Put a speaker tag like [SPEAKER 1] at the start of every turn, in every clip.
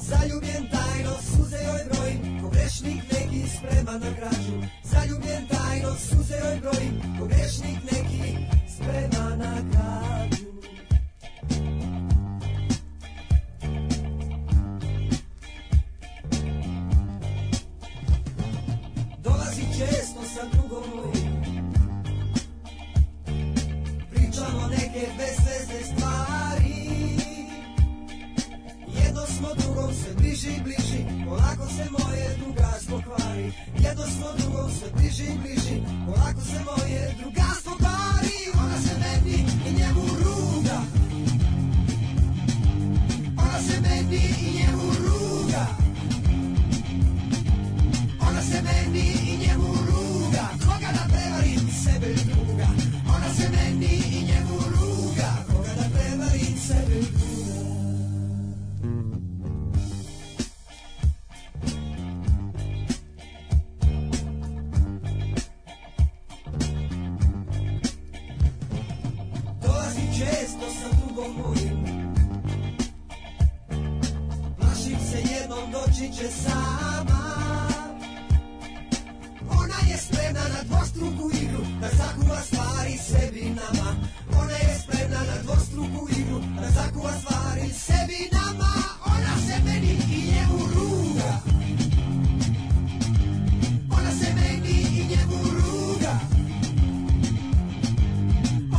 [SPEAKER 1] Zaljubljen tajno suze joj brojim Ko grešnik neki sprema na građu Zaljubljen tajno suze joj brojim Ko grešnik neki sprema na građu Dolazi često sa drugom mojim Pričamo neke bezvezne stvari Jedno smo drugom sve bliži i bliži Polako se moje drugarstvo kvari Jedno smo drugom sve bliži i bliži Polako se moje drugarstvo kvari Ona se meni i njemu ruga Ona se meni i njemu ruga ona se meni i njemu ruga Koga da prevarim sebe ili druga Ona se meni i njemu ruga Koga da prevarim sebe ili druga Dolazi često sa drugom mojim Plašim se jednom doći će sama ona je spremna na dvostruku igru Da zakuva stvari sebi i nama Ona je spremna na dvostruku igru Da zakuva stvari sebi i nama Ona se meni i njemu ruga Ona se meni i njemu ruga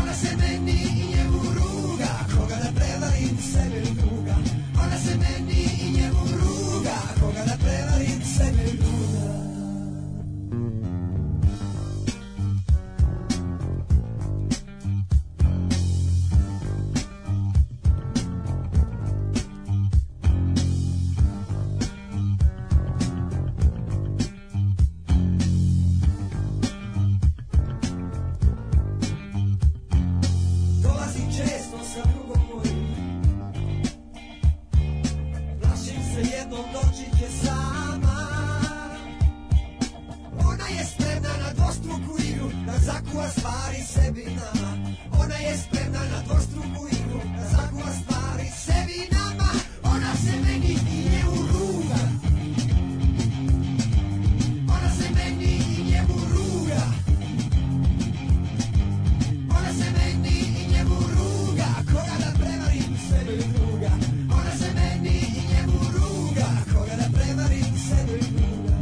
[SPEAKER 1] Ona se meni i njemu ruga Koga da prevarim sebe i druga Ona se meni i njemu ruga Koga da prevarim sebe i druga Dolazi često sa drugom mojim Plašim se jednom doći će sama Ona je spremna na dvostruku igru Da zakuva stvari sebi i nama Ona je spremna na dvostruku igru Da zakuva stvari sebi i nama Ona se meni i njemu ruga Ona se meni i njemu ruga ona se meni i njemu ruga Koga da prevarim sebe i druga Ona se meni i njemu ruga Koga da prevarim sebe i druga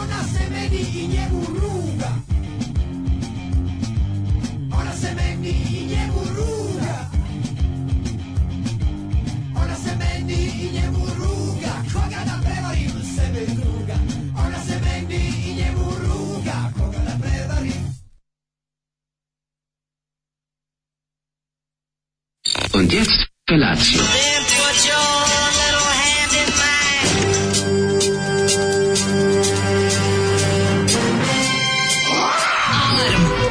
[SPEAKER 1] Ona se meni i njemu ruga Ona se meni i njemu ruga Ona se meni i njemu ruga Koga da prevarim sebe i druga Ona se meni i njemu ruga Koga da prevarim
[SPEAKER 2] Und jetzt Felatio.
[SPEAKER 3] Then put your little hand in mine.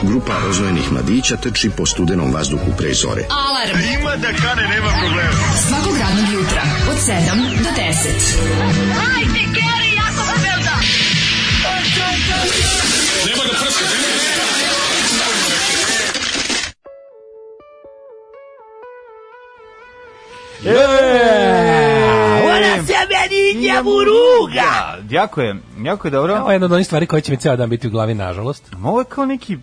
[SPEAKER 4] Grupa rozvojenih mladića teči po studenom vazduhu pre zore.
[SPEAKER 5] Alarm. Ima da kane, nema problema. Svakog radnog jutra, od 7 do 10.
[SPEAKER 3] Hajde, Geri, ja sam Belda.
[SPEAKER 6] E, Ja, jako je, jako je dobro.
[SPEAKER 7] Pa, Ovo je jedna od onih stvari koje će mi ceo dan biti u glavi, nažalost.
[SPEAKER 6] Ovo je kao neki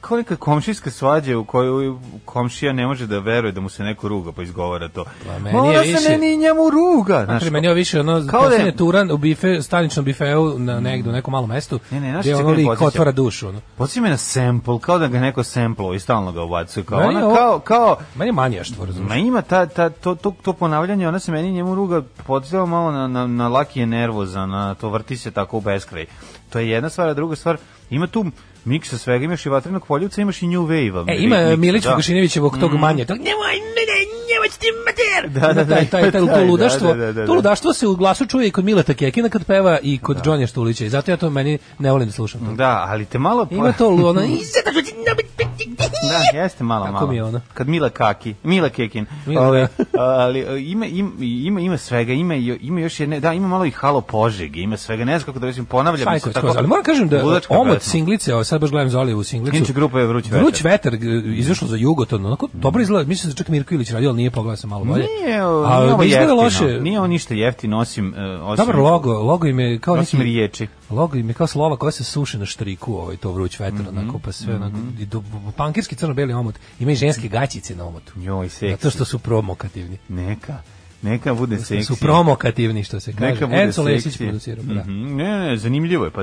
[SPEAKER 6] kao neka komšijska svađa u kojoj komšija ne može da veruje da mu se neko ruga pa izgovara to.
[SPEAKER 7] Pa meni
[SPEAKER 6] Ma
[SPEAKER 7] je
[SPEAKER 6] ona
[SPEAKER 7] više-
[SPEAKER 6] se meni i njemu ruga. Znaš,
[SPEAKER 7] Znači, meni je ovo više ono,
[SPEAKER 6] Kao
[SPEAKER 7] kao
[SPEAKER 6] da
[SPEAKER 7] da
[SPEAKER 6] je- Mm.
[SPEAKER 7] turan u bife, staničnom bifeu na negde, u nekom malom mestu,
[SPEAKER 6] Ne, ne, znaš
[SPEAKER 7] gde
[SPEAKER 6] šta
[SPEAKER 7] ono
[SPEAKER 6] čekaj,
[SPEAKER 7] lik
[SPEAKER 6] podsjeća.
[SPEAKER 7] otvara dušu. Ono.
[SPEAKER 6] Podsjeća me na sample, kao da ga neko samplo i stalno ga ubacuje. Kao,
[SPEAKER 7] Meni je
[SPEAKER 6] ona,
[SPEAKER 7] ovo-
[SPEAKER 6] kao, kao,
[SPEAKER 7] Meni je manjaštvo, razumiješ?
[SPEAKER 6] Ma ima ta, ta, to, to, to ponavljanje, ona se meni i njemu ruga podsjeća malo na, na, na laki je nervoza, na to vrti se tako u beskraj. To je jedna stvar, a druga stvar, ima tu miksa svega, imaš i vatrenog poljubca, imaš i New Wave-a.
[SPEAKER 7] E, ima
[SPEAKER 6] Miksa,
[SPEAKER 7] Milić
[SPEAKER 6] da. Mm.
[SPEAKER 7] Vukašinovićevog tog manje, tog nemoj, ne, ne, nemoj ti mater! Da,
[SPEAKER 6] da, da,
[SPEAKER 7] taj, taj, taj,
[SPEAKER 6] da,
[SPEAKER 7] to
[SPEAKER 6] da,
[SPEAKER 7] ludaštvo,
[SPEAKER 6] da, da, da.
[SPEAKER 7] to ludaštvo se u glasu čuje i kod Mileta Kekina kad peva i kod Johnja
[SPEAKER 6] Mm.
[SPEAKER 7] Štulića i zato ja to meni ne volim da slušam. to.
[SPEAKER 6] Da, ali te malo... pa-
[SPEAKER 7] Ima to, lu- ono, i sada ću ti nabiti
[SPEAKER 6] Da, jeste malo,
[SPEAKER 8] Kako
[SPEAKER 6] malo.
[SPEAKER 8] mi je ono?
[SPEAKER 6] Kad Mila Kaki, Mila Kekin.
[SPEAKER 8] Mila,
[SPEAKER 6] Ovaj,
[SPEAKER 8] da.
[SPEAKER 6] ali e, ima, im- ima, ima svega, ima, jo- ima još jedne, da, ima malo i halo požege, ima svega, ne znam kako da recimo, ponavljam.
[SPEAKER 8] Šajković, skroz, ali moram kažem da
[SPEAKER 6] ludačka
[SPEAKER 8] omot
[SPEAKER 6] pesma.
[SPEAKER 8] singlice, evo sad baš gledam Zoli u singlicu.
[SPEAKER 6] Inače, grupa je Vruć vetar.
[SPEAKER 8] Vruć vetar, g- izašlo za Jugoton, onako dobro izgleda, mislim da čak Mirko Ilić radio, ali nije pogledao sam malo bolje.
[SPEAKER 6] Nije, o,
[SPEAKER 8] Ali
[SPEAKER 6] nije ovo
[SPEAKER 8] ne pa izgleda
[SPEAKER 6] jeftino.
[SPEAKER 8] loše.
[SPEAKER 6] Nije on ništa jeftino, osim... e, osim
[SPEAKER 8] Dobar logo, logo im je kao
[SPEAKER 6] Osim
[SPEAKER 8] neki...
[SPEAKER 6] riječi.
[SPEAKER 8] Logo im je kao slova koja se suši na štriku, ovaj, to vruć vetar,
[SPEAKER 6] Mhm,
[SPEAKER 8] onako, pa sve, onako, i do, pankirski crno-beli omot, ima i ženske gaćice na omotu.
[SPEAKER 6] Joj, seksi.
[SPEAKER 8] Zato što su promokativni.
[SPEAKER 6] Neka, neka bude seksi.
[SPEAKER 8] Su promokativni, što se kaže.
[SPEAKER 6] Neka bude
[SPEAKER 8] Enzo Lesić
[SPEAKER 6] seksi.
[SPEAKER 8] producirao, pa da.
[SPEAKER 6] Mhm, Ne, ne, zanimljivo je, pa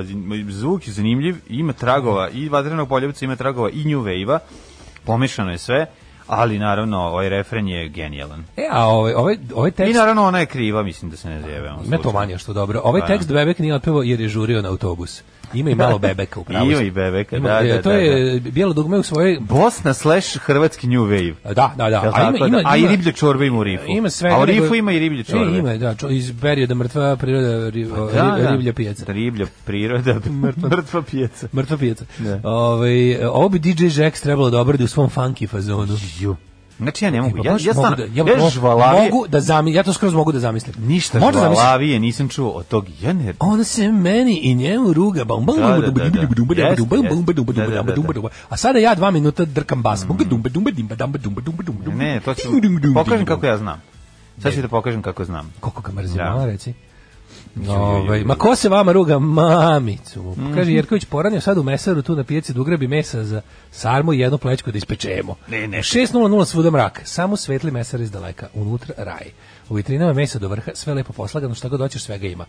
[SPEAKER 6] zvuk je zanimljiv, ima tragova i Vatrenog poljevca, ima tragova i New Wave-a, pomešano je sve, ali naravno ovaj refren je genijalan.
[SPEAKER 8] E, a ovaj, ovaj, ovaj
[SPEAKER 6] I
[SPEAKER 8] tekst...
[SPEAKER 6] naravno ona je kriva, mislim da se ne zjeve. ono
[SPEAKER 8] Ima to
[SPEAKER 6] slučajno.
[SPEAKER 8] manje što dobro. Ovaj
[SPEAKER 6] Pa,
[SPEAKER 8] tekst Bebek nije otpevao jer je žurio na autobus. Ima i malo Bebeka u pravu.
[SPEAKER 6] Ima i Bebeka, da,
[SPEAKER 8] e,
[SPEAKER 6] da,
[SPEAKER 8] To
[SPEAKER 6] da,
[SPEAKER 8] je bijelo dugme u svojoj...
[SPEAKER 6] Bosna slash hrvatski New Wave.
[SPEAKER 8] Da, da, da.
[SPEAKER 6] Jel tako da? A i riblje čorbe ima u rifu.
[SPEAKER 8] Ima sve. E,
[SPEAKER 6] A u rifu ima i riblje Pa čorbe.
[SPEAKER 8] Ima, da, čo, iz perioda mrtva priroda, ri, o, ri- riblja pijaca.
[SPEAKER 6] Riblja priroda, mrtva pijaca.
[SPEAKER 8] Mrtva pijaca.
[SPEAKER 6] Da.
[SPEAKER 8] Ovaj, ovo bi DJ Jax trebalo da obradi u svom funky fazonu.
[SPEAKER 6] Ju. Znači ja ne mogu, ja,
[SPEAKER 8] Pa
[SPEAKER 6] ja,
[SPEAKER 8] baš mogu
[SPEAKER 6] stvarno,
[SPEAKER 8] da,
[SPEAKER 6] ja,
[SPEAKER 8] mo-
[SPEAKER 6] žvalavije,
[SPEAKER 8] mogu da zami, ja to skroz mogu da zamislim.
[SPEAKER 6] ništa
[SPEAKER 8] Možda zamislim-
[SPEAKER 6] žvalavije nisam čuo od tog, ja ne,
[SPEAKER 8] Ona se meni i njemu ruga. Bam, bam,
[SPEAKER 6] Da, da,
[SPEAKER 8] bam,
[SPEAKER 6] da, da.
[SPEAKER 8] bam, bam, bam,
[SPEAKER 6] Jeste,
[SPEAKER 8] bam, bam,
[SPEAKER 6] jeste.
[SPEAKER 8] bam, bam,
[SPEAKER 6] Da, da,
[SPEAKER 8] bam,
[SPEAKER 6] da,
[SPEAKER 8] bam,
[SPEAKER 6] da.
[SPEAKER 8] bam. A sada ja dva minuta drkam bas. Bum, dum, dum, dum, dum, dum, dum, dum, dum.
[SPEAKER 6] Ne, to ću
[SPEAKER 8] Dum, dum,
[SPEAKER 6] pokažem
[SPEAKER 8] dum,
[SPEAKER 6] kako ja znam. Sad ću da pokažem kako znam.
[SPEAKER 8] Koliko ga mrzim,
[SPEAKER 6] Da.
[SPEAKER 8] da. reci.
[SPEAKER 6] ju,
[SPEAKER 8] Ovaj,
[SPEAKER 6] ju.
[SPEAKER 8] ma ko se vama ruga? Mamicu. Pa
[SPEAKER 6] Mhm.
[SPEAKER 8] Kaže Jerković poranio sad u mesaru tu na pijaci da ugrabi mesa za sarmu i jednu plećku da ispečemo.
[SPEAKER 6] Ne, ne.
[SPEAKER 8] U 6.00 svuda mrak, samo svetli mesar iz daleka, unutra raj. U vitrinama mesa do vrha, sve lepo poslagano, šta god hoćeš svega ima.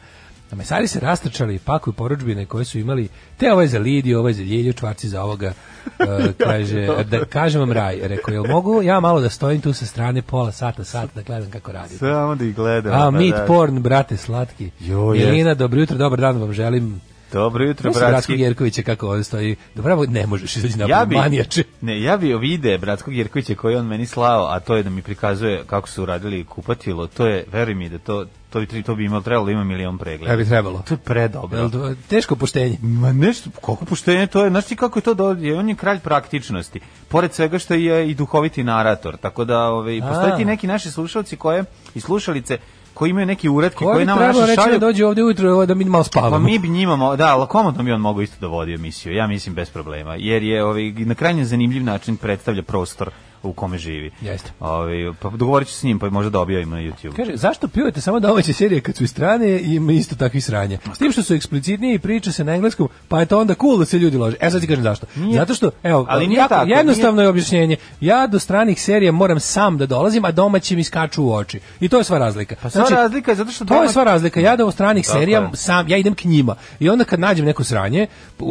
[SPEAKER 8] A mesari se rastrčali i pakuju poručbine koje su imali, te ovaj za Lidiju, ovaj za Ljelju, čvarci za ovoga, E, kaže, da kažem vam raj, rekao, jel mogu ja malo da stojim tu sa strane pola sata, sat, da gledam kako radite.
[SPEAKER 6] Samo da ih gledam.
[SPEAKER 8] A,
[SPEAKER 6] pa
[SPEAKER 8] meat
[SPEAKER 6] da.
[SPEAKER 8] porn, brate, slatki.
[SPEAKER 6] Jo,
[SPEAKER 8] Milina, dobro jutro, dobar dan vam želim.
[SPEAKER 6] Dobro jutro,
[SPEAKER 8] Mislim, Bratskog
[SPEAKER 6] bratski.
[SPEAKER 8] Jerkovića kako ovdje stoji. Dobro, ne možeš izaći napolje,
[SPEAKER 6] Ja bi,
[SPEAKER 8] manijače.
[SPEAKER 6] ne, ja bi ovide Bratskog Jerkovića koji je on meni slao, a to je da mi prikazuje kako su uradili kupatilo, to je, veruj mi da to, to bi, to bi imalo, trebalo da ima milion pregleda.
[SPEAKER 8] Ja bi trebalo.
[SPEAKER 6] To je predobro.
[SPEAKER 8] Jel to- Teško poštenje.
[SPEAKER 6] Ma nešto, koliko poštenje to je, znaš ti kako je to dođe, on je kralj praktičnosti, pored svega što je i duhoviti narator, tako da ovaj, postoje ti neki naši slušalci koje, i slušalice koji imaju neki uratke
[SPEAKER 8] Ko
[SPEAKER 6] koji
[SPEAKER 8] bi
[SPEAKER 6] nam
[SPEAKER 8] trebalo
[SPEAKER 6] naše
[SPEAKER 8] reći da
[SPEAKER 6] šalju,
[SPEAKER 8] dođe ovdje ujutro evo, da mi malo spavamo?
[SPEAKER 6] Pa mi bi njima, mo- da, ali komodno bi on mogao isto da vodi emisiju, ja mislim bez problema, jer je ovaj, na krajnje zanimljiv način predstavlja prostor u kome živi.
[SPEAKER 8] Jeste.
[SPEAKER 6] Ovaj, pa dogovorit ću s njim, pa možda da objavimo na YouTube.
[SPEAKER 8] Kaže, zašto pljujete samo domaće serije kad su iz strane i ima isto takvi sranje? S tim što su eksplicitnije i priča se na engleskom, pa je to onda cool da se ljudi lože. E sad ti kažem zašto. Zato što, evo,
[SPEAKER 6] ali nije
[SPEAKER 8] jako-
[SPEAKER 6] tako,
[SPEAKER 8] jednostavno je objašnjenje. Ja do stranih serija moram sam da dolazim, a domaći mi skaču u oči. I to je sva razlika.
[SPEAKER 6] Pa sva razlika je zato što
[SPEAKER 8] Znači, To je
[SPEAKER 6] domać-
[SPEAKER 8] sva razlika. Ja da u stranih
[SPEAKER 6] Tako
[SPEAKER 8] serija
[SPEAKER 6] je.
[SPEAKER 8] sam, ja idem k njima. I onda kad nađem neko sranje,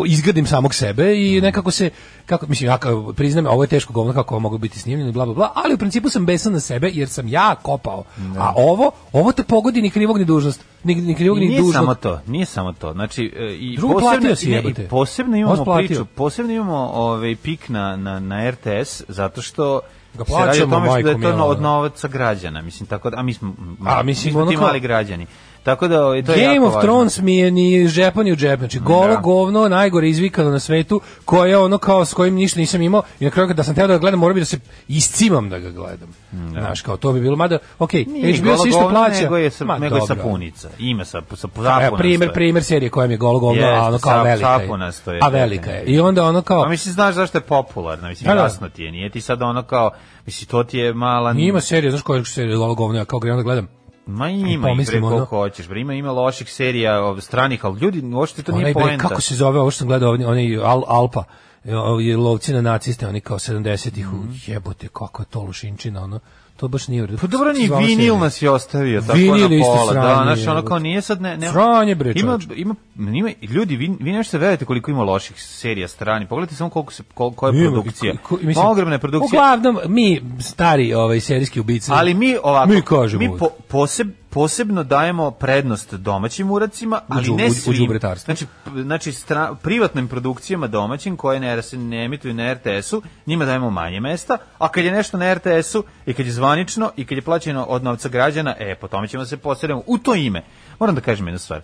[SPEAKER 8] izgradim samog sebe
[SPEAKER 6] Mhm.
[SPEAKER 8] i nekako se, kako, mislim, ja kao priznam, ovo je teško govno kako ovo mogu biti snimljeno, i bla, bla, bla, ali u principu sam besan na sebe jer sam ja kopao. A ovo, ovo te pogodi ni krivog ni dužnost. Ni, ni krivog
[SPEAKER 6] I
[SPEAKER 8] ni
[SPEAKER 6] nije
[SPEAKER 8] dužnost.
[SPEAKER 6] samo to, nije samo to. Znači e, i
[SPEAKER 8] Drugo,
[SPEAKER 6] posebno
[SPEAKER 8] platio si,
[SPEAKER 6] i- i
[SPEAKER 8] jebote.
[SPEAKER 6] posebno imamo
[SPEAKER 8] Otplatio.
[SPEAKER 6] priču, posebno imamo ovaj pik na na na RTS zato što
[SPEAKER 8] Ga
[SPEAKER 6] se radi o
[SPEAKER 8] plaćamo,
[SPEAKER 6] tome što da je
[SPEAKER 8] majko
[SPEAKER 6] to
[SPEAKER 8] mila,
[SPEAKER 6] od
[SPEAKER 8] da.
[SPEAKER 6] novaca građana, mislim tako da a mi smo
[SPEAKER 8] A,
[SPEAKER 6] mi
[SPEAKER 8] mislim,
[SPEAKER 6] smo
[SPEAKER 8] ono
[SPEAKER 6] ti
[SPEAKER 8] kao-
[SPEAKER 6] mali građani. Tako da ovaj, to je
[SPEAKER 8] Game
[SPEAKER 6] jako
[SPEAKER 8] of
[SPEAKER 6] važno.
[SPEAKER 8] Thrones mi je ni žepan ni u džep, znači golo
[SPEAKER 6] Da.
[SPEAKER 8] govno, najgore izvikano na svetu, koje je ono kao s kojim ništa nisam imao i na kraju da sam teo da ga gledam, morao bi da se iscimam da ga gledam. Znaš, kao to bi bilo, mada, okej,
[SPEAKER 6] Nije
[SPEAKER 8] okay, HBO se
[SPEAKER 6] golo
[SPEAKER 8] isto
[SPEAKER 6] govno,
[SPEAKER 8] plaća.
[SPEAKER 6] Nego je, sa,
[SPEAKER 8] Ma,
[SPEAKER 6] nego je
[SPEAKER 8] dobro.
[SPEAKER 6] sapunica. Ima sa, sa,
[SPEAKER 8] Evo,
[SPEAKER 6] zapuna.
[SPEAKER 8] primer, primer serije koja mi je golo govno,
[SPEAKER 6] Jeste,
[SPEAKER 8] a ono kao
[SPEAKER 6] sap-
[SPEAKER 8] velika
[SPEAKER 6] sapunasto je,
[SPEAKER 8] je. A
[SPEAKER 6] da,
[SPEAKER 8] velika
[SPEAKER 6] ne,
[SPEAKER 8] je. I onda ono
[SPEAKER 6] Pa
[SPEAKER 8] kao,
[SPEAKER 6] mislim, znaš zašto je popularna, mislim,
[SPEAKER 8] Da, da.
[SPEAKER 6] jasno ti je, nije ti sad ono kao, mislim, to ti je mala...
[SPEAKER 8] ima serija, znaš koja je serija golo govno, ja kao gledam da gledam.
[SPEAKER 6] Ma ima i bre
[SPEAKER 8] pomislim,
[SPEAKER 6] koliko
[SPEAKER 8] ono-
[SPEAKER 6] hoćeš, bre ima ima loših serija ov, stranih, ali ljudi uopšte to nije
[SPEAKER 8] Onaj, bre,
[SPEAKER 6] poenta.
[SPEAKER 8] kako se zove, ovo što sam gledao, oni- oni Al, Alpa, e, ovi lovci na naciste, oni kao 70-ih, u jebote, kako je to lušinčina, ono, to baš nije u redu.
[SPEAKER 6] Mhm. Pa dobro, ni
[SPEAKER 8] Zvala
[SPEAKER 6] vinil
[SPEAKER 8] serija.
[SPEAKER 6] nas je ostavio tako
[SPEAKER 8] Vinil je
[SPEAKER 6] na
[SPEAKER 8] isto
[SPEAKER 6] pola. Da,
[SPEAKER 8] sranje,
[SPEAKER 6] znaš, ono
[SPEAKER 8] jebote.
[SPEAKER 6] kao nije sad... Ne, ne,
[SPEAKER 8] Sranje, bre,
[SPEAKER 6] ima,
[SPEAKER 8] čoveče.
[SPEAKER 6] ima, ima, ljudi, vi, vi nešto verujete koliko ima loših serija strani. Pogledajte samo koliko se, kol, koja je
[SPEAKER 8] Ima,
[SPEAKER 6] produkcija.
[SPEAKER 8] ko- ko- mislim,
[SPEAKER 6] Ogromna je produkcija.
[SPEAKER 8] Uglavnom, mi, stari ovaj, serijski ubici,
[SPEAKER 6] Ali mi ovako,
[SPEAKER 8] Mi kažemo
[SPEAKER 6] mi
[SPEAKER 8] uvek.
[SPEAKER 6] po- poseb, posebno dajemo prednost domaćim uracima, ali
[SPEAKER 8] džu-
[SPEAKER 6] ne
[SPEAKER 8] u- u
[SPEAKER 6] svim.
[SPEAKER 8] đubretarstvu.
[SPEAKER 6] znači, p- znači stra- privatnim produkcijama domaćim koje ne, se ne emituju na RTS-u, njima dajemo manje mesta, a kad je nešto na RTS-u i kad je zvanično i kad je plaćeno od novca građana, e, po tome ćemo se posredimo u to ime. Moram da kažem jednu stvar.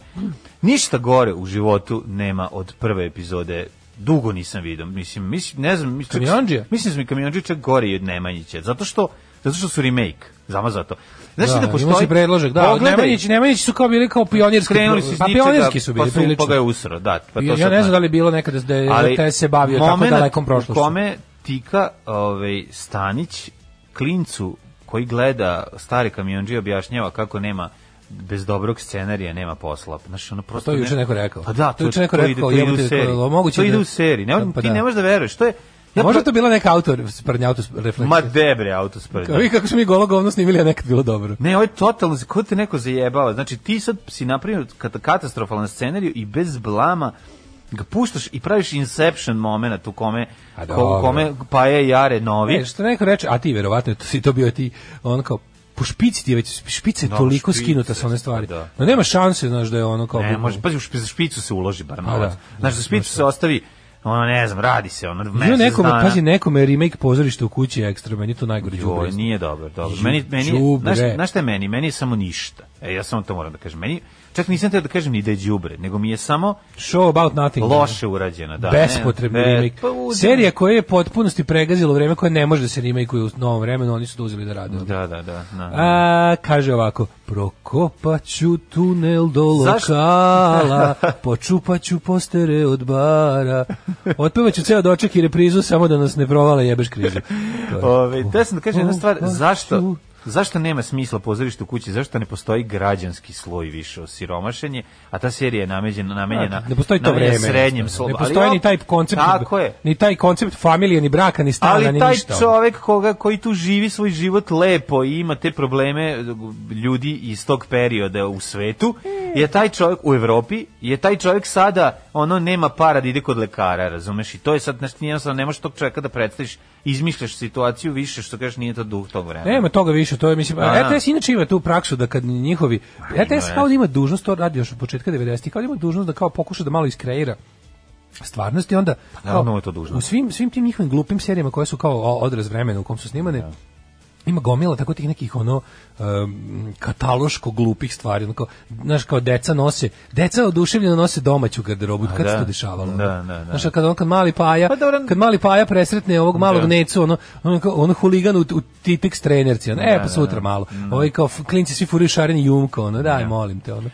[SPEAKER 6] Ništa gore u životu nema od prve epizode dugo nisam vidio. Mislim, mislim, ne znam, mislim,
[SPEAKER 8] Kamionđija?
[SPEAKER 6] mislim da mi kamionđija čak gori od Nemanjića, zato što zato što su remake, zama zato. Znači da,
[SPEAKER 8] imao si
[SPEAKER 6] postoji
[SPEAKER 8] predložak, da,
[SPEAKER 6] Pogledaj-
[SPEAKER 8] Nemanjići, Nemanjići su kao bili kao pionirski,
[SPEAKER 6] Krenuli su iz
[SPEAKER 8] pa
[SPEAKER 6] ničega,
[SPEAKER 8] pionirski su bili
[SPEAKER 6] pa
[SPEAKER 8] prilično.
[SPEAKER 6] Pa ga je usro, da. Pa to
[SPEAKER 8] ja, ja
[SPEAKER 6] sad
[SPEAKER 8] ne znam
[SPEAKER 6] znam.
[SPEAKER 8] da li je bilo nekada da je RTS se bavio tako
[SPEAKER 6] momenat
[SPEAKER 8] dalekom prošlošću.
[SPEAKER 6] u kome Tika ovaj, Stanić klincu koji gleda stari kamionđi objašnjava kako nema bez dobrog scenarija nema posla. Znači, ono prosto
[SPEAKER 8] Pa to je
[SPEAKER 6] ne-
[SPEAKER 8] juče neko rekao.
[SPEAKER 6] Pa da,
[SPEAKER 8] To je juče neko rekao,
[SPEAKER 6] ide, to
[SPEAKER 8] jebote,
[SPEAKER 6] ide u seriji.
[SPEAKER 8] kao, moguće
[SPEAKER 6] to ide
[SPEAKER 8] da-
[SPEAKER 6] u seriji. Ne,
[SPEAKER 8] Pa
[SPEAKER 6] ti
[SPEAKER 8] da. Pa
[SPEAKER 6] ne možeš da veruješ. To je, ja
[SPEAKER 8] Možda
[SPEAKER 6] pro-
[SPEAKER 8] to bila neka autor, sprdnja auto refleksija.
[SPEAKER 6] Ma debre, auto spredi.
[SPEAKER 8] Kao vi kako smo mi golo govno snimili, a nekad bilo dobro.
[SPEAKER 6] Ne, ovo je totalno, ko te neko zajebava? Znači, ti sad si napravio kat- katastrofalan scenariju i bez blama ga puštaš i praviš inception moment u kome,
[SPEAKER 8] A
[SPEAKER 6] ko,
[SPEAKER 8] dobro.
[SPEAKER 6] u kome pa je jare novi.
[SPEAKER 8] E, što neko reče, a ti verovatno to si to bio ti, on kao po špici ti je već špice je
[SPEAKER 6] Da,
[SPEAKER 8] toliko
[SPEAKER 6] špice,
[SPEAKER 8] skinuta sa one stvari.
[SPEAKER 6] da.
[SPEAKER 8] No nema šanse, znaš da je ono kao
[SPEAKER 6] ne, može, pazi, u špi- za špicu se uloži bar novac.
[SPEAKER 8] Pa da,
[SPEAKER 6] znači, za špicu se ostavi, ono, ne znam, radi se, ono,
[SPEAKER 8] Ima
[SPEAKER 6] mesec
[SPEAKER 8] nekome,
[SPEAKER 6] dana.
[SPEAKER 8] pazi, nekome je remake pozorište u kući je ekstra, meni je to najgore
[SPEAKER 6] Joj,
[SPEAKER 8] đubre.
[SPEAKER 6] nije dobar, dobar.
[SPEAKER 8] Ju,
[SPEAKER 6] Meni, meni, je-
[SPEAKER 8] đubre.
[SPEAKER 6] znaš, znaš šta je meni? Meni je samo ništa. E, ja samo to moram da kažem. Meni, čak nisam teo da kažem ni da je đubre, nego mi je samo
[SPEAKER 8] Show about nothing. ono,
[SPEAKER 6] loše urađena. Da,
[SPEAKER 8] bespotrebni
[SPEAKER 6] ne,
[SPEAKER 8] remake.
[SPEAKER 6] pa uzmi-
[SPEAKER 8] Serija koja je potpunosti pregazila vreme, koja ne može da se remakeuje u novom vremenu, oni su to uzeli da rade. ono.
[SPEAKER 6] Da, da, da. da.
[SPEAKER 8] A, kaže ovako, prokopaću tunel do
[SPEAKER 6] Zašto?
[SPEAKER 8] lokala, počupaću postere od bara, otpevaću ceo doček i reprizu samo da nas ne provale jebeš krizu. To je.
[SPEAKER 6] Ove, da sam da kažem jedna stvar,
[SPEAKER 8] Oh,
[SPEAKER 6] zašto,
[SPEAKER 8] oh,
[SPEAKER 6] zašto nema smisla pozorište u kući, zašto ne postoji građanski sloj više o siromašenje, a ta serija je namenjena, namenjena
[SPEAKER 8] Ne postoji to
[SPEAKER 6] namenjena
[SPEAKER 8] vreme.
[SPEAKER 6] srednjem slobu.
[SPEAKER 8] Ne postoji ni taj koncept,
[SPEAKER 6] Tako je.
[SPEAKER 8] ni taj koncept familije, ni braka, ni stana,
[SPEAKER 6] Ali
[SPEAKER 8] ni
[SPEAKER 6] taj
[SPEAKER 8] ništa. ono.
[SPEAKER 6] čovek koga, koji tu živi svoj život lepo i ima te probleme ljudi iz tog perioda u svetu, je taj čovek u Evropi, je taj čovek sada, ono, nema para da ide kod lekara, razumeš? I to je sad, znaš, ti jednostavno ne možeš tog čoveka da predstaviš, izmišljaš situaciju više, što kažeš, nije to duh tog vremena.
[SPEAKER 8] Nema toga više, to je mislim,
[SPEAKER 6] Da, da.
[SPEAKER 8] RTS inače ima tu praksu da kad njihovi Pa RTS
[SPEAKER 6] ima,
[SPEAKER 8] kao
[SPEAKER 6] ja.
[SPEAKER 8] da ima dužnost, to radi još od početka 90-ih, kao da ima dužnost da kao pokuša da malo iskreira stvarnosti onda
[SPEAKER 6] Pa naravno,
[SPEAKER 8] kao,
[SPEAKER 6] je to dužnost.
[SPEAKER 8] u svim svim tim njihovim glupim serijama koje su kao o- odraz vremena u kom su snimane ima gomila tako tih nekih ono um, kataloško glupih stvari ono kao znaš kao deca nose deca oduševljeno nose domaću garderobu kad
[SPEAKER 6] da.
[SPEAKER 8] se to dešavalo ono?
[SPEAKER 6] Da, da, da.
[SPEAKER 8] znaš a kad on kad mali paja
[SPEAKER 6] Pa dobro.
[SPEAKER 8] kad mali paja presretne ovog malog
[SPEAKER 6] Da.
[SPEAKER 8] necu ono ono kao- ono huligan u, u titex trenerci ono, e pa sutra malo
[SPEAKER 6] Mm.
[SPEAKER 8] ovaj kao f- klinci svi furaju šareni jumko ono daj molim te ono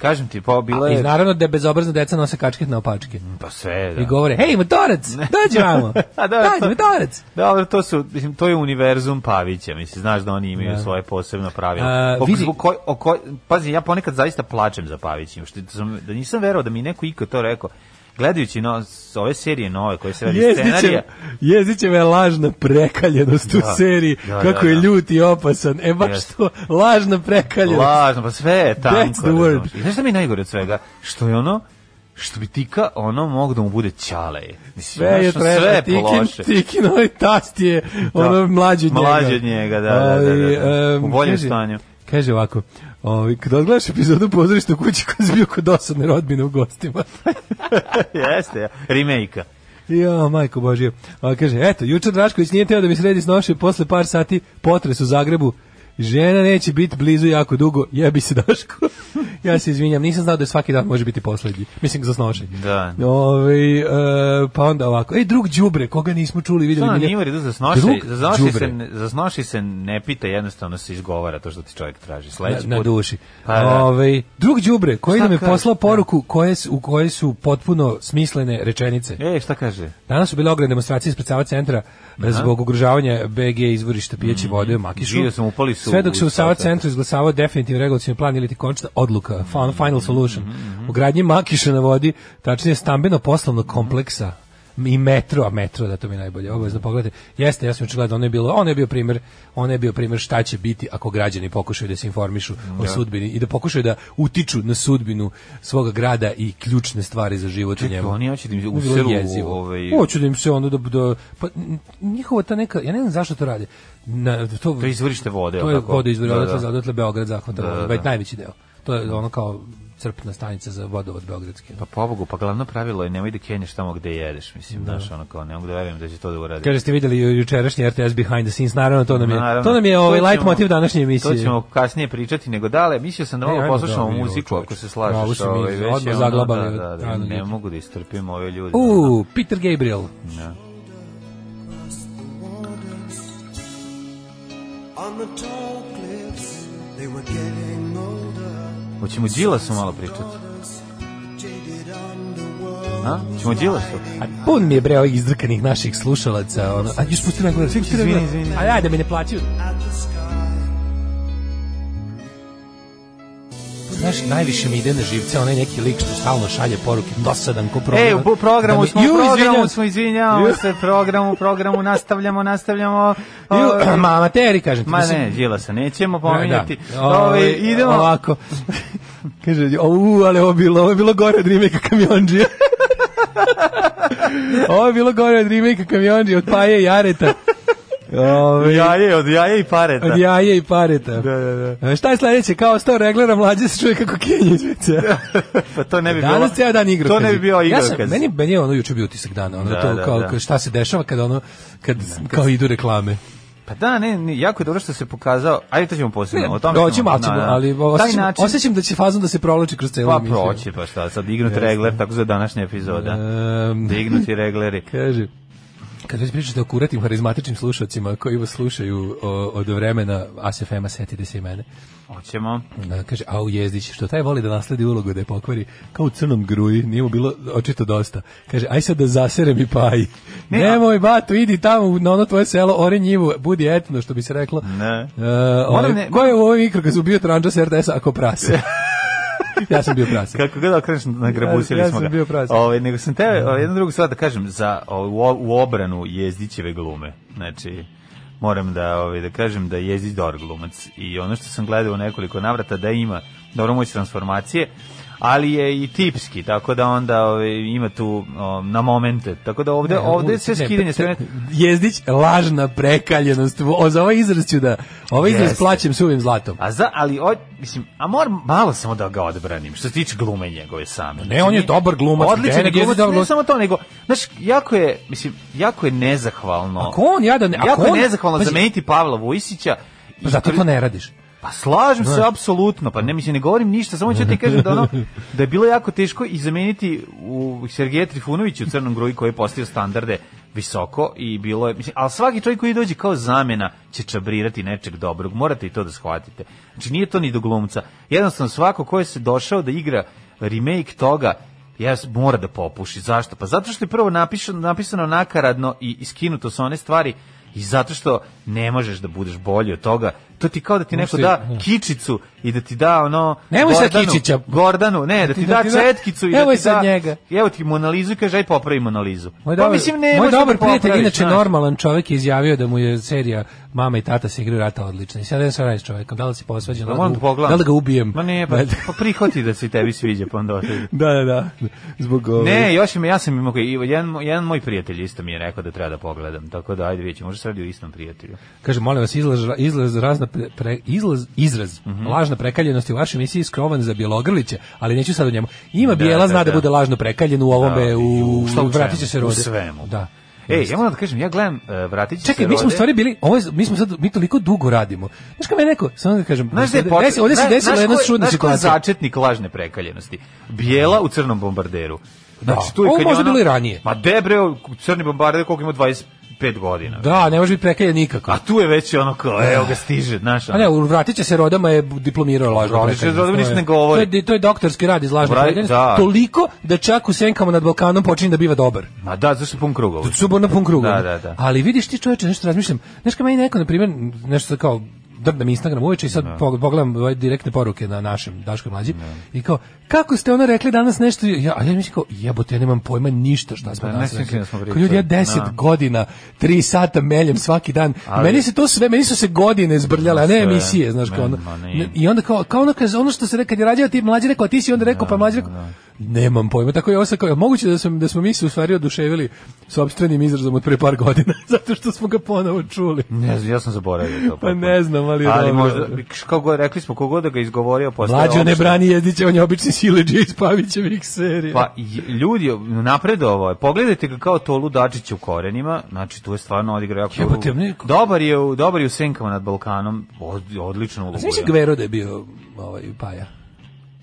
[SPEAKER 6] Kažem ti, pa bilo
[SPEAKER 8] i
[SPEAKER 6] je...
[SPEAKER 8] naravno da bezobrazna deca nose kačket na opačke
[SPEAKER 6] Pa sve,
[SPEAKER 8] i
[SPEAKER 6] da.
[SPEAKER 8] govore, hej, motorac, dođi vamo,
[SPEAKER 6] A da, to-
[SPEAKER 8] dođi, motorac.
[SPEAKER 6] Dobro, to su mislim to je univerzum Pavića, mislim znaš da oni imaju svoje posebno pravilo.
[SPEAKER 8] A,
[SPEAKER 6] O-
[SPEAKER 8] vidi-
[SPEAKER 6] zbog koj- o koj- pazi, ja ponekad zaista plačem za Pavićem, što sam da nisam verovao da mi neko iko to rekao. Gledajući no, s- ove serije nove koje se radi scenarija,
[SPEAKER 8] Jezdićeva je lažna prekaljenost u
[SPEAKER 6] Da,
[SPEAKER 8] seriji,
[SPEAKER 6] da,
[SPEAKER 8] kako
[SPEAKER 6] da,
[SPEAKER 8] je
[SPEAKER 6] da.
[SPEAKER 8] ljut i opasan. E baš
[SPEAKER 6] Jeste.
[SPEAKER 8] to, lažna prekaljenost.
[SPEAKER 6] Lažno, pa sve je tanko.
[SPEAKER 8] That's the word.
[SPEAKER 6] razumeš. I znaš šta mi je najgore od svega? Što je ono, što bi tika, ono mogu da mu bude ćale. Mislim,
[SPEAKER 8] sve je
[SPEAKER 6] znaš, ono,
[SPEAKER 8] treba,
[SPEAKER 6] sve je
[SPEAKER 8] tikin,
[SPEAKER 6] loše.
[SPEAKER 8] tikin ovaj tast je ono mlađi od njega.
[SPEAKER 6] Mlađi od njega, da, da, da, da, da.
[SPEAKER 8] Ali, em,
[SPEAKER 6] U boljem
[SPEAKER 8] kaže-
[SPEAKER 6] stanju.
[SPEAKER 8] Kaže ovako, ovaj, kad odgledaš epizodu pozorišta u kući koji si bio kod dosadne rodbine u gostima.
[SPEAKER 6] Jeste, remake
[SPEAKER 8] Ja, majko Božje. A kaže, eto, jučer Drašković nije teo da mi sredi snoše posle par sati potres u Zagrebu. Žena neće biti blizu jako dugo, jebi se Daško. ja se izvinjam, nisam znao da je svaki dan može biti poslednji. Mislim, za snoše.
[SPEAKER 6] Da.
[SPEAKER 8] Ovaj, e, pa onda ovako. Ej, drug Đubre, koga nismo čuli, videli.
[SPEAKER 6] Da,
[SPEAKER 8] milje-
[SPEAKER 6] nije u redu za snoši,
[SPEAKER 8] Drug
[SPEAKER 6] za snoši, se,
[SPEAKER 8] đubre.
[SPEAKER 6] ne- za snoši se ne pita, jednostavno se izgovara to što ti čovjek traži.
[SPEAKER 8] na,
[SPEAKER 6] Sledeći
[SPEAKER 8] na
[SPEAKER 6] put-
[SPEAKER 8] duši.
[SPEAKER 6] Pa, da.
[SPEAKER 8] Ovaj, drug Đubre, koji
[SPEAKER 6] Šta
[SPEAKER 8] nam je
[SPEAKER 6] kaže?
[SPEAKER 8] poslao poruku koje, su- u kojoj su potpuno smislene rečenice.
[SPEAKER 6] E, šta kaže?
[SPEAKER 8] Danas su bile ogromne demonstracije ispred Sava centra zbog ugrožavanja BG izvorišta pijeće vode u Makišu.
[SPEAKER 6] Mhm. Bio sam, upali su
[SPEAKER 8] Sve dok se
[SPEAKER 6] u
[SPEAKER 8] u Sava
[SPEAKER 6] Sava centru.
[SPEAKER 8] centru izglasavao definitivni regulacijni plan ili ti končna odluka,
[SPEAKER 6] Mhm.
[SPEAKER 8] fin- final solution. U gradnji Makiša na vodi, tačnije stambeno-poslovnog kompleksa i metro, a metro da to mi je najbolje obavezno pogledajte. Jeste, ja sam juče gledao, ono je bilo, ono je bio primer, ono je bio primer šta će biti ako građani pokušaju da se informišu o sudbini i da pokušaju da utiču na sudbinu svoga grada i ključne stvari za život u
[SPEAKER 6] Čekaj,
[SPEAKER 8] njemu.
[SPEAKER 6] oni hoće da im
[SPEAKER 8] Bi bilo
[SPEAKER 6] useru
[SPEAKER 8] jezivo.
[SPEAKER 6] ovaj...
[SPEAKER 8] Hoću da im se ono da, da pa n- njihova ta neka ja ne znam zašto to rade. Na, to,
[SPEAKER 6] To je izvorište vode,
[SPEAKER 8] To
[SPEAKER 6] jel
[SPEAKER 8] je
[SPEAKER 6] tako?
[SPEAKER 8] voda izvor
[SPEAKER 6] Da,
[SPEAKER 8] odatle
[SPEAKER 6] da.
[SPEAKER 8] za- odatle Beograd zahvata, da, najveći deo. to je ono kao crpna stanica za vodovod beogradski.
[SPEAKER 6] Pa pobogu, pa glavno pravilo je nemoj da kenješ tamo gde jedeš, mislim, znaš, ono kao, ne mogu da verujem da će to da uradi.
[SPEAKER 8] Kaže ste videli ju- jučerašnji RTS Behind the Scenes, naravno to nam je,
[SPEAKER 6] Naravno.
[SPEAKER 8] to nam je
[SPEAKER 6] To
[SPEAKER 8] ovaj light
[SPEAKER 6] ćemo-
[SPEAKER 8] motiv današnje emisije.
[SPEAKER 6] To ćemo kasnije pričati, nego dale, mislio sam da
[SPEAKER 8] Ne,
[SPEAKER 6] malo
[SPEAKER 8] E, ajmo
[SPEAKER 6] poslušamo
[SPEAKER 8] da, evo,
[SPEAKER 6] muziku,
[SPEAKER 8] čoveče.
[SPEAKER 6] ako se
[SPEAKER 8] Bravo,
[SPEAKER 6] slažeš.
[SPEAKER 8] si mi
[SPEAKER 6] ovaj, već je
[SPEAKER 8] odmah
[SPEAKER 6] ono,
[SPEAKER 8] zaglabali
[SPEAKER 6] Da, da, da,
[SPEAKER 8] rano
[SPEAKER 6] ne
[SPEAKER 8] jutro.
[SPEAKER 6] mogu da istrpim ove ljude.
[SPEAKER 8] U, Peter Gabriel.
[SPEAKER 1] On the tall cliffs, they were getting older.
[SPEAKER 6] Hoćemo Đilasu malo pričati. A? Ćemo Đilasu?
[SPEAKER 8] A pun mi je bre ovih izdrkanih naših slušalaca, ono. A još pusti me gore, pusti me gore.
[SPEAKER 6] Izvini, izvini.
[SPEAKER 8] A ajde, me ne plaćaju. Znaš, najviše mi ide na živce onaj neki lik što stalno šalje poruke, dosadan ko program.
[SPEAKER 6] E, u programu
[SPEAKER 8] mi-
[SPEAKER 6] smo,
[SPEAKER 8] Ju,
[SPEAKER 6] u
[SPEAKER 8] izvinjavam
[SPEAKER 6] programu
[SPEAKER 8] se.
[SPEAKER 6] smo, izvinjavamo se, programu, programu, nastavljamo, nastavljamo.
[SPEAKER 8] Ju,
[SPEAKER 6] Ovaj,
[SPEAKER 8] mama teri, kažem ti.
[SPEAKER 6] Ma
[SPEAKER 8] mislim-
[SPEAKER 6] ne, Đilasa nećemo pominjati.
[SPEAKER 8] Da.
[SPEAKER 6] Ovaj,
[SPEAKER 8] Ovaj,
[SPEAKER 6] idemo.
[SPEAKER 8] Ovako. Kaže, u, ali ovo je bilo, ovo je bilo gore od remake kamionđija. ovo je bilo gore od remake kamionđija, od Paje i Jareta. Ove,
[SPEAKER 6] Jaje, od jaje i pareta.
[SPEAKER 8] od jaje i pareta.
[SPEAKER 6] Da, da, da.
[SPEAKER 8] E, Šta je sledeće? Kao sto reglera mlađe se čuje kako kenje iz WC-a.
[SPEAKER 6] Pa to ne bi bilo.
[SPEAKER 8] Danas ceo dan igra.
[SPEAKER 6] To ne bi bio
[SPEAKER 8] Ja
[SPEAKER 6] igrokaz.
[SPEAKER 8] sam, meni, meni je ono juče bio utisak dana. Ono
[SPEAKER 6] Da,
[SPEAKER 8] to
[SPEAKER 6] da,
[SPEAKER 8] kao,
[SPEAKER 6] da.
[SPEAKER 8] šta se dešava kad ono, kad, kao idu reklame.
[SPEAKER 6] Pa da, ne, ne, jako je dobro što se pokazao. Ajde, to ćemo posebno. o tome
[SPEAKER 8] Doći
[SPEAKER 6] ćemo,
[SPEAKER 8] malo ćemo,
[SPEAKER 6] da, da.
[SPEAKER 8] ali
[SPEAKER 6] Taj
[SPEAKER 8] osjećam,
[SPEAKER 6] način,
[SPEAKER 8] osjećam da će fazom da se provlači kroz celu
[SPEAKER 6] pa
[SPEAKER 8] emisiju.
[SPEAKER 6] proći, pa šta, sad ignut regler, tako za današnja epizoda.
[SPEAKER 8] Ehm,
[SPEAKER 6] Dignuti regleri.
[SPEAKER 8] kaže, kad već pričate o kuratim harizmatičnim slušalcima koji vas slušaju o, od vremena ASFM-a, setite se i mene.
[SPEAKER 6] Hoćemo.
[SPEAKER 8] Da, kaže, au jezdić, što taj voli da nasledi ulogu da je pokvari, kao u crnom gruji, nije mu bilo očito dosta. Kaže, aj sad da zaserem i paji.
[SPEAKER 6] Ne,
[SPEAKER 8] Nemoj, bato, idi tamo u- na ono tvoje selo, ore njivu, budi etno, što bi se reklo.
[SPEAKER 6] Ne.
[SPEAKER 8] E, ovaj,
[SPEAKER 6] ne-
[SPEAKER 8] ko je u ovoj mikro kad ubio tranđa s RTS-a ako prase? ja sam bio prase.
[SPEAKER 6] Kako god okreneš, nagrabusili
[SPEAKER 8] Ja- ja
[SPEAKER 6] smo ga.
[SPEAKER 8] sam bio prazan.
[SPEAKER 6] Ovaj, nego sam tebe, ovaj, jednu drugu stvar da kažem, za, ovaj, u, o- u obranu jezdićeve glume. Znači, moram da, ovaj, da kažem da je jezdić dobar glumac. I ono što sam gledao u nekoliko navrata, da ima dobro moć transformacije, ali je i tipski, tako da onda ovaj, ima tu o, na momente. Tako da ovde, ovde
[SPEAKER 8] u-
[SPEAKER 6] sve
[SPEAKER 8] ne,
[SPEAKER 6] skidanje,
[SPEAKER 8] pe-
[SPEAKER 6] sve...
[SPEAKER 8] pe- Jezdić, lažna prekaljenost. O, za ovaj izraz ću da, ovaj izraz
[SPEAKER 6] Jeste.
[SPEAKER 8] plaćem suvim zlatom.
[SPEAKER 6] A za, ali, o, mislim, a moram malo samo da ga odbranim, što se tiče glume njegove same. Znači,
[SPEAKER 8] Ne, on je dobar glumac.
[SPEAKER 6] Odličan je
[SPEAKER 8] Denek
[SPEAKER 6] glumac,
[SPEAKER 8] dobar
[SPEAKER 6] ne samo to, nego, znaš, jako je, mislim, jako je nezahvalno.
[SPEAKER 8] Ako on jadan, ako
[SPEAKER 6] Pa jako je
[SPEAKER 8] on-
[SPEAKER 6] nezahvalno
[SPEAKER 8] Pazi.
[SPEAKER 6] zameniti Pavla Vujsića. i-
[SPEAKER 8] Pa zato to ne radiš.
[SPEAKER 6] Pa slažem se apsolutno, pa ne mislim ne govorim ništa, samo ću ti kažem da ono da je bilo jako teško i zameniti u Sergeja Trifunovića u Crnom Gruji koji je postio standarde visoko i bilo je mislim, ali svaki čovjek koji dođe kao zamena će čabrirati nečeg dobrog, morate i to da shvatite. Znači nije to ni do glumca. Jednostavno svako ko je se došao da igra remake toga ja s- mora da popuši. Zašto? Pa zato što je prvo napisano, napisano nakaradno i iskinuto sa one stvari i zato što ne možeš da budeš bolji od toga. To ti kao da ti neko
[SPEAKER 8] Možeš
[SPEAKER 6] da
[SPEAKER 8] ti- da.
[SPEAKER 6] kičicu i da ti da ono
[SPEAKER 8] Nemoj sad
[SPEAKER 6] Gordanu-
[SPEAKER 8] kičića.
[SPEAKER 6] Gordanu, ne, da ti, da, četkicu i
[SPEAKER 8] Evo
[SPEAKER 6] da
[SPEAKER 8] je
[SPEAKER 6] ti
[SPEAKER 8] sad
[SPEAKER 6] da
[SPEAKER 8] njega.
[SPEAKER 6] Evo ti monalizu i kaže aj popravi monalizu.
[SPEAKER 8] Moj
[SPEAKER 6] pa
[SPEAKER 8] dobar,
[SPEAKER 6] mislim ne
[SPEAKER 8] moj
[SPEAKER 6] možeš da
[SPEAKER 8] dobar
[SPEAKER 6] ga
[SPEAKER 8] prijatelj,
[SPEAKER 6] popraviš,
[SPEAKER 8] inače
[SPEAKER 6] znaš.
[SPEAKER 8] normalan čovjek je izjavio da mu je serija Mama i tata se igraju rata odlična. I sad ja sam radi s čovjekom, da li si posvađan, da,
[SPEAKER 6] Da
[SPEAKER 8] li ga
[SPEAKER 6] Pa moram da
[SPEAKER 8] u-
[SPEAKER 6] pogledam.
[SPEAKER 8] da li ga ubijem.
[SPEAKER 6] Ma ne, pa,
[SPEAKER 8] Da-
[SPEAKER 6] pa prihvati da se tebi sviđa, pa onda otiđi.
[SPEAKER 8] da, da, da. Zbog ovaj, ove-
[SPEAKER 6] Ne, još ima, ja sam imao, koji- jedan, moj- jedan moj prijatelj isto mi je rekao da treba da pogledam, tako da ajde vidjet ćemo, možda se radi o istom prijatelju.
[SPEAKER 8] Kaže, molim vas, izlaz, izlaz, razna pre, pre- izlaz, izraz
[SPEAKER 6] Mhm.
[SPEAKER 8] lažna prekaljenost u vašoj emisiji skrovan za Bjelogrlića, ali neću sad o njemu. Ima
[SPEAKER 6] Da,
[SPEAKER 8] Bijela,
[SPEAKER 6] da,
[SPEAKER 8] zna da,
[SPEAKER 6] da.
[SPEAKER 8] bude lažno prekaljen u ovome,
[SPEAKER 6] Da,
[SPEAKER 8] u,
[SPEAKER 6] ju, šta u
[SPEAKER 8] vratit će
[SPEAKER 6] svemu,
[SPEAKER 8] se
[SPEAKER 6] u
[SPEAKER 8] rode.
[SPEAKER 6] svemu.
[SPEAKER 8] Da.
[SPEAKER 6] Ej, ja moram da kažem, ja gledam e, vratit ću se
[SPEAKER 8] Čekaj, mi smo u
[SPEAKER 6] rode.
[SPEAKER 8] stvari bili, ovo je, mi smo sad, mi toliko dugo radimo. Znaš kako me neko, samo da kažem,
[SPEAKER 6] Znaš gde je
[SPEAKER 8] desi-
[SPEAKER 6] počet-
[SPEAKER 8] ovdje se
[SPEAKER 6] zna-
[SPEAKER 8] desila
[SPEAKER 6] znaš
[SPEAKER 8] jedna
[SPEAKER 6] ko je-
[SPEAKER 8] čudna
[SPEAKER 6] Znaš ko je
[SPEAKER 8] situacija.
[SPEAKER 6] začetnik lažne prekaljenosti? Bijela u crnom bombarderu.
[SPEAKER 8] Da. Ovo
[SPEAKER 6] kad je
[SPEAKER 8] možda
[SPEAKER 6] ona-
[SPEAKER 8] bilo i ranije.
[SPEAKER 6] Ma debre, crni bombarder koliko ima 25 godina.
[SPEAKER 8] Da, ne može biti prekaljen nikako.
[SPEAKER 6] A tu je već ono kao, evo ga stiže, znaš. ono.
[SPEAKER 8] A ne, u vratit će se rodama je diplomirao lažno
[SPEAKER 6] Vratit će se
[SPEAKER 8] prekaljenost.
[SPEAKER 6] rodama,
[SPEAKER 8] To je-
[SPEAKER 6] ništa ne govori.
[SPEAKER 8] To je, to je doktorski rad iz lažne
[SPEAKER 6] Vra-
[SPEAKER 8] prekaljenosti.
[SPEAKER 6] da.
[SPEAKER 8] Toliko da čak u senkama nad Balkanom počinje da biva dobar.
[SPEAKER 6] Ma da, zašto pun krugova?
[SPEAKER 8] Suborna pun kruga.
[SPEAKER 6] Da, da, da.
[SPEAKER 8] Ali vidiš ti čoveče, nešto razmišljam. Znaš kad meni neko, na primjer, nešto sad kao drdam Instagram uveče i sad pog- pogledam ove direktne poruke na našem Daško mlađi i kao, kako ste ono rekli danas nešto ja, a ja mislim kao, jebote, ja nemam pojma ništa šta smo
[SPEAKER 6] Da,
[SPEAKER 8] danas
[SPEAKER 6] ne sjećam se
[SPEAKER 8] rekli.
[SPEAKER 6] da smo
[SPEAKER 8] Kao,
[SPEAKER 6] pričali.
[SPEAKER 8] ljudi, ja deset
[SPEAKER 6] Da.
[SPEAKER 8] godina, tri sata meljem svaki dan.
[SPEAKER 6] Ali-
[SPEAKER 8] meni se to sve, meni su se godine zbrljale, a ne
[SPEAKER 6] Sve.
[SPEAKER 8] emisije, znaš kao ono.
[SPEAKER 6] Ma, ma, nije.
[SPEAKER 8] I onda kao, kao ono, kaže, ono što se rekao, kad je rađao ti mlađi rekao, a ti si onda rekao, pa mlađi rekao, Nemam pojma. Tako je ovo sad kao, moguće da, sam, da smo mi se u stvari oduševili sobstvenim izrazom od pre par godina, zato što smo ga ponovo čuli.
[SPEAKER 6] Ne znam, ja sam zaboravio to.
[SPEAKER 8] Pa ne znam, ali je
[SPEAKER 6] Ali
[SPEAKER 8] dobro.
[SPEAKER 6] možda, kako god, rekli smo, kogod da ga izgovorio, postaje
[SPEAKER 8] Mlađo ne
[SPEAKER 6] opšte-
[SPEAKER 8] brani Jezdića, on je obični sileđe iz Pavićevih serija.
[SPEAKER 6] Pa j- ljudi, napredovao je. Pogledajte ga kao to Ludačić u korenima, znači tu je stvarno odigrao jako
[SPEAKER 8] Jebote, ne-
[SPEAKER 6] Dobar je, u- dobar je u Senkama nad Balkanom, od, odlično ulogu.
[SPEAKER 8] Znaš li Gvero da je bio ovaj, Paja?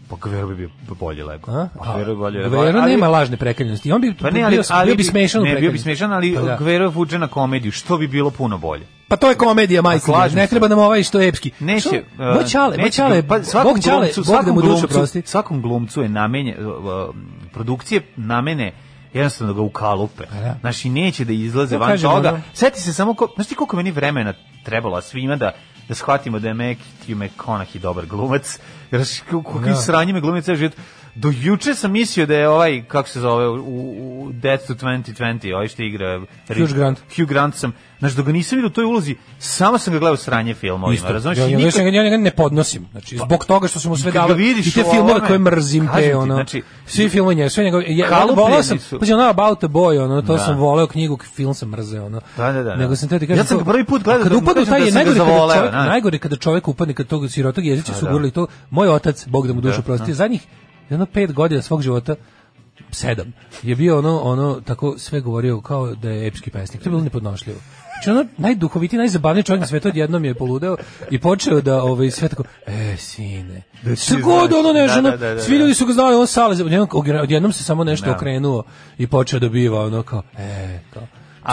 [SPEAKER 6] Pa Gvero bi bio bolje lego.
[SPEAKER 8] A?
[SPEAKER 6] Pa Gvero bi bolje
[SPEAKER 8] Gvero
[SPEAKER 6] ali-
[SPEAKER 8] nema lažne prekaljenosti. On bi,
[SPEAKER 6] Pa ne, ali,
[SPEAKER 8] bio,
[SPEAKER 6] ali
[SPEAKER 8] bio bi smešan u
[SPEAKER 6] Ne, bio bi
[SPEAKER 8] prekaljenosti.
[SPEAKER 6] smešan, ali
[SPEAKER 8] Pa, da.
[SPEAKER 6] Gvero vuče na komediju, što bi bilo puno bolje.
[SPEAKER 8] Pa to je komedija majka.
[SPEAKER 6] slažem
[SPEAKER 8] Ne
[SPEAKER 6] se.
[SPEAKER 8] treba nam ovaj što je epski.
[SPEAKER 6] Neće,
[SPEAKER 8] Što-
[SPEAKER 6] e,
[SPEAKER 8] Moj čale, moj
[SPEAKER 6] neće
[SPEAKER 8] čale,
[SPEAKER 6] glu- pa svakom
[SPEAKER 8] Bog čale,
[SPEAKER 6] glumcu,
[SPEAKER 8] Bog da mu dušu
[SPEAKER 6] glumcu-
[SPEAKER 8] prosti.
[SPEAKER 6] Svakom glumcu je namenje, e, e, produkcije namene jednostavno da ga ukalupe.
[SPEAKER 8] Pa da.
[SPEAKER 6] Znači, neće da izlaze
[SPEAKER 8] To
[SPEAKER 6] van
[SPEAKER 8] kažem,
[SPEAKER 6] toga.
[SPEAKER 8] ono-
[SPEAKER 6] Sjeti se samo, ko, znaš ti koliko meni vremena trebalo a svima da da shvatimo da je Matthew McConaughey dobar glumac. Jer znaš, kako- kakvi
[SPEAKER 8] Da.
[SPEAKER 6] sranje me glumac ceo život. Do juče sam mislio da je ovaj, kako se zove, u, u Death to 2020, ovaj što igra...
[SPEAKER 8] Hugh Grant.
[SPEAKER 6] Hugh Grant sam, znaš, dok ga nisam vidio u toj ulozi, samo sam ga gledao sranje filmovima,
[SPEAKER 8] Isto.
[SPEAKER 6] razumeš?
[SPEAKER 8] Ja,
[SPEAKER 6] I
[SPEAKER 8] ja,
[SPEAKER 6] nikad-
[SPEAKER 8] ja, ja njega ne podnosim. Znači, zbog toga što su mu sve
[SPEAKER 6] Pa kad ga
[SPEAKER 8] davali
[SPEAKER 6] vidiš
[SPEAKER 8] i te
[SPEAKER 6] u
[SPEAKER 8] filmove
[SPEAKER 6] ovome,
[SPEAKER 8] koje mrzim,
[SPEAKER 6] kažem ti,
[SPEAKER 8] te ono,
[SPEAKER 6] znači,
[SPEAKER 8] svi filmovi njega, sve njega, ja, ja
[SPEAKER 6] Kalupljeni
[SPEAKER 8] volao sam,
[SPEAKER 6] su.
[SPEAKER 8] pazi, ono About a Boy, ono, to
[SPEAKER 6] Da.
[SPEAKER 8] sam voleo knjigu, film sam mrzeo, ono.
[SPEAKER 6] Da, da, da, da.
[SPEAKER 8] Nego sam teo ti kažem,
[SPEAKER 6] Ja sam
[SPEAKER 8] to-
[SPEAKER 6] ga prvi put gledao
[SPEAKER 8] a kad
[SPEAKER 6] da mu
[SPEAKER 8] upadne u
[SPEAKER 6] kažem
[SPEAKER 8] taj,
[SPEAKER 6] da
[SPEAKER 8] je
[SPEAKER 6] sam ga
[SPEAKER 8] najgore kada
[SPEAKER 6] zavoleo,
[SPEAKER 8] čovjek-
[SPEAKER 6] znaš.
[SPEAKER 8] najgore kada čovjek upadne, kad tog sirotog jezića su
[SPEAKER 6] da.
[SPEAKER 8] gurali to, moj otac, Bog da mu dušu prosti, zadnjih, jedno pet godina svog života, sedam, je bio ono, ono, tako sve govorio kao da je epski pesnik. To je bilo nepodnošljivo. Znači ono najduhovitiji, najzabavniji čovjek na svetu odjednom je poludeo i počeo da ovaj, sve tako, e, sine, da
[SPEAKER 6] ti
[SPEAKER 8] ono
[SPEAKER 6] znaš.
[SPEAKER 8] nešto,
[SPEAKER 6] Da,
[SPEAKER 8] ono,
[SPEAKER 6] da, da, da,
[SPEAKER 8] svi
[SPEAKER 6] da.
[SPEAKER 8] ljudi su ga znali, on sale, odjednom, odjednom se samo nešto
[SPEAKER 6] Da.
[SPEAKER 8] okrenuo i počeo da biva ono kao, e, kao.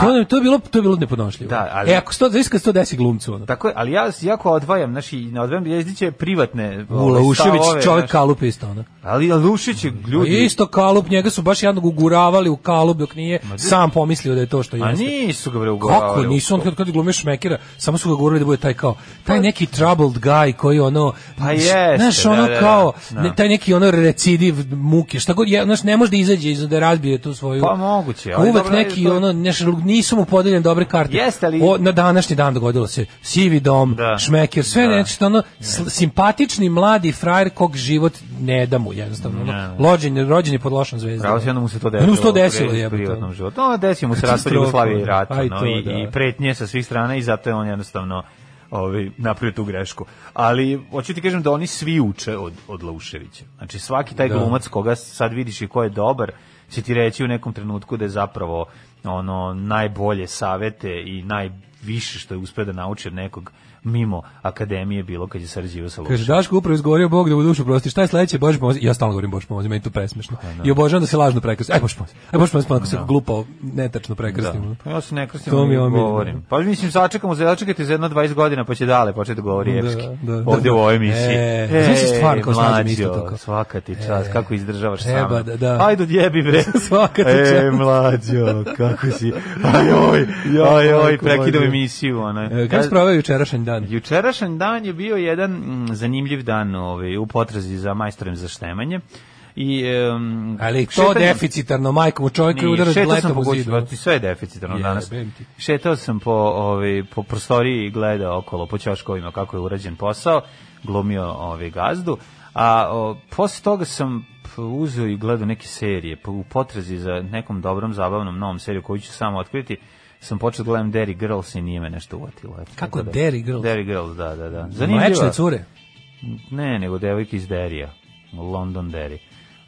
[SPEAKER 8] To, ono- to je bilo to je bilo nepodnošljivo.
[SPEAKER 6] Da, ali-
[SPEAKER 8] e, ako sto, zavis kad sto desi glumcu ono.
[SPEAKER 6] Tako je, ali ja se jako odvajam, znači, ne odvajam Jezdiće privatne ove,
[SPEAKER 8] Ula Ušević,
[SPEAKER 6] ovaj, stavove,
[SPEAKER 8] čovjek
[SPEAKER 6] znaš.
[SPEAKER 8] kalup isto ono.
[SPEAKER 6] Ali Alušić je ljudi...
[SPEAKER 8] Isto kalup, njega su baš jednog uguravali u kalup dok nije sam pomislio da je to što
[SPEAKER 6] A
[SPEAKER 8] jeste.
[SPEAKER 6] nisu ga bre ugovarali.
[SPEAKER 8] Kako nisu on kad kad glumiš Šmekera, samo su ga govorili da bude taj kao taj neki troubled guy koji ono
[SPEAKER 6] Pa jeste,
[SPEAKER 8] znaš
[SPEAKER 6] da,
[SPEAKER 8] ono
[SPEAKER 6] da, da.
[SPEAKER 8] kao
[SPEAKER 6] Da.
[SPEAKER 8] ne, taj neki ono recidiv muke, šta god je, znaš ne može da izađe iz da razbije tu svoju.
[SPEAKER 6] Pa moguće, ali
[SPEAKER 8] Uvek
[SPEAKER 6] dobro,
[SPEAKER 8] neki
[SPEAKER 6] to je-
[SPEAKER 8] ono neš, nisu mu podeljene dobre karte.
[SPEAKER 6] Jeste, ali-
[SPEAKER 8] O, na današnji dan dogodilo se sivi dom,
[SPEAKER 6] Da.
[SPEAKER 8] Šmeker, sve
[SPEAKER 6] Da.
[SPEAKER 8] nešto ono sl- simpatični mladi frajer kog život ne da mu jednostavno. ono,
[SPEAKER 6] Ne.
[SPEAKER 8] Lođen, je- rođen je pod lošom zvezdom.
[SPEAKER 6] Pravo se onda mu se to desilo.
[SPEAKER 8] Onda mu se to desilo,
[SPEAKER 6] u pri-
[SPEAKER 8] jebote.
[SPEAKER 6] privatnom životu. No, desio mu se raspad
[SPEAKER 8] Katastrofa.
[SPEAKER 6] Jugoslavije i rata,
[SPEAKER 8] Aj,
[SPEAKER 6] no,
[SPEAKER 8] to,
[SPEAKER 6] i,
[SPEAKER 8] da.
[SPEAKER 6] i pretnje sa svih strana i zato je on jednostavno ovaj napravio tu grešku. Ali hoću ti kažem da oni svi uče od od Lauševića. Znači svaki taj glumac koga sad vidiš i ko je dobar, će ti reći u nekom trenutku da je zapravo ono najbolje savete i najviše što je uspeo da nauči od nekog mimo akademije bilo kad je sarađivao sa
[SPEAKER 8] Kaže
[SPEAKER 6] Lauševićem.
[SPEAKER 8] Daško upravo izgovorio Bog da mu dušu prosti. Šta je sledeće Bože pomozi? Ja stalno govorim Bože pomozi, meni to presmešno. I obožavam da se lažno prekrastim. Aj Bože pomozi. Aj Bože pomozi, pa onako se glupo netačno prekrastim.
[SPEAKER 6] Pa ja se ne krstim,
[SPEAKER 8] To mi je
[SPEAKER 6] ali
[SPEAKER 8] omiljeno.
[SPEAKER 6] govorim. Pa mislim, sačekamo, začekajte za jedno 20 godina, pa će dale početi da govori Evski. Ovdje u ovoj emisiji.
[SPEAKER 8] E, znači stvar kao snađem isto tako.
[SPEAKER 6] Svaka ti čast,
[SPEAKER 8] E,
[SPEAKER 6] kako izdržavaš sam.
[SPEAKER 8] treba da- da.
[SPEAKER 6] Ajde, odjebi bre.
[SPEAKER 8] Svaka ti
[SPEAKER 6] E,
[SPEAKER 8] čast.
[SPEAKER 6] mlađo, kako si. Aj, oj, aj, oj,
[SPEAKER 8] majko
[SPEAKER 6] prekidam
[SPEAKER 8] moja.
[SPEAKER 6] emisiju. Ono.
[SPEAKER 8] E, Kako se proveo jučerašnji dan?
[SPEAKER 6] Jučerašnji dan je bio jedan mm, zanimljiv dan ovaj, u potrazi za majstorem za štemanje. I, em,
[SPEAKER 8] Ali to
[SPEAKER 6] šetanjem-
[SPEAKER 8] deficitarno, majkom, čovjek je
[SPEAKER 6] Nije,
[SPEAKER 8] udarac
[SPEAKER 6] šetao sam
[SPEAKER 8] letom
[SPEAKER 6] po
[SPEAKER 8] u
[SPEAKER 6] kući,
[SPEAKER 8] zidu.
[SPEAKER 6] brate, sve je deficitarno danas.
[SPEAKER 8] Jebem ti.
[SPEAKER 6] Šetao sam po, ovaj, po prostoriji i gledao okolo po ćoškovima kako je urađen posao, glumio ovaj, gazdu, a o, posle toga sam p- uzeo i gledao neke serije, p- u potrazi za nekom dobrom, zabavnom, novom seriju koju ću samo otkriti, sam počeo da gledam Derry Girls i nije me nešto uvatilo. Eto,
[SPEAKER 8] Kako
[SPEAKER 6] tako da-
[SPEAKER 8] Derry Girls?
[SPEAKER 6] Derry Girls, da, da, da.
[SPEAKER 8] Mlečne cure.
[SPEAKER 6] Ne, nego devojke iz Derija, London Derry.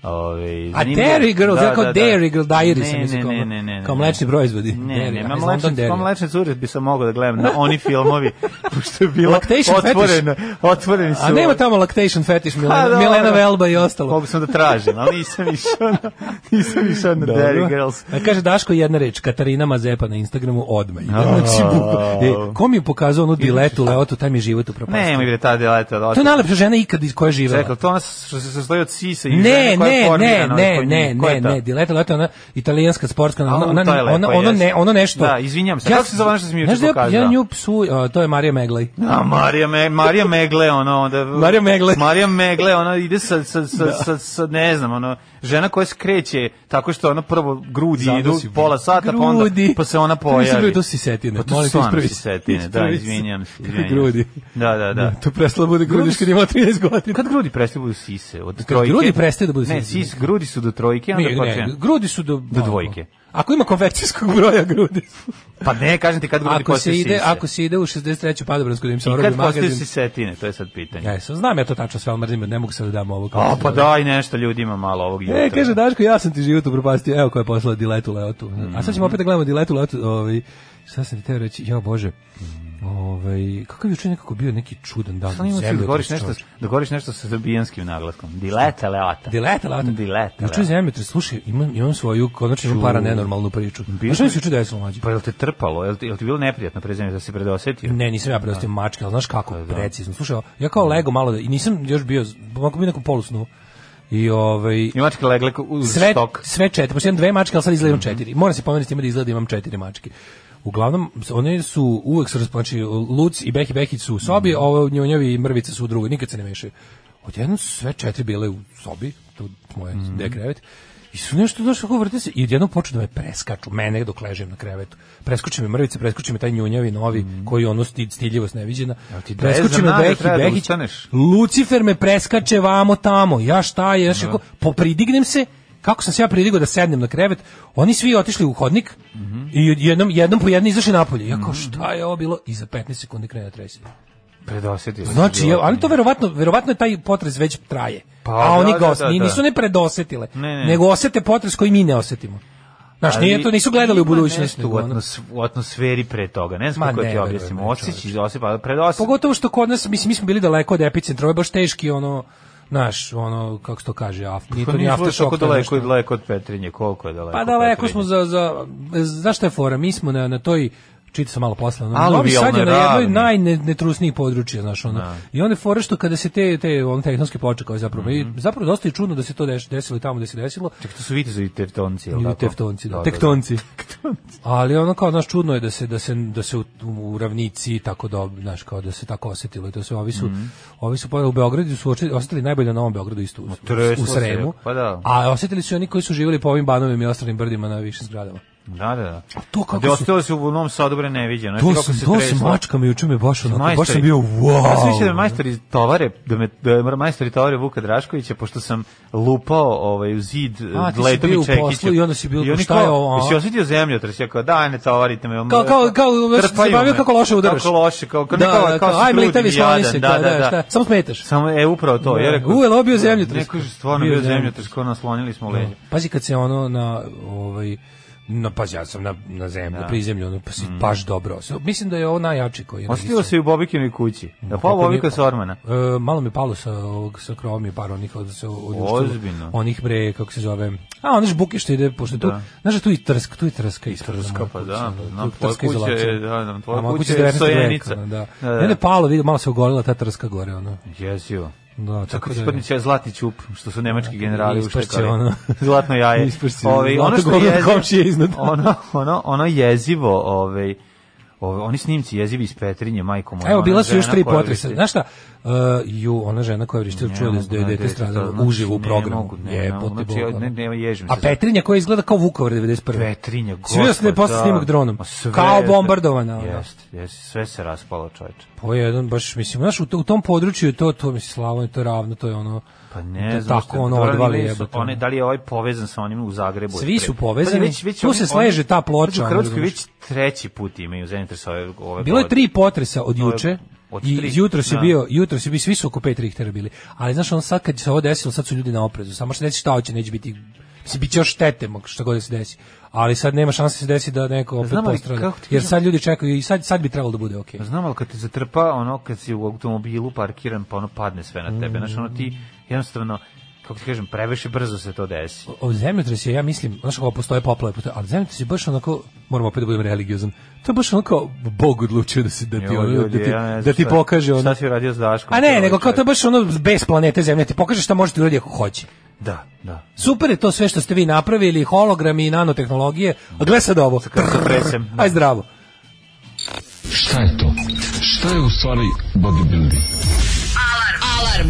[SPEAKER 6] Ove,
[SPEAKER 8] A Dairy Girls, ja kao Dairy Girls, Diary sam
[SPEAKER 6] ne,
[SPEAKER 8] mislio,
[SPEAKER 6] ne,
[SPEAKER 8] kao-
[SPEAKER 6] ne,
[SPEAKER 8] ono,
[SPEAKER 6] ne, ne,
[SPEAKER 8] kao mlečni proizvodi.
[SPEAKER 6] Ne,
[SPEAKER 8] Dairy,
[SPEAKER 6] ne,
[SPEAKER 8] a
[SPEAKER 6] ma
[SPEAKER 8] iz
[SPEAKER 6] mlečne,
[SPEAKER 8] London Dairy.
[SPEAKER 6] pa mlečne cure bi se mogao da gledam na oni filmovi, pošto je bila
[SPEAKER 8] Lactation fetish.
[SPEAKER 6] otvorena, otvoreni su.
[SPEAKER 8] A nema tamo lactation fetish,
[SPEAKER 6] Pa,
[SPEAKER 8] Milena,
[SPEAKER 6] dobro. Pa
[SPEAKER 8] Milena Velba i ostalo.
[SPEAKER 6] Mogu sam da tražim, ali nisam išao na, nisam išao na
[SPEAKER 8] Dobro.
[SPEAKER 6] Derry Girls.
[SPEAKER 8] A kaže Daško jedna reč, Katarina Mazepa na Instagramu odmah. ide. Znači, bukva- e, ko mi je pokazao onu diletu, leotu, taj mi je život upropastio.
[SPEAKER 6] Nemoj bre ta deleta.
[SPEAKER 8] To je najlepša žena ikad iz koje je živela.
[SPEAKER 6] Čekaj, to ona što se sastoji od sisa i
[SPEAKER 8] Ne,
[SPEAKER 6] žene koja je
[SPEAKER 8] ne, ne,
[SPEAKER 6] formirana,
[SPEAKER 8] ne,
[SPEAKER 6] koja
[SPEAKER 8] ne,
[SPEAKER 6] nije- koja je
[SPEAKER 8] ne,
[SPEAKER 6] ta?
[SPEAKER 8] ne, Dileta Leta, ona italijanska sportska, ona,
[SPEAKER 6] A,
[SPEAKER 8] ona,
[SPEAKER 6] to je lepo,
[SPEAKER 8] ona, ono,
[SPEAKER 6] jeste.
[SPEAKER 8] ne, ono nešto.
[SPEAKER 6] Da, izvinjam se. Kako se zove ono što si mi juče
[SPEAKER 8] znaš da ja-
[SPEAKER 6] pokazao?
[SPEAKER 8] Ja nju psuj, a, to je Marija Meglaj.
[SPEAKER 6] A Marija, Me, Marija Megle, ono, onda...
[SPEAKER 8] Marija Megle.
[SPEAKER 6] Marija Megle, ona ide sa, sa, sa, sa, sa, ne znam, ono, žena koja skreće tako što ona prvo grudi idu
[SPEAKER 8] Zadusi.
[SPEAKER 6] pola sata, pa onda,
[SPEAKER 8] Grudi.
[SPEAKER 6] pa se ona
[SPEAKER 8] To nisu bile,
[SPEAKER 6] pojavi.
[SPEAKER 8] to su sisetine.
[SPEAKER 6] Pa to
[SPEAKER 8] Molim
[SPEAKER 6] su
[SPEAKER 8] te,
[SPEAKER 6] stvarno
[SPEAKER 8] ispravi se.
[SPEAKER 6] sisetine, da,
[SPEAKER 8] Ispravi se.
[SPEAKER 6] izvinjam se,
[SPEAKER 8] Kakve
[SPEAKER 6] izvinjam se.
[SPEAKER 8] grudi?
[SPEAKER 6] Da, da, da.
[SPEAKER 8] to prestalo bude grudiš kad ima 13 godina.
[SPEAKER 6] Kad grudi prestaju da budu sise? Od
[SPEAKER 8] Kad grudi prestaju da budu
[SPEAKER 6] Ne, ne, sis, grudi su do trojke, onda
[SPEAKER 8] Ne,
[SPEAKER 6] počinje.
[SPEAKER 8] ne, grudi su do,
[SPEAKER 6] Do dvojke.
[SPEAKER 8] Ako ima konvercijskog broja grudi.
[SPEAKER 6] Pa ne, kažem ti kad grudi
[SPEAKER 8] Ako se
[SPEAKER 6] postaju
[SPEAKER 8] ide,
[SPEAKER 6] sise.
[SPEAKER 8] ako se ide u 63. padobransku da im se
[SPEAKER 6] I
[SPEAKER 8] orobi
[SPEAKER 6] kad postaju
[SPEAKER 8] magazin.
[SPEAKER 6] sisetine, to je sad pitanje.
[SPEAKER 8] Ja, sam, znam ja to tačno sve, ali mrzim, ne mogu sad da dam ovo.
[SPEAKER 6] A, pa daj nešto ljudima malo ovog jutra.
[SPEAKER 8] E, kaže Daško, ja sam ti život upropastio. Evo ko je poslao Diletu Leotu. A sad ćemo
[SPEAKER 6] Mhm.
[SPEAKER 8] opet da gledamo Diletu Leotu. Ovaj, šta sam ti teo reći? Ja, Bože. Ovaj, kako je juče nekako bio neki čudan dan.
[SPEAKER 6] Samo ima da
[SPEAKER 8] Zemljotres,
[SPEAKER 6] govoriš nešto,
[SPEAKER 8] čoveče.
[SPEAKER 6] da govoriš nešto sa srbijanskim naglaskom. Dileta leota.
[SPEAKER 8] Dileta Leota.
[SPEAKER 6] Dileta
[SPEAKER 8] Juče je
[SPEAKER 6] leota.
[SPEAKER 8] zemljotres, slušaj, imam, imam svoju, konačno imam para nenormalnu priču.
[SPEAKER 6] Bio
[SPEAKER 8] Znaš što mi se
[SPEAKER 6] sam-
[SPEAKER 8] juče desilo, mlađe?
[SPEAKER 6] Pa jel te trpalo? Jel ti, jel ti bilo neprijatno prezime da si predosetio?
[SPEAKER 8] Ne, nisam ja predostio mačke, ali znaš kako, precizno. Slušaj, ja kao Lego malo da, i nisam još bio, mogu bio nekom polusnu. I ovaj,
[SPEAKER 6] I mačke legle ku- uz
[SPEAKER 8] sve,
[SPEAKER 6] štok.
[SPEAKER 8] sve četiri, pošto imam dve mačke, ali sad izgleda imam četiri. Moram se pomeriti s time da izgleda da imam četiri mačke. Uglavnom, one su uvek su raspon- znači Luc i Behi Behić su u sobi, a ovo njonjovi i mrvice su u drugoj, nikad se ne mešaju. Odjednom su sve četiri bile u sobi, tu moje
[SPEAKER 6] Mhm.
[SPEAKER 8] mm krevet, i su nešto došli kako vrte se i odjednom počnu da me preskaču, mene dok ležem na krevetu. Preskoče mi mrvice, preskoče mi taj njunjavi novi, koji je ono sti- stiljivost neviđena.
[SPEAKER 6] Mhm. ti
[SPEAKER 8] preskoče
[SPEAKER 6] Drezan
[SPEAKER 8] me
[SPEAKER 6] zna da
[SPEAKER 8] Behi
[SPEAKER 6] E, treba da
[SPEAKER 8] Behić,
[SPEAKER 6] ustaneš.
[SPEAKER 8] Lucifer me preskače vamo tamo. Ja šta je, znači kako popridignem se, kako sam se ja pridigao da sednem na krevet, oni svi otišli u hodnik
[SPEAKER 6] Mhm.
[SPEAKER 8] i jednom, jednom po jednom izašli napolje. Ja kao šta je ovo bilo? I za 15 sekundi krene da trese.
[SPEAKER 6] Predosetio si.
[SPEAKER 8] Znači,
[SPEAKER 6] bilo.
[SPEAKER 8] je, ali to verovatno, verovatno je taj potres već traje.
[SPEAKER 6] Pa,
[SPEAKER 8] a oni
[SPEAKER 6] da,
[SPEAKER 8] ga
[SPEAKER 6] da,
[SPEAKER 8] os-
[SPEAKER 6] da,
[SPEAKER 8] ni-
[SPEAKER 6] da.
[SPEAKER 8] nisu ne predosetile,
[SPEAKER 6] Ne, ne.
[SPEAKER 8] nego osete potres koji mi ne osetimo. Znaš,
[SPEAKER 6] Ali
[SPEAKER 8] nije to, nisu gledali u
[SPEAKER 6] ima
[SPEAKER 8] budućnost.
[SPEAKER 6] nešto
[SPEAKER 8] nego
[SPEAKER 6] U,
[SPEAKER 8] ono-
[SPEAKER 6] atmos, u atmosferi pre toga. Ne
[SPEAKER 8] Ma,
[SPEAKER 6] znam kako
[SPEAKER 8] ne, Pa
[SPEAKER 6] ti objasnim.
[SPEAKER 8] verujem,
[SPEAKER 6] Osjeći, osjepa, predosetio.
[SPEAKER 8] Pogotovo što kod nas, mislim, mi smo bili daleko od epicentra, ovo je baš teški, ono, naš, ono, kako se to kaže, af, nije
[SPEAKER 6] Pa
[SPEAKER 8] to ni
[SPEAKER 6] nije
[SPEAKER 8] aftershock.
[SPEAKER 6] tako
[SPEAKER 8] to je
[SPEAKER 6] daleko,
[SPEAKER 8] nešto-
[SPEAKER 6] daleko od Petrinje, koliko je daleko?
[SPEAKER 8] Pa
[SPEAKER 6] od
[SPEAKER 8] daleko
[SPEAKER 6] Petrinje?
[SPEAKER 8] smo za, za, zašto je fora? Mi smo na, na toj, čitao sam malo posle, ono,
[SPEAKER 6] Aluvijalne
[SPEAKER 8] Novi Sad je na jednoj
[SPEAKER 6] ravni.
[SPEAKER 8] najnetrusnijih područja, znaš, ono. I onda je fora što kada se te, te ono, tehnološke ploče kao je zapravo,
[SPEAKER 6] Mhm.
[SPEAKER 8] i zapravo dosta je čudno da se to deš, desilo i tamo gde se desilo,
[SPEAKER 6] Čak to su vitezovi teftonci, jel
[SPEAKER 8] ili
[SPEAKER 6] tako?
[SPEAKER 8] teftonci, da. Tektonci. Ali ono kao naš čudno je da se da se da se u, u ravnici tako da znaš kao da se tako osetilo i to sve ovi su
[SPEAKER 6] Mhm.
[SPEAKER 8] ovi su pa u Beogradu su oči- osetili najbolje na Novom Beogradu isto u,
[SPEAKER 6] treslo
[SPEAKER 8] u
[SPEAKER 6] se,
[SPEAKER 8] Sremu.
[SPEAKER 6] pa da.
[SPEAKER 8] A osetili su i oni koji su živjeli po ovim banovima i ostalim brdima na više zgradama.
[SPEAKER 6] Da, da, da.
[SPEAKER 8] to kako
[SPEAKER 6] Da
[SPEAKER 8] su-
[SPEAKER 6] ostalo se u Novom Sadu bre neviđeno.
[SPEAKER 8] To
[SPEAKER 6] Znaš
[SPEAKER 8] sam,
[SPEAKER 6] kako se
[SPEAKER 8] to sam
[SPEAKER 6] treslo?
[SPEAKER 8] mačkama juče me baš onako, baš sam
[SPEAKER 6] Majstori.
[SPEAKER 8] bio wow.
[SPEAKER 6] Ja sam više da me majstori tovare, da me da me majstori tovare Vuka Draškovića pošto sam lupao ovaj u zid
[SPEAKER 8] A, ti si
[SPEAKER 6] letom
[SPEAKER 8] bio
[SPEAKER 6] i
[SPEAKER 8] u poslu
[SPEAKER 6] čekićem.
[SPEAKER 8] i onda si bio,
[SPEAKER 6] oni
[SPEAKER 8] šta je
[SPEAKER 6] kao,
[SPEAKER 8] ovo, a?
[SPEAKER 6] Jesi osetio zemljotres? Ja kao daj ne tovarite me.
[SPEAKER 8] Kao- kao- kao, već si
[SPEAKER 6] Trpaju
[SPEAKER 8] zabavio
[SPEAKER 6] me.
[SPEAKER 8] kako loše udaraš.
[SPEAKER 6] Kako loše, kao kao
[SPEAKER 8] Da,
[SPEAKER 6] kao,
[SPEAKER 8] da,
[SPEAKER 6] kao,
[SPEAKER 8] kao, aj, mlitavi, skloni se, kao, da, šta, samo smetaš.
[SPEAKER 6] Samo e upravo to,
[SPEAKER 8] Da.
[SPEAKER 6] ja rekao.
[SPEAKER 8] U, jel ovo bio zemljotres?
[SPEAKER 6] Neko je stvarno
[SPEAKER 8] Bio
[SPEAKER 6] bio
[SPEAKER 8] zemljotres.
[SPEAKER 6] zemljotres, kao naslonili smo leđa.
[SPEAKER 8] Pazi kad se ono na ovaj na pazi ja sam na na zemlju, prizemlju, ono pa si
[SPEAKER 6] Mm.
[SPEAKER 8] baš dobro. osjećao. Mislim da je ovo najjači koji je.
[SPEAKER 6] Osetio se i u Bobikinoj kući. Da pa
[SPEAKER 8] Pa Kako nije-
[SPEAKER 6] Bobika Sormana.
[SPEAKER 8] E, malo mi je palo sa ovog sa krovom je par onih od se od
[SPEAKER 6] Ozbiljno.
[SPEAKER 8] Onih bre kako se zove. A onih buke što ide pošto je tu. Znaš da tu i trsk, tu i trska isto.
[SPEAKER 6] Trska,
[SPEAKER 8] moja
[SPEAKER 6] pa
[SPEAKER 8] kuća,
[SPEAKER 6] da,
[SPEAKER 8] ono,
[SPEAKER 6] pa
[SPEAKER 8] tu
[SPEAKER 6] znam,
[SPEAKER 8] trska
[SPEAKER 6] tvoja kuća je,
[SPEAKER 8] izolacija.
[SPEAKER 6] da, da, tvoja
[SPEAKER 8] A
[SPEAKER 6] kuća
[SPEAKER 8] moja kuća
[SPEAKER 6] je
[SPEAKER 8] je 19. veka,
[SPEAKER 6] stojenica.
[SPEAKER 8] ono,
[SPEAKER 6] Da, da.
[SPEAKER 8] Da. Ne, ne palo, vidi, malo se ogorila ta trska gore, ono.
[SPEAKER 6] Jezio.
[SPEAKER 8] Da,
[SPEAKER 6] Tako
[SPEAKER 8] tako
[SPEAKER 6] ti
[SPEAKER 8] da je-
[SPEAKER 6] spadne će zlatni čup, što su nemački generali
[SPEAKER 8] ispašće
[SPEAKER 6] uštekali.
[SPEAKER 8] ono.
[SPEAKER 6] Zlatno jaje.
[SPEAKER 8] Ispašće
[SPEAKER 6] Ove, ono
[SPEAKER 8] zlato
[SPEAKER 6] što
[SPEAKER 8] govno
[SPEAKER 6] je
[SPEAKER 8] komšije iznad.
[SPEAKER 6] Ono, ono, ono jezivo, ovaj Ove, oni snimci jezivi iz Petrinje, majko moja.
[SPEAKER 8] Evo,
[SPEAKER 6] ona
[SPEAKER 8] bila su još
[SPEAKER 6] žena
[SPEAKER 8] tri
[SPEAKER 6] koja
[SPEAKER 8] potresa.
[SPEAKER 6] visi-
[SPEAKER 8] Znaš šta? Uh, ju, ona žena koja je vrištila
[SPEAKER 6] Ne
[SPEAKER 8] čuje
[SPEAKER 6] mogu,
[SPEAKER 8] da je
[SPEAKER 6] ne, dete,
[SPEAKER 8] dete
[SPEAKER 6] to
[SPEAKER 8] stradalo
[SPEAKER 6] znači,
[SPEAKER 8] uživo u
[SPEAKER 6] ne
[SPEAKER 8] programu.
[SPEAKER 6] mogu, ne, ne mogu,
[SPEAKER 8] Jebote
[SPEAKER 6] znači,
[SPEAKER 8] Boga.
[SPEAKER 6] ne, ne, ježim
[SPEAKER 8] A
[SPEAKER 6] se.
[SPEAKER 8] Petrinja koja izgleda kao Vukovar 91.
[SPEAKER 6] Petrinje,
[SPEAKER 8] Svi da se posle
[SPEAKER 6] da.
[SPEAKER 8] snimak dronom.
[SPEAKER 6] Ma sve-
[SPEAKER 8] Kao bombardovana. ono.
[SPEAKER 6] Jeste, jeste, sve se raspalo, čoveče.
[SPEAKER 8] Po jedan, baš, mislim, znaš, u, to- u tom području je to, to, mislim, Slavonje, to je ravno, to je ono...
[SPEAKER 6] Pa
[SPEAKER 8] da
[SPEAKER 6] ne znam.
[SPEAKER 8] Tako
[SPEAKER 6] šta-
[SPEAKER 8] ono
[SPEAKER 6] Dobro,
[SPEAKER 8] odvali
[SPEAKER 6] imaju su
[SPEAKER 8] jebote.
[SPEAKER 6] One, da li je ovaj povezan sa onim u Zagrebu?
[SPEAKER 8] Svi su
[SPEAKER 6] Pre-
[SPEAKER 8] povezani,
[SPEAKER 6] Pa
[SPEAKER 8] tu se
[SPEAKER 6] oni-
[SPEAKER 8] sleže ta ploča,
[SPEAKER 6] Pazi, U
[SPEAKER 8] ono,
[SPEAKER 6] Hrvatskoj
[SPEAKER 8] razumeš.
[SPEAKER 6] već treći put imaju zemljotres ove, ove
[SPEAKER 8] Bilo je
[SPEAKER 6] godine.
[SPEAKER 8] tri potresa od
[SPEAKER 6] je
[SPEAKER 8] juče.
[SPEAKER 6] od
[SPEAKER 8] I
[SPEAKER 6] tri,
[SPEAKER 8] jutro si
[SPEAKER 6] da.
[SPEAKER 8] bio, jutro si bio, svi su oko 5 Richtera bili. Ali znaš, on sad kad se ovo desilo, sad su ljudi na oprezu. Samo što neće šta hoće, neće biti Mislim, bit će još štete, mog, šta god da se desi. Ali sad nema šanse da se desi da neko opet
[SPEAKER 6] Znam, ali
[SPEAKER 8] postrada.
[SPEAKER 6] kako ti
[SPEAKER 8] Jer
[SPEAKER 6] kažem-
[SPEAKER 8] sad ljudi čekaju i sad, sad bi trebalo da bude okej.
[SPEAKER 6] Znam, ali kad te zatrpa, ono, kad si u automobilu parkiran, pa ono padne sve na tebe. Znaš, ono ti jednostavno, kako ti kažem, previše brzo se to desi.
[SPEAKER 8] O zemljotres je, ja mislim, znaš kako postoje poplave, postoje, ali zemljotres je baš onako, moramo opet da budem religiozan, to je baš onako, Bog odlučio da, se, da, ti,
[SPEAKER 6] Jo,
[SPEAKER 8] ono,
[SPEAKER 6] ljudi,
[SPEAKER 8] da, ti,
[SPEAKER 6] ja ne znam
[SPEAKER 8] da ti
[SPEAKER 6] šta-
[SPEAKER 8] pokaže ono.
[SPEAKER 6] Šta si uradio s Daškom?
[SPEAKER 8] A
[SPEAKER 6] Ovaj
[SPEAKER 8] ne, nego kao to je
[SPEAKER 6] čovjek.
[SPEAKER 8] baš ono bez planete zemlje, ti pokaže šta možete uraditi ako hoće.
[SPEAKER 6] Da, da.
[SPEAKER 8] Super je to sve što ste vi napravili, hologrami i nanotehnologije, a gle sad ovo,
[SPEAKER 6] Kako presem.
[SPEAKER 8] aj zdravo.
[SPEAKER 9] Šta je to? Šta je u stvari bodybuilding?
[SPEAKER 5] Alarm. Alarm.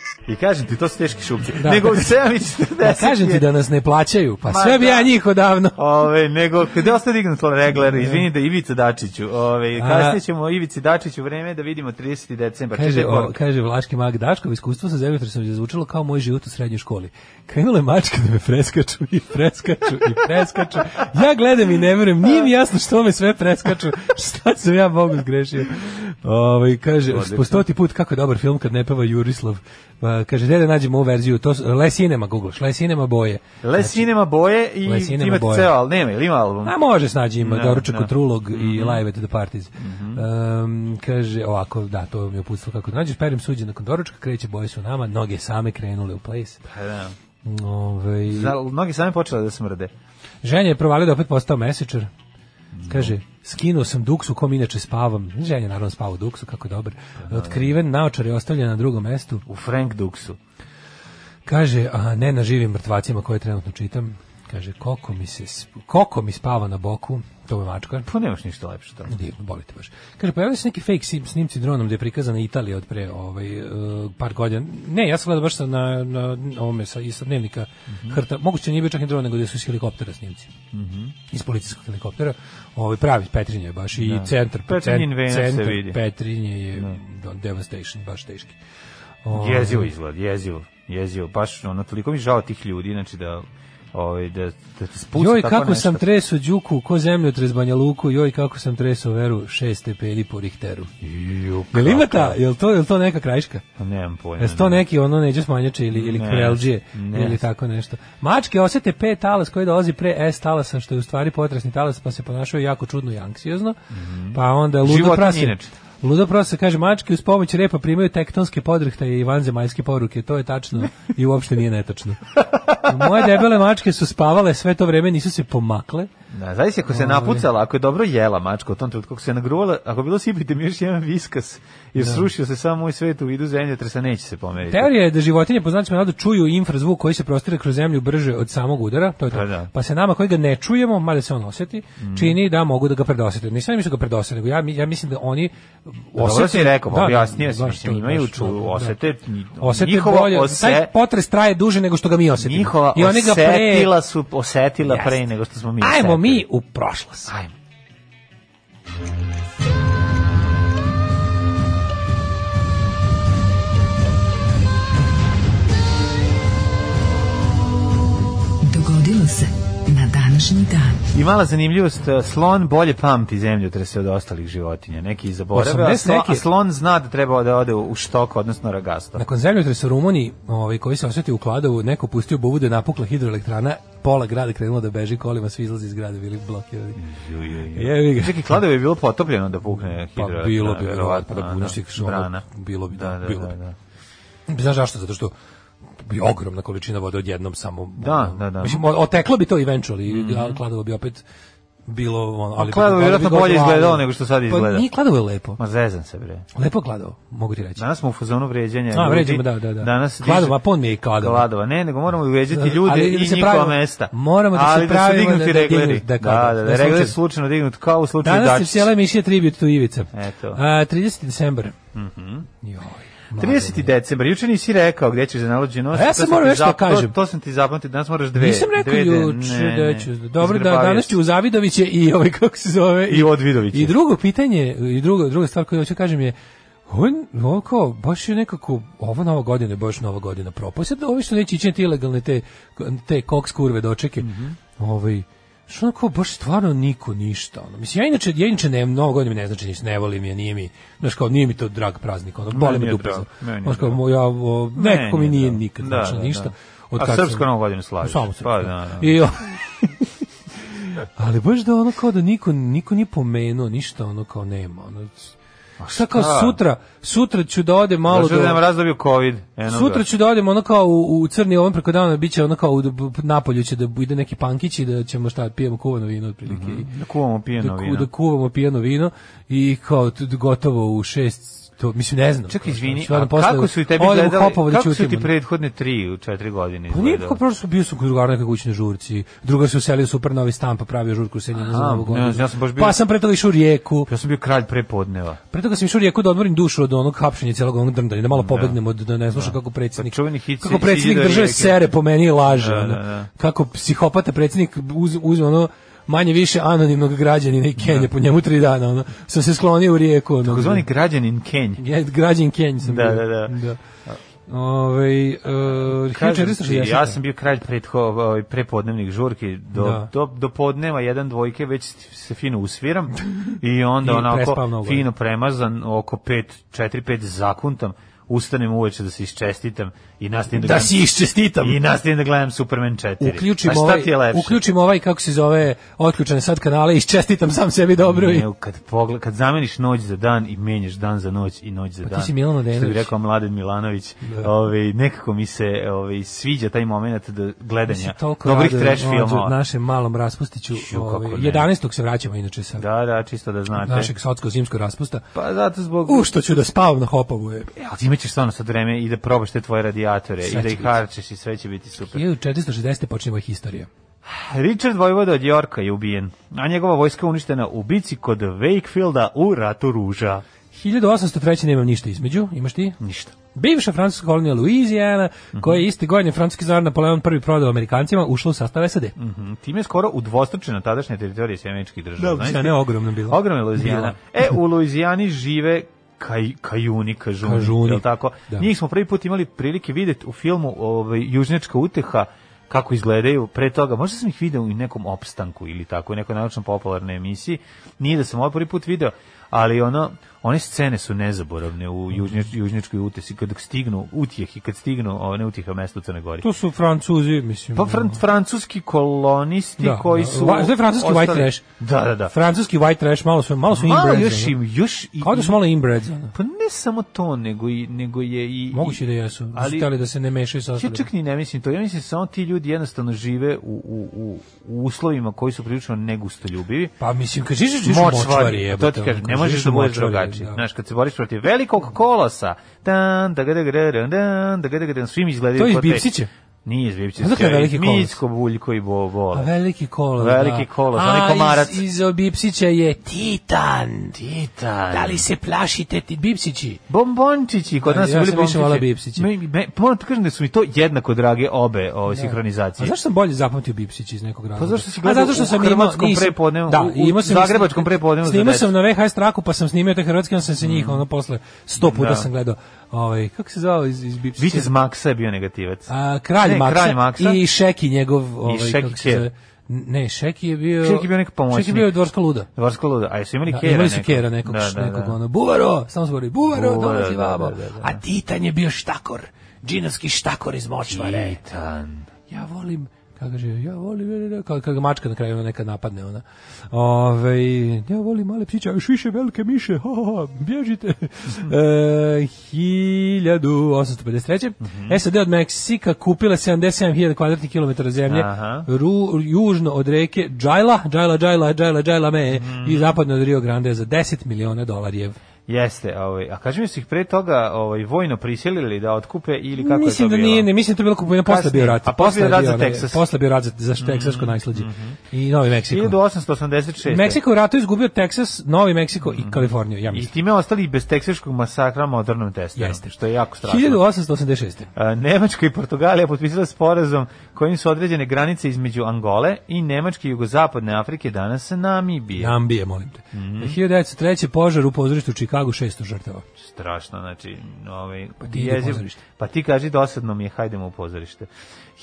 [SPEAKER 6] I kažem ti, to su teški šupci.
[SPEAKER 8] Da.
[SPEAKER 6] Nego u 7.40
[SPEAKER 8] Da kažem ti da nas ne plaćaju, pa sve bi
[SPEAKER 6] da.
[SPEAKER 8] ja njih odavno.
[SPEAKER 6] Ove, nego, gde ostaje dignut regler, izvini da Ivica Dačiću. Ove,
[SPEAKER 8] A-
[SPEAKER 6] kasnije ćemo o Ivici Dačiću vreme da vidimo 30. decembar.
[SPEAKER 8] Kaže,
[SPEAKER 6] Čitaj
[SPEAKER 8] o,
[SPEAKER 6] poruke.
[SPEAKER 8] kaže Vlaški mag Daškov, iskustvo sa zemljotresom je zvučalo kao moj život u srednjoj školi. Krenule mačke da me preskaču i preskaču i preskaču. Ja gledam i ne verujem, nije mi jasno što me sve preskaču, šta sam ja mogu zgrešio. Ovaj kaže, po stoti put kako je dobar film kad ne peva Jurislav. Pa, kaže, gde da nađemo ovu verziju? To, su- Le Cinema, googlaš, Le Cinema boje.
[SPEAKER 6] Le Cinema boje i
[SPEAKER 8] Le znači, Cinema
[SPEAKER 6] imate
[SPEAKER 8] boje.
[SPEAKER 6] ceo, ali nema, ili ima album?
[SPEAKER 8] A može snađi ima
[SPEAKER 6] Da,
[SPEAKER 8] doručak
[SPEAKER 6] da. Mhm.
[SPEAKER 8] od Trulog i Live at the Parties. Em, kaže ovako, da, to mi je uputstvo kako da nađeš, perim suđe nakon doručka, kreće boje su nama, noge same krenule u place.
[SPEAKER 6] Pa da.
[SPEAKER 8] Ovaj
[SPEAKER 6] Zna- Mnogi sami počeli da smrde.
[SPEAKER 8] ženja je provalio da opet postao mesečer.
[SPEAKER 6] Mhm.
[SPEAKER 8] Kaže, skinuo sam duksu u kom inače spavam. Ženja naravno spava u duksu, kako je dobar.
[SPEAKER 6] Pa
[SPEAKER 8] Otkriven naočar je ostavljen na drugom mestu.
[SPEAKER 6] U Frank Duxu.
[SPEAKER 8] Kaže, a ne na živim mrtvacima koje trenutno čitam. Kaže, koko mi, se, sp- koko mi spava na boku, to je mačka.
[SPEAKER 6] Pa nemaš ništa lepše tamo.
[SPEAKER 8] Divno, bolite baš. Kaže, pojavili su neki fake sim- snimci dronom gde je prikazana Italija od pre ovaj, e, par godina. Ne, ja sam gledao baš sa, na, na ovome, sa, i sa dnevnika
[SPEAKER 6] Mhm.
[SPEAKER 8] hrta. Moguće nije bio čak i dron, nego gde su iz helikoptera snimci. Iz policijskog helikoptera. Ovaj, pravi Petrinje je baš i centar,
[SPEAKER 6] Petrinjin
[SPEAKER 8] cen-
[SPEAKER 6] venac se
[SPEAKER 8] centar
[SPEAKER 6] vidi.
[SPEAKER 8] Petrinje je do- devastation, baš teški. Ovaj,
[SPEAKER 6] Jezivo izgled, jezivo. Jezivo, baš ono, toliko mi žao tih ljudi, znači da, ovaj, da, da te spuca
[SPEAKER 8] Joj,
[SPEAKER 6] tako
[SPEAKER 8] kako
[SPEAKER 6] nešto.
[SPEAKER 8] sam treso Đuku, ko zemlju trez Banja Luku, joj, kako sam treso veru, šest stepeni po Richteru.
[SPEAKER 6] Ju,
[SPEAKER 8] Jel ima
[SPEAKER 6] kako?
[SPEAKER 8] ta, jel to, jel to neka krajiška?
[SPEAKER 6] Nemam pojma.
[SPEAKER 8] Jesi to neki ono neđe smanjače ili, ili
[SPEAKER 6] Ne,
[SPEAKER 8] kvrelđije
[SPEAKER 6] ne.
[SPEAKER 8] ili tako nešto. Mačke osete P talas koji dolazi pre S talasa što je u stvari potresni talas pa se ponašaju jako čudno i anksiozno. Pa onda ludo
[SPEAKER 6] Mhm. Životinje
[SPEAKER 8] prase.
[SPEAKER 6] inače.
[SPEAKER 8] Ludo prase kaže mačke uz pomoć repa primaju tektonske podrhtaje i vanzemaljske poruke. To je tačno i uopšte nije netačno. Moje debele mačke su spavale sve to vreme, nisu se pomakle.
[SPEAKER 6] Da, zavisi ako se napucala, ako je dobro jela mačka u tom trenutku, ako se nagruvala, ako je bilo sipite mi još jedan viskas, jer srušio se samo moj svet u vidu zemljotresa, neće se pomeriti.
[SPEAKER 8] Teorija je da životinje po znacima navoda čuju infrazvuk koji se prostire kroz zemlju brže od samog udara, to je to.
[SPEAKER 6] Pa da. Mm.
[SPEAKER 8] Pa se nama koji ga ne čujemo, mada se on oseti, čini da mogu da ga predosete. Nisam mi su ga predosete, nego ja, mi- ja mislim da oni
[SPEAKER 6] Pa Dobro si rekao, pa
[SPEAKER 8] da,
[SPEAKER 6] objasnio si,
[SPEAKER 8] baš
[SPEAKER 6] mislim,
[SPEAKER 8] to,
[SPEAKER 6] imaju
[SPEAKER 8] baš to,
[SPEAKER 6] ču,
[SPEAKER 8] da.
[SPEAKER 6] osete, nji-
[SPEAKER 8] Osete
[SPEAKER 6] njihovo
[SPEAKER 8] bolje, taj
[SPEAKER 6] ose,
[SPEAKER 8] potres traje duže nego što ga mi osetimo.
[SPEAKER 6] njihova
[SPEAKER 8] I oni ga pre-
[SPEAKER 6] osetila su, osetila
[SPEAKER 8] Jeste.
[SPEAKER 6] pre nego što smo mi
[SPEAKER 8] Ajmo
[SPEAKER 6] osetili.
[SPEAKER 8] mi u prošlost.
[SPEAKER 6] Ajmo.
[SPEAKER 5] Dogodilo se na današnji dan.
[SPEAKER 6] I mala zanimljivost, e, slon bolje pamti zemljotrese od ostalih životinja, neki i zaborave, a
[SPEAKER 8] 80
[SPEAKER 6] slon,
[SPEAKER 8] neki-
[SPEAKER 6] a slon zna da treba da ode u štok, odnosno ragasto.
[SPEAKER 8] Nakon zemljotresa u Rumuniji, ovaj, koji se osjeti u Kladovu, neko pustio bubu da je napukla hidroelektrana, pola grada krenulo da beži kolima, svi izlazi iz grada, bili blokirani. Jevi ga.
[SPEAKER 6] Čekaj, kladovo je bilo potopljeno da pukne hidroelektrana.
[SPEAKER 8] Pa bilo bi,
[SPEAKER 6] verovatno,
[SPEAKER 8] verovatno, da
[SPEAKER 6] ono,
[SPEAKER 8] budeš ih što ono,
[SPEAKER 6] brana.
[SPEAKER 8] bilo bi, da,
[SPEAKER 6] da, da,
[SPEAKER 8] bilo
[SPEAKER 6] da,
[SPEAKER 8] bi.
[SPEAKER 6] da.
[SPEAKER 8] Znaš zašto? Zato što bi ogromna količina vode odjednom samo... ono,
[SPEAKER 6] Da, da, da.
[SPEAKER 8] Mislim, o- oteklo bi to eventually, mm. kladovo bi opet bilo... Ono, ali
[SPEAKER 6] Kladovo bi
[SPEAKER 8] ali
[SPEAKER 6] vjerojatno
[SPEAKER 8] ga
[SPEAKER 6] bolje
[SPEAKER 8] odvalilo.
[SPEAKER 6] izgledalo nego što sad
[SPEAKER 8] Pa
[SPEAKER 6] izgleda.
[SPEAKER 8] nije kladovo je lepo.
[SPEAKER 6] Ma zezam se, bre.
[SPEAKER 8] Lepo je kladovo, mogu ti reći.
[SPEAKER 6] Danas smo u fazonu vređanja.
[SPEAKER 8] A,
[SPEAKER 6] ljudi.
[SPEAKER 8] vređamo, da, da, da.
[SPEAKER 6] Danas
[SPEAKER 8] Kladova, pon mi je i kladova.
[SPEAKER 6] Kladova, ne, nego moramo vređati ljude
[SPEAKER 8] Ali
[SPEAKER 6] i
[SPEAKER 8] da se
[SPEAKER 6] njihova
[SPEAKER 8] pravimo-
[SPEAKER 6] mesta.
[SPEAKER 8] moramo da se
[SPEAKER 6] Ali da su
[SPEAKER 8] pravimo
[SPEAKER 6] dignuti
[SPEAKER 8] da- da
[SPEAKER 6] regleri.
[SPEAKER 8] dignu- da,
[SPEAKER 6] Da, da,
[SPEAKER 8] kao- da
[SPEAKER 6] da, regler
[SPEAKER 8] slučajno.
[SPEAKER 6] je slučajno dignut, kao u slučaju
[SPEAKER 8] Danas je
[SPEAKER 6] Dačića.
[SPEAKER 8] cijela emisija tribut to Ivica.
[SPEAKER 6] Eto. Mhm.
[SPEAKER 8] A, 30. decembar. Mm Joj. mlade
[SPEAKER 6] 30. decembar, juče nisi rekao gde ćeš da nalođi nos.
[SPEAKER 8] A ja
[SPEAKER 6] to
[SPEAKER 8] sam
[SPEAKER 6] ti
[SPEAKER 8] morao nešto
[SPEAKER 6] zap-
[SPEAKER 8] da kažem.
[SPEAKER 6] To, to sam ti zapamtio, danas moraš dve.
[SPEAKER 8] Nisam rekao
[SPEAKER 6] dve de-
[SPEAKER 8] juče
[SPEAKER 6] ne,
[SPEAKER 8] da
[SPEAKER 6] ne.
[SPEAKER 8] ću... Dobro, da,
[SPEAKER 6] Izgrabavio
[SPEAKER 8] danas
[SPEAKER 6] si.
[SPEAKER 8] ću uz Avidoviće i ovaj, kako se zove...
[SPEAKER 6] I od Vidovića.
[SPEAKER 8] I drugo pitanje, i drugo, druga stvar koju hoću kažem je, on, ovo kao, baš je nekako, ovo nova godina je baš nova godina propao. Sad ovi što neće ići na te ilegalne te, te koks kurve dočeke,
[SPEAKER 6] Mhm.
[SPEAKER 8] ovaj, što onako, baš stvarno niko ništa. Ono. Mislim, ja inače, ja inače ne, novo godina mi ne znači ništa, ne volim je, nije mi, znaš kao, nije mi to drag praznik, ono, boli me
[SPEAKER 6] je
[SPEAKER 8] dupa.
[SPEAKER 6] drag,
[SPEAKER 8] za-
[SPEAKER 6] meni je
[SPEAKER 8] Znaš kao,
[SPEAKER 6] drag.
[SPEAKER 8] mo- ja, o, nekako mi
[SPEAKER 6] Meni je
[SPEAKER 8] nije
[SPEAKER 6] drag.
[SPEAKER 8] nikad
[SPEAKER 6] Da,
[SPEAKER 8] znači
[SPEAKER 6] da,
[SPEAKER 8] ništa.
[SPEAKER 6] da.
[SPEAKER 8] Od
[SPEAKER 6] A
[SPEAKER 8] kad
[SPEAKER 6] srpsku
[SPEAKER 8] sam-
[SPEAKER 6] novu godinu slaviš?
[SPEAKER 8] Samo srpsku.
[SPEAKER 6] Pa, da, da.
[SPEAKER 8] I, o- ali baš da ono kao da niko, niko nije pomenuo ništa, ono kao nema. Ono, šta kao
[SPEAKER 6] šta?
[SPEAKER 8] sutra, sutra ću da odem malo
[SPEAKER 6] Došao Znači, da nam
[SPEAKER 8] do...
[SPEAKER 6] razdobio COVID. Eno
[SPEAKER 8] Sutra
[SPEAKER 6] ga.
[SPEAKER 8] ću da odem ono kao u, u crni ovom preko dana, bit će ono kao u, napolju će da ide neki pankić i da ćemo šta, pijemo kuvano vino otprilike. i-
[SPEAKER 6] Da kuvamo
[SPEAKER 8] da,
[SPEAKER 6] pijeno
[SPEAKER 8] ku-
[SPEAKER 6] Mhm. vino.
[SPEAKER 8] da kuvamo pijano vino i kao t- gotovo u šest to, mislim ne znam.
[SPEAKER 6] Čekaj,
[SPEAKER 8] Kao šta,
[SPEAKER 6] izvini,
[SPEAKER 8] stvarno,
[SPEAKER 6] a
[SPEAKER 8] posle
[SPEAKER 6] kako su i tebi
[SPEAKER 8] odem u
[SPEAKER 6] gledali,
[SPEAKER 8] Hopovo da
[SPEAKER 6] kako su ti
[SPEAKER 8] ćutim, ono.
[SPEAKER 6] prethodne tri u četiri godine
[SPEAKER 8] Pa nije
[SPEAKER 6] izgledali?
[SPEAKER 8] kako prošlo, bio sam kod drugara neke kućne žurci. Drugar se uselio u super novi stan, pa pravio žurku u Senjinu za
[SPEAKER 6] Aha,
[SPEAKER 8] novu godinu.
[SPEAKER 6] ne, ja sam baš bio-
[SPEAKER 8] Pa sam pre toga išao u Rijeku.
[SPEAKER 6] Ja sam bio kralj prepodneva.
[SPEAKER 8] Pre toga da sam išao u rijeku da odmorim dušu od onog hapšenja celog onog drndanja, da malo pobegnem od da ne slušam kako predsjednik.
[SPEAKER 6] Pa čuveni hit
[SPEAKER 8] kako
[SPEAKER 6] si-
[SPEAKER 8] predsjednik
[SPEAKER 6] Sidora
[SPEAKER 8] države
[SPEAKER 6] Rijeke.
[SPEAKER 8] sere po meni i laže. ono.
[SPEAKER 6] da, da.
[SPEAKER 8] Kako psihopata predsjednik uz, uzme ono manje više anonimnog građanina i Kenje po njemu tri dana ono. Sam se sklonio u rijeku ono.
[SPEAKER 6] Zvani građanin Kenj.
[SPEAKER 8] Ja, građan Kenj sam
[SPEAKER 6] Da,
[SPEAKER 8] bio.
[SPEAKER 6] da, da.
[SPEAKER 8] Ovaj, e,
[SPEAKER 6] Kažem ti,
[SPEAKER 8] 1460.
[SPEAKER 6] ja sam bio kralj pretho, ovaj, prepodnevnih žurki, do,
[SPEAKER 8] Da.
[SPEAKER 6] do, do podneva jedan dvojke, već se fino usviram i onda
[SPEAKER 8] I
[SPEAKER 6] onako
[SPEAKER 8] prespav mnogo.
[SPEAKER 6] fino premazan, oko 5, 4, 5 zakuntam, ustanem uveče da se iščestitam i nastavim da,
[SPEAKER 8] Da
[SPEAKER 6] gledam-
[SPEAKER 8] si iščestitam.
[SPEAKER 6] i nastavim da gledam Superman 4.
[SPEAKER 8] Uključimo
[SPEAKER 6] A šta
[SPEAKER 8] ovaj,
[SPEAKER 6] ti je lepše?
[SPEAKER 8] uključimo ovaj, kako se zove, otključene sad kanale i čestitam sam sebi dobro. i
[SPEAKER 6] Ne, kad, pogled, kad zameniš noć za dan i menjaš dan za noć i noć za
[SPEAKER 8] Pa ti
[SPEAKER 6] dan.
[SPEAKER 8] si Milan Odenović.
[SPEAKER 6] Što bi rekao Mladen Milanović, ovaj, nekako mi se ovaj, sviđa taj moment da gledanja
[SPEAKER 8] Mislim, toliko ono,
[SPEAKER 6] dobrih
[SPEAKER 8] radujem,
[SPEAKER 6] trash
[SPEAKER 8] mlađe,
[SPEAKER 6] filmova.
[SPEAKER 8] našem malom raspustiću.
[SPEAKER 6] Ću,
[SPEAKER 8] ovaj,
[SPEAKER 6] kako ne.
[SPEAKER 8] 11. se vraćamo inače sa
[SPEAKER 6] Da, da, čisto da znate.
[SPEAKER 8] našeg sotsko-zimskog raspusta.
[SPEAKER 6] Pa zato zbog...
[SPEAKER 8] U, što ću da spavam na hopavu je.
[SPEAKER 6] E, ali imaćeš stvarno sad vreme i da probaš te tvoje radijatore
[SPEAKER 8] Sve
[SPEAKER 6] i da
[SPEAKER 8] će
[SPEAKER 6] ih
[SPEAKER 8] biti.
[SPEAKER 6] harčeš i sve će biti super.
[SPEAKER 8] 1460. počne moja historija.
[SPEAKER 6] Richard Vojvoda od Jorka je ubijen, a njegova vojska uništena u bici kod Wakefielda u ratu ruža.
[SPEAKER 8] 1803. nemam ništa između, imaš ti?
[SPEAKER 6] Ništa. Mhm.
[SPEAKER 8] Bivša francuska kolonija Louisiana, koja je iste godine francuski zar Napoleon prvi prodao Amerikancima, ušla u sastav SAD.
[SPEAKER 6] Mhm, Time je skoro udvostručena tadašnja teritorija Sjemeničkih država. Znaš
[SPEAKER 8] Louisiana
[SPEAKER 6] ti?
[SPEAKER 8] je ogromna bila.
[SPEAKER 6] Ogromna Luizijana.
[SPEAKER 8] Bila.
[SPEAKER 6] E, u Luizijani žive kaj, kajuni, kažuni,
[SPEAKER 8] Kažuni.
[SPEAKER 6] jel tako?
[SPEAKER 8] Da.
[SPEAKER 6] Njih smo prvi put imali prilike vidjeti u filmu ovaj, Južnjačka uteha, kako izgledaju pre toga. Možda sam ih video u nekom opstanku ili tako, u nekoj naučno popularnoj emisiji. Nije da sam ovaj prvi put video, ali ono, one scene su nezaboravne u južnjač, južnjačkoj utesi, kad stignu utjeh i kad stignu one utjeha mesta u Crnoj Gori.
[SPEAKER 8] To su Francuzi, mislim.
[SPEAKER 6] Pa fran, francuski kolonisti
[SPEAKER 8] Da,
[SPEAKER 6] koji
[SPEAKER 8] da.
[SPEAKER 6] su...
[SPEAKER 8] Va- to je francuski white trash.
[SPEAKER 6] Da, da, da.
[SPEAKER 8] Francuski white trash, malo su, malo su
[SPEAKER 6] Malo
[SPEAKER 8] inbreds,
[SPEAKER 6] još
[SPEAKER 8] ono.
[SPEAKER 6] im, još i...
[SPEAKER 8] Kao da su malo inbreds, ono.
[SPEAKER 6] Pa ne samo to, nego, i, nego je i...
[SPEAKER 8] Moguće da jesu. Da su
[SPEAKER 6] Ali-
[SPEAKER 8] hteli da se ne mešaju sa
[SPEAKER 6] Ja
[SPEAKER 8] ostalima.
[SPEAKER 6] čak ni ne mislim to, ja mislim samo ti ljudi jednostavno žive u, u, u, u uslovima koji su prilično negustoljubivi.
[SPEAKER 8] Pa mislim, kad živiš u
[SPEAKER 6] Močvari,
[SPEAKER 8] močvari,
[SPEAKER 6] je,
[SPEAKER 8] jebote,
[SPEAKER 6] to ti
[SPEAKER 8] ono,
[SPEAKER 6] kažem, ne
[SPEAKER 8] kad
[SPEAKER 6] možeš
[SPEAKER 8] živiš
[SPEAKER 6] da
[SPEAKER 8] u
[SPEAKER 6] budeš
[SPEAKER 8] močvari,
[SPEAKER 6] drugačiji.
[SPEAKER 8] da.
[SPEAKER 6] Znaš, kad se boriš protiv velikog kolosa, dan, da ga da ga da dan, dan, da ga da ga dan, svim izgledaju
[SPEAKER 8] To je iz
[SPEAKER 6] kao te-
[SPEAKER 8] Bipsića?
[SPEAKER 6] Nije iz Bipsića.
[SPEAKER 8] Odakle je veliki kolos?
[SPEAKER 6] Micko, Buljko i Bo,
[SPEAKER 8] A
[SPEAKER 6] Bole.
[SPEAKER 8] Pa, veliki kolos,
[SPEAKER 6] Veliki
[SPEAKER 8] da.
[SPEAKER 6] kolos,
[SPEAKER 8] A,
[SPEAKER 6] onaj komarac.
[SPEAKER 8] Iz, iz Bipsića je Titan.
[SPEAKER 6] Titan.
[SPEAKER 8] Da li se plašite ti Bipsići?
[SPEAKER 6] Bombončići, kod
[SPEAKER 8] Da,
[SPEAKER 6] nas su
[SPEAKER 8] ja
[SPEAKER 6] bili
[SPEAKER 8] sam više volao
[SPEAKER 6] bombončići.
[SPEAKER 8] Bipsiće.
[SPEAKER 6] Me, me, moram ti kažem da su mi to jednako drage obe ove
[SPEAKER 8] A
[SPEAKER 6] sinhronizacije.
[SPEAKER 8] zašto sam bolje zapamtio Bipsić iz nekog razloga?
[SPEAKER 6] Pa zašto si
[SPEAKER 8] A
[SPEAKER 6] gledao
[SPEAKER 8] zato što
[SPEAKER 6] u
[SPEAKER 8] sam imao-
[SPEAKER 6] hrvatskom
[SPEAKER 8] nisam-
[SPEAKER 6] prepodnevu,
[SPEAKER 8] Da,
[SPEAKER 6] u- u
[SPEAKER 8] imao sam
[SPEAKER 6] zagrebačkom prepodnevu za
[SPEAKER 8] Snimao
[SPEAKER 6] decu.
[SPEAKER 8] sam na VH straku, pa sam snimio te hrvatske, onda sam se njih, ono, posle sto puta
[SPEAKER 6] Da.
[SPEAKER 8] sam gledao. Ovaj, kako se zvao iz, iz Bipsića?
[SPEAKER 6] Vitez Maksa je bio negativac.
[SPEAKER 8] A, kralj,
[SPEAKER 6] Ne,
[SPEAKER 8] Maksa
[SPEAKER 6] Kralj Maksa.
[SPEAKER 8] i Šeki njegov ovaj,
[SPEAKER 6] Šeki
[SPEAKER 8] kako se
[SPEAKER 6] Kjer.
[SPEAKER 8] zove? Ne, Šeki je bio...
[SPEAKER 6] Šeki je bio neki pomoćnik.
[SPEAKER 8] Šeki je bio dvorska luda.
[SPEAKER 6] Dvorsko ludo. A jesu imali
[SPEAKER 8] Da,
[SPEAKER 6] Kera
[SPEAKER 8] imali su
[SPEAKER 6] nekog?
[SPEAKER 8] Kjera nekog,
[SPEAKER 6] Da, da,
[SPEAKER 8] nekog
[SPEAKER 6] da.
[SPEAKER 8] ono, buvaro, samo su govorili, buvaro,
[SPEAKER 6] Buvaro,
[SPEAKER 8] dolazi
[SPEAKER 6] da,
[SPEAKER 8] vamo.
[SPEAKER 6] da, da, da.
[SPEAKER 8] A Titan je bio štakor, džinovski štakor iz močvare.
[SPEAKER 6] Titan.
[SPEAKER 8] Ja volim, kako kaže, ja volim, ja, ja, ja, kako ga mačka na kraju ona neka napadne ona. Ove, ja volim male psića, još više velike miše, ha, ha, ha, bježite. Eh, e,
[SPEAKER 6] Mhm.
[SPEAKER 8] 1853.
[SPEAKER 6] Mhm.
[SPEAKER 8] SAD od Meksika kupila 77.000 kvadratnih kilometara zemlje
[SPEAKER 6] Aha.
[SPEAKER 8] ru, južno od reke Džajla, Džajla, Džajla, Džajla, Džajla me
[SPEAKER 6] Mhm.
[SPEAKER 8] i zapadno od Rio Grande za 10 miliona dolarijev.
[SPEAKER 6] Jeste, ovaj, a kaži mi su ih pre toga ovaj, vojno prisilili da otkupe ili kako
[SPEAKER 8] mislim
[SPEAKER 6] je to
[SPEAKER 8] da
[SPEAKER 6] bilo?
[SPEAKER 8] nije, ne, mislim da je to bilo kupovina posle
[SPEAKER 6] Kasnije.
[SPEAKER 8] bio rat.
[SPEAKER 6] A posle je rat za
[SPEAKER 8] bio, ne,
[SPEAKER 6] Teksas. Mhm.
[SPEAKER 8] Posle bio rat za, za teksaško najslađe. I Novi Meksiko.
[SPEAKER 6] 1886.
[SPEAKER 8] Meksiko je u ratu izgubio Teksas, Novi Meksiko i Kaliforniju, ja
[SPEAKER 6] Mhm. I
[SPEAKER 8] mislim.
[SPEAKER 6] time ostali bez teksaškog masakra modernom testerom.
[SPEAKER 8] Jeste.
[SPEAKER 6] Što je jako strašno.
[SPEAKER 8] 1886.
[SPEAKER 6] A, Nemačka i Portugalija potpisala sporazum kojim su određene granice između Angole i Nemačke i jugozapadne Afrike danas Namibije.
[SPEAKER 8] Nambije, molim te.
[SPEAKER 6] Mhm.
[SPEAKER 8] 1903. požar u pozorištu u Čikagu, 600 žrtava.
[SPEAKER 6] strašno, znači, ovaj, pa
[SPEAKER 8] ti idi u pozorište.
[SPEAKER 6] pa ti kaži dosadno mi je, hajdemo u pozorište.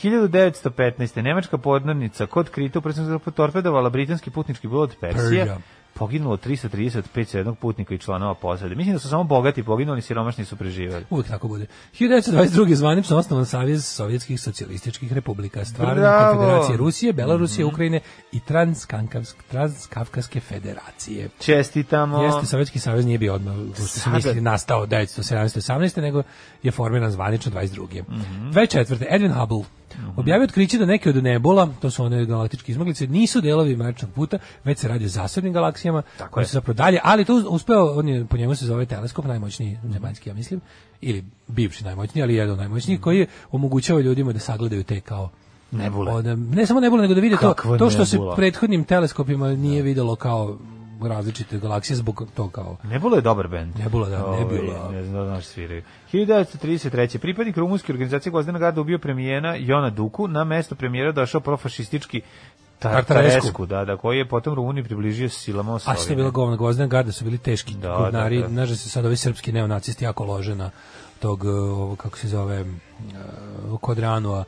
[SPEAKER 6] 1915. Nemačka podmornica kod Krita upresno torpedovala britanski putnički brod Persija,
[SPEAKER 8] Persia.
[SPEAKER 6] poginulo 335 jednog putnika i članova posade. Mislim da su samo bogati poginuli, siromašni su preživali.
[SPEAKER 8] Uvijek tako bude. 1922. je zvanično osnovan Savjez Sovjetskih socijalističkih republika, stvaranje
[SPEAKER 6] Bravo. Mhm.
[SPEAKER 8] Konfederacije Rusije, Belorusije, Ukrajine i Transkavkavsk- Transkavkaske federacije.
[SPEAKER 6] Čestitamo.
[SPEAKER 8] Jeste, Sovjetski savez nije bio odmah, što se
[SPEAKER 6] Sada.
[SPEAKER 8] misli, nastao 1917. 18. nego je formiran zvanično 22. Mm
[SPEAKER 6] Mhm.
[SPEAKER 8] -hmm. 24. Edwin Hubble objavio otkriće da neke od nebola, to su one galaktičke izmaglice, nisu delovi mračnog puta, već se radi o zasebnim galaksijama,
[SPEAKER 6] Tako
[SPEAKER 8] koje
[SPEAKER 6] je.
[SPEAKER 8] su zapravo dalje, ali to uz- uspeo, on je, po njemu se zove teleskop, najmoćniji zemaljski, ja mislim, ili bivši najmoćniji, ali jedan od
[SPEAKER 6] Mhm.
[SPEAKER 8] najmoćnijih, koji je omogućava ljudima da sagledaju te kao
[SPEAKER 6] Nebule.
[SPEAKER 8] Od- ne samo nebule, nego da vide to,
[SPEAKER 6] Kakva
[SPEAKER 8] to što se
[SPEAKER 6] nebula?
[SPEAKER 8] prethodnim teleskopima nije videlo kao različite galaksije zbog to kao
[SPEAKER 6] Nebula je dobar bend.
[SPEAKER 8] Nebula, da,
[SPEAKER 6] Ovaj,
[SPEAKER 8] Nebula.
[SPEAKER 6] Ne znam da li znaš sviraju. 1933. Pripadnik rumunske organizacije Gvozdena garda ubio premijena Jona Duku. Na mesto premijera došao profašistički
[SPEAKER 8] Tartaresku.
[SPEAKER 6] Tartaresku, da, da, koji je potom Rumuniji približio silama
[SPEAKER 8] A što je
[SPEAKER 6] Osovine.
[SPEAKER 8] bilo govno Gvozdena garda su bili teški
[SPEAKER 6] Da,
[SPEAKER 8] da, govnari,
[SPEAKER 6] da, da.
[SPEAKER 8] znaš da, se sad ovi srpski neonacisti jako lože na tog, e, ovo, kako se zove, e, kod Ranua.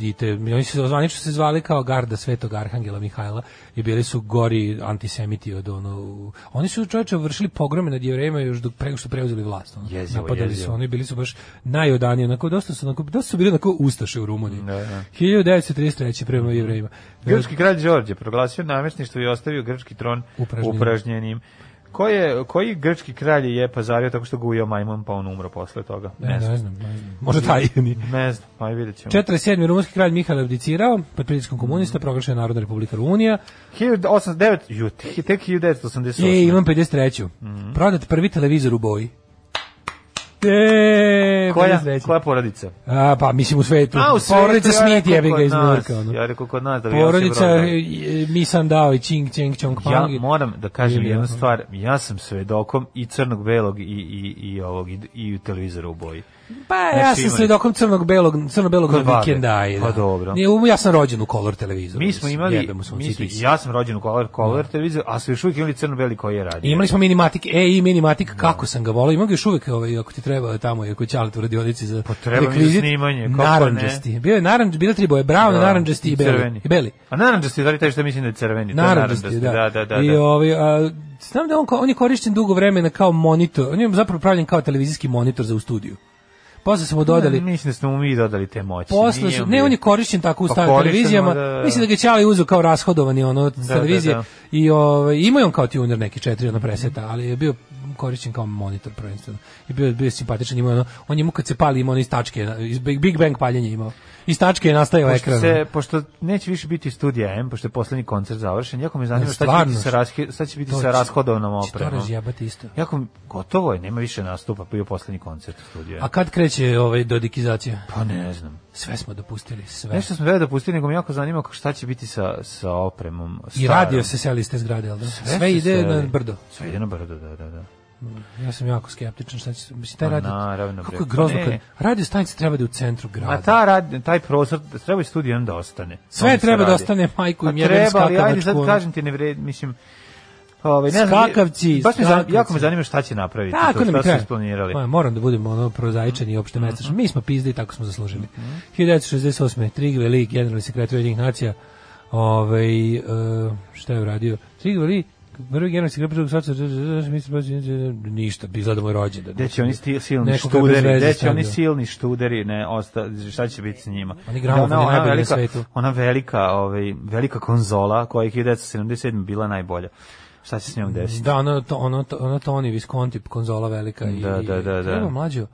[SPEAKER 8] I, i te, oni su zvanično se zvali kao garda Svetog Arhangela Mihajla i bili su gori antisemiti od ono... Oni su čovječe vršili pogrome nad jevrejima još dok prego su preuzeli vlast. Ono.
[SPEAKER 6] Jezivo,
[SPEAKER 8] Napadali
[SPEAKER 6] jezivo.
[SPEAKER 8] su oni bili su baš najodaniji, onako dosta su, onako, dosta su bili onako ustaše u Rumuniji.
[SPEAKER 6] Da, da. Mhm.
[SPEAKER 8] 1933. prema jevrejima.
[SPEAKER 6] Grčki kralj Đorđe proglasio namjesništvo i ostavio grčki tron
[SPEAKER 8] Upražnjenim.
[SPEAKER 6] upražnjenim. Ko je, koji grčki kralj je pazario tako što ga ujeo majmun pa on umro posle toga?
[SPEAKER 8] E, ne, znam, ne znam. Možda taj ni.
[SPEAKER 6] Ne znam, aj vidjet ćemo.
[SPEAKER 8] 47. rumunski kralj Mihajl abdicirao pod pritiskom
[SPEAKER 6] Mm.
[SPEAKER 8] komunista, proglašena Narodna republika Rumunija.
[SPEAKER 6] 1809, ju, tek tek
[SPEAKER 8] I
[SPEAKER 6] 1988.
[SPEAKER 8] E, imam 53.
[SPEAKER 6] Mm.
[SPEAKER 8] Prodat prvi televizor u boji. E,
[SPEAKER 6] Koja,
[SPEAKER 8] 53..
[SPEAKER 6] koja porodica?
[SPEAKER 8] A, pa mislim u svetu.
[SPEAKER 6] A, u svetu,
[SPEAKER 8] Porodica
[SPEAKER 6] ja
[SPEAKER 8] Smith
[SPEAKER 6] rekao
[SPEAKER 8] jebi
[SPEAKER 6] kod
[SPEAKER 8] ga iz
[SPEAKER 6] nas,
[SPEAKER 8] Njurka. Ono.
[SPEAKER 6] Ja rekao kod nas da bi
[SPEAKER 8] Porodica
[SPEAKER 6] ja
[SPEAKER 8] e, e, mi sam dao i Ching Cheng Chong Pang.
[SPEAKER 6] Ja moram da kažem
[SPEAKER 8] Ili
[SPEAKER 6] jednu
[SPEAKER 8] ono.
[SPEAKER 6] stvar, ja sam svedokom i crnog, belog i, i, i ovog i, i televizora u boji.
[SPEAKER 8] Pa ja
[SPEAKER 6] Znači,
[SPEAKER 8] sam
[SPEAKER 6] imali-
[SPEAKER 8] svedokom crnog belog crno belog
[SPEAKER 6] Kod babe.
[SPEAKER 8] vikenda. i
[SPEAKER 6] Pa
[SPEAKER 8] da.
[SPEAKER 6] dobro.
[SPEAKER 8] Nije, um, ja sam rođen u kolor televizoru.
[SPEAKER 6] Mi smo
[SPEAKER 8] mislim,
[SPEAKER 6] imali,
[SPEAKER 8] jebemo se u
[SPEAKER 6] mi smo,
[SPEAKER 8] cipis.
[SPEAKER 6] ja sam rođen u kolor, kolor televizor, a su još uvijek imali crno-beli koji je radio.
[SPEAKER 8] Imali smo minimatik, e i minimatik, kako sam ga volao. Imam ga još uvek, ovaj, ako ti treba tamo, ako će ali u radionici za pa
[SPEAKER 6] treba mi za snimanje, kako pa ne.
[SPEAKER 8] Narandžasti. Bio je narandž, bilo je tri boje, brown,
[SPEAKER 6] Da,
[SPEAKER 8] narandžasti i beli.
[SPEAKER 6] crveni.
[SPEAKER 8] I beli.
[SPEAKER 6] A naranđasti, da li taj što mislim da je crveni? To je
[SPEAKER 8] Narandžasti, da.
[SPEAKER 6] da, da, da.
[SPEAKER 8] I
[SPEAKER 6] da.
[SPEAKER 8] ovaj, a, znam da on, kao- on je korišten dugo vremena kao monitor, on je zapravo pravljen kao televizijski monitor za u studiju. Posle smo dodali,
[SPEAKER 6] Ne, mislim da smo mu mi dodali te moći.
[SPEAKER 8] Posle
[SPEAKER 6] Nije
[SPEAKER 8] su,
[SPEAKER 6] on
[SPEAKER 8] ne,
[SPEAKER 6] bio-
[SPEAKER 8] on je korišćen tako u
[SPEAKER 6] Pa
[SPEAKER 8] starim
[SPEAKER 6] korišćen,
[SPEAKER 8] televizijama.
[SPEAKER 6] da, da.
[SPEAKER 8] Mislim da ga je Ćali uzeo kao rashodovani ono od televizije
[SPEAKER 6] da, da.
[SPEAKER 8] i ovaj imao je on kao tuner neki četiri ono preseta, ali je bio korišćen kao monitor prvenstveno. I bio bio je simpatičan, imao je ono, on je mu kad se pali imao one iz tačke, iz Big, Big Bang paljenje imao. Iz tačke je nastajao
[SPEAKER 6] Pošto,
[SPEAKER 8] ekran.
[SPEAKER 6] se, pošto neće više biti studija M, pošto je poslednji koncert završen, jako me zanima šta će
[SPEAKER 8] Stvarno?
[SPEAKER 6] biti sa, rashi, šta će biti sa rashodovnom opremom.
[SPEAKER 8] razjebati isto.
[SPEAKER 6] Jako, mi- gotovo je, nema više nastupa, bio je poslednji koncert u studiju M.
[SPEAKER 8] A kad kreće ovaj dodikizacija?
[SPEAKER 6] Pa ne znam.
[SPEAKER 8] Sve smo dopustili, sve.
[SPEAKER 6] Nešto sam već dopustio, nego me jako zanima kako- šta će biti sa, sa opremom.
[SPEAKER 8] I
[SPEAKER 6] starom.
[SPEAKER 8] radio se seli iz te zgrade, jel da? Sve,
[SPEAKER 6] se
[SPEAKER 8] ide na
[SPEAKER 6] seli.
[SPEAKER 8] brdo.
[SPEAKER 6] Sve ide na brdo, da, da, da.
[SPEAKER 8] Ja sam jako skeptičan šta će se- mislim taj
[SPEAKER 6] Pa
[SPEAKER 8] radio.
[SPEAKER 6] naravno,
[SPEAKER 8] Kako
[SPEAKER 6] bre.
[SPEAKER 8] je grozno
[SPEAKER 6] Ne.
[SPEAKER 8] kad radio stanica treba Pa da je u centru grada.
[SPEAKER 6] A ta rad, taj prostor, treba i studiju M da ostane.
[SPEAKER 8] Sve
[SPEAKER 6] Tome se
[SPEAKER 8] treba da
[SPEAKER 6] radi.
[SPEAKER 8] ostane majku
[SPEAKER 6] Pa
[SPEAKER 8] im jebem
[SPEAKER 6] treba, ali ajde
[SPEAKER 8] skakavačku.
[SPEAKER 6] sad
[SPEAKER 8] ono.
[SPEAKER 6] kažem ti ne vredi, mislim, Ove, ne znam,
[SPEAKER 8] Skakavci,
[SPEAKER 6] baš me zanima,
[SPEAKER 8] skakavci.
[SPEAKER 6] jako me zanima šta će napraviti,
[SPEAKER 8] Tako
[SPEAKER 6] to,
[SPEAKER 8] nam
[SPEAKER 6] šta su
[SPEAKER 8] je treba.
[SPEAKER 6] isplanirali.
[SPEAKER 8] Ma, moram da budem ono prozaičan i opšte mestačan. Mi smo pizde i tako smo zaslužili. 1968. Trigve Lee, generalni sekretar Ujedinjenih nacija, ovaj, e, šta je uradio? Trigve Lee, prvi generalni sekretar drugog svaca, mislim, baš ništa, bi izgleda moj rođendan.
[SPEAKER 6] Gde će oni sti, silni
[SPEAKER 8] Nekoga bez
[SPEAKER 6] študeri,
[SPEAKER 8] veze
[SPEAKER 6] gde će oni
[SPEAKER 8] stavljao.
[SPEAKER 6] silni študeri, ne, osta, šta će biti s njima?
[SPEAKER 8] Oni gramofoni
[SPEAKER 6] ona
[SPEAKER 8] najbolji na
[SPEAKER 6] velika-
[SPEAKER 8] svetu.
[SPEAKER 6] Ona velika, ovaj, velika konzola koja je 1977 bila najbolja. Šta će s njom desiti?
[SPEAKER 8] Da, ono, to, ono, to, ono Tony Visconti, konzola velika. I,
[SPEAKER 6] Da, da, da, da.
[SPEAKER 8] Treba mlađo,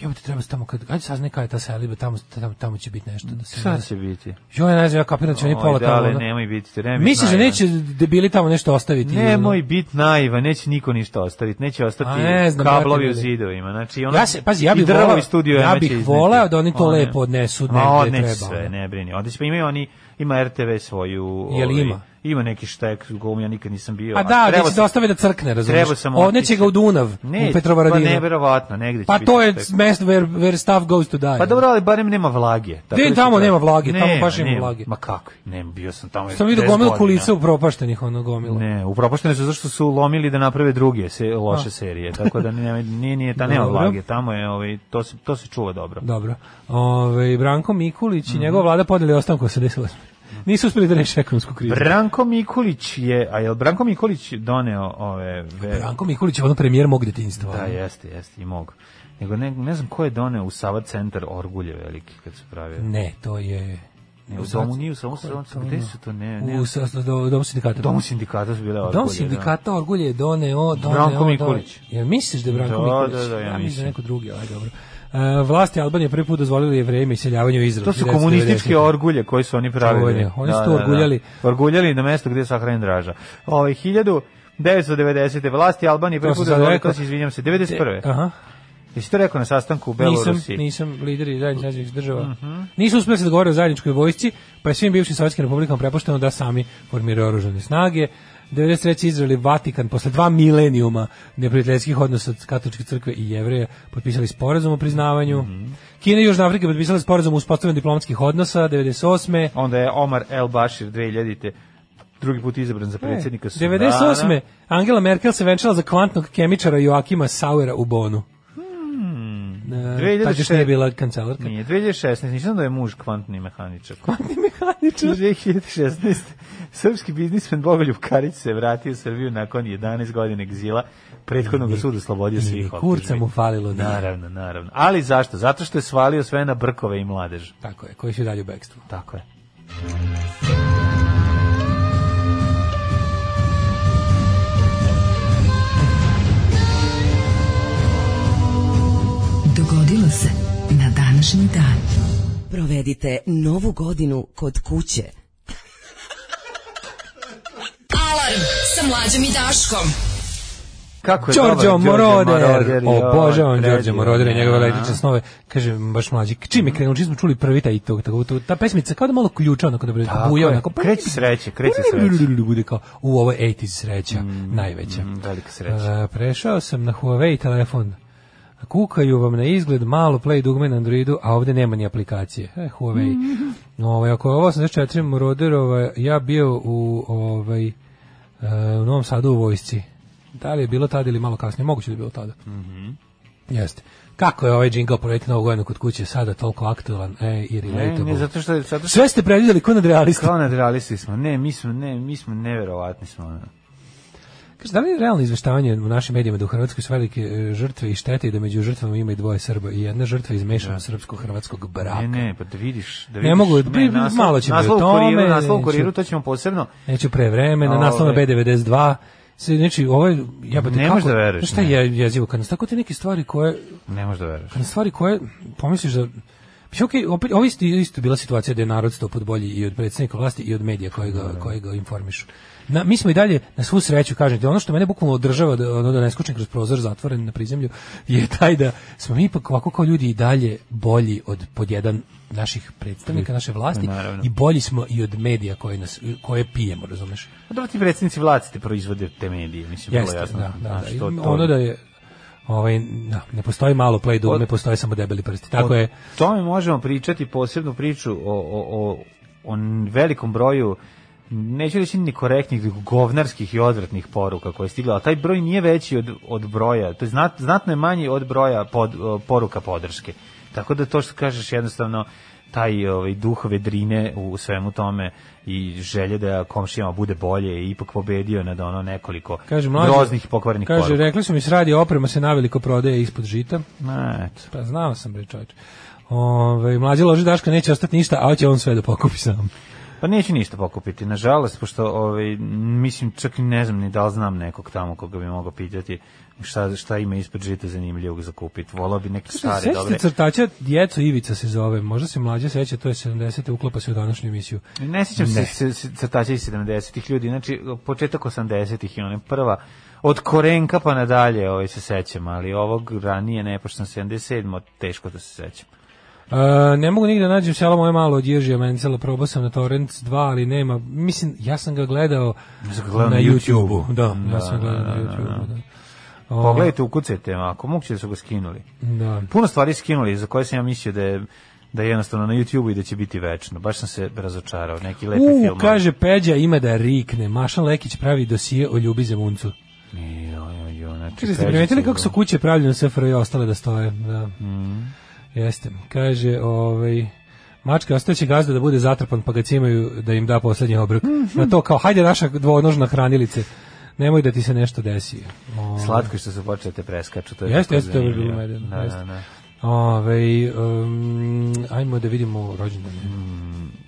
[SPEAKER 8] jebote, treba se tamo, kad, ajde saznaj kada je ta seliba, tamo, tamo, tamo će biti nešto. Da se
[SPEAKER 6] Šta će biti?
[SPEAKER 8] Jo, ja ne znam, ja kapiram da će oni
[SPEAKER 6] Oj,
[SPEAKER 8] pola tamo.
[SPEAKER 6] dale,
[SPEAKER 8] ono-
[SPEAKER 6] nemoj biti, treba biti
[SPEAKER 8] Misliš da
[SPEAKER 6] naivan.
[SPEAKER 8] neće debili tamo nešto ostaviti? ono?
[SPEAKER 6] Nemoj biti naiva, neće niko ništa ostaviti, neće ostati
[SPEAKER 8] A ne znam,
[SPEAKER 6] kablovi
[SPEAKER 8] brate,
[SPEAKER 6] u
[SPEAKER 8] ljudi.
[SPEAKER 6] zidovima. Znači, ono,
[SPEAKER 8] Ono, ja se, pazi, ja
[SPEAKER 6] i
[SPEAKER 8] bih
[SPEAKER 6] drvovi
[SPEAKER 8] volao,
[SPEAKER 6] studio
[SPEAKER 8] ja
[SPEAKER 6] Ema će
[SPEAKER 8] bih
[SPEAKER 6] izneti.
[SPEAKER 8] voleo da oni to
[SPEAKER 6] One-
[SPEAKER 8] lepo odnesu
[SPEAKER 6] Ma
[SPEAKER 8] negde
[SPEAKER 6] odneće
[SPEAKER 8] treba.
[SPEAKER 6] sve,
[SPEAKER 8] ono.
[SPEAKER 6] ne brini. Odeće, pa imaju oni, ima RTV svoju...
[SPEAKER 8] Jel
[SPEAKER 6] ovaj,
[SPEAKER 8] ima?
[SPEAKER 6] Ima neki štek, u kojem ja nikad nisam bio.
[SPEAKER 8] A da, da
[SPEAKER 6] trebao
[SPEAKER 8] će
[SPEAKER 6] sam-
[SPEAKER 8] da ostave da crkne,
[SPEAKER 6] Treba
[SPEAKER 8] razumiješ?
[SPEAKER 6] sam
[SPEAKER 8] Ovdje
[SPEAKER 6] otići.
[SPEAKER 8] će ga u Dunav,
[SPEAKER 6] Ne,
[SPEAKER 8] u Petrovaradinu.
[SPEAKER 6] Pa neverovatno, negde će
[SPEAKER 8] Pa
[SPEAKER 6] biti
[SPEAKER 8] to je
[SPEAKER 6] štek.
[SPEAKER 8] mest where, where stuff goes to die.
[SPEAKER 6] Pa dobro, ali barem nema vlage. Tako
[SPEAKER 8] Gde
[SPEAKER 6] da
[SPEAKER 8] tamo
[SPEAKER 6] se-
[SPEAKER 8] nema vlage? Tamo
[SPEAKER 6] Nema,
[SPEAKER 8] baš ima
[SPEAKER 6] nema.
[SPEAKER 8] vlage.
[SPEAKER 6] Ma kako? Nema, bio sam tamo.
[SPEAKER 8] Sam vidio
[SPEAKER 6] 10
[SPEAKER 8] gomilu
[SPEAKER 6] godina.
[SPEAKER 8] kulica upropaštenih, ono gomila.
[SPEAKER 6] Ne, upropaštene su zašto su lomili da naprave druge se loše serije, tako da nema, nije, nije ta nema
[SPEAKER 8] Dobro.
[SPEAKER 6] vlage, tamo je, ovaj, to, se, to se čuva dobro.
[SPEAKER 8] Dobro. Ove, Branko Mikulić i
[SPEAKER 6] Mhm.
[SPEAKER 8] njegova vlada podeli ostanku 88. Nisu uspeli da reše ekonomsku krizu.
[SPEAKER 6] Branko Mikulić je, a jel Branko Mikulić doneo ove... Ve...
[SPEAKER 8] Branko Mikulić je ono premijer mog detinjstva.
[SPEAKER 6] Da, jeste, jeste, i mog. Nego ne, ne znam ko je doneo u Sava centar orgulje veliki kad se pravio.
[SPEAKER 8] Ne, to je...
[SPEAKER 6] Ne, u domu
[SPEAKER 8] Znači,
[SPEAKER 6] nije, u Savu centar, gde su to, ne, ne.
[SPEAKER 8] ono? U sa- sa- do- domu sindikata.
[SPEAKER 6] domu sindikata su bile orgulje.
[SPEAKER 8] Dom
[SPEAKER 6] da.
[SPEAKER 8] sindikata Orgulje je doneo... doneo
[SPEAKER 6] Branko
[SPEAKER 8] doneo-
[SPEAKER 6] Mikulić.
[SPEAKER 8] Jel misliš da je Branko
[SPEAKER 6] Da,
[SPEAKER 8] Mikulić?
[SPEAKER 6] da, da, ja
[SPEAKER 8] mislim.
[SPEAKER 6] mislim.
[SPEAKER 8] da je neko drugi, aj dobro. E, vlasti Albanije prvi put dozvolili jevrejima iseljavanje u Izrael.
[SPEAKER 6] To su
[SPEAKER 8] 1990.
[SPEAKER 6] komunističke orgulje koje su oni pravili.
[SPEAKER 8] Orgulje, oni su to orguljali.
[SPEAKER 6] Orguljali na mesto gde je sahranjen Draža. Ovaj 1990. vlasti Albanije prvi
[SPEAKER 8] To sam
[SPEAKER 6] put
[SPEAKER 8] sad
[SPEAKER 6] dozvolili,
[SPEAKER 8] rekao.
[SPEAKER 6] to se izvinjam se, 91.
[SPEAKER 8] Aha.
[SPEAKER 6] Jesi to rekao na sastanku u
[SPEAKER 8] Nisam,
[SPEAKER 6] Belorusiji? Mhm.
[SPEAKER 8] nisam lideri zajedničkih država. Nisu uspeli se dogovoriti o zajedničkoj vojsci, pa je svim bivšim sovjetskim republikama prepušteno da sami formiraju oružane snage. 93. Izrael i Vatikan posle dva milenijuma neprijateljskih odnosa od katoličke crkve i jevreja potpisali sporazum o priznavanju.
[SPEAKER 6] Mhm.
[SPEAKER 8] Kina i Južna Afrika potpisali sporazum o uspostavljanju diplomatskih odnosa 98.
[SPEAKER 6] Onda je Omar El Bashir 2000-te drugi put izabran
[SPEAKER 8] E,
[SPEAKER 6] za predsjednika Sudana.
[SPEAKER 8] 98. Angela Merkel se venčala za kvantnog kemičara Joakima Sauera u Bonu.
[SPEAKER 6] Hmm.
[SPEAKER 8] E, Tad još
[SPEAKER 6] 2006.
[SPEAKER 8] nije bila kancelarka.
[SPEAKER 6] Nije, 2016. Nisam da je muž kvantni mehaničar.
[SPEAKER 8] Kvantni mehaničar.
[SPEAKER 6] 2016. Srpski biznismen Bogoljub Karić se vratio u Srbiju nakon 11 godina egzila. Prethodno ga sud oslobodio svih
[SPEAKER 8] kurca mu falilo, da.
[SPEAKER 6] Naravno, naravno. Ali zašto? Zato što je svalio sve na brkove i mladež.
[SPEAKER 8] Tako je, koji su i dalje u bekstvu.
[SPEAKER 6] Tako je.
[SPEAKER 5] Dogodilo se na današnji dan.
[SPEAKER 10] Provedite novu godinu kod kuće.
[SPEAKER 5] Alarm sa mlađom i Daškom.
[SPEAKER 6] Kako je
[SPEAKER 8] Đorđo
[SPEAKER 6] dobar
[SPEAKER 8] Moroder, obožavam
[SPEAKER 6] joj,
[SPEAKER 8] Đorđo Moroder i
[SPEAKER 6] predivno,
[SPEAKER 8] njegove električne
[SPEAKER 6] a?
[SPEAKER 8] snove. Kaže, baš mlađi, čim je krenuo, čim smo čuli prvi taj tog, tako, to, ta pesmica kao da malo ključa, onako da bude
[SPEAKER 6] Tako
[SPEAKER 8] buja,
[SPEAKER 6] je.
[SPEAKER 8] onako. pa
[SPEAKER 6] Kreće sreće, kreće sreće.
[SPEAKER 8] Bude kao, u ovoj 80 sreća, najveća.
[SPEAKER 6] Mm, velika sreća.
[SPEAKER 8] E, prešao sam na Huawei telefon. Kukaju vam na izgled malo play dugme na Androidu, a ovde nema ni aplikacije. E, Huawei. Ovaj, ako je ovo 84 Moroderova, ja bio u, ovaj, e, u Novom Sadu u vojsci. Da li je bilo tada ili malo kasnije? Moguće da je bilo tada.
[SPEAKER 6] Mhm.
[SPEAKER 8] Jeste. Kako je ovaj džingl projekta Novog godina kod kuće sada toliko aktualan e, i
[SPEAKER 6] Ne,
[SPEAKER 8] relatable?
[SPEAKER 6] ne, zato što je... Zato što
[SPEAKER 8] Sve ste predvidjeli ko nad realista.
[SPEAKER 6] Kao nadrealisti smo. Ne, mi smo, ne, mi smo neverovatni smo. ono.
[SPEAKER 8] Kaže, da li je realno izveštavanje u našim medijima da u Hrvatskoj su velike e, žrtve i štete i da među žrtvama ima i dvoje Srba i jedna žrtva iz mešanog srpsko-hrvatskog braka?
[SPEAKER 6] Ne, ne, pa da vidiš, da
[SPEAKER 8] Ne
[SPEAKER 6] vidiš.
[SPEAKER 8] mogu, bi- malo ćemo i o
[SPEAKER 6] naslov u
[SPEAKER 8] tome,
[SPEAKER 6] Kuriru, naslov u
[SPEAKER 8] neću-
[SPEAKER 6] kuriru, to ćemo posebno.
[SPEAKER 8] Neću pre vremena,
[SPEAKER 6] Ove.
[SPEAKER 8] naslov na B92, sve, znači, ovo je, jebote,
[SPEAKER 6] Ne
[SPEAKER 8] kako-
[SPEAKER 6] možeš da veruješ,
[SPEAKER 8] Znaš Šta
[SPEAKER 6] ne.
[SPEAKER 8] je jezivo, kad nas tako te neke stvari koje,
[SPEAKER 6] Ne možeš da veruješ.
[SPEAKER 8] kad nas Pa stvari koje, pomisliš da, Mislim, okej, opet, ovo isto, isto bila situacija da je narod sto put bolji i od predsjednika vlasti i od medija koji ga, koji ga informišu. Na, mi smo i dalje, na svu sreću, kažem ti, ono što mene bukvalno održava da, ono, da ne skočim kroz prozor zatvoren na prizemlju, je taj da smo mi ipak ovako kao ljudi i dalje bolji od pod jedan naših predstavnika, naše vlasti
[SPEAKER 6] Naravno.
[SPEAKER 8] i bolji smo i od medija koje, nas, koje pijemo, razumeš?
[SPEAKER 6] Pa Dobro ti predsjednici vlade te proizvode te medije, mislim, vrlo
[SPEAKER 8] Jeste,
[SPEAKER 6] jasno.
[SPEAKER 8] da, da,
[SPEAKER 6] Znaš,
[SPEAKER 8] da.
[SPEAKER 6] to- to-
[SPEAKER 8] Ono da je ovaj da, ne postoji malo play dugme,
[SPEAKER 6] Od-
[SPEAKER 8] postoje samo debeli prsti. Tako je.
[SPEAKER 6] O tome možemo pričati posebnu priču o, o, o, o velikom broju neću reći ni korektnih, nego govnarskih i odvratnih poruka koje je stigla, ali taj broj nije veći od, od broja, to je znat, znatno je manji od broja pod, o, poruka podrške. Tako da to što kažeš jednostavno taj ovaj, duh vedrine u svemu tome i želje da komšijama bude bolje je ipak pobedio nad ono nekoliko
[SPEAKER 8] Kaže mlađi,
[SPEAKER 6] groznih i pokvarenih
[SPEAKER 8] Kaže,
[SPEAKER 6] poruka.
[SPEAKER 8] rekli su mi s radi oprema se naveliko prodaje ispod žita.
[SPEAKER 6] Ma, eto.
[SPEAKER 8] Pa znao sam bre čoveče. Ovaj mlađi loži Daška neće ostati ništa, a hoće on sve da pokupi sam.
[SPEAKER 6] Pa neću ništa pokupiti, nažalost, pošto ovaj, mislim, čak i ne znam ni da li znam nekog tamo koga bi mogao pitati šta, šta ima ispod žita zanimljivog za kupit. Volao bi neke stare,
[SPEAKER 8] Sećate
[SPEAKER 6] dobre.
[SPEAKER 8] crtača Djeco Ivica se zove, možda se mlađe seća, to je 70. uklapa se u današnju emisiju. E,
[SPEAKER 6] Ne sjećam se, se, se crtača iz 70-ih ljudi, znači početak 80-ih i one prva, od korenka pa nadalje ovaj, se sećam, ali ovog ranije ne, pošto sam 77 teško da se sećam.
[SPEAKER 8] E, ne mogu nigde da nađem selo moje malo od Ježija Mencela, probao sam na Torrent 2, ali nema. Mislim, ja sam ga gledao,
[SPEAKER 6] sam ga gledao
[SPEAKER 8] na
[SPEAKER 6] na
[SPEAKER 8] YouTubeu.
[SPEAKER 6] YouTubeu.
[SPEAKER 8] Da,
[SPEAKER 6] Da,
[SPEAKER 8] ja sam ga gledao
[SPEAKER 6] da,
[SPEAKER 8] na
[SPEAKER 6] da, da,
[SPEAKER 8] YouTubeu, da. O,
[SPEAKER 6] Pogledajte, ukucajte, ako moguće da su ga skinuli.
[SPEAKER 8] Da.
[SPEAKER 6] Puno stvari skinuli za koje sam ja mislio da je da je jednostavno na YouTubeu i da će biti večno. Baš sam se razočarao, neki lepi
[SPEAKER 8] U,
[SPEAKER 6] film.
[SPEAKER 8] kaže Peđa ima da rikne. Mašan Lekić pravi dosije o ljubi za muncu.
[SPEAKER 6] Jo, jo, jo, znači,
[SPEAKER 8] Kaže, ste
[SPEAKER 6] pežice
[SPEAKER 8] primetili kako su
[SPEAKER 6] idu.
[SPEAKER 8] kuće pravljene SFRJ ostale da stoje? Da.
[SPEAKER 6] Mm.
[SPEAKER 8] Jeste. Kaže, ovaj... Mačke ostaće gazda da bude zatrpan pa ga cimaju da im da poslednji obrok.
[SPEAKER 6] Mhm.
[SPEAKER 8] Na to kao, hajde naša dvonožna hranilice, nemoj da ti se nešto desi. O,
[SPEAKER 6] Slatko je što su počeli da te preskaču. To je
[SPEAKER 8] Jeste,
[SPEAKER 6] tako
[SPEAKER 8] jeste, to je
[SPEAKER 6] zanimljivo.
[SPEAKER 8] bilo medijno,
[SPEAKER 6] Da,
[SPEAKER 8] jeste.
[SPEAKER 6] da, da.
[SPEAKER 8] ovaj, um, ajmo da vidimo rođendane.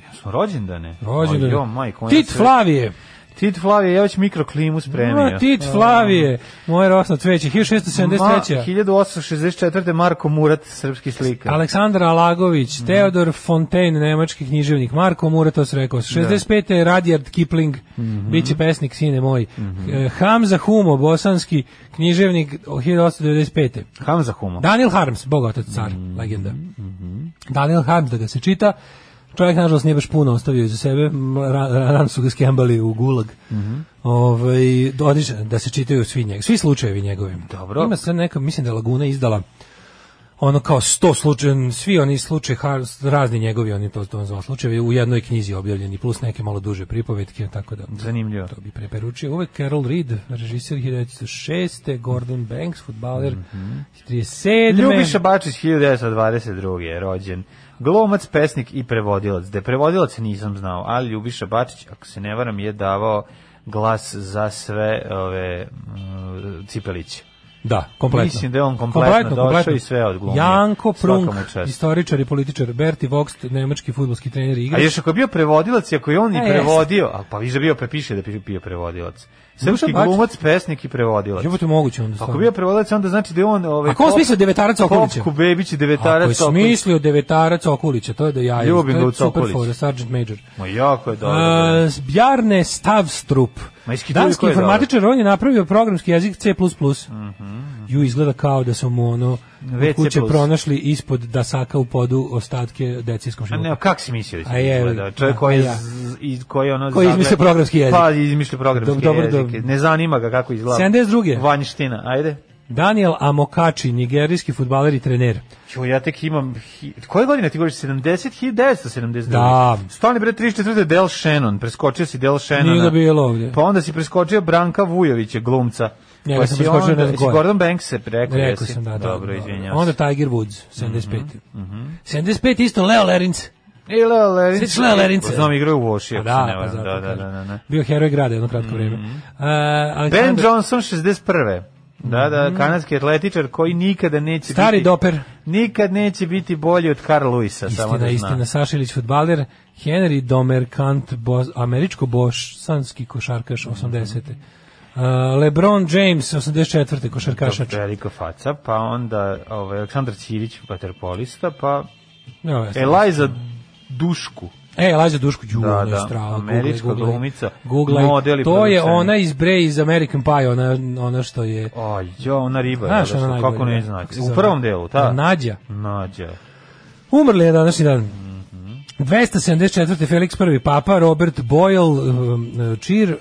[SPEAKER 6] Ja smo rođendane.
[SPEAKER 8] Rođendane.
[SPEAKER 6] O, Mm. Jo, majko. moja,
[SPEAKER 8] Tit
[SPEAKER 6] sve-
[SPEAKER 8] Flavije!
[SPEAKER 6] Tit Flavije, ja već mikroklimu spremio.
[SPEAKER 8] Ma, Tit Flavije! Moje rosno cveće, 1673.
[SPEAKER 6] Ma, 1864. Marko Murat, srpski slikar.
[SPEAKER 8] Aleksandar Alagović, Teodor Fontaine, nemački književnik, Marko Muratos rekao, 65. je Rudyard Kipling, bit će pesnik, sine moj. E, Hamza Humo, bosanski književnik, 1895.
[SPEAKER 6] Hamza Humo.
[SPEAKER 8] Mm-hmm. Daniel Harms, bogotac car, legenda. Daniel Harms, da ga se čita, Čovjek, nažalost, nije baš puno ostavio iza sebe, m, ra- ra- rano su ga skembali u gulag. Mm-hmm. Ovaj, odiš- da se čitaju svi njeg, svi slučajevi njegovi. Dobro. Ima sad neka, mislim da je Laguna izdala ono kao 100 slučajev, svi oni slučaj, razni njegovi, oni to, to zvao slučajevi, u jednoj knjizi objavljeni, plus neke malo duže pripovetke, tako da...
[SPEAKER 6] Zanimljivo.
[SPEAKER 8] To bi preperučio. Uvek Carol Reed, režisir 1906. Gordon Banks, futbaler 37.
[SPEAKER 6] Ljubiša Bačić 1922. je rođen. Glumac, pesnik i prevodilac. Da je prevodilac nisam znao, ali Ljubiša Bačić, ako se ne varam, je davao glas za sve ove mm, cipeliće.
[SPEAKER 8] Da, kompletno.
[SPEAKER 6] Mislim da je on kompletno došao i sve odglumio.
[SPEAKER 8] Janko Prunk,
[SPEAKER 6] Svaka mu čast.
[SPEAKER 8] istoričar i političar, Berti Vogst, nemački futbolski trener i
[SPEAKER 6] A
[SPEAKER 8] igrač.
[SPEAKER 6] još ako je bio prevodilac, i ako je on
[SPEAKER 8] A,
[SPEAKER 6] i
[SPEAKER 8] E, jeste.
[SPEAKER 6] prevodio, a pa vi da bio prepiše da je bio prevodilac. Srpski
[SPEAKER 8] Bačić-
[SPEAKER 6] glumac, pesnik i prevodilac.
[SPEAKER 8] Jebote moguće onda.
[SPEAKER 6] Ako je
[SPEAKER 8] stvarno.
[SPEAKER 6] bio prevodilac, onda znači da je on... Ovaj,
[SPEAKER 8] Ako on
[SPEAKER 6] Pop-
[SPEAKER 8] smislio devetarac Okolića.
[SPEAKER 6] Popku Bebić i
[SPEAKER 8] Ako je
[SPEAKER 6] devetarac Okolić.
[SPEAKER 8] smislio devetarac Okulića, to je da ja
[SPEAKER 6] Ljubim
[SPEAKER 8] to
[SPEAKER 6] ga
[SPEAKER 8] je
[SPEAKER 6] u
[SPEAKER 8] super
[SPEAKER 6] Okolić.
[SPEAKER 8] fora, Sergeant Major.
[SPEAKER 6] Ma jako je dobro.
[SPEAKER 8] A, Bjarne Stavstrup.
[SPEAKER 6] Ma iz Kitulje
[SPEAKER 8] Danski
[SPEAKER 6] ko je dobar?
[SPEAKER 8] informatičar, on je napravio programski jezik C++.
[SPEAKER 6] Mhm.
[SPEAKER 8] Ju izgleda kao da su mu ono
[SPEAKER 6] VC++.
[SPEAKER 8] od kuće pronašli ispod dasaka u podu ostatke decijskog
[SPEAKER 6] A ne,
[SPEAKER 8] života.
[SPEAKER 6] kako si mislio da
[SPEAKER 8] A
[SPEAKER 6] si
[SPEAKER 8] je,
[SPEAKER 6] izgleda? Čovjek
[SPEAKER 8] a,
[SPEAKER 6] koji je,
[SPEAKER 8] ja.
[SPEAKER 6] z- i koji je ono...
[SPEAKER 8] Koji izmislio
[SPEAKER 6] zagle-
[SPEAKER 8] programski jezik.
[SPEAKER 6] Pa, izmislio programski
[SPEAKER 8] Dobro, dobro,
[SPEAKER 6] jezik.
[SPEAKER 8] dobro.
[SPEAKER 6] Ne zanima ga kako izgleda.
[SPEAKER 8] 72..
[SPEAKER 6] Vanjština, ajde.
[SPEAKER 8] Daniel Amokači, nigerijski futbaler i trener.
[SPEAKER 6] Jo, ja tek imam... hi- Koje godine ti govoriš? 70? 1972.
[SPEAKER 8] Da.
[SPEAKER 6] Stani bre, 34. Del Shannon. Preskočio si Del Shannona.
[SPEAKER 8] Nije ga bilo ovdje.
[SPEAKER 6] Pa onda si preskočio Branka Vujovića, glumca.
[SPEAKER 8] Njega
[SPEAKER 6] pa
[SPEAKER 8] sam
[SPEAKER 6] si
[SPEAKER 8] preskočio,
[SPEAKER 6] onda-
[SPEAKER 8] ne znam
[SPEAKER 6] jesi
[SPEAKER 8] ko je.
[SPEAKER 6] Gordon Banks se rekao,
[SPEAKER 8] Rekao
[SPEAKER 6] jesi?
[SPEAKER 8] sam da, da.
[SPEAKER 6] Dobro,
[SPEAKER 8] da.
[SPEAKER 6] izvinjavam
[SPEAKER 8] Onda
[SPEAKER 6] se. Mhm,
[SPEAKER 8] Tiger Woods, 75. 75 isto Leo Lerinc.
[SPEAKER 6] I Leo Lerince.
[SPEAKER 8] Sjećaš Leo Lerince?
[SPEAKER 6] Znam igrao u Voši,
[SPEAKER 8] Pa
[SPEAKER 6] ako se ne
[SPEAKER 8] pa
[SPEAKER 6] varam.
[SPEAKER 8] zato
[SPEAKER 6] Da, da,
[SPEAKER 8] kažem.
[SPEAKER 6] da, da, da.
[SPEAKER 8] Bio heroj grada jedno kratko vrijeme. Uh,
[SPEAKER 6] Ben
[SPEAKER 8] Alexander-
[SPEAKER 6] Johnson 61. Da, da, kanadski atletičar koji nikada neće
[SPEAKER 8] Mhm. Stari
[SPEAKER 6] biti,
[SPEAKER 8] doper.
[SPEAKER 6] nikad neće biti bolji od Karl Luisa, samo
[SPEAKER 8] Istina,
[SPEAKER 6] da zna.
[SPEAKER 8] istina, Sašilić futbaler, Henry Domerkant, boz, američko-bosanski košarkaš 80.
[SPEAKER 6] Mhm.
[SPEAKER 8] Uh, Lebron James, 84. košarkašač.
[SPEAKER 6] To je Veliko faca, pa onda ovaj, Aleksandar Ćirić, vaterpolista, pa
[SPEAKER 8] Evo, ja sam-
[SPEAKER 6] Eliza Dušku.
[SPEAKER 8] E, Lađa Duško, ju,
[SPEAKER 6] Da,
[SPEAKER 8] da,
[SPEAKER 6] da,
[SPEAKER 8] da, strava,
[SPEAKER 6] američka glumica,
[SPEAKER 8] Google,
[SPEAKER 6] model i
[SPEAKER 8] to je
[SPEAKER 6] producent.
[SPEAKER 8] ona iz Bre iz American Pie, ona, ona što je...
[SPEAKER 6] Aj, jo, ona riba,
[SPEAKER 8] Znaš,
[SPEAKER 6] je, da,
[SPEAKER 8] ona
[SPEAKER 6] što-
[SPEAKER 8] najbolja.
[SPEAKER 6] kako ne
[SPEAKER 8] kako
[SPEAKER 6] znači.
[SPEAKER 8] se
[SPEAKER 6] U
[SPEAKER 8] zove?
[SPEAKER 6] prvom delu, ta?
[SPEAKER 8] Nađa.
[SPEAKER 6] Nađa.
[SPEAKER 8] Umrli je današnji dan. 274. Felix I, Papa, Robert Boyle, um, Čir, uh,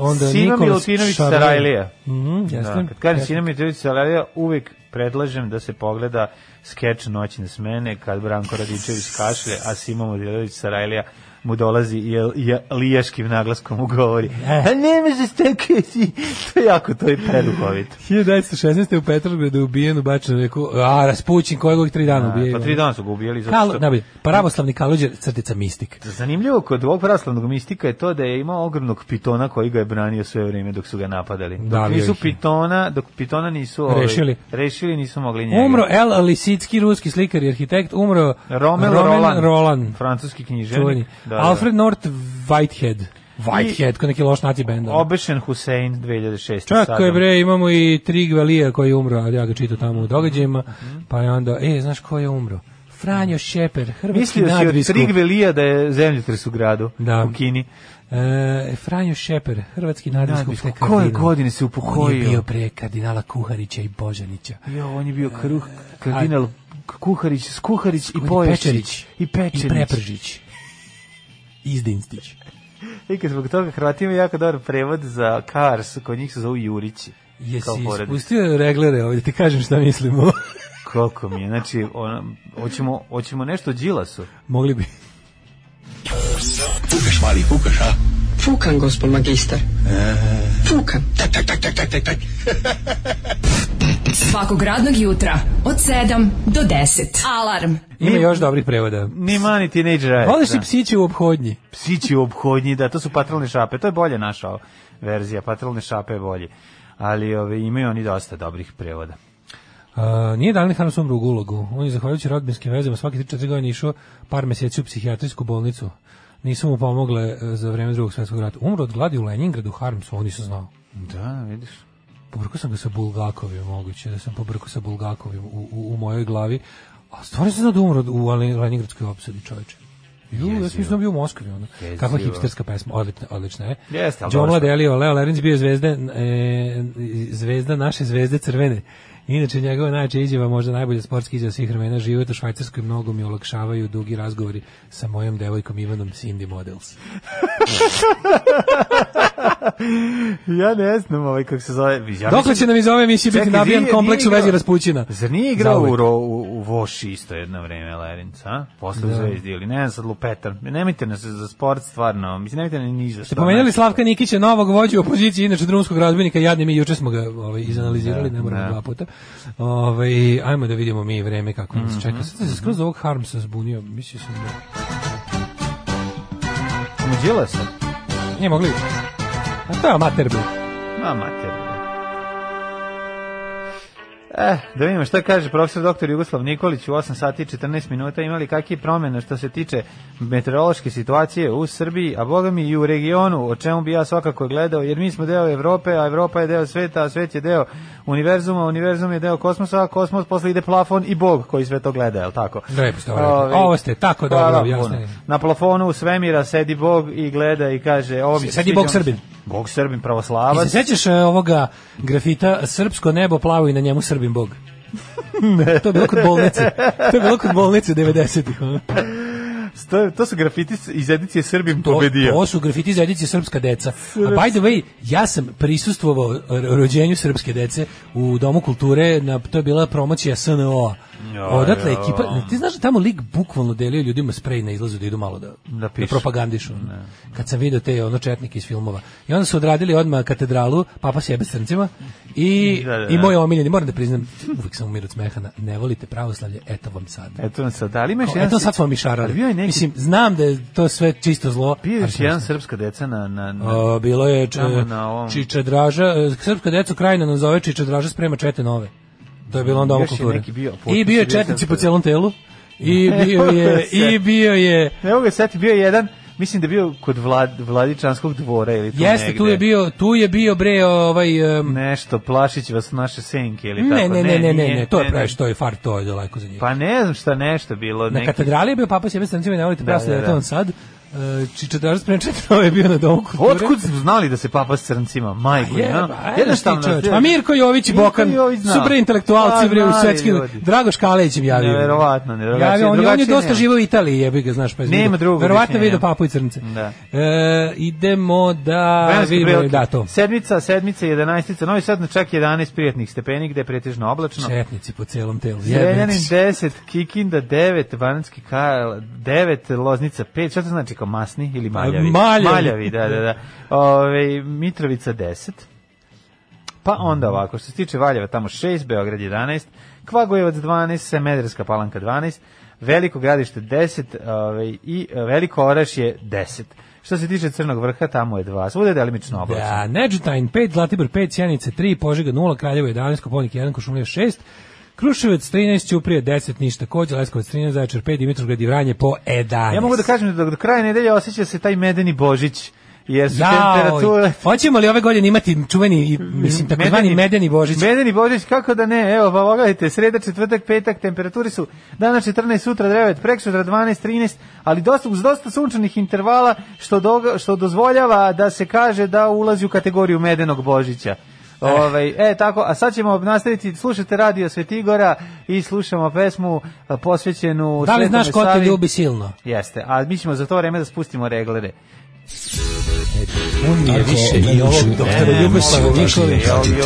[SPEAKER 8] onda
[SPEAKER 6] Sina
[SPEAKER 8] Nikolas
[SPEAKER 6] Milutinović
[SPEAKER 8] Šarlej.
[SPEAKER 6] Sarajlija.
[SPEAKER 8] Mhm, jeste.
[SPEAKER 6] Da, kad kažem
[SPEAKER 8] Jeste.
[SPEAKER 6] Sina Mitrović Sarajeva, uvek predlažem da se pogleda skeč Noćne smene kad Branko Radičević kašlje, a Sima Mitrović Sarajlija mu dolazi i je- i je- lijaškim naglaskom mu govori. A ne možeš tako si. To je jako, to je preduhovito.
[SPEAKER 8] 1916. u Petrogradu je ubijen u Bačanu reku, a Raspućin kojeg ovih tri dana ubije.
[SPEAKER 6] Pa tri dana su ga ubijali. zato
[SPEAKER 8] Kal,
[SPEAKER 6] što-
[SPEAKER 8] da bi, pravoslavni kaluđer, crtica mistik.
[SPEAKER 6] Zanimljivo kod ovog pravoslavnog mistika je to da je imao ogromnog pitona koji ga je branio sve vrijeme dok su ga napadali. Dok
[SPEAKER 8] Davio
[SPEAKER 6] nisu
[SPEAKER 8] ih je.
[SPEAKER 6] pitona, dok pitona nisu ovaj,
[SPEAKER 8] Rešili.
[SPEAKER 6] rešili, nisu mogli njega.
[SPEAKER 8] Umro El Lisicki, ruski slikar i arhitekt, umro
[SPEAKER 6] Romel
[SPEAKER 8] Roman
[SPEAKER 6] Roland,
[SPEAKER 8] Roland,
[SPEAKER 6] francuski
[SPEAKER 8] čuveni.
[SPEAKER 6] književnik. Da, da.
[SPEAKER 8] Alfred North Whitehead. Whitehead, kao neki loš nati bend. ono.
[SPEAKER 6] Obešen Hussein 2006.
[SPEAKER 8] Čako
[SPEAKER 6] sadom.
[SPEAKER 8] je bre, imamo i tri gvalija koji je umro, a ja ga čitam tamo u događajima,
[SPEAKER 6] Mhm.
[SPEAKER 8] pa je onda, e, znaš ko je umro? Franjo Šeper, hrvatski
[SPEAKER 6] Mislio si od
[SPEAKER 8] nadbiskup.
[SPEAKER 6] Trigvelija da je zemljotres u gradu,
[SPEAKER 8] Da.
[SPEAKER 6] u Kini.
[SPEAKER 8] E, Franjo Šeper, hrvatski nadbiskup.
[SPEAKER 6] Nadbiskup.
[SPEAKER 8] te kardinal.
[SPEAKER 6] Koje godine se
[SPEAKER 8] On je
[SPEAKER 6] upokojio?
[SPEAKER 8] bio pre kardinala Kuharića i Božanića.
[SPEAKER 6] Jo, on je bio kruh, kardinal Kuharić, Skuharić i Poješić.
[SPEAKER 8] Pečerić.
[SPEAKER 6] I Pečerić.
[SPEAKER 8] I Prepržić. Izdinstić.
[SPEAKER 6] I E, kad zbog toga Hrvati imaju jako dobar prevod za Kars, kod njih se zovu Jurići.
[SPEAKER 8] Jesi
[SPEAKER 6] Kao porodica.
[SPEAKER 8] ispustio reglere ovdje, ti kažem šta mislimo.
[SPEAKER 6] Koliko mi je, znači, ono, hoćemo, hoćemo nešto o Đilasu.
[SPEAKER 8] Mogli bi.
[SPEAKER 5] Fukan, gospod magister.
[SPEAKER 10] Eh.
[SPEAKER 5] Fukan.
[SPEAKER 11] Svakog radnog jutra od 7 do 10. Alarm.
[SPEAKER 8] Ima još dobrih prevoda.
[SPEAKER 6] Ni mani teenager.
[SPEAKER 8] Voliš li psiće u obhodnji?
[SPEAKER 6] psići u obhodnji, da, to su patrolne šape, to je bolje naša o- verzija, patrolne šape je bolje. Ali ove, imaju oni dosta dobrih prevoda.
[SPEAKER 8] Uh, nije Dalin Harms umro u Gulagu. On je zahvaljujući rodbinskim vezama svaki 3-4 godine išao par meseci u psihijatrijsku bolnicu. Nisu mu pomogle e, za vreme drugog svjetskog rata. Umro od gladi u Leningradu, Harms, ovo nisam znao.
[SPEAKER 6] Da, vidiš.
[SPEAKER 8] Pobrkao sam ga sa Bulgakovim, moguće da sam pobrkao sa Bulgakovim u, u, u mojoj glavi. A stvarno sam znao da umro u Ale- Leningradskoj opsadi, čoveče. Ju, ja sam mislim da bio u Moskvi, ono. Kakva hipsterska pesma, odlična, odlična je.
[SPEAKER 6] Jeste, ali
[SPEAKER 8] John
[SPEAKER 6] dobro što-
[SPEAKER 8] Mladelio, Leo Lerinc bio je zvezde, e, zvezda naše zvezde crvene. Inače, njegova najče izjava, možda najbolja sportska izjava svih vremena, život u Švajcarskoj mnogo mi olakšavaju dugi razgovori sa mojom devojkom Ivanom Cindy Models.
[SPEAKER 6] ja ne znam ovaj kako se zove. Ja
[SPEAKER 8] Dokle će nam iz ove emisije biti
[SPEAKER 6] Čekaj,
[SPEAKER 8] nabijan
[SPEAKER 6] nije-
[SPEAKER 8] kompleks
[SPEAKER 6] nije
[SPEAKER 8] u vezi
[SPEAKER 6] igrao-
[SPEAKER 8] Raspućina?
[SPEAKER 6] Zar nije igrao
[SPEAKER 8] Zauvek.
[SPEAKER 6] u, ro, u, u Voši isto jedno vreme Lerinc, a? Posle u
[SPEAKER 8] Da.
[SPEAKER 6] Zvezdi ili ne znam sad lupetam. Nemojte nas za sport stvarno, mislim nemojte Znači- ni ni za
[SPEAKER 8] Ste
[SPEAKER 6] šta.
[SPEAKER 8] pomenjali Slavka Nikića, novog vođu opozicije, inače drumskog razbojnika, jadni mi, juče smo ga ovaj, izanalizirali,
[SPEAKER 6] Da,
[SPEAKER 8] ne moramo
[SPEAKER 6] da.
[SPEAKER 8] dva puta. Ovaj, ajmo da vidimo mi vreme kako nas čeka.
[SPEAKER 6] Mhm.
[SPEAKER 8] Sad sam se skroz ovog Harmsa zbunio, mislio sam da...
[SPEAKER 6] Uđila se.
[SPEAKER 8] Nije E, mogli. A to je amater bio.
[SPEAKER 6] Ma mater. Eh, da vidimo šta kaže profesor doktor Jugoslav Nikolić u 8 sati i 14 minuta imali kakve promjene što se tiče meteorološke situacije u Srbiji, a boga mi i u regionu, o čemu bi ja svakako gledao, jer mi smo deo Evrope, a Evropa je deo sveta, a svet je deo univerzuma, univerzum je deo kosmosa, a kosmos posle ide plafon i Bog koji sve to gleda, je li tako?
[SPEAKER 8] Lepo ste ovo rekli. Ovo ste tako dobro
[SPEAKER 6] hvala
[SPEAKER 8] objasnili.
[SPEAKER 6] puno. Na plafonu svemira sedi Bog i gleda i kaže... Ovo mi se
[SPEAKER 8] Sedi
[SPEAKER 6] sviđa,
[SPEAKER 8] Bog
[SPEAKER 6] ono se-
[SPEAKER 8] Srbin.
[SPEAKER 6] Bog Srbin, pravoslavac.
[SPEAKER 8] I se sećaš e, ovoga grafita Srpsko nebo plavo i na njemu Srbin bog? ne. To je bilo kod bolnice. To je bilo kod bolnice 90-ih. ono.
[SPEAKER 6] To, to su grafiti s- iz edicije Srbim
[SPEAKER 8] To,
[SPEAKER 6] pobedio.
[SPEAKER 8] to su grafiti za edicije Srpska deca. A by the way, ja sam prisustvovao ro- rođenju Srpske dece u Domu kulture, na, to je bila promocija SNO.
[SPEAKER 6] Ja,
[SPEAKER 8] Odatle
[SPEAKER 6] ja.
[SPEAKER 8] ekipa, ti znaš da tamo lik bukvalno delio ljudima sprej na izlazu da idu malo da, da,
[SPEAKER 6] pišu.
[SPEAKER 8] propagandišu. Kad sam video te ono četnike iz filmova. I onda su odradili odmah katedralu, papa sjebe s crncima i,
[SPEAKER 6] Da, da, da.
[SPEAKER 8] i moj omiljeni, moram da priznam, uvijek sam umiru od smeha, na ne volite pravoslavlje, eto vam sad.
[SPEAKER 6] Eto nas sad, ali imaš
[SPEAKER 8] Kao, eto sad smo mi šarali.
[SPEAKER 6] Ali bio je neki,
[SPEAKER 8] Mislim, znam da je to sve čisto zlo.
[SPEAKER 6] bio je
[SPEAKER 8] ali
[SPEAKER 6] još
[SPEAKER 8] sam
[SPEAKER 6] jedan srpska deca na... na, na
[SPEAKER 8] a, bilo je č,
[SPEAKER 6] Tamo na ovom.
[SPEAKER 8] Čiče Draža, e, srpska deca krajina nam zove Čiče Draža sprema čete nove. To je bilo onda ovo
[SPEAKER 6] Još je
[SPEAKER 8] kulture.
[SPEAKER 6] neki bio,
[SPEAKER 8] I bio je
[SPEAKER 6] potpis je bio
[SPEAKER 8] četnici
[SPEAKER 6] srpska
[SPEAKER 8] po
[SPEAKER 6] deca.
[SPEAKER 8] celom telu. I bio je, i bio je,
[SPEAKER 6] Ne mogu se setiti, bio je jedan, mislim da je bio kod vlad, Vladičanskog dvora ili tu
[SPEAKER 8] jeste,
[SPEAKER 6] negde.
[SPEAKER 8] tu je bio, tu je bio bre ovaj, em,
[SPEAKER 6] Nešto, plašić vas naše senke ili
[SPEAKER 8] ne,
[SPEAKER 6] tako.
[SPEAKER 8] ne, ne, ne, ne, ne, to je
[SPEAKER 6] ne,
[SPEAKER 8] previše, to je far, to je daleko za njih.
[SPEAKER 6] Pa ne znam šta nešto bilo.
[SPEAKER 8] Na
[SPEAKER 6] neki-
[SPEAKER 8] katedrali je bio Papa Sjebe Stancima i navolite
[SPEAKER 6] Da,
[SPEAKER 8] prasle,
[SPEAKER 6] da,
[SPEAKER 8] da,
[SPEAKER 6] da.
[SPEAKER 8] on sad. E, Čiče Draža sprema čete nove je bio na domu kulture.
[SPEAKER 6] Otkud su znali da se papa s crncima? Majko,
[SPEAKER 8] Je,
[SPEAKER 6] ja?
[SPEAKER 8] pa, jednostavno. Pa Mirko Jović i
[SPEAKER 6] Mirko
[SPEAKER 8] Bokan
[SPEAKER 6] Jović
[SPEAKER 8] su
[SPEAKER 6] zna.
[SPEAKER 8] bre
[SPEAKER 6] Pa,
[SPEAKER 8] intelektualci bre u
[SPEAKER 6] znaju
[SPEAKER 8] svetski.
[SPEAKER 6] ljudi.
[SPEAKER 8] Dragoš Kalejić im javio.
[SPEAKER 6] Neverovatno, neverovatno.
[SPEAKER 8] Javio, on, je- on je
[SPEAKER 6] Drugačije
[SPEAKER 8] dosta
[SPEAKER 6] nema.
[SPEAKER 8] živao u Italiji, jebi ga, znaš, pa je
[SPEAKER 6] Nema
[SPEAKER 8] vidio-
[SPEAKER 6] drugog
[SPEAKER 8] Verovatno
[SPEAKER 6] objašnjenja.
[SPEAKER 8] vidio Papu i Crnce.
[SPEAKER 6] Da.
[SPEAKER 8] E, idemo da
[SPEAKER 6] Vremenske
[SPEAKER 8] vidimo
[SPEAKER 6] prilike.
[SPEAKER 8] da to.
[SPEAKER 6] Sedmica, sedmica, jedanaestica, novi sad na čak 11 prijatnih stepeni gde je pretežno oblačno.
[SPEAKER 8] Četnici po celom telu. jebem
[SPEAKER 6] Zrenjanin
[SPEAKER 8] ti.
[SPEAKER 6] 10, Kikinda 9, Vanacki Karl 9, Loznica 5, šta to znači kao masni ili maljavi?
[SPEAKER 8] A, maljavi.
[SPEAKER 6] maljavi da, da, da. Ove, Mitrovica 10, pa onda ovako, što se tiče Valjeva tamo 6, Beograd 11, Kvagojevac 12, Semederska palanka 12, Veliko gradište 10 ove, i e, Veliko Oraš je 10. Što se tiče Crnog vrha, tamo je 2. Svuda je delimično oblačno.
[SPEAKER 8] Da, Neđutajn 5, Zlatibor 5, Sjenice 3, Požega 0, Kraljevo 11, Koponik 1, Košumlija 6, Kruševac 13, Ćuprije 10, Niš takođe, Leskovac 13, Zaječar 5, Dimitrovgrad i Vranje po 11.
[SPEAKER 6] Ja mogu da kažem da do kraja nedelje osjeća se taj medeni Božić, jer su temperature... Mm,
[SPEAKER 8] Jao, hoćemo li ove godine imati čuveni, i, mislim, takozvani medeni božić?
[SPEAKER 6] Medeni Božić, kako da ne, evo, pa pogledajte, sreda, četvrtak, petak, temperaturi su danas 14, sutra 9, prek sutra 12, 13, ali dosta, uz dosta sunčanih intervala, što, doga- što dozvoljava da se kaže da ulazi u kategoriju medenog Božića.
[SPEAKER 8] Eh.
[SPEAKER 6] Ovaj, e, tako, a sad ćemo nastaviti, slušate radio Svetigora i slušamo pesmu a, posvećenu
[SPEAKER 8] Da li
[SPEAKER 6] Svetome
[SPEAKER 8] znaš ko te
[SPEAKER 6] Savi.
[SPEAKER 8] ljubi silno?
[SPEAKER 6] Jeste, a mi ćemo za to vreme da spustimo reglere.
[SPEAKER 8] On je više i ovog
[SPEAKER 12] E,
[SPEAKER 8] doktora Ljuboslava Nikolića.
[SPEAKER 12] Pratite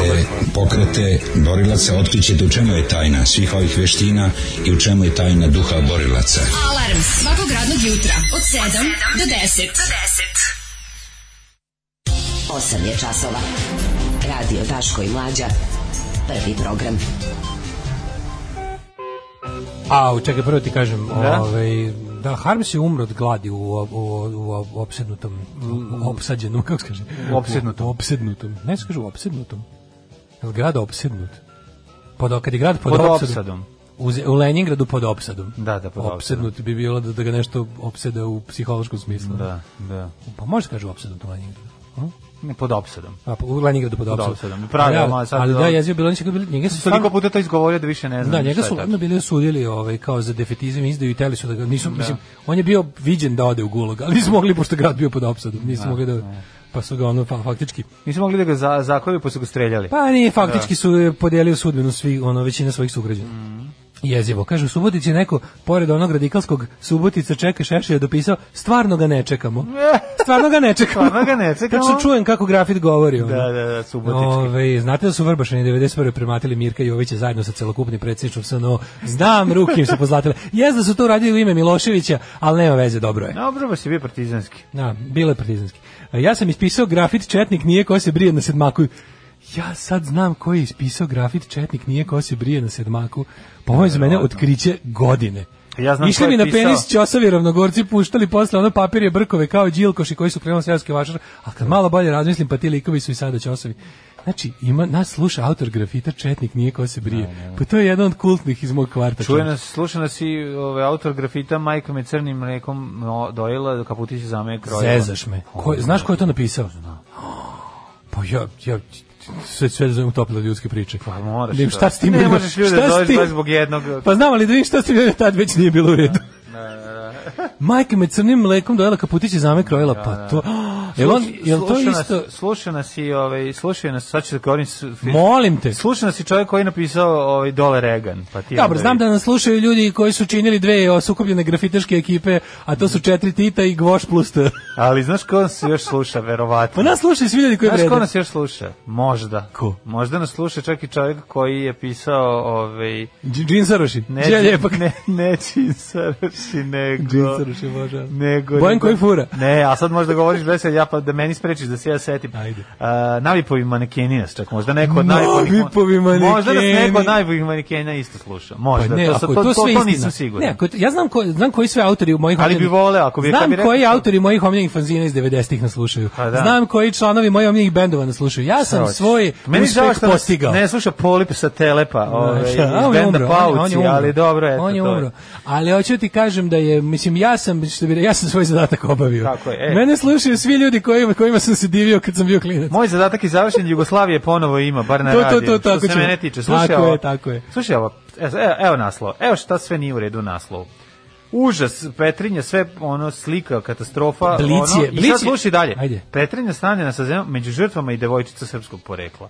[SPEAKER 12] pokrete borilaca, otkrićete u čemu je tajna svih ovih veština i u čemu je tajna duha borilaca.
[SPEAKER 11] Alarm svakog radnog jutra od 7 do 10.
[SPEAKER 10] 8 je časova. Radio Daško i Mlađa. Prvi program.
[SPEAKER 8] Au, čekaj, prvo ti kažem, da?
[SPEAKER 6] Da?
[SPEAKER 8] Ovaj, da, Harms je umro od gladi u, u, u, u opsednutom, u opsađenom, kako se kaže?
[SPEAKER 6] Mm. U opsednutom.
[SPEAKER 8] U opsednutom. Ne se kaže u opsednutom. Je li grad opsednut? Pod, kad je grad pod,
[SPEAKER 6] Pod
[SPEAKER 8] opsadom.
[SPEAKER 6] opsadom.
[SPEAKER 8] U, Z- u Leningradu pod opsadom.
[SPEAKER 6] Da, da, pod opsadom.
[SPEAKER 8] Opsednut bi bilo da, da ga nešto opseda u psihološkom smislu.
[SPEAKER 6] Da, da.
[SPEAKER 8] Pa može se kaže u opsednutom Leningradu.
[SPEAKER 6] Ne pod opsadom.
[SPEAKER 8] A, po- u Leningradu pod
[SPEAKER 6] Pod
[SPEAKER 8] opsadom.
[SPEAKER 6] opsadom. Pravi,
[SPEAKER 8] Ali,
[SPEAKER 6] ali sad-
[SPEAKER 8] ali da, jezio bilo, oni su ga bili- njega su
[SPEAKER 6] Toliko
[SPEAKER 8] stvarno-
[SPEAKER 6] puta to izgovorio da više ne znam.
[SPEAKER 8] Da, njega
[SPEAKER 6] šta je
[SPEAKER 8] su
[SPEAKER 6] tačno.
[SPEAKER 8] odmah bili osudili ovaj, kao za defetizam i izdaju i teli su da ga nisu, mislim, on je bio viđen da ode u gulag, ali nisu mogli, pošto je grad bio pod opsadom, nisu mogli da, pa su ga ono fa- faktički
[SPEAKER 6] Nisu mogli da ga za, zakolju, pa su ga streljali.
[SPEAKER 8] pa nije, faktički su e, podelio sudbinu svi, ono, većina svojih sugrađana.
[SPEAKER 6] Mhm.
[SPEAKER 8] Jezivo. Kaže, u Subotici je neko, pored onog radikalskog Subotica čeka Šešelja dopisao, stvarno ga ne čekamo. Stvarno ga ne čekamo.
[SPEAKER 6] Stvarno ga ne čekamo.
[SPEAKER 8] Tačno čujem kako grafit govori. ono.
[SPEAKER 6] Da, da, da, subotički.
[SPEAKER 8] Ove, znate da su Vrbašani 91. prematili Mirka Jovića zajedno sa celokupnim predsjedničom SNO. Znam, ruke im su pozlatile. Jez da su to uradili u ime Miloševića, ali nema veze, dobro je.
[SPEAKER 6] Dobro, baš je bio partizanski.
[SPEAKER 8] Da, bile partizanski. E, Ja sam ispisao grafit Četnik nije ko se brije na sedmaku. Ja sad znam ko je ispisao grafit Četnik nije ko se brije na sedmaku. Pa ovo je za mene otkriće godine.
[SPEAKER 6] Ja znam
[SPEAKER 8] Išli
[SPEAKER 6] ko
[SPEAKER 8] mi
[SPEAKER 6] je
[SPEAKER 8] na
[SPEAKER 6] pisao.
[SPEAKER 8] penis Ćosavi ravnogorci, puštali posle ono papirje brkove kao đilkoši koji su krenuli seoski vašar, a kad malo bolje razmislim, pa ti likovi su i sada Ćosavi. Znači, ima, nas sluša autor grafita Četnik nije ko se brije. Pa to je jedan od kultnih iz mog kvarta.
[SPEAKER 6] Čuje
[SPEAKER 8] čovječe.
[SPEAKER 6] nas, sluša nas i ove, autor grafita Majka me crnim mlekom no, dojela, kaputić za me krojila.
[SPEAKER 8] Zezaš me. Ko, znaš ko je to napisao? Pa ja, ja sve sve da zovem utopile ljudske priče. Pa
[SPEAKER 6] moraš,
[SPEAKER 8] Da im
[SPEAKER 6] da.
[SPEAKER 8] šta s tim?
[SPEAKER 6] Ne
[SPEAKER 8] ima-
[SPEAKER 6] možeš ljude
[SPEAKER 8] šta s
[SPEAKER 6] dovesti
[SPEAKER 8] tim-
[SPEAKER 6] baš zbog jednog.
[SPEAKER 8] Pa znam, ali da vidim šta s tim ljudima tad već nije bilo u redu. Majka me crnim mlekom dojela kaputić i zame krojila, pa to... Jel, on,
[SPEAKER 6] Sluš-
[SPEAKER 8] jel to
[SPEAKER 6] sluša
[SPEAKER 8] isto...
[SPEAKER 6] Nas, sluša nas i, ovaj, sluša nas, sad ću da govorim... s-
[SPEAKER 8] Molim te.
[SPEAKER 6] Sluša nas i čovjek koji je napisao ovaj, dole Regan. Pa ti
[SPEAKER 8] Dobro,
[SPEAKER 6] onda
[SPEAKER 8] znam
[SPEAKER 6] vidi.
[SPEAKER 8] da nas slušaju ljudi koji su činili dve sukupljene grafitaške ekipe, a to su četiri Tita i Gvoš plus T.
[SPEAKER 6] Ali znaš ko nas još sluša, verovatno?
[SPEAKER 8] Pa nas slušaju svi ljudi koji
[SPEAKER 6] Znaš
[SPEAKER 8] vrede.
[SPEAKER 6] ko nas još sluša? Možda. Ko? Možda nas sluša čak i čovjek koji je pisao ovaj...
[SPEAKER 8] Dž- Džin Saroši. pa-
[SPEAKER 6] Ne,
[SPEAKER 8] Đe Ljepak.
[SPEAKER 6] ne, ne Džin Saroši, nego...
[SPEAKER 8] Džin Saroši, bože.
[SPEAKER 6] Nego,
[SPEAKER 8] Bojan
[SPEAKER 6] nego-
[SPEAKER 8] koji fura.
[SPEAKER 6] Ne, a sad možda govoriš vesel, ja pa da meni sprečiš da se ja setim.
[SPEAKER 8] Ajde.
[SPEAKER 6] A, navipovi manekeni nas čak, možda neko od navipovih...
[SPEAKER 8] Navipovi manekeni.
[SPEAKER 6] Možda nas neko od navipovih manekena isto sluša. Možda,
[SPEAKER 8] Pa ne,
[SPEAKER 6] to,
[SPEAKER 8] ako
[SPEAKER 6] sad-
[SPEAKER 8] je
[SPEAKER 6] to, to,
[SPEAKER 8] to, sve
[SPEAKER 6] to
[SPEAKER 8] istina.
[SPEAKER 6] nisam siguran.
[SPEAKER 8] Ne, ako, je to- ja znam, ko, znam koji sve autori u mojih
[SPEAKER 6] Ali bi
[SPEAKER 8] omiljenih-
[SPEAKER 6] voleo, ako bi- kad
[SPEAKER 8] Znam
[SPEAKER 6] bi rekao
[SPEAKER 8] koji
[SPEAKER 6] to.
[SPEAKER 8] autori mojih omiljenih fanzina iz 90-ih nas slušaju.
[SPEAKER 6] Pa da.
[SPEAKER 8] Znam koji članovi mojih omiljenih bendova nas slušaju. Ja sam
[SPEAKER 6] Hoćeš.
[SPEAKER 8] svoj
[SPEAKER 6] Meni je žao
[SPEAKER 8] uspeh
[SPEAKER 6] što nas
[SPEAKER 8] postigao.
[SPEAKER 6] Ne sluša Polip sa Telepa, ovaj, iz
[SPEAKER 8] Znaš, a, on je
[SPEAKER 6] benda
[SPEAKER 8] umro, on je- on
[SPEAKER 6] Pauci,
[SPEAKER 8] je umro.
[SPEAKER 6] ali dobro, eto,
[SPEAKER 8] On je
[SPEAKER 6] to
[SPEAKER 8] umro. Ali hoću ti kažem da je, mislim, ja sam, što bi, re- ja sam svoj zadatak obavio.
[SPEAKER 6] Tako je, e.
[SPEAKER 8] Mene slušaju svi ljudi kojima, kojima sam se divio kad sam bio klinac.
[SPEAKER 6] Moj zadatak je završen, Jugoslavije ponovo ima, bar na
[SPEAKER 8] To, to,
[SPEAKER 6] radiju.
[SPEAKER 8] to, tako
[SPEAKER 6] što se
[SPEAKER 8] ćemo.
[SPEAKER 6] mene tiče. Slušaj,
[SPEAKER 8] Tako
[SPEAKER 6] ovo,
[SPEAKER 8] je, tako je.
[SPEAKER 6] Slušaj ovo, evo, evo naslov. Evo šta sve nije u redu u naslovu. Užas, Petrinja, sve ono slika, katastrofa.
[SPEAKER 8] Blic je,
[SPEAKER 6] ono, I
[SPEAKER 8] blic je.
[SPEAKER 6] sad slušaj dalje.
[SPEAKER 8] Ajde.
[SPEAKER 6] Petrinja stanjena sa zemljom među žrtvama i devojčica srpskog porekla.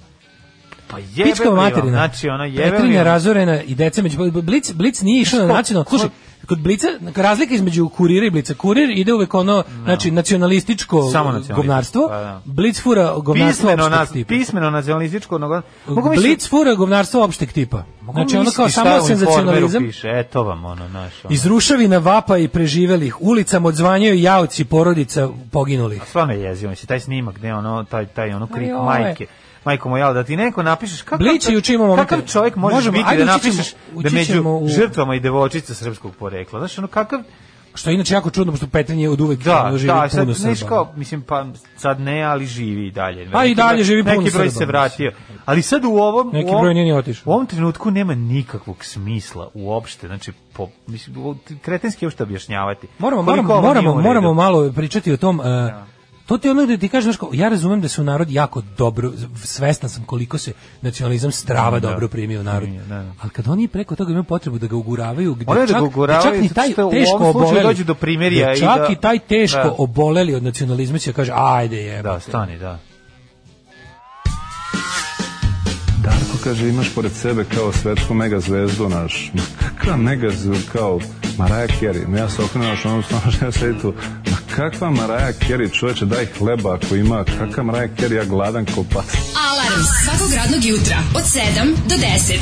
[SPEAKER 6] Pa jebe
[SPEAKER 8] Pička
[SPEAKER 6] mi vam.
[SPEAKER 8] materina.
[SPEAKER 6] Znači, ono, jebe mi
[SPEAKER 8] Petrinja
[SPEAKER 6] vam.
[SPEAKER 8] razorena i deca među... Blic, Blic nije išao na nacionalno... Slušaj, kod Blica, razlika između kurira i Blica. Kurir ide uvek ono, znači, nacionalističko
[SPEAKER 6] Samo nacionalističko,
[SPEAKER 8] govnarstvo.
[SPEAKER 6] pa da.
[SPEAKER 8] Blic fura govnarstvo
[SPEAKER 6] Pismeno,
[SPEAKER 8] opšteg
[SPEAKER 6] na,
[SPEAKER 8] tipa.
[SPEAKER 6] pismeno nacionalističko. ono- Mogu misliti-
[SPEAKER 8] Blic fura govnarstvo opšteg tipa.
[SPEAKER 6] mogu
[SPEAKER 8] Znači, ono kao
[SPEAKER 6] misliti šta
[SPEAKER 8] samo
[SPEAKER 6] u Informeru
[SPEAKER 8] senzacionalizam.
[SPEAKER 6] Piše. E, to vam ono, znaš. Ono.
[SPEAKER 8] Iz ruševina vapa i preživelih, ulicama odzvanjaju javci porodica poginulih.
[SPEAKER 6] Stvarno je jezivo, mislim, taj snimak, gde ono, taj, taj ono krik
[SPEAKER 8] Ali ovo je-
[SPEAKER 6] majke. Majko moja, ali da ti neko napišeš kakav,
[SPEAKER 8] Blic je juče imao momente-
[SPEAKER 6] kakav čovjek možeš
[SPEAKER 8] Možemo,
[SPEAKER 6] biti
[SPEAKER 8] ajde,
[SPEAKER 6] da
[SPEAKER 8] ući ćemo-
[SPEAKER 6] napišeš da
[SPEAKER 8] ući
[SPEAKER 6] među
[SPEAKER 8] ćemo u-
[SPEAKER 6] žrtvama i devojčica srpskog porekla. Znaš, ono kakav...
[SPEAKER 8] Što je inače jako čudno, pošto Petrinje od uvek
[SPEAKER 6] Da,
[SPEAKER 8] ono, živi
[SPEAKER 6] da, sad
[SPEAKER 8] puno
[SPEAKER 6] neš
[SPEAKER 8] Srba.
[SPEAKER 6] kao, mislim, pa sad ne, ali živi i dalje.
[SPEAKER 8] Pa i
[SPEAKER 6] Neki
[SPEAKER 8] dalje
[SPEAKER 6] broj-
[SPEAKER 8] živi puno
[SPEAKER 6] Neki broj
[SPEAKER 8] Srba,
[SPEAKER 6] se vratio. Ali sad u ovom... u
[SPEAKER 8] Neki
[SPEAKER 6] ovom-
[SPEAKER 8] broj nije ni otišao.
[SPEAKER 6] U ovom trenutku nema nikakvog smisla uopšte, znači, po, mislim, ovo ti kretenski je uopšte objašnjavati.
[SPEAKER 8] Moramo,
[SPEAKER 6] Koliko
[SPEAKER 8] moramo,
[SPEAKER 6] ovo nije
[SPEAKER 8] moramo,
[SPEAKER 6] u redu.
[SPEAKER 8] moramo malo pričati o tom... e, To ti je ono gde ti kažeš, znaš kao, ja razumem da se u narod jako dobro, svestan sam koliko se nacionalizam strava dobro primio u narod.
[SPEAKER 6] da, da.
[SPEAKER 8] Ali kad oni preko toga imaju potrebu da ga uguravaju, gde
[SPEAKER 6] Moraju da
[SPEAKER 8] čak,
[SPEAKER 6] ga
[SPEAKER 8] gde
[SPEAKER 6] uguravaju,
[SPEAKER 8] čak ni taj
[SPEAKER 6] zato što u
[SPEAKER 8] teško
[SPEAKER 6] ovom slučaju
[SPEAKER 8] oboleli,
[SPEAKER 6] dođu do primirja
[SPEAKER 8] gde
[SPEAKER 6] i
[SPEAKER 8] čak
[SPEAKER 6] da-
[SPEAKER 8] i taj teško
[SPEAKER 6] da.
[SPEAKER 8] oboleli od nacionalizma će kaže, ajde je.
[SPEAKER 6] Da, stani, da.
[SPEAKER 13] Darko kaže, imaš pored sebe kao svetsku megazvezdu naš. Ma kakva megazvezdu, kao Mariah Carey. Ma ja se okrenuo što ono stano što ja sedi tu. Ma kakva Mariah Carey, čoveče, daj hleba ako ima. Kakva Mariah Carey, ja gladan ko pas.
[SPEAKER 11] Alarm svakog radnog jutra od 7 do 10. Od 7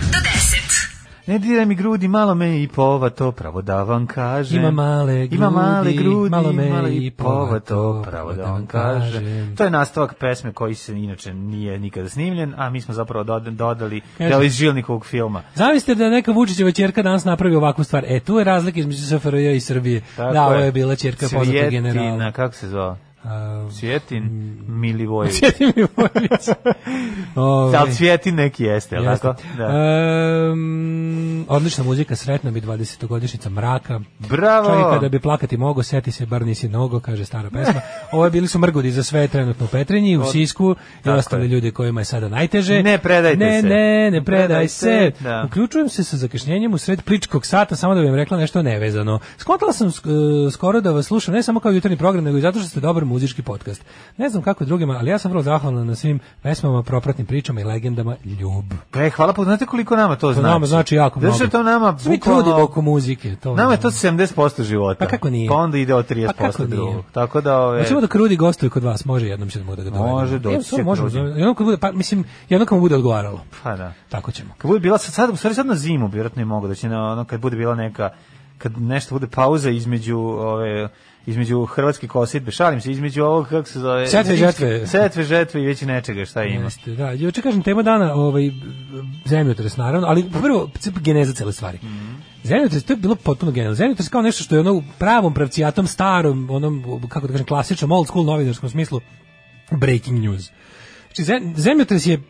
[SPEAKER 11] do 10.
[SPEAKER 6] Ne diraj mi grudi, malo me i pova to, pravo da vam kažem.
[SPEAKER 8] Ima male
[SPEAKER 6] Ima male
[SPEAKER 8] grudi,
[SPEAKER 6] grudi,
[SPEAKER 8] malo me
[SPEAKER 6] i pova to, pravo da vam kažem. To je nastavak pesme koji se inače nije nikada snimljen, a mi smo zapravo doda- dodali
[SPEAKER 8] Kaže-
[SPEAKER 6] deli iz Žilnikovog filma.
[SPEAKER 8] Zamislite da je neka Vučićeva ćerka danas napravi ovakvu stvar. E, tu je razlika između SFRJ i Srbije. da, ovo je bila ćerka poznatog generala.
[SPEAKER 6] Svjetina,
[SPEAKER 8] Mm.
[SPEAKER 6] kako se zove?
[SPEAKER 8] A,
[SPEAKER 6] Svjetin Milivojević.
[SPEAKER 8] Sjetim i Vojvić. Ovaj.
[SPEAKER 6] Ali Svjetin neki jeste, jel
[SPEAKER 8] Jeste.
[SPEAKER 6] tako? Da.
[SPEAKER 8] Ehm, odlična muzika, sretna mi 20-godišnjica mraka.
[SPEAKER 6] Bravo!
[SPEAKER 8] Čovjeka da bi plakati mogo, seti se, bar nisi nogo, kaže stara pesma. Ovo bili su mrgudi za sve trenutno u Petrinji, u Sisku i
[SPEAKER 6] je.
[SPEAKER 8] ostale ljude kojima je sada najteže.
[SPEAKER 6] Ne predajte
[SPEAKER 8] ne,
[SPEAKER 6] se.
[SPEAKER 8] Ne, ne, predaj
[SPEAKER 6] Predaj
[SPEAKER 8] se.
[SPEAKER 6] se, da.
[SPEAKER 8] Uključujem se sa zakašnjenjem u sred pličkog sata, samo eh, da bih vam rekla nešto nevezano. Skontala sam sk- e, skoro da vas slušam, ne samo kao jutarnji program, nego i zato što ste dobar muzički podcast. Ne znam kako je drugima, ali ja sam vrlo zahvalan na svim pesmama, propratnim pričama i legendama ljub.
[SPEAKER 6] E, hvala, po, znate koliko nama to
[SPEAKER 8] To
[SPEAKER 6] znači?
[SPEAKER 8] nama znači jako
[SPEAKER 6] Zato
[SPEAKER 8] mnogo.
[SPEAKER 6] što to nama...
[SPEAKER 8] Svi
[SPEAKER 6] bukvalno-
[SPEAKER 8] trudimo oko muzike. To, ono.
[SPEAKER 6] Nama je to 70% života.
[SPEAKER 8] Pa kako nije?
[SPEAKER 6] Pa onda ide od 30%
[SPEAKER 8] Pa kako nije? Znači,
[SPEAKER 6] drugog. Tako da ove...
[SPEAKER 8] Hoćemo da Krudi gostuje kod vas, može jednom ćemo da ga dovedemo.
[SPEAKER 6] Može, doći
[SPEAKER 8] Evo, to
[SPEAKER 6] će
[SPEAKER 8] možemo.
[SPEAKER 6] Krudi.
[SPEAKER 8] Jednom kad bude, pa mislim, jednom kad mu bude odgovaralo.
[SPEAKER 6] Pa da.
[SPEAKER 8] Tako ćemo.
[SPEAKER 6] Kad bude bila sad, sad, u stvari sad na zimu, vjerojatno i mogu da će na ono kad bude bila neka kad nešto bude pauza između ove između hrvatske kosidbe, šalim se, između ovog, kako se zove...
[SPEAKER 8] Setve,
[SPEAKER 6] zimske-
[SPEAKER 8] žetve.
[SPEAKER 6] Setve, žetve i već nečega, šta ima.
[SPEAKER 8] Jeste, da. Juče kažem tema dana, ovaj zemljotres naravno, ali prvo c- geneza cele stvari.
[SPEAKER 6] Mhm.
[SPEAKER 8] Zemljotres to je bilo potpuno genijalno. Zemljotres kao nešto što je ono u pravom pravcijatom starom, onom kako da kažem klasičnom old school novinarskom smislu breaking news. Znači zem- zemljotres je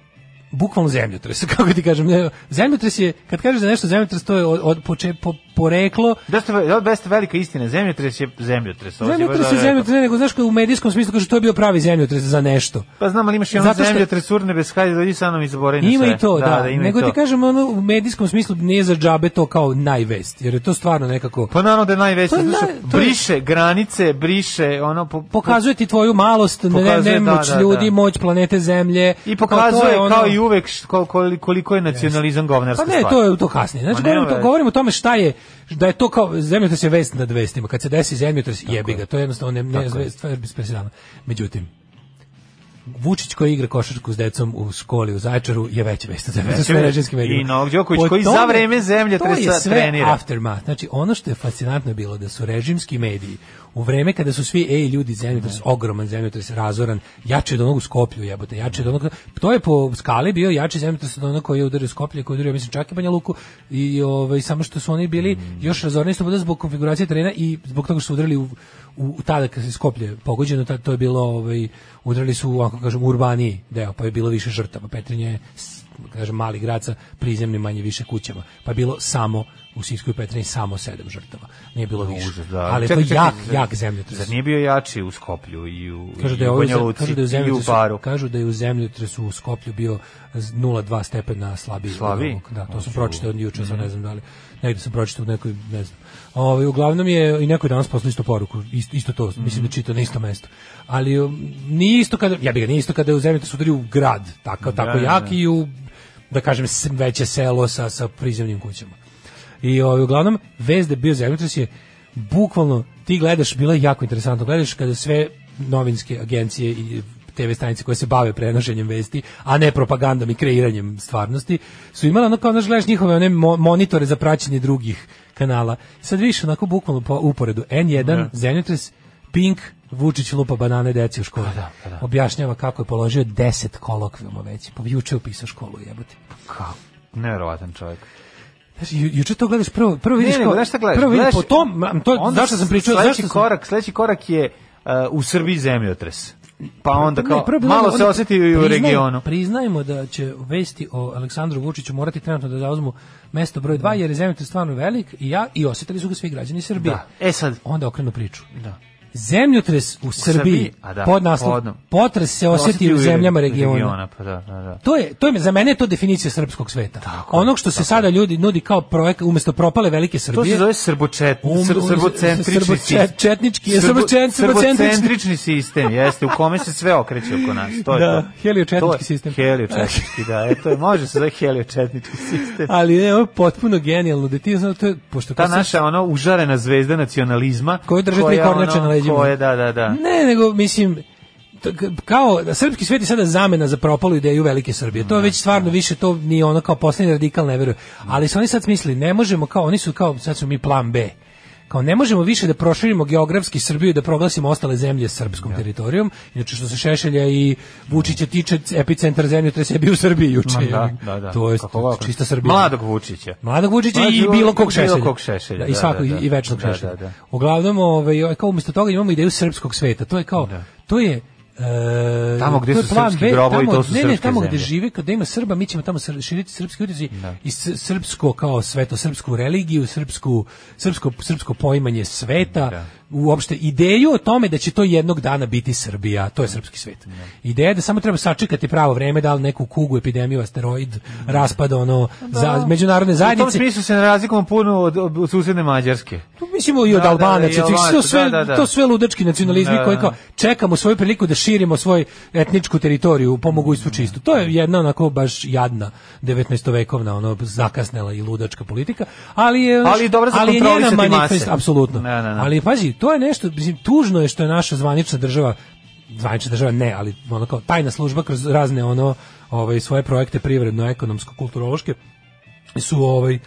[SPEAKER 8] bukvalno zemljotres, kako ti kažem. ne, Zemljotres je, kad kažeš da je nešto zemljotres, to je od, od poče, po, poreklo
[SPEAKER 6] Da ste, da da ste velika istina, zemljotres je zemljotres. ovo si baš
[SPEAKER 8] Zemljotres
[SPEAKER 6] dobro
[SPEAKER 8] je
[SPEAKER 6] rekao.
[SPEAKER 8] zemljotres, ne, nego znaš kao u medijskom smislu kaže to je bio pravi zemljotres za nešto.
[SPEAKER 6] Pa znam, ali imaš i ono
[SPEAKER 8] Zato što-
[SPEAKER 6] zemljotres urne bez hajde, dođi sa mnom i zaboravi na
[SPEAKER 8] Ima
[SPEAKER 6] sve.
[SPEAKER 8] i to, da.
[SPEAKER 6] ima i
[SPEAKER 8] Nego
[SPEAKER 6] to.
[SPEAKER 8] ti kažem, ono, u medijskom smislu nije za džabe to kao najvest, jer je to stvarno nekako...
[SPEAKER 6] Pa naravno da je najveće,
[SPEAKER 8] To je
[SPEAKER 6] zato što
[SPEAKER 8] naj- to je-
[SPEAKER 6] briše granice, briše, ono... Po, po-
[SPEAKER 8] Pokazuje ti tvoju malost, ne-
[SPEAKER 6] Pokazuje, da,
[SPEAKER 8] nemoć
[SPEAKER 6] da, da.
[SPEAKER 8] ljudi, moć planete Zemlje.
[SPEAKER 6] I
[SPEAKER 8] Kao to
[SPEAKER 6] pokazuje
[SPEAKER 8] je
[SPEAKER 6] kao,
[SPEAKER 8] ono-
[SPEAKER 6] i uvek š- kol- kol- koliko je nacionalizam govnarska
[SPEAKER 8] Pa
[SPEAKER 6] stvar.
[SPEAKER 8] ne, to je to kasnije.
[SPEAKER 6] Pa
[SPEAKER 8] Znači,
[SPEAKER 6] nema
[SPEAKER 8] govorimo, to,
[SPEAKER 6] veze.
[SPEAKER 8] govorimo o tome šta je, da je to kao zemljotres je vest nad vestima. Kad se desi zemljotres, jebi ga, to je jednostavno ne, ne,
[SPEAKER 6] Tako je.
[SPEAKER 8] stvar je bez presedana. Međutim, Vučić koji igra košarku s decom u školi u Zaječaru je veća vest od zemljotresa
[SPEAKER 6] Veća
[SPEAKER 8] u
[SPEAKER 6] vest.
[SPEAKER 8] režimskim medijima.
[SPEAKER 6] I Novak Đoković
[SPEAKER 8] Po
[SPEAKER 6] koji za
[SPEAKER 8] tome-
[SPEAKER 6] vreme zemljotresa
[SPEAKER 8] To je sve
[SPEAKER 6] trenira.
[SPEAKER 8] aftermath. Znači, ono što je fascinantno je bilo da su režimski mediji u vreme kada su svi ej ljudi zemljotres ogroman zemljotres razoran jači od onog u Skoplju jebote jači od onog to je po skali bio jači zemljotres od onog koji je udario Skoplje koji je udario mislim čak i Banja Luku i ovaj samo što su oni bili još razorniji su bili zbog konfiguracije terena i zbog toga što su udarili u, u tada kad se Skoplje pogođeno tad to je bilo ovaj udarili su u, ako kažem urbaniji deo pa je bilo više žrtava Petrinje je s- kažem mali grad sa prizemnim manje više kućama pa je bilo samo u Sinjskoj Petrinji samo sedam žrtava nije bilo više
[SPEAKER 6] Užas, da.
[SPEAKER 8] ali je to
[SPEAKER 6] Čekaj, čekaj,
[SPEAKER 8] jak
[SPEAKER 6] zar-
[SPEAKER 8] jak zemljotres
[SPEAKER 6] Zar nije bio jači u Skoplju i u,
[SPEAKER 8] Kažu da
[SPEAKER 6] i
[SPEAKER 8] je
[SPEAKER 6] u
[SPEAKER 8] ovo
[SPEAKER 6] Banja Luci
[SPEAKER 8] kažu da
[SPEAKER 6] i
[SPEAKER 8] je u
[SPEAKER 6] u
[SPEAKER 8] zemljotresu,
[SPEAKER 6] Baru?
[SPEAKER 8] kažu da je u zemljotresu u Skoplju bio z- 0,2 stepena slabiji. od
[SPEAKER 6] Slabiji? Znači, mhm.
[SPEAKER 8] ovog. Da, to sam
[SPEAKER 6] Oću.
[SPEAKER 8] pročitao od juče, sad ne znam da li. Negde sam pročitao u nekoj, ne znam. Ovaj uglavnom je i neko je danas poslao istu poruku, isto, isto
[SPEAKER 6] Mhm.
[SPEAKER 8] to, mislim da čita na isto mesto. Ali um, nije isto kada, ja bih ga, nije isto kada je u zemljotresu udario u grad, tako, tako
[SPEAKER 6] da,
[SPEAKER 8] jak
[SPEAKER 6] da.
[SPEAKER 8] i u, da kažem, s- veće selo sa, sa prizemnim kućama. I ovaj, uglavnom, vez da je bio zemljotres je bukvalno, ti gledaš, bilo je jako interesantno, gledaš kada sve novinske agencije i TV stanice koje se bave prenošenjem vesti, a ne propagandom i kreiranjem stvarnosti, su imale ono kao, znaš, gledaš njihove one mo- monitore za praćenje drugih kanala. Sad više onako bukvalno po uporedu. N1, zemljotres, Pink, Vučić lupa banane deci u školi. Objašnjava kako je položio 10 kolokvijuma već. Pa juče je upisao školu, jebote.
[SPEAKER 6] Kako? Neverovatan čovjek.
[SPEAKER 8] Znaš, ju, juče to gledaš prvo, prvo vidiš
[SPEAKER 6] ne,
[SPEAKER 8] kao,
[SPEAKER 6] nego, znaš šta gledaš?
[SPEAKER 8] prvo vidiš
[SPEAKER 6] Gledaš-
[SPEAKER 8] po tom, ma, to,
[SPEAKER 6] onda
[SPEAKER 8] zašto sam pričao,
[SPEAKER 6] sledeći
[SPEAKER 8] zašto sam,
[SPEAKER 6] korak, sledeći korak je uh, u Srbiji zemljotres. Pa onda
[SPEAKER 8] Ne,
[SPEAKER 6] kao,
[SPEAKER 8] prvo je bilo
[SPEAKER 6] malo
[SPEAKER 8] ono-
[SPEAKER 6] se
[SPEAKER 8] ono-
[SPEAKER 6] osjeti i u
[SPEAKER 8] priznaj-
[SPEAKER 6] regionu.
[SPEAKER 8] Priznajmo da će vesti o Aleksandru Vučiću morati trenutno da zauzmu mesto broj 2, jer je zemljotres stvarno velik i ja, i osjetili su ga svi građani Srbije.
[SPEAKER 6] E sad,
[SPEAKER 8] Onda okrenu priču.
[SPEAKER 6] Da.
[SPEAKER 8] Zemljotres u, Srbiji,
[SPEAKER 6] Srbiji, a da,
[SPEAKER 8] pod naslov,
[SPEAKER 6] odno-
[SPEAKER 8] potres se osjeti u zemljama regiona.
[SPEAKER 6] pa da, da, da.
[SPEAKER 8] To je, to je za mene je to definicija srpskog sveta. Onog što se sada ljudi nudi kao projekt umjesto propale velike Srbije.
[SPEAKER 6] To se zove srbočet,
[SPEAKER 8] Um,
[SPEAKER 6] sr,
[SPEAKER 8] um,
[SPEAKER 6] srbocentrični
[SPEAKER 8] srbočet-
[SPEAKER 6] sistem.
[SPEAKER 8] četnički,
[SPEAKER 6] Srbo-
[SPEAKER 8] srbočen- srbocentrični.
[SPEAKER 6] srbocentrični sistem, jeste, u kome se sve okreće oko nas. To je
[SPEAKER 8] Da,
[SPEAKER 6] to.
[SPEAKER 8] heliočetnički
[SPEAKER 6] To je
[SPEAKER 8] sistem.
[SPEAKER 6] Heliočetnički, da, e, to je, može se zove heliočetnički sistem.
[SPEAKER 8] Ali ne, ovo je potpuno genijalno. Da ti, znaš, to je, pošto
[SPEAKER 6] Ta
[SPEAKER 8] kad sam-
[SPEAKER 6] naša ono užarena zvezda nacionalizma
[SPEAKER 8] Koju drže tri
[SPEAKER 6] koja,
[SPEAKER 8] kornjače
[SPEAKER 6] ono,
[SPEAKER 8] na leđima.
[SPEAKER 6] Koje, da, da, da.
[SPEAKER 8] Ne, nego mislim to k- kao da srpski svet je sada zamena za propalu ideju velike Srbije. To je već stvarno više to ni ono kao poslednji radikal ne veruje. Ali su oni sad mislili ne možemo kao oni su kao sad su mi plan B. Kao ne možemo više da proširimo geografski Srbiju i da proglasimo ostale zemlje srpskom teritorijom. Inače što se Šešelja i Vučića tiče epicentar zemlje je bio u Srbiji juče.
[SPEAKER 6] Ma da, da, da.
[SPEAKER 8] Znači, To je
[SPEAKER 6] Kako ovako?
[SPEAKER 8] čista Srbija.
[SPEAKER 6] Mladog Vučića.
[SPEAKER 8] Mladog Vučića
[SPEAKER 6] Mladog
[SPEAKER 8] i bilo kog šešelja.
[SPEAKER 6] Bilo kog šešelja.
[SPEAKER 8] Da, I svako
[SPEAKER 6] da, da.
[SPEAKER 8] i večnog
[SPEAKER 6] Da,
[SPEAKER 8] šešelja.
[SPEAKER 6] Da, da.
[SPEAKER 8] Uglavnom, ovaj, kao umjesto toga imamo ideju srpskog sveta. To je kao, to je e,
[SPEAKER 6] Tamo gde
[SPEAKER 8] to je
[SPEAKER 6] su
[SPEAKER 8] plan
[SPEAKER 6] srpski
[SPEAKER 8] B,
[SPEAKER 6] grobovi,
[SPEAKER 8] tamo-
[SPEAKER 6] to su
[SPEAKER 8] ne, ne,
[SPEAKER 6] srpske
[SPEAKER 8] tamo gde
[SPEAKER 6] zemlje.
[SPEAKER 8] žive, kada ima Srba, mi ćemo tamo sr- širiti srpski utjecaj i s- srpsko kao sveto, srpsku religiju, srpsku, srpsko, srpsko poimanje sveta, uopšte ideju o tome da će to jednog dana biti Srbija, to je srpski svet. Ideja je da samo treba sačekati pravo vreme, da li neku kugu, epidemiju, asteroid, raspad ono, za, međunarodne zajednice.
[SPEAKER 6] U tom smislu se ne razlikamo puno od, od, od susjedne Mađarske.
[SPEAKER 8] Tu mislimo i
[SPEAKER 6] Da,
[SPEAKER 8] od
[SPEAKER 6] da,
[SPEAKER 8] Albanaca,
[SPEAKER 6] i
[SPEAKER 8] to
[SPEAKER 6] Albanaca,
[SPEAKER 8] su sve,
[SPEAKER 6] da, da, da.
[SPEAKER 8] to su sve ludački nacionalizmi
[SPEAKER 6] Da,
[SPEAKER 8] koji
[SPEAKER 6] da.
[SPEAKER 8] kao čekamo svoju priliku da širimo svoju etničku teritoriju po mogućstvu čistu. To je jedna onako baš jadna 19-vekovna ono zakasnela i ludačka politika, ali je
[SPEAKER 6] Ali je dobra za
[SPEAKER 8] ali je njena
[SPEAKER 6] kontrolisati mase.
[SPEAKER 8] manifest- apsolutno.
[SPEAKER 6] Da, da, da.
[SPEAKER 8] Ali pazi, to je nešto, mislim, tužno je što je naša zvanična država zvanična država ne, ali ono kao tajna služba kroz razne ono ovaj svoje projekte privredno, ekonomsko, kulturološke su ovaj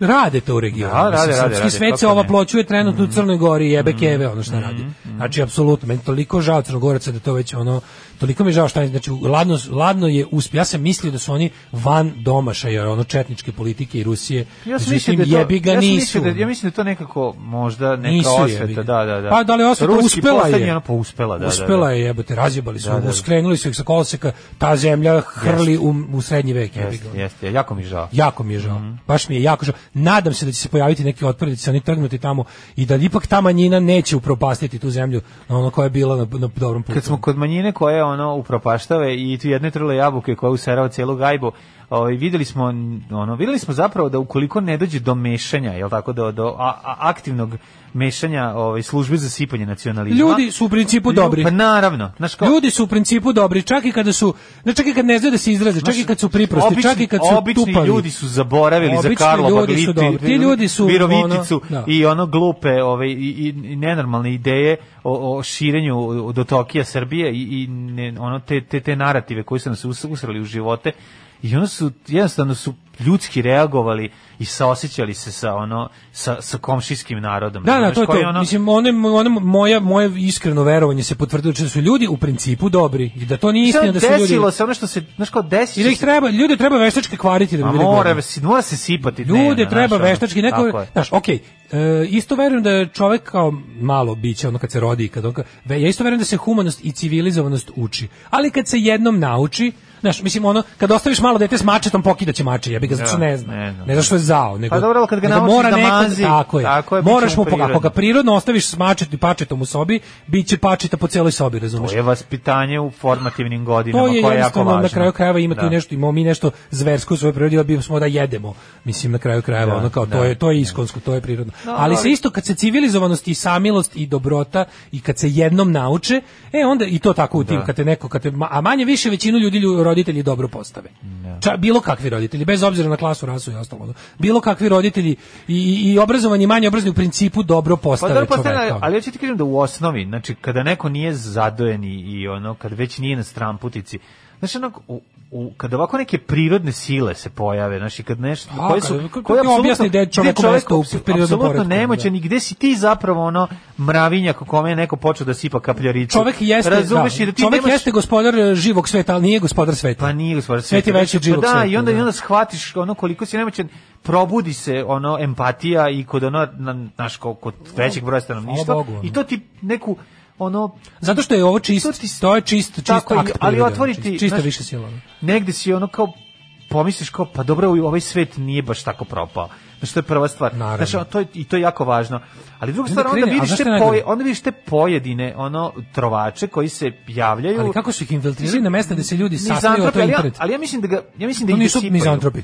[SPEAKER 8] rade to u regionu.
[SPEAKER 6] Da, rade,
[SPEAKER 8] Mislim,
[SPEAKER 6] rade,
[SPEAKER 8] srpski
[SPEAKER 6] rade,
[SPEAKER 8] svet se
[SPEAKER 6] kako ne. Mhm.
[SPEAKER 8] ova pločuje trenutno u Crnoj Gori, jebe keve, ono što radi. Znači, apsolutno, meni toliko žao Crnogoraca da to već ono, toliko mi je žao što, znači, ladno, ladno je uspio, ja sam mislio da su oni van domaša, jer ono četničke politike i Rusije,
[SPEAKER 6] Pa Ja sam
[SPEAKER 8] međutim,
[SPEAKER 6] mislim da je to,
[SPEAKER 8] jebi ga
[SPEAKER 6] ja sam
[SPEAKER 8] nisu.
[SPEAKER 6] mislio da, ja mislim da je to nekako možda neka
[SPEAKER 8] Nisu jebi
[SPEAKER 6] osveta, da,
[SPEAKER 8] ga.
[SPEAKER 6] da, da.
[SPEAKER 8] Pa da li je osveta
[SPEAKER 6] Ruski
[SPEAKER 8] uspela
[SPEAKER 6] poslednji,
[SPEAKER 8] je?
[SPEAKER 6] Ono, pa uspela, da,
[SPEAKER 8] uspela
[SPEAKER 6] da, da.
[SPEAKER 8] je, jebote, razjebali su,
[SPEAKER 6] Da, da, da.
[SPEAKER 8] skrenuli su ih sa koloseka, ta zemlja hrli u, u srednji vek, jebi ga. ono.
[SPEAKER 6] Jeste, jeste, jako mi je žao.
[SPEAKER 8] Jako mi je žao.
[SPEAKER 6] Mhm.
[SPEAKER 8] Baš mi je jako žao. Nadam se da će se pojaviti neki otpor, da će se oni trgnuti tamo i da ipak ta manjina neće upropastiti tu zemlju na ono koja je bila na, na dobrom putu.
[SPEAKER 6] Kad smo kod manjine koje ono upropaštave i tu jedne trle jabuke koja userava celu gajbu, ovaj videli smo ono videli smo zapravo da ukoliko ne dođe do mešanja, je tako do do a- a- aktivnog mešanja ovaj službe za sipanje nacionalizma.
[SPEAKER 8] Ljudi su u principu
[SPEAKER 6] Lju-
[SPEAKER 8] dobri.
[SPEAKER 6] Pa naravno, znaš kao
[SPEAKER 8] Ljudi su u principu dobri, čak i kada su, ne čak i kad ne znaju da se izraze, čak i kad su priprosti,
[SPEAKER 6] obični-
[SPEAKER 8] čak i kad su
[SPEAKER 6] obični
[SPEAKER 8] tupavi.
[SPEAKER 6] ljudi su zaboravili
[SPEAKER 8] Obični
[SPEAKER 6] za Karlobag,
[SPEAKER 8] ljudi su
[SPEAKER 6] Liti-
[SPEAKER 8] dobri. Ti ljudi su,
[SPEAKER 6] Viroviticu
[SPEAKER 8] ono, da.
[SPEAKER 6] i ono glupe ove, i, i, i nenormalne ideje o, o širenju do Tokija Srbije i, i ne, ono te, te, te narative koji su nas us- usrali u živote i ono su jednostavno su ljudski reagovali i saosećali se sa ono sa, sa komšijskim narodom.
[SPEAKER 8] Da, da,
[SPEAKER 6] Znaš, ono-
[SPEAKER 8] to je
[SPEAKER 6] koji
[SPEAKER 8] to. Mislim, one, one, moja, moje iskreno verovanje se potvrdilo da su ljudi u principu dobri i da to nije
[SPEAKER 6] Sad
[SPEAKER 8] istina da su ljudi...
[SPEAKER 6] desilo se ono što se, znaš kao desilo
[SPEAKER 8] I da ih
[SPEAKER 6] se-
[SPEAKER 8] treba, ljude treba veštački kvariti da bi
[SPEAKER 6] A
[SPEAKER 8] bili
[SPEAKER 6] mora,
[SPEAKER 8] godni.
[SPEAKER 6] se- mora se sipati dnevno.
[SPEAKER 8] Ljude
[SPEAKER 6] znaš,
[SPEAKER 8] treba
[SPEAKER 6] ono.
[SPEAKER 8] veštački
[SPEAKER 6] Tako
[SPEAKER 8] neko,
[SPEAKER 6] je.
[SPEAKER 8] znaš, okej, e, isto verujem da je čovek kao malo biće, ono kad se rodi, i kad, on ka- ve- ja isto verujem da se humanost i civilizovanost uči, ali kad se jednom nauči, znaš, mislim, ono, kad ostaviš malo dete s mačetom, pokidaće mače, ja bi ga, zato što
[SPEAKER 6] Da,
[SPEAKER 8] ne znam,
[SPEAKER 6] ne
[SPEAKER 8] ne,
[SPEAKER 6] znam.
[SPEAKER 8] znaš što je zao, nego,
[SPEAKER 6] Pa dobro, ali kad ga
[SPEAKER 8] nego
[SPEAKER 6] naučiš da
[SPEAKER 8] neko-
[SPEAKER 6] mazi,
[SPEAKER 8] tako je,
[SPEAKER 6] tako je, bit će
[SPEAKER 8] moraš
[SPEAKER 6] mu
[SPEAKER 8] mu, po- ako
[SPEAKER 6] prirodno.
[SPEAKER 8] ga prirodno ostaviš s mačetom i pačetom u sobi, bit će pačeta po celoj sobi, razumeš?
[SPEAKER 6] To je vaspitanje u formativnim godinama
[SPEAKER 8] To je
[SPEAKER 6] koje je jako
[SPEAKER 8] jednostavno
[SPEAKER 6] važno.
[SPEAKER 8] na kraju krajeva ima tu
[SPEAKER 6] Da.
[SPEAKER 8] nešto imamo mi nešto zversko u svojoj prirodi ali smo da jedemo mislim na kraju krajeva
[SPEAKER 6] Da,
[SPEAKER 8] ono kao to
[SPEAKER 6] da,
[SPEAKER 8] je to je iskonsko to je prirodno
[SPEAKER 6] No,
[SPEAKER 8] ali se
[SPEAKER 6] ali-
[SPEAKER 8] isto kad se civilizovanost i samilost i dobrota i kad se jednom nauče e onda i to tako u tim
[SPEAKER 6] Da.
[SPEAKER 8] kad te neko kad te, ma- a manje više većinu ljudi lju- roditelji dobro postave Ča, bilo kakvi roditelji bez obzira na klasu rasu i ostalo ono. bilo kakvi roditelji i, i, i obrazovani i manje obrazovani u principu dobro
[SPEAKER 6] Pa
[SPEAKER 8] postave
[SPEAKER 6] dobro, pa
[SPEAKER 8] čoveka,
[SPEAKER 6] stvarno,
[SPEAKER 8] ono.
[SPEAKER 6] ali ja ću ti kažem da u osnovi, znači kada neko nije zadojen i, i ono, kad već nije na stramputici, znači ono, u, u, kada ovako neke prirodne sile se pojave, znači kad nešto,
[SPEAKER 8] A,
[SPEAKER 6] koje su,
[SPEAKER 8] Pa, kad- kad
[SPEAKER 6] koje
[SPEAKER 8] ti objasni gde je čoveku mesto u prirodnom
[SPEAKER 6] apsolutno
[SPEAKER 8] poretku,
[SPEAKER 6] nemoćan i gde si ti zapravo ono mravinjak u kome je neko počeo da sipa kapljaricu.
[SPEAKER 8] Čovek jeste,
[SPEAKER 6] Razumeš,
[SPEAKER 8] da,
[SPEAKER 6] i da ti
[SPEAKER 8] čovek
[SPEAKER 6] nemaš-
[SPEAKER 8] jeste gospodar e, živog sveta, ali nije gospodar sveta.
[SPEAKER 6] Pa nije gospodar
[SPEAKER 8] Svet je veći od živog
[SPEAKER 6] Pa da,
[SPEAKER 8] sveta,
[SPEAKER 6] i onda,
[SPEAKER 8] da.
[SPEAKER 6] i onda shvatiš ono koliko si nemoćan, probudi se ono empatija i kod ono, na, naš, kod većeg broja stanovništva.
[SPEAKER 8] Hvala Bogu, ono.
[SPEAKER 6] I to ti neku, ono,
[SPEAKER 8] Zato što je ovo čist, to,
[SPEAKER 6] To ti-
[SPEAKER 8] je čist, čist
[SPEAKER 6] Tako je,
[SPEAKER 8] akt
[SPEAKER 6] ali
[SPEAKER 8] prirode,
[SPEAKER 6] otvori
[SPEAKER 8] ono,
[SPEAKER 6] ti,
[SPEAKER 8] čist- čista
[SPEAKER 6] znaš-
[SPEAKER 8] više sila. ono.
[SPEAKER 6] negde si ono kao pomisliš kao pa dobro ovaj svet nije baš tako propao. Znači to je prva stvar.
[SPEAKER 8] Naravno.
[SPEAKER 6] Znači ono, to je, i to je jako važno. Ali druga
[SPEAKER 8] Onda
[SPEAKER 6] stvar onda
[SPEAKER 8] krene, a
[SPEAKER 6] vidiš
[SPEAKER 8] znaš
[SPEAKER 6] te
[SPEAKER 8] šta je najgore?
[SPEAKER 6] poje- onda vidiš te pojedine ono trovače koji se javljaju.
[SPEAKER 8] Ali kako su ih infiltrirali na mesta gde se ljudi sastaju o
[SPEAKER 6] Mizantropi,
[SPEAKER 8] to
[SPEAKER 6] ali ja,
[SPEAKER 8] internet?
[SPEAKER 6] ali ja mislim da ga ja mislim da
[SPEAKER 8] To
[SPEAKER 6] ih
[SPEAKER 8] nisu
[SPEAKER 6] sipaju.
[SPEAKER 8] mizantropi.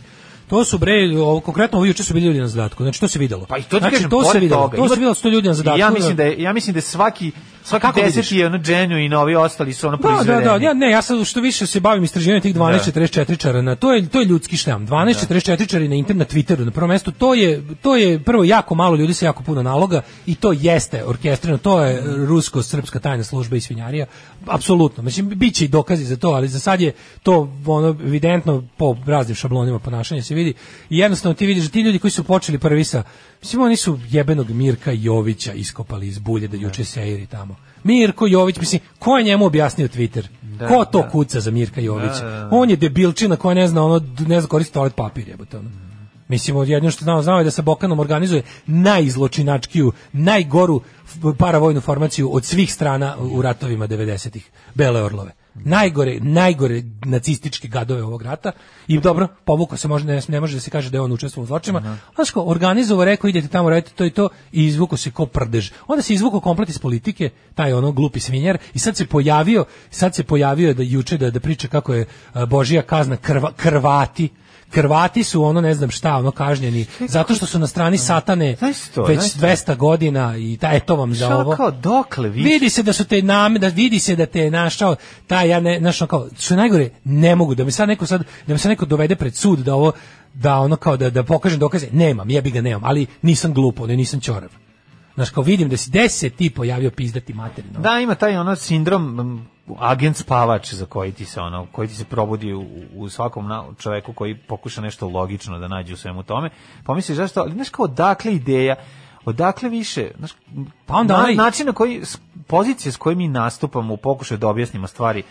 [SPEAKER 8] To su bre, ovo, konkretno ovo juče su bili ljudi na zadatku. Znači to se videlo.
[SPEAKER 6] Pa i to ti
[SPEAKER 8] znači,
[SPEAKER 6] kažem,
[SPEAKER 8] to se
[SPEAKER 6] pored
[SPEAKER 8] videlo.
[SPEAKER 6] toga.
[SPEAKER 8] To se
[SPEAKER 6] Ima-
[SPEAKER 8] videlo, sto ljudi na
[SPEAKER 6] I
[SPEAKER 8] zadatku.
[SPEAKER 6] Ja mislim da je, ja mislim da je svaki svaki
[SPEAKER 8] kako
[SPEAKER 6] deseti
[SPEAKER 8] vidiš?
[SPEAKER 6] je ono genuine, ovi ostali su ono
[SPEAKER 8] Da, da,
[SPEAKER 6] proizvedeni.
[SPEAKER 8] da, ja ne, ja sad što više se bavim istraživanjem tih 12-44 čarana, to je, to je ljudski štam, 12-44 čari na internet, na Twitteru, na prvom mestu, to je, to je prvo jako malo ljudi sa jako puno naloga i to jeste orkestrino, to je rusko-srpska tajna služba i svinjarija, apsolutno, mislim, bit će i dokazi za to, ali za sad je to ono evidentno po raznim šablonima ponašanja se vidi i jednostavno ti vidiš da ti ljudi koji su počeli prvi sa, mislim, oni su jebenog Mirka Jovića iskopali iz bulje da juče seiri tamo. Mirko Jović, mislim, ko je njemu objasnio Twitter? ko to kuca za Mirka Jovića?
[SPEAKER 6] Da, da, da.
[SPEAKER 8] On je debilčina koja ne zna, ono, d- ne zna koristiti toalet papir, jebote, ono. Mislim, od jedno što znamo, znamo je da sa Bokanom organizuje najzločinačkiju, najgoru f- paravojnu formaciju od svih strana u u ratovima 90-ih, Bele Orlove. najgore, najgore nacističke gadove ovog rata i dobro, povukao se, možda ne, ne može da se kaže da je on učestvovao u zločinima, znaš ko, organizovao, rekao idete tamo, radite to i to i izvuko se ko prdež. Onda se izvuko komplet iz politike, taj ono glupi svinjar i sad se pojavio, sad se pojavio da juče da, da priča kako je a, Božija kazna krva, krvati, Krvati su ono ne znam šta, ono kažnjeni zato što su na strani satane
[SPEAKER 6] to,
[SPEAKER 8] već
[SPEAKER 6] znaš to?
[SPEAKER 8] 200 godina i ta eto vam za
[SPEAKER 6] Šta
[SPEAKER 8] ovo.
[SPEAKER 6] ono kao, dokle vi-
[SPEAKER 8] Vidi se da su te name, da vidi se da te je našao, ta ja ne, našao kao, što je najgore, ne mogu, da mi sad neko sad, da mi sad neko dovede pred sud da ovo, da ono kao, da, da pokažem dokaze, nemam, jebi ga nemam, ali nisam glupo, ne, nisam ćorav. Znaš, kao vidim da si deset ti pojavio pizdati materinu.
[SPEAKER 6] Da, ima taj ono sindrom m, agent spavač za koji ti se ono koji ti se probudi u, u svakom na, čoveku koji pokuša nešto logično da nađe u svemu tome. Pomisliš zašto, ali znaš kao odakle ideja, odakle više, znaš,
[SPEAKER 8] Pa onda
[SPEAKER 6] na,
[SPEAKER 8] onaj-
[SPEAKER 6] način na koji s- pozicije s kojim mi nastupamo u pokušaju da objasnimo stvari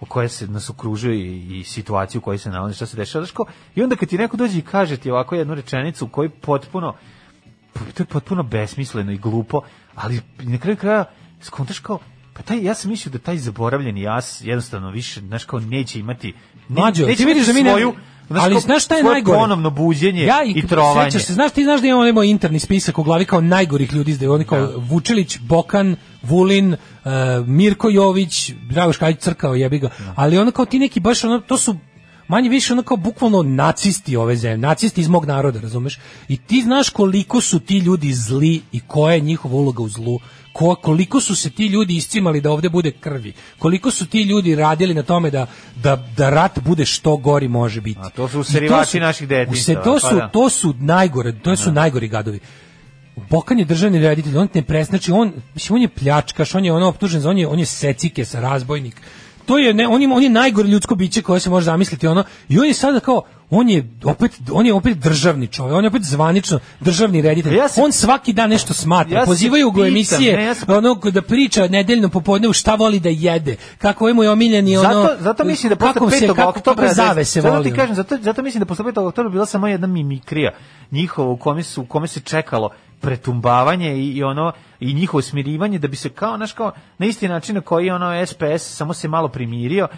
[SPEAKER 6] o koje se nas okružuje i, i situaciju u kojoj se nalazi, šta se dešava. Znaš kao, I onda kad ti neko dođe i kaže ti ovako jednu rečenicu u kojoj potpuno to je potpuno besmisleno i glupo, ali na kraju kraja skontaš kao, pa taj, ja sam mislio da taj zaboravljeni jas jednostavno više, znaš kao, neće imati ne-
[SPEAKER 8] Mlađo,
[SPEAKER 6] neće
[SPEAKER 8] ti vidiš da
[SPEAKER 6] imati
[SPEAKER 8] mi ne...
[SPEAKER 6] svoju, znaš,
[SPEAKER 8] ali
[SPEAKER 6] kao,
[SPEAKER 8] znaš šta je
[SPEAKER 6] svoje
[SPEAKER 8] najgore?
[SPEAKER 6] ponovno buđenje
[SPEAKER 8] ja
[SPEAKER 6] i trovanje.
[SPEAKER 8] Sećaš se, znaš ti znaš da imamo onaj moj interni spisak u glavi kao najgorih ljudi, da je oni kao Vučelić, Bokan, Vulin, e, Mirko Jović, Dragoš Kajić crkao jebi ga, ali ono kao ti neki baš ono, to su manje više ono kao bukvalno nacisti ove zemlje, nacisti iz mog naroda, razumeš? I ti znaš koliko su ti ljudi zli i koja je njihova uloga u zlu ko, koliko su se ti ljudi iscimali da ovde bude krvi, koliko su ti ljudi radili na tome da, da, da rat bude što gori može biti. A
[SPEAKER 6] to su usirivači naših
[SPEAKER 8] Se,
[SPEAKER 6] detinjstava,
[SPEAKER 8] to,
[SPEAKER 6] pa
[SPEAKER 8] su,
[SPEAKER 6] da.
[SPEAKER 8] to su najgore, to su najgori gadovi. Bokan je državni reditelj, on ne presnači, on, mislim, on je pljačkaš, on je ono optužen za, on je, on je secike sa razbojnik. To je, ne, on, ima, on je najgore ljudsko biće koje se može zamisliti, ono, i on je sada kao, on je opet, on je opet državni čovjek, on je opet zvanično državni reditelj.
[SPEAKER 6] Ja se-
[SPEAKER 8] on svaki dan nešto smatra,
[SPEAKER 6] Ja se
[SPEAKER 8] pozivaju ga u
[SPEAKER 6] pitam,
[SPEAKER 8] emisije,
[SPEAKER 6] ne, ja se-
[SPEAKER 8] ono, da priča nedeljno popodne u šta voli da jede, kako je mu je omiljeni, ono,
[SPEAKER 6] zato, zato mislim da posle
[SPEAKER 8] kako
[SPEAKER 6] 5.
[SPEAKER 8] se- kako-
[SPEAKER 6] oktobra
[SPEAKER 8] kako zavese
[SPEAKER 6] zato
[SPEAKER 8] voli,
[SPEAKER 6] ti
[SPEAKER 8] ono.
[SPEAKER 6] kažem zato zato mislim da posle 5. oktobra bila samo jedna mimikrija njihova u kome su u kome se čekalo pretumbavanje i, i ono i njihovo smirivanje da bi se kao naš kao na isti način na koji je ono SPS samo se malo primirio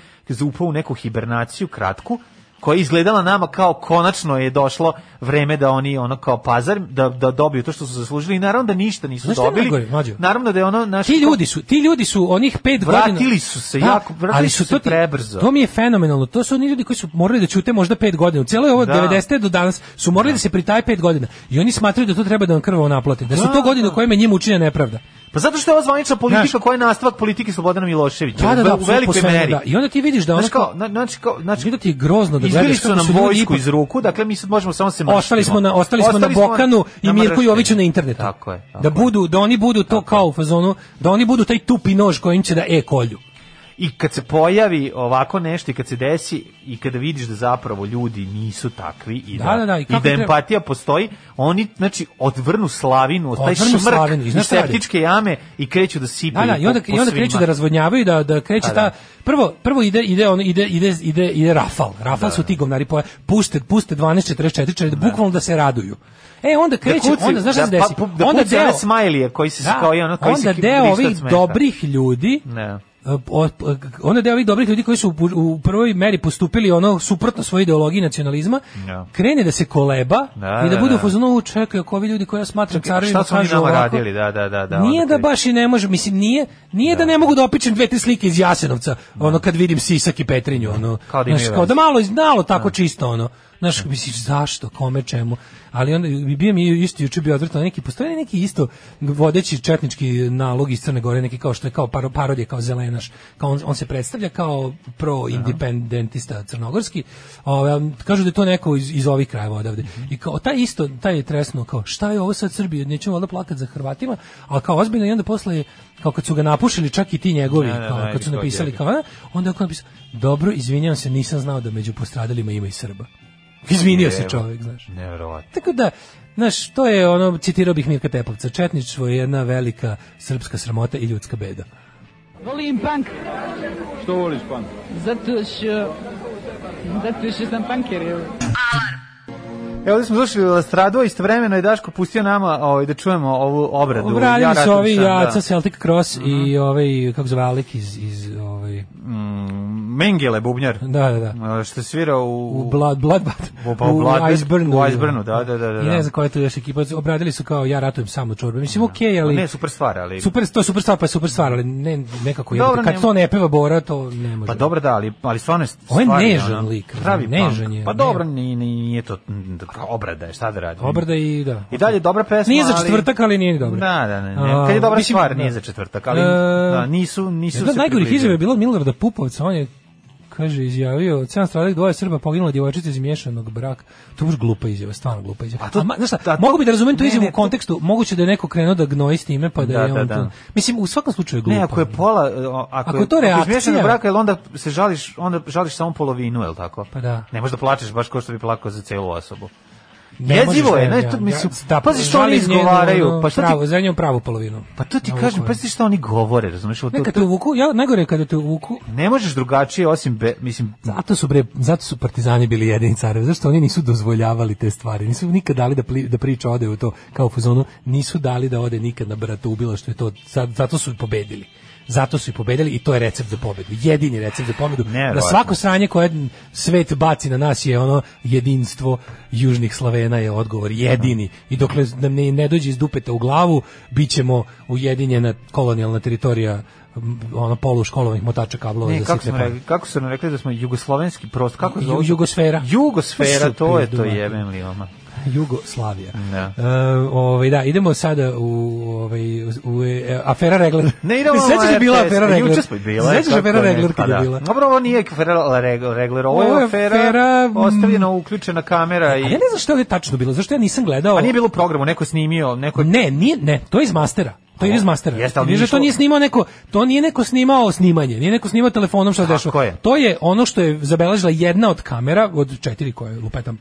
[SPEAKER 6] upao u neku hibernaciju kratku koja je izgledala nama kao konačno je došlo vreme da oni ono kao pazar da, da dobiju to što su zaslužili i naravno da ništa nisu
[SPEAKER 8] Znaš šta je
[SPEAKER 6] dobili
[SPEAKER 8] najgore, mlađo?
[SPEAKER 6] naravno da je ono naš
[SPEAKER 8] ti ljudi su ti ljudi su onih pet
[SPEAKER 6] Vratili
[SPEAKER 8] godina
[SPEAKER 6] su se jako, vratili
[SPEAKER 8] ali
[SPEAKER 6] su se
[SPEAKER 8] to ti-
[SPEAKER 6] prebrzo.
[SPEAKER 8] to mi je fenomenalno to su oni ljudi koji su morali da ćute možda pet godina u cijeloj ovo
[SPEAKER 6] Da.
[SPEAKER 8] 90. do danas su morali da se pritaje pet godina i oni smatraju da to treba da vam krvavo naplate da su
[SPEAKER 6] Da,
[SPEAKER 8] to godine u kojima je njima učinjena nepravda
[SPEAKER 6] Pa zato što je ova zvanična politika koja je nastavak politike Slobodana Miloševića.
[SPEAKER 8] Da,
[SPEAKER 6] u
[SPEAKER 8] da, da, apsolutno,
[SPEAKER 6] velikoj
[SPEAKER 8] po svemu,
[SPEAKER 6] meri.
[SPEAKER 8] da. I onda ti vidiš da ono
[SPEAKER 6] Znaš kao,
[SPEAKER 8] kao-
[SPEAKER 6] na- znači kao, znači
[SPEAKER 8] ti je grozno da
[SPEAKER 6] izbili
[SPEAKER 8] gledaš
[SPEAKER 6] su
[SPEAKER 8] kako
[SPEAKER 6] nam
[SPEAKER 8] ljudi
[SPEAKER 6] vojsku
[SPEAKER 8] ipak-
[SPEAKER 6] iz ruku, dakle mi sad možemo samo se mrštimo.
[SPEAKER 8] ostali smo na ostali smo na
[SPEAKER 6] Ostali smo
[SPEAKER 8] Bokanu i
[SPEAKER 6] na
[SPEAKER 8] Mirku
[SPEAKER 6] mrštenju.
[SPEAKER 8] Joviću na internetu.
[SPEAKER 6] Tako je, tako
[SPEAKER 8] da
[SPEAKER 6] je.
[SPEAKER 8] budu da oni budu to kao u fazonu, da oni budu taj tupi nož kojim će da e kolju.
[SPEAKER 6] I kad se pojavi ovako nešto i kad se desi i kada vidiš da zapravo ljudi nisu takvi i da,
[SPEAKER 8] Da, da, da, i
[SPEAKER 6] i
[SPEAKER 8] kako
[SPEAKER 6] da
[SPEAKER 8] treba-
[SPEAKER 6] empatija postoji, oni znači odvrnu slavinu, taj
[SPEAKER 8] Odvrnu
[SPEAKER 6] šmrk
[SPEAKER 8] slavinu, i
[SPEAKER 6] iz
[SPEAKER 8] znaš šta radi?
[SPEAKER 6] septičke jame i kreću da sipaju
[SPEAKER 8] Da, da, i onda,
[SPEAKER 6] po, po
[SPEAKER 8] i onda
[SPEAKER 6] svima.
[SPEAKER 8] kreću da razvodnjavaju, da, da kreće
[SPEAKER 6] Pa da.
[SPEAKER 8] ta... Prvo, prvo ide, ide, on, ide, ide, ide, ide Rafal. Rafal su ti govnari poja. Puste, puste 12.44, čari da. bukvalno da se raduju. E, onda kreće,
[SPEAKER 6] kuci-
[SPEAKER 8] onda, znaš šta
[SPEAKER 6] da
[SPEAKER 8] se desi?
[SPEAKER 6] pa- pu- da
[SPEAKER 8] onda
[SPEAKER 6] puca one smajlije koji se-
[SPEAKER 8] da,
[SPEAKER 6] koji ono- koji se
[SPEAKER 8] onda
[SPEAKER 6] ki-
[SPEAKER 8] deo
[SPEAKER 6] vrišta od
[SPEAKER 8] ovih
[SPEAKER 6] smeha.
[SPEAKER 8] dobrih ljudi,
[SPEAKER 6] Ne.
[SPEAKER 8] e, o- e, onda deo ovih dobrih ljudi koji su u- u prvoj meri postupili ono suprotno svojoj ideologiji nacionalizma,
[SPEAKER 6] Da.
[SPEAKER 8] krene da se koleba
[SPEAKER 6] Da,
[SPEAKER 8] i da,
[SPEAKER 6] da,
[SPEAKER 8] budu u
[SPEAKER 6] da.
[SPEAKER 8] fazonu, "U, čekaj, ako ovi ljudi koje ja smatram carevima
[SPEAKER 6] Šta su oni
[SPEAKER 8] kažu
[SPEAKER 6] nama
[SPEAKER 8] ovako,
[SPEAKER 6] radili? Da, da, da, da.
[SPEAKER 8] nije
[SPEAKER 6] onda
[SPEAKER 8] da
[SPEAKER 6] kreću.
[SPEAKER 8] baš i ne može, mislim nije, nije da, ne mogu da opičem dve tri slike iz Jasenovca, ono kad vidim Sisak i Petrinju, ono.
[SPEAKER 6] Kao da
[SPEAKER 8] znaš,
[SPEAKER 6] imaju
[SPEAKER 8] kao
[SPEAKER 6] veze.
[SPEAKER 8] da malo iznalo tako čisto ono. Znaš, misliš zašto, kome, čemu? Ali onda bi bio mi isto juče bio odvrtno neki postoji neki isto vodeći četnički nalog iz Crne Gore, neki kao što je kao paro, parodija kao zelenaš, kao on, on se predstavlja kao pro independentista crnogorski. Ovaj kažu da je to neko iz, iz ovih krajeva odavde.
[SPEAKER 6] Mhm.
[SPEAKER 8] I kao taj isto taj je tresno kao šta je ovo sad Srbija, nećemo valjda plakati za Hrvatima, ali kao ozbiljno i onda posle kao kad su ga napušili čak i ti njegovi,
[SPEAKER 6] Da, da,
[SPEAKER 8] kao,
[SPEAKER 6] da,
[SPEAKER 8] kad su
[SPEAKER 6] jebi ga,
[SPEAKER 8] napisali
[SPEAKER 6] jebi
[SPEAKER 8] kao a, onda je on napisao dobro, izvinjavam se, nisam znao da među postradalima ima i Srba. Izvinio se
[SPEAKER 6] Evo.
[SPEAKER 8] čovjek, znaš.
[SPEAKER 6] Neverovatno.
[SPEAKER 8] Tako da, znaš, to je ono, citirao bih Mirka Tepovca, Četničstvo je jedna velika srpska sramota i ljudska beda.
[SPEAKER 14] Volim punk,
[SPEAKER 13] Što voliš, pan?
[SPEAKER 14] zato što... Zato što sam punker, evo.
[SPEAKER 6] Evo ovdje smo slušali Lastradu, a istovremeno je Daško pustio nama ovaj, da čujemo ovu obradu.
[SPEAKER 8] Obradili su
[SPEAKER 6] ratam
[SPEAKER 8] ovi
[SPEAKER 6] sam, da. Mhm.
[SPEAKER 8] jaca Celtic Cross i ovaj, kako zove, Alek iz, iz ovaj,
[SPEAKER 6] Mm, Mengele bubnjar.
[SPEAKER 8] Da, da, da.
[SPEAKER 6] A, Što svira u
[SPEAKER 8] u Blood Bloodbath.
[SPEAKER 6] U, pa, u Bloodbath,
[SPEAKER 8] Iceburnu.
[SPEAKER 6] u Iceburnu, da, da, da, da.
[SPEAKER 8] I ne znam koja je tu još ekipa. Obradili su kao ja ratujem samo čorbe. Mislim, okej, ali...
[SPEAKER 6] Pa Ne, super stvar, ali...
[SPEAKER 8] Super, to je super stvar, pa je super stvar, ali ne, nekako je.
[SPEAKER 6] Dobro,
[SPEAKER 8] Kad
[SPEAKER 6] ne-
[SPEAKER 8] to ne peva Bora, to ne može.
[SPEAKER 6] Pa dobro da, ali, ali stvarno je
[SPEAKER 8] On je
[SPEAKER 6] stvarno,
[SPEAKER 8] nežan
[SPEAKER 6] ono,
[SPEAKER 8] lik,
[SPEAKER 6] Pravi
[SPEAKER 8] nežan
[SPEAKER 6] punk.
[SPEAKER 8] je,
[SPEAKER 6] Pa
[SPEAKER 8] ne.
[SPEAKER 6] dobro, nije, nije to mm, obrada je, šta da radi?
[SPEAKER 8] Obrada i Pa da.
[SPEAKER 6] I dalje dobra pesma,
[SPEAKER 8] Nije za
[SPEAKER 6] ali-
[SPEAKER 8] četvrtak, ali nije ni dobro.
[SPEAKER 6] Da, da, ne, ne. Kad je dobra stvar, nije za četvrtak, ali, da, nisu- nisu
[SPEAKER 8] E, Jedna od
[SPEAKER 6] se
[SPEAKER 8] najgorih
[SPEAKER 6] približili.
[SPEAKER 8] izjava je bila Milorada Pupovca, on je kaže izjavio od sedam stradalih dvoje Srba poginula djevojčica iz miješanog braka. To je baš glupa izjava, stvarno glupa izjava. A to, znaš šta, mogu bi da razumem tu
[SPEAKER 6] ne,
[SPEAKER 8] izjavu
[SPEAKER 6] ne,
[SPEAKER 8] u kontekstu, moguće da je neko krenuo da gnoji s time, pa da,
[SPEAKER 6] Da,
[SPEAKER 8] je
[SPEAKER 6] da,
[SPEAKER 8] on
[SPEAKER 6] da.
[SPEAKER 8] to- Mislim, u svakom slučaju je glupa.
[SPEAKER 6] Ne, ako je pola, e, o, ako,
[SPEAKER 8] Ako je to
[SPEAKER 6] je
[SPEAKER 8] reakcija-
[SPEAKER 6] izmješano braka, jel onda se žališ, onda žališ samo polovinu, je li tako?
[SPEAKER 8] Pa da.
[SPEAKER 6] Ne možeš da plačeš baš kao što bi plakao za celu osobu.
[SPEAKER 8] Ne
[SPEAKER 6] Jezivo
[SPEAKER 8] možeš,
[SPEAKER 6] je,
[SPEAKER 8] ne,
[SPEAKER 6] ne,
[SPEAKER 8] ja,
[SPEAKER 6] to mislim,
[SPEAKER 8] ja,
[SPEAKER 6] da,
[SPEAKER 8] da,
[SPEAKER 6] pazi što oni
[SPEAKER 8] žalim njenu,
[SPEAKER 6] izgovaraju,
[SPEAKER 8] ono,
[SPEAKER 6] pa što
[SPEAKER 8] pravo,
[SPEAKER 6] ti,
[SPEAKER 8] za njenu pravu polovinu.
[SPEAKER 6] pa to ti
[SPEAKER 8] Ovo
[SPEAKER 6] kažem,
[SPEAKER 8] koje-
[SPEAKER 6] pazi što oni govore, razumeš, o to,
[SPEAKER 8] Ne, kad te
[SPEAKER 6] to,
[SPEAKER 8] uvuku, ja, najgore je kada te uvuku,
[SPEAKER 6] ne možeš drugačije osim, be, mislim,
[SPEAKER 8] Zato su bre, zato su partizani bili jedini carevi. Zašto oni nisu dozvoljavali te stvari? Nisu nikad dali da pli- da priča ode u to kao u fazonu, nisu dali da ode nikad na brata ubila što je to. za- Zato su i pobedili. Zato su i pobedili i to je recept za pobedu. Jedini recept za pobedu.
[SPEAKER 6] Nevjerovatno.
[SPEAKER 8] Da svako sranje koje svet baci na nas je ono jedinstvo južnih Slavena je odgovor jedini. I dokle nam ne, ne dođe iz dupeta u glavu, bit ćemo ujedinjena kolonijalna teritorija m, ono polu školovanih motača kablova
[SPEAKER 6] ne,
[SPEAKER 8] za
[SPEAKER 6] kako
[SPEAKER 8] sitne
[SPEAKER 6] smo
[SPEAKER 8] pare.
[SPEAKER 6] rekli, kako su nam rekli da smo jugoslovenski prost, kako
[SPEAKER 8] Ju-
[SPEAKER 6] zove?
[SPEAKER 8] jugosfera.
[SPEAKER 6] Jugosfera,
[SPEAKER 8] Su
[SPEAKER 6] to je
[SPEAKER 8] pizdu
[SPEAKER 6] to
[SPEAKER 8] materinu.
[SPEAKER 6] jebem li vama.
[SPEAKER 8] Jugoslavija.
[SPEAKER 6] Da.
[SPEAKER 8] E, ovaj, da, idemo sada u, ovaj, u, e, afera Regler.
[SPEAKER 6] Ne idemo
[SPEAKER 8] Sećaš
[SPEAKER 6] na
[SPEAKER 8] da je bila
[SPEAKER 6] RTS?
[SPEAKER 8] afera Regler?
[SPEAKER 6] Juče smo bila.
[SPEAKER 8] Sećaš
[SPEAKER 6] kako
[SPEAKER 8] afera
[SPEAKER 6] ne,
[SPEAKER 8] Regler
[SPEAKER 6] pa
[SPEAKER 8] kad je
[SPEAKER 6] da.
[SPEAKER 8] bila?
[SPEAKER 6] Dobro, ovo nije afera Regler, Regler, ovo
[SPEAKER 8] Ovo
[SPEAKER 6] je
[SPEAKER 8] je
[SPEAKER 6] afera,
[SPEAKER 8] afera, mm,
[SPEAKER 6] ostavljena uključena kamera
[SPEAKER 8] A ja
[SPEAKER 6] i...
[SPEAKER 8] ne znam što je ovdje tačno bilo, zašto ja nisam gledao.
[SPEAKER 6] Pa nije bilo u programu, neko je snimio, neko je...
[SPEAKER 8] Ne, nije, ne, to je iz mastera. To je iz mastera.
[SPEAKER 6] Jeste, ali
[SPEAKER 8] Vidiš da
[SPEAKER 6] nije
[SPEAKER 8] to
[SPEAKER 6] išlo-
[SPEAKER 8] nije snimao neko, to nije neko snimao snimanje, nije neko snimao telefonom što se dešava.
[SPEAKER 6] je.
[SPEAKER 8] To je ono što je zabeležila jedna od kamera od četiri koje lupetam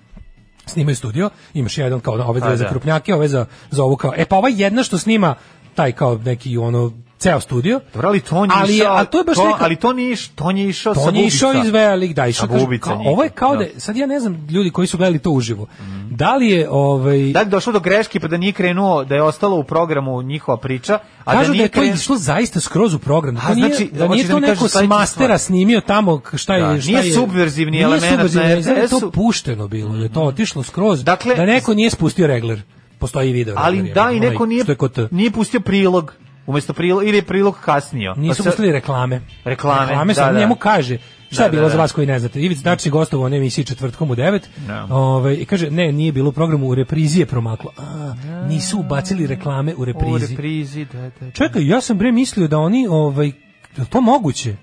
[SPEAKER 8] snimaju studio, imaš jedan kao ove
[SPEAKER 6] A,
[SPEAKER 8] dve za
[SPEAKER 6] da.
[SPEAKER 8] krupnjake, ove za, za ovu kao, e pa ova jedna što snima taj kao neki ono ceo studio,
[SPEAKER 6] Dobro, ali to nije
[SPEAKER 8] ali je,
[SPEAKER 6] išao,
[SPEAKER 8] a to je baš neka,
[SPEAKER 6] ali to nije, iš- to nije išao sa
[SPEAKER 8] to nije išao
[SPEAKER 6] bubica.
[SPEAKER 8] iz velik, da, išao
[SPEAKER 6] Sa
[SPEAKER 8] kaže,
[SPEAKER 6] bubica
[SPEAKER 8] kao,
[SPEAKER 6] njih,
[SPEAKER 8] ovo je kao da,
[SPEAKER 6] da.
[SPEAKER 8] sad ja ne znam ljudi koji su gledali to uživo, da li je ovaj,
[SPEAKER 6] Da li je došlo do greške pa da nije krenuo, da je ostalo u programu njihova priča, a da
[SPEAKER 8] Kažu da,
[SPEAKER 6] nije
[SPEAKER 8] je to
[SPEAKER 6] kren-
[SPEAKER 8] išlo zaista skroz u program. Da,
[SPEAKER 6] A,
[SPEAKER 8] to nije,
[SPEAKER 6] znači,
[SPEAKER 8] da
[SPEAKER 6] hoćeš
[SPEAKER 8] nije
[SPEAKER 6] da
[SPEAKER 8] to
[SPEAKER 6] mi
[SPEAKER 8] neko
[SPEAKER 6] kažeš
[SPEAKER 8] s
[SPEAKER 6] sledeću
[SPEAKER 8] mastera
[SPEAKER 6] stvar?
[SPEAKER 8] snimio tamo k- šta je...
[SPEAKER 6] Da,
[SPEAKER 8] šta
[SPEAKER 6] nije
[SPEAKER 8] je,
[SPEAKER 6] subverzivni
[SPEAKER 8] nije
[SPEAKER 6] element na
[SPEAKER 8] subverzivni,
[SPEAKER 6] RTS-u. Mhm.
[SPEAKER 8] da je to pušteno bilo, da je to otišlo skroz.
[SPEAKER 6] Dakle-
[SPEAKER 8] da neko nije spustio regler. Postoji video.
[SPEAKER 6] ali
[SPEAKER 8] regler,
[SPEAKER 6] da
[SPEAKER 8] je,
[SPEAKER 6] i
[SPEAKER 8] onaj
[SPEAKER 6] neko nije Pa
[SPEAKER 8] Što je kod...
[SPEAKER 6] nije pustio prilog umesto prilog ili je prilog kasnio.
[SPEAKER 8] Nisu
[SPEAKER 6] Pa sad-
[SPEAKER 8] pustili reklame.
[SPEAKER 6] Reklame,
[SPEAKER 8] Reklame
[SPEAKER 6] da,
[SPEAKER 8] sad
[SPEAKER 6] da.
[SPEAKER 8] njemu kaže. Šta
[SPEAKER 6] Da,
[SPEAKER 8] je bilo
[SPEAKER 6] da,
[SPEAKER 8] za
[SPEAKER 6] da.
[SPEAKER 8] vas koji ne znate? Ivic Dači gostovao u onoj emisiji četvrtkom u 9.
[SPEAKER 6] Da.
[SPEAKER 8] Ovaj i kaže ne, nije bilo u programu, u reprizi je promaklo. A, nisu ubacili reklame u
[SPEAKER 6] u
[SPEAKER 8] reprizi.
[SPEAKER 6] reprizi, da, da.
[SPEAKER 8] Čekaj, ja sam bre mislio da oni, ovaj, je li to moguće?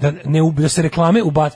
[SPEAKER 8] Da, ne, ub- da se reklame ubac...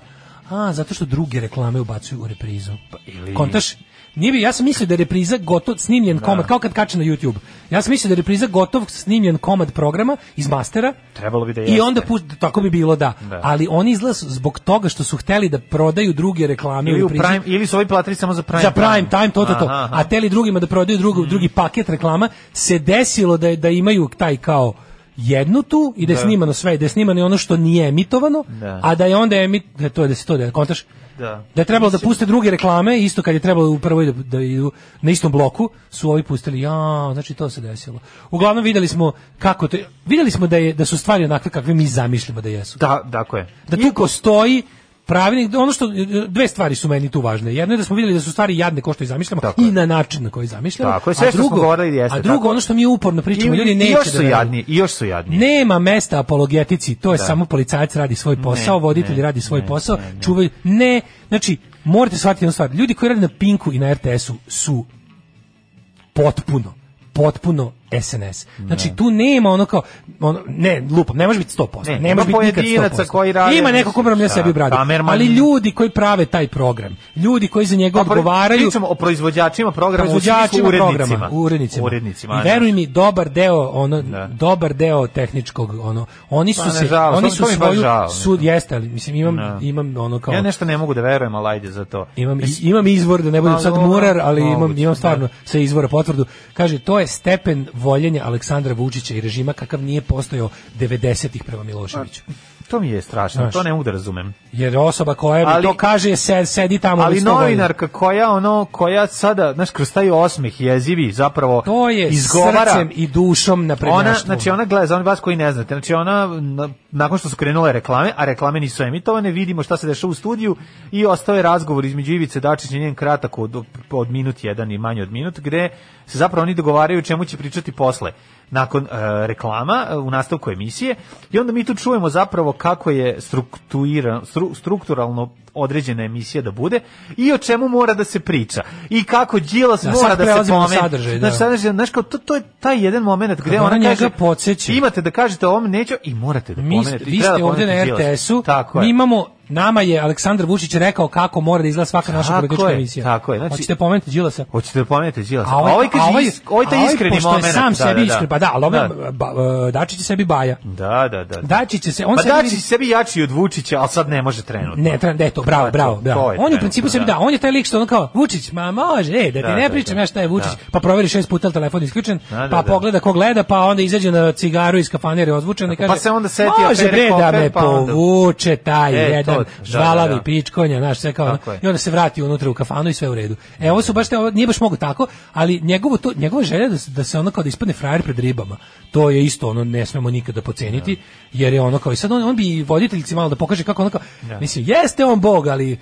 [SPEAKER 8] A, zato što druge reklame ubacuju u reprizu. Pa,
[SPEAKER 6] ili-
[SPEAKER 8] Kontaš? Nije bi, ja sam mislio da je repriza gotov snimljen komad, kao kad kače na YouTube. Ja sam mislio da je repriza gotov snimljen komad programa iz mastera
[SPEAKER 6] Trebalo bi da jeste.
[SPEAKER 8] i onda pust- tako bi bilo da.
[SPEAKER 6] Da.
[SPEAKER 8] Ali oni izlaz zbog toga što su hteli da prodaju druge reklame
[SPEAKER 6] ili
[SPEAKER 8] u
[SPEAKER 6] u
[SPEAKER 8] reprizi.
[SPEAKER 6] prime ili su ovi platili samo za prime
[SPEAKER 8] za prime time, to, to,
[SPEAKER 6] Aha,
[SPEAKER 8] to.
[SPEAKER 6] Mm. aha.
[SPEAKER 8] A teli drugima da prodaju drugu, drugi paket reklama, se desilo da, je- da imaju taj kao jednu tu i da je
[SPEAKER 6] Da.
[SPEAKER 8] snimano sve, i da je snimano i ono što nije emitovano,
[SPEAKER 6] Da.
[SPEAKER 8] a da je onda emit, da to je da se to da kontaš,
[SPEAKER 6] Da.
[SPEAKER 8] da je trebalo da puste druge reklame, isto kad je trebalo u prvoj da, da idu na istom bloku, su ovi pustili, ja, znači to se desilo. Uglavnom videli smo kako to, videli smo da je da su stvari onakve kakve mi zamišljamo da jesu
[SPEAKER 6] Da, dakle.
[SPEAKER 8] da tu postoji pravilnik, ono što dve stvari su meni tu važne. Jedno je da smo vidjeli da su stvari jadne kao što ih zamišljamo i na način na koji zamišljamo.
[SPEAKER 6] Tako je, sve
[SPEAKER 8] a
[SPEAKER 6] što smo
[SPEAKER 8] drugo,
[SPEAKER 6] govorili jeste
[SPEAKER 8] a drugo
[SPEAKER 6] tako.
[SPEAKER 8] ono što mi uporno pričamo,
[SPEAKER 6] I,
[SPEAKER 8] ljudi
[SPEAKER 6] i
[SPEAKER 8] neće
[SPEAKER 6] još su
[SPEAKER 8] da veruju.
[SPEAKER 6] jadni, i još su jadni.
[SPEAKER 8] Nema mesta apologetici, to je
[SPEAKER 6] Da.
[SPEAKER 8] samo policajac radi svoj posao,
[SPEAKER 6] Ne,
[SPEAKER 8] voditelj
[SPEAKER 6] ne,
[SPEAKER 8] radi svoj
[SPEAKER 6] ne,
[SPEAKER 8] posao,
[SPEAKER 6] ne, ne.
[SPEAKER 8] čuvaju ne, znači morate shvatiti jednu stvar. Ljudi koji rade na Pinku i na RTS-u su potpuno potpuno SNS. Znači tu nema ono kao ono, ne, lupam, ne može biti 100%.
[SPEAKER 6] Ne,
[SPEAKER 8] Ne,
[SPEAKER 6] ima
[SPEAKER 8] može biti nikad
[SPEAKER 6] pojedinaca
[SPEAKER 8] 100%.
[SPEAKER 6] koji rade-
[SPEAKER 8] Ima neko ko mrmlja
[SPEAKER 6] Da,
[SPEAKER 8] sebi u bradu.
[SPEAKER 6] kamerman-
[SPEAKER 8] Ali ljudi koji prave taj program, ljudi koji za njega
[SPEAKER 6] Pa, pri-
[SPEAKER 8] odgovaraju,
[SPEAKER 6] Pričamo o proizvođačima programa,
[SPEAKER 8] proizvođačima
[SPEAKER 6] u smislu urednicima.
[SPEAKER 8] programa, urednicima.
[SPEAKER 6] Urednicima,
[SPEAKER 8] I
[SPEAKER 6] ajde.
[SPEAKER 8] veruj mi, dobar deo ono dobar deo tehničkog ono oni su
[SPEAKER 6] Pa, ne,
[SPEAKER 8] se
[SPEAKER 6] žao, to
[SPEAKER 8] oni
[SPEAKER 6] mi-
[SPEAKER 8] su
[SPEAKER 6] to mi baš
[SPEAKER 8] svoju
[SPEAKER 6] žao,
[SPEAKER 8] sud jeste, ali mislim imam
[SPEAKER 6] Da.
[SPEAKER 8] imam ono kao
[SPEAKER 6] Ja nešto ne mogu da verujem, ali ajde za to.
[SPEAKER 8] imam, i- imam izvor, da ne budem
[SPEAKER 6] Pa,
[SPEAKER 8] sad
[SPEAKER 6] dobro,
[SPEAKER 8] murar, ali imam,
[SPEAKER 6] moguće,
[SPEAKER 8] imam stvarno sa izvora potvrdu. Kaže, to je stepen voljenja Aleksandra Vučića i režima kakav nije postojao 90-ih prema Miloševiću.
[SPEAKER 6] To mi je strašno,
[SPEAKER 8] Znaš.
[SPEAKER 6] to ne mogu da razumem.
[SPEAKER 8] Jer osoba koja mi
[SPEAKER 6] Ali-
[SPEAKER 8] to kaže, se- sedi tamo.
[SPEAKER 6] Ali
[SPEAKER 8] već sto godina.
[SPEAKER 6] novinarka koja ono koja sada, znaš, kroz taj osmeh jezivi zapravo
[SPEAKER 8] To je
[SPEAKER 6] izgovara
[SPEAKER 8] srcem i dušom na
[SPEAKER 6] Ona, znači ona gleda, za oni vas koji ne znate, znači ona, na- nakon što su krenule reklame, a reklame nisu emitovane, vidimo šta se dešava u studiju i ostao je razgovor između Ivice Dačića i njen kratak od, od minut jedan i manje od minut, gde se zapravo oni dogovaraju o čemu će pričati posle nakon e, reklama e, u nastavku emisije i onda mi tu čujemo zapravo kako je struktuira, stru- strukturalno određena emisija da bude i o čemu mora da se priča i kako Đilas
[SPEAKER 8] Da,
[SPEAKER 6] mora
[SPEAKER 8] sad
[SPEAKER 6] da se Znači,
[SPEAKER 8] prelazimo na
[SPEAKER 6] pomene.
[SPEAKER 8] sadržaj,
[SPEAKER 6] Znaš,
[SPEAKER 8] da.
[SPEAKER 6] sadržaj, znaš, kao, to, to je taj jedan moment gde
[SPEAKER 8] Kad
[SPEAKER 6] ona,
[SPEAKER 8] ona njega
[SPEAKER 6] kaže,
[SPEAKER 8] podsjeća.
[SPEAKER 6] imate da kažete ovom neću i morate da
[SPEAKER 8] Mi,
[SPEAKER 6] pomenete. i
[SPEAKER 8] vi
[SPEAKER 6] treba
[SPEAKER 8] ste
[SPEAKER 6] da
[SPEAKER 8] ovdje na
[SPEAKER 6] pomenete Đilas.
[SPEAKER 8] RTS-u,
[SPEAKER 6] Tako
[SPEAKER 8] mi
[SPEAKER 6] je.
[SPEAKER 8] imamo, nama je Aleksandar Vučić rekao kako mora da izgleda svaka naša
[SPEAKER 6] Tako
[SPEAKER 8] politička
[SPEAKER 6] je,
[SPEAKER 8] emisija.
[SPEAKER 6] Tako je. Znači,
[SPEAKER 8] Hoćete pomenuti Đilasa?
[SPEAKER 6] Hoćete da pomenete Đilasa?
[SPEAKER 8] A ovaj,
[SPEAKER 6] kaže,
[SPEAKER 8] a ovaj,
[SPEAKER 6] is- ovaj taj
[SPEAKER 8] a ovaj,
[SPEAKER 6] iskreni
[SPEAKER 8] pošto je
[SPEAKER 6] moment.
[SPEAKER 8] sam
[SPEAKER 6] da,
[SPEAKER 8] sebi
[SPEAKER 6] da, da.
[SPEAKER 8] iskren, pa da, ali ovaj,
[SPEAKER 6] Da.
[SPEAKER 8] ba, e, Dačić je sebi baja.
[SPEAKER 6] Da, da, da.
[SPEAKER 8] Dačić će se, on
[SPEAKER 6] pa
[SPEAKER 8] sebi
[SPEAKER 6] Dačić
[SPEAKER 8] vidi-
[SPEAKER 6] sebi jači od Vučića, ali sad ne može trenutno.
[SPEAKER 8] Ne, treba, da je to, bravo,
[SPEAKER 6] To je to,
[SPEAKER 8] bravo, bravo.
[SPEAKER 6] to je
[SPEAKER 8] on je u
[SPEAKER 6] trenutno,
[SPEAKER 8] principu sebi
[SPEAKER 6] da.
[SPEAKER 8] da, on je taj lik što ono kao, Vučić, ma može, e, da ti
[SPEAKER 6] Da,
[SPEAKER 8] ne
[SPEAKER 6] da,
[SPEAKER 8] pričam
[SPEAKER 6] da.
[SPEAKER 8] ja šta je Vučić,
[SPEAKER 6] Da.
[SPEAKER 8] pa proveri šest puta je li telefon isključen,
[SPEAKER 6] Da, da, da.
[SPEAKER 8] pa pogleda ko gleda, pa onda izađe na cigaru iz kafanere odvučen i
[SPEAKER 6] Pa
[SPEAKER 8] kaže,
[SPEAKER 6] se onda seti
[SPEAKER 8] može
[SPEAKER 6] afere
[SPEAKER 8] bre da
[SPEAKER 6] Koper,
[SPEAKER 8] me
[SPEAKER 6] pa onda-
[SPEAKER 8] povuče taj
[SPEAKER 6] E, to,
[SPEAKER 8] jedan
[SPEAKER 6] da,
[SPEAKER 8] žvalavi
[SPEAKER 6] da, da.
[SPEAKER 8] pičkonja, znaš, sve kao, ono,
[SPEAKER 6] Tako je.
[SPEAKER 8] i onda se vrati unutra u kafanu i sve u redu. E, ovo su baš te, ovo nije baš mogu tako, ali njegovo to, njegova želja da, se- da se ono kao da ispadne frajer pred ribama, to je isto ono, ne smemo nikada poceniti, jer je ono kao, i sad on, on bi voditeljci malo da pokaže kako ono kao,
[SPEAKER 6] Da.
[SPEAKER 8] mislim, jeste on bog, ali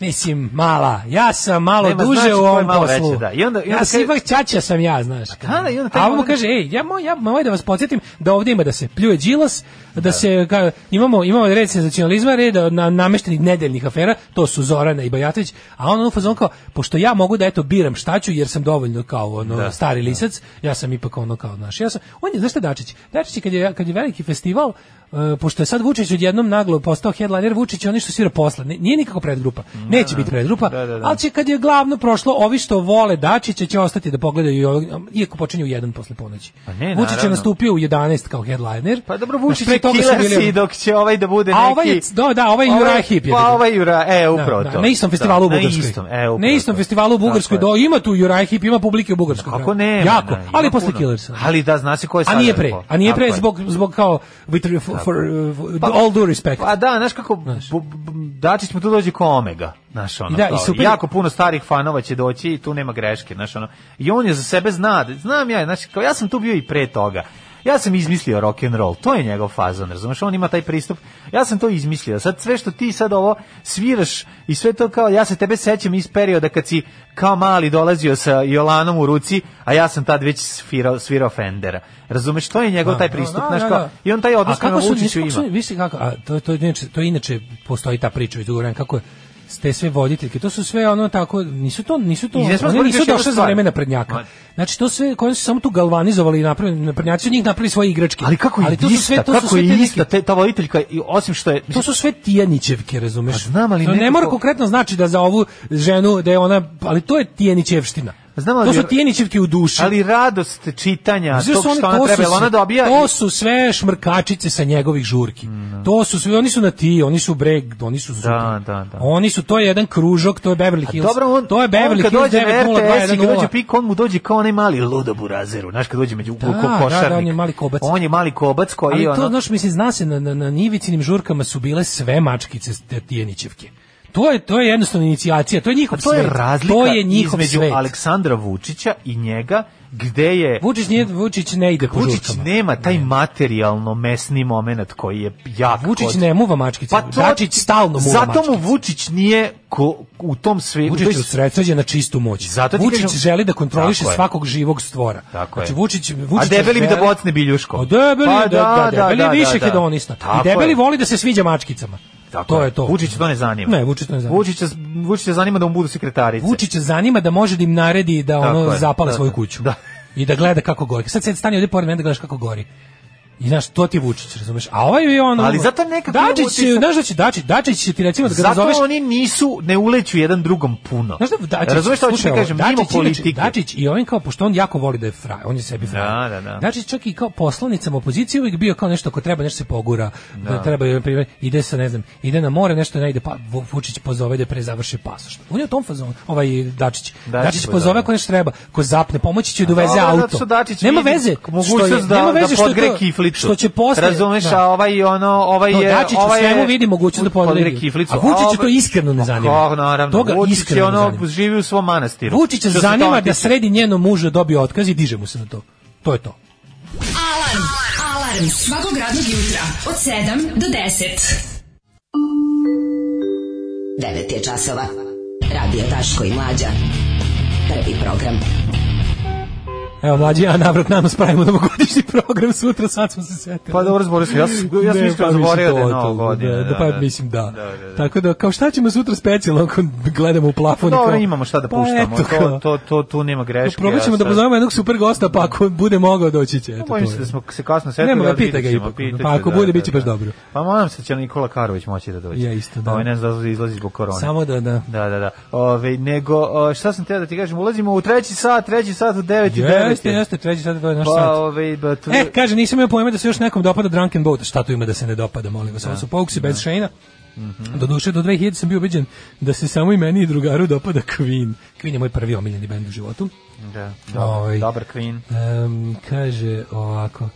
[SPEAKER 8] Mislim, mala, ja sam malo
[SPEAKER 6] Nema,
[SPEAKER 8] duže
[SPEAKER 6] znači,
[SPEAKER 8] u
[SPEAKER 6] ko je
[SPEAKER 8] ovom
[SPEAKER 6] malo
[SPEAKER 8] poslu.
[SPEAKER 6] veće, da. I onda- i onda
[SPEAKER 8] ja sam
[SPEAKER 6] kaže-
[SPEAKER 8] ipak ćaća sam ja, znaš.
[SPEAKER 6] da, i onda taj
[SPEAKER 8] A ovo mu
[SPEAKER 6] moment-
[SPEAKER 8] kaže, ej, ja, moj, ja moj da vas podsjetim da ovdje ima da se pljuje Đilas, da, se, ka, imamo, imamo red senzacionalizma, red na, nameštenih nedeljnih afera, to su Zorana i Bajatović, a on ono fazon kao, pošto ja mogu da eto biram šta ću, jer sam dovoljno kao ono,
[SPEAKER 6] Da,
[SPEAKER 8] stari lisac, ja sam ipak ono kao, znaš, ja sam, on je, znaš šta je Dačić? Dačić je kad je, kad je veliki festival, e, pošto je sad Vučić odjednom naglo postao headliner, Vučić je oni što svira posle, Ni- nije nikako predgrupa, neće biti predgrupa,
[SPEAKER 6] Da, da, da.
[SPEAKER 8] ali će kad je glavno prošlo, ovi što vole Dačića će ostati da pogledaju, i ovog- iako počinju u jedan posle ponoći.
[SPEAKER 6] Pa ne,
[SPEAKER 8] Vučić je
[SPEAKER 6] naravno.
[SPEAKER 8] nastupio u 11 kao headliner.
[SPEAKER 6] Pa dobro,
[SPEAKER 8] Znaš,
[SPEAKER 6] Vučić
[SPEAKER 8] pre
[SPEAKER 6] je
[SPEAKER 8] toga su
[SPEAKER 6] killer
[SPEAKER 8] bili-
[SPEAKER 6] si dok će ovaj da bude neki...
[SPEAKER 8] A ovaj je, da, da, ovaj je Juraj Hip. je
[SPEAKER 6] Pa
[SPEAKER 8] tako.
[SPEAKER 6] ovaj Jura, e, upravo
[SPEAKER 8] Da, da,
[SPEAKER 6] to.
[SPEAKER 8] Na istom festivalu
[SPEAKER 6] Da,
[SPEAKER 8] u Bugarskoj.
[SPEAKER 6] Na istom, e, upravo
[SPEAKER 8] Na istom
[SPEAKER 6] to.
[SPEAKER 8] festivalu u Bugarskoj,
[SPEAKER 6] Tako
[SPEAKER 8] do,
[SPEAKER 6] je.
[SPEAKER 8] ima tu Juraj Hip, ima publike u Bugarskoj.
[SPEAKER 6] Kako
[SPEAKER 8] bravo.
[SPEAKER 6] ne?
[SPEAKER 8] Jako,
[SPEAKER 6] ne,
[SPEAKER 8] ali
[SPEAKER 6] ima
[SPEAKER 8] posle
[SPEAKER 6] puno.
[SPEAKER 8] Killersa.
[SPEAKER 6] Ali da, zna se ko je
[SPEAKER 8] A
[SPEAKER 6] sada
[SPEAKER 8] nije pre,
[SPEAKER 6] lepo.
[SPEAKER 8] a nije
[SPEAKER 6] Tako
[SPEAKER 8] pre
[SPEAKER 6] je.
[SPEAKER 8] zbog, zbog kao, with, re- for, for, uh, all due respect.
[SPEAKER 6] Pa da, znaš kako, bu- bu- Dačić mu tu dođe kao Omega, znaš ono,
[SPEAKER 8] I da, i
[SPEAKER 6] kao,
[SPEAKER 8] super-
[SPEAKER 6] jako puno starih fanova će doći i tu nema greške, znaš ono, i on je za sebe zna, da- znam ja, znaš, kao ja sam tu bio i pre toga, ja sam izmislio rock and roll, to je njegov fazon, razumeš, on ima taj pristup, ja sam to izmislio, sad sve što ti sad ovo sviraš i sve to kao, ja se tebe sećam iz perioda kad si kao mali dolazio sa Jolanom u ruci, a ja sam tad već svirao, svirao Fendera, razumeš, to je njegov taj pristup, znaš kao, i on taj odnos
[SPEAKER 8] A
[SPEAKER 6] prema
[SPEAKER 8] kako su-
[SPEAKER 6] Vučiću
[SPEAKER 8] kako su-
[SPEAKER 6] ima.
[SPEAKER 8] Vi ste kako, a to, to, inače, to inače postoji ta priča već dugo vremena, kako je ste sve voditeljke, to su sve ono tako, nisu to, nisu to,
[SPEAKER 6] I ne smemo
[SPEAKER 8] one
[SPEAKER 6] zaboraviti
[SPEAKER 8] nisu
[SPEAKER 6] još jednu
[SPEAKER 8] došle za
[SPEAKER 6] stvar.
[SPEAKER 8] vreme naprednjaka.
[SPEAKER 6] Ma-
[SPEAKER 8] Znači to sve, koji su samo tu galvanizovali i napravili, naprednjaci su od njih napravili svoje igračke.
[SPEAKER 6] Ali kako je
[SPEAKER 8] Ali to su
[SPEAKER 6] ista,
[SPEAKER 8] sve, to su
[SPEAKER 6] kako
[SPEAKER 8] sve te
[SPEAKER 6] je
[SPEAKER 8] neke-
[SPEAKER 6] ista te, ta voditeljka, i osim što je...
[SPEAKER 8] To su sve Tijanićevke, razumeš?
[SPEAKER 6] Pa znam, ali
[SPEAKER 8] to ne
[SPEAKER 6] nekako-
[SPEAKER 8] mora konkretno znači da za ovu ženu da je ona, ali to je Tijanićevština.
[SPEAKER 6] Pa Znam, ali-
[SPEAKER 8] to su Tijanićevke u duši.
[SPEAKER 6] Ali radost čitanja,
[SPEAKER 8] Uzeo
[SPEAKER 6] tog
[SPEAKER 8] su one-
[SPEAKER 6] što ona
[SPEAKER 8] to su
[SPEAKER 6] treba, jel
[SPEAKER 8] sve-
[SPEAKER 6] ona dobija... Mm,
[SPEAKER 8] To su sve šmrkačice sa njegovih žurki. To su sve, oni su na ti, oni su breg, oni su super.
[SPEAKER 6] Da, da, da.
[SPEAKER 8] Oni su, to je jedan kružok, to je Beverly Hills.
[SPEAKER 6] Dobro, on,
[SPEAKER 8] to je Beverly
[SPEAKER 6] on kad
[SPEAKER 8] Hills
[SPEAKER 6] dođe na RTS i kad
[SPEAKER 8] 90210.
[SPEAKER 6] dođe pik, on mu dođe kao onaj mali ludo burazeru, znaš, kad dođe među da,
[SPEAKER 8] Da, da,
[SPEAKER 6] ko, košarnik.
[SPEAKER 8] da, on je mali kobac.
[SPEAKER 6] On je mali kobac koji
[SPEAKER 8] Ali
[SPEAKER 6] je
[SPEAKER 8] to,
[SPEAKER 6] ono...
[SPEAKER 8] znaš, mislim, zna se, na, na, na Nivicinim žurkama su bile sve mačkice te Tijenićevke. To je, to je jednostavno inicijacija, to je njihov
[SPEAKER 6] To je
[SPEAKER 8] svet.
[SPEAKER 6] razlika
[SPEAKER 8] to je njihov
[SPEAKER 6] između
[SPEAKER 8] svet.
[SPEAKER 6] Aleksandra Vučića i njega, gde je...
[SPEAKER 8] Vučić, nije, Vučić ne ide po
[SPEAKER 6] Vučić
[SPEAKER 8] žurkama.
[SPEAKER 6] nema taj materijalno mesni moment koji je jak.
[SPEAKER 8] Vučić
[SPEAKER 6] kod-
[SPEAKER 8] ne muva mačkice.
[SPEAKER 6] Pa to-
[SPEAKER 8] Dačić stalno muva
[SPEAKER 6] Zato mu
[SPEAKER 8] mačkice.
[SPEAKER 6] Vučić nije ko, u tom svi...
[SPEAKER 8] Vučić je usredsređen na čistu moć.
[SPEAKER 6] Zato ti
[SPEAKER 8] Vučić
[SPEAKER 6] kažem-
[SPEAKER 8] želi da kontroliše
[SPEAKER 6] Tako je.
[SPEAKER 8] svakog živog stvora.
[SPEAKER 6] Tako je.
[SPEAKER 8] znači, Vučić,
[SPEAKER 6] A
[SPEAKER 8] Vučić
[SPEAKER 6] debeli bi da
[SPEAKER 8] želi-
[SPEAKER 6] bocne biljuško.
[SPEAKER 8] A debeli,
[SPEAKER 6] Pa
[SPEAKER 8] da, da, debeli je više
[SPEAKER 6] da.
[SPEAKER 8] hedonista. I
[SPEAKER 6] Tako
[SPEAKER 8] debeli
[SPEAKER 6] je.
[SPEAKER 8] voli da se sviđa mačkicama.
[SPEAKER 6] Tako
[SPEAKER 8] to je to.
[SPEAKER 6] Vučić to ne zanima.
[SPEAKER 8] Ne, Vučić to ne zanima.
[SPEAKER 6] Vučića, Vučića zanima da mu budu sekretarice.
[SPEAKER 8] Vučića zanima da može da im naredi da
[SPEAKER 6] Tako
[SPEAKER 8] ono
[SPEAKER 6] je,
[SPEAKER 8] zapale
[SPEAKER 6] da,
[SPEAKER 8] svoju
[SPEAKER 6] da.
[SPEAKER 8] kuću. I da gleda kako gori. Sad sad stani ovdje pored mene da gledaš kako gori. I znaš, to ti je Vučić, razumeš? A ovaj je ono...
[SPEAKER 6] Ali zato nekako imam
[SPEAKER 8] Dačić, će,
[SPEAKER 6] utisak-
[SPEAKER 8] znaš da će Dačić, Dačić će ti recimo da ga
[SPEAKER 6] Zato
[SPEAKER 8] nazoveš...
[SPEAKER 6] oni nisu, ne uleću jedan drugom puno.
[SPEAKER 8] Znaš da Dačić,
[SPEAKER 6] Razumeš šta hoću
[SPEAKER 8] slušaj
[SPEAKER 6] da
[SPEAKER 8] ovo,
[SPEAKER 6] kažem?
[SPEAKER 8] Dačić
[SPEAKER 6] Mimo
[SPEAKER 8] inače-
[SPEAKER 6] politike.
[SPEAKER 8] Dačić i ovim kao, pošto on jako voli da je fraj, on je sebi fraj.
[SPEAKER 6] Da, da, da.
[SPEAKER 8] Dačić čak i kao poslanicama opozicije uvijek bio kao nešto ko treba, nešto se pogura, da. treba, na primjer, ide se, ne znam, ide na more, nešto ne ide, pa Vu- Vučić pozove da pre završi pasoš. On je u tom fazonu, ovaj Dačić. Dačić, pozove
[SPEAKER 6] pozove.
[SPEAKER 8] ako nešto treba, ko zapne, pomoći će i doveze
[SPEAKER 6] Dobro, zato
[SPEAKER 8] auto.
[SPEAKER 6] što Dačić
[SPEAKER 8] nema
[SPEAKER 6] vidi
[SPEAKER 8] veze, što je,
[SPEAKER 6] mogućnost da-
[SPEAKER 8] nema
[SPEAKER 6] da
[SPEAKER 8] veze što je
[SPEAKER 6] podgre
[SPEAKER 8] to-
[SPEAKER 6] kiflicu.
[SPEAKER 8] Što će posle,
[SPEAKER 6] Razumeš,
[SPEAKER 8] da.
[SPEAKER 6] a ovaj ono, ovaj
[SPEAKER 8] To
[SPEAKER 6] je...
[SPEAKER 8] Dačić u
[SPEAKER 6] ovaj je-
[SPEAKER 8] svemu vidi mogućnost da podredi.
[SPEAKER 6] podredi kiflicu.
[SPEAKER 8] A Vučića to
[SPEAKER 6] Ovaj-
[SPEAKER 8] iskreno ne zanima.
[SPEAKER 6] Kako, naravno.
[SPEAKER 8] To ga
[SPEAKER 6] Vučić je
[SPEAKER 8] iskreno ne
[SPEAKER 6] ono,
[SPEAKER 8] zanima.
[SPEAKER 6] živi u svom manastiru.
[SPEAKER 8] Vučića
[SPEAKER 6] Što se
[SPEAKER 8] zanima
[SPEAKER 6] tamo
[SPEAKER 8] da
[SPEAKER 6] tiče.
[SPEAKER 8] sredi njeno muža dobije otkaz i diže mu se na to. To je to.
[SPEAKER 11] Alarm. Alarm svakog radnog jutra od 7 do 10.
[SPEAKER 10] 9 je časova. Radio Daško i Mlađa. Prvi program.
[SPEAKER 8] Evo, mlađi, ja navrat nama spravimo novogodišnji program sutra, sad smo se setili.
[SPEAKER 6] Pa dobro, zborio sam. Ja sam- ja sam
[SPEAKER 8] Ne,
[SPEAKER 6] iskreno
[SPEAKER 8] pa mislim
[SPEAKER 6] zaboravio
[SPEAKER 8] to,
[SPEAKER 6] da je
[SPEAKER 8] to,
[SPEAKER 6] Nova godina,
[SPEAKER 8] Da,
[SPEAKER 6] da,
[SPEAKER 8] da, pa
[SPEAKER 6] da.
[SPEAKER 8] mislim da.
[SPEAKER 6] da, da.
[SPEAKER 8] Tako da, kao šta ćemo sutra specijalno ako gledamo u plafon? i
[SPEAKER 6] Dobro,
[SPEAKER 8] kao-
[SPEAKER 6] imamo šta da
[SPEAKER 8] Pa
[SPEAKER 6] puštamo.
[SPEAKER 8] eto,
[SPEAKER 6] to,
[SPEAKER 8] kao-
[SPEAKER 6] to, to, tu nema greške.
[SPEAKER 8] Probat ćemo
[SPEAKER 6] ja
[SPEAKER 8] da
[SPEAKER 6] sad- Pa
[SPEAKER 8] pozovemo jednog super gosta, pa ako bude mogao doći će. Eto,
[SPEAKER 6] Bojim
[SPEAKER 8] to
[SPEAKER 6] se
[SPEAKER 8] je.
[SPEAKER 6] da smo se kasno setili.
[SPEAKER 8] Nema ga,
[SPEAKER 6] ali
[SPEAKER 8] pita ga
[SPEAKER 6] vidjet ćemo,
[SPEAKER 8] ipak.
[SPEAKER 6] pitaću,
[SPEAKER 8] Pa ako
[SPEAKER 6] da,
[SPEAKER 8] bude,
[SPEAKER 6] da,
[SPEAKER 8] bit će baš
[SPEAKER 6] da.
[SPEAKER 8] dobro.
[SPEAKER 6] Pa moram se, će Nikola Karović moći da dođe.
[SPEAKER 8] Ja isto, da.
[SPEAKER 6] Ovaj, ne znam da li izlazi zbog korone.
[SPEAKER 8] Samo da, da.
[SPEAKER 6] Da, da, da. Ove, nego, o, šta sam teo da ti kažem, ulazimo u treći sat, treći sat u 9 i 9.
[SPEAKER 8] Jeste, jeste, treći sad to je naš
[SPEAKER 6] Pa,
[SPEAKER 8] sat.
[SPEAKER 6] ovaj, ba, tu-
[SPEAKER 8] E, kaže, nisam imao pojma da se još nekom dopada Drunken Boat. Šta tu ima da Mhm. se ne dopada, molim vas? Ovo su Pouksi bez Shane-a. Do duše, do 2000 sam bio ubeđen da se samo i meni i drugaru dopada Queen. Queen je moj prvi omiljeni bend u životu.
[SPEAKER 6] Da, dobar,
[SPEAKER 8] Ovaj.
[SPEAKER 6] dobar Queen.
[SPEAKER 8] Em, kaže ovako,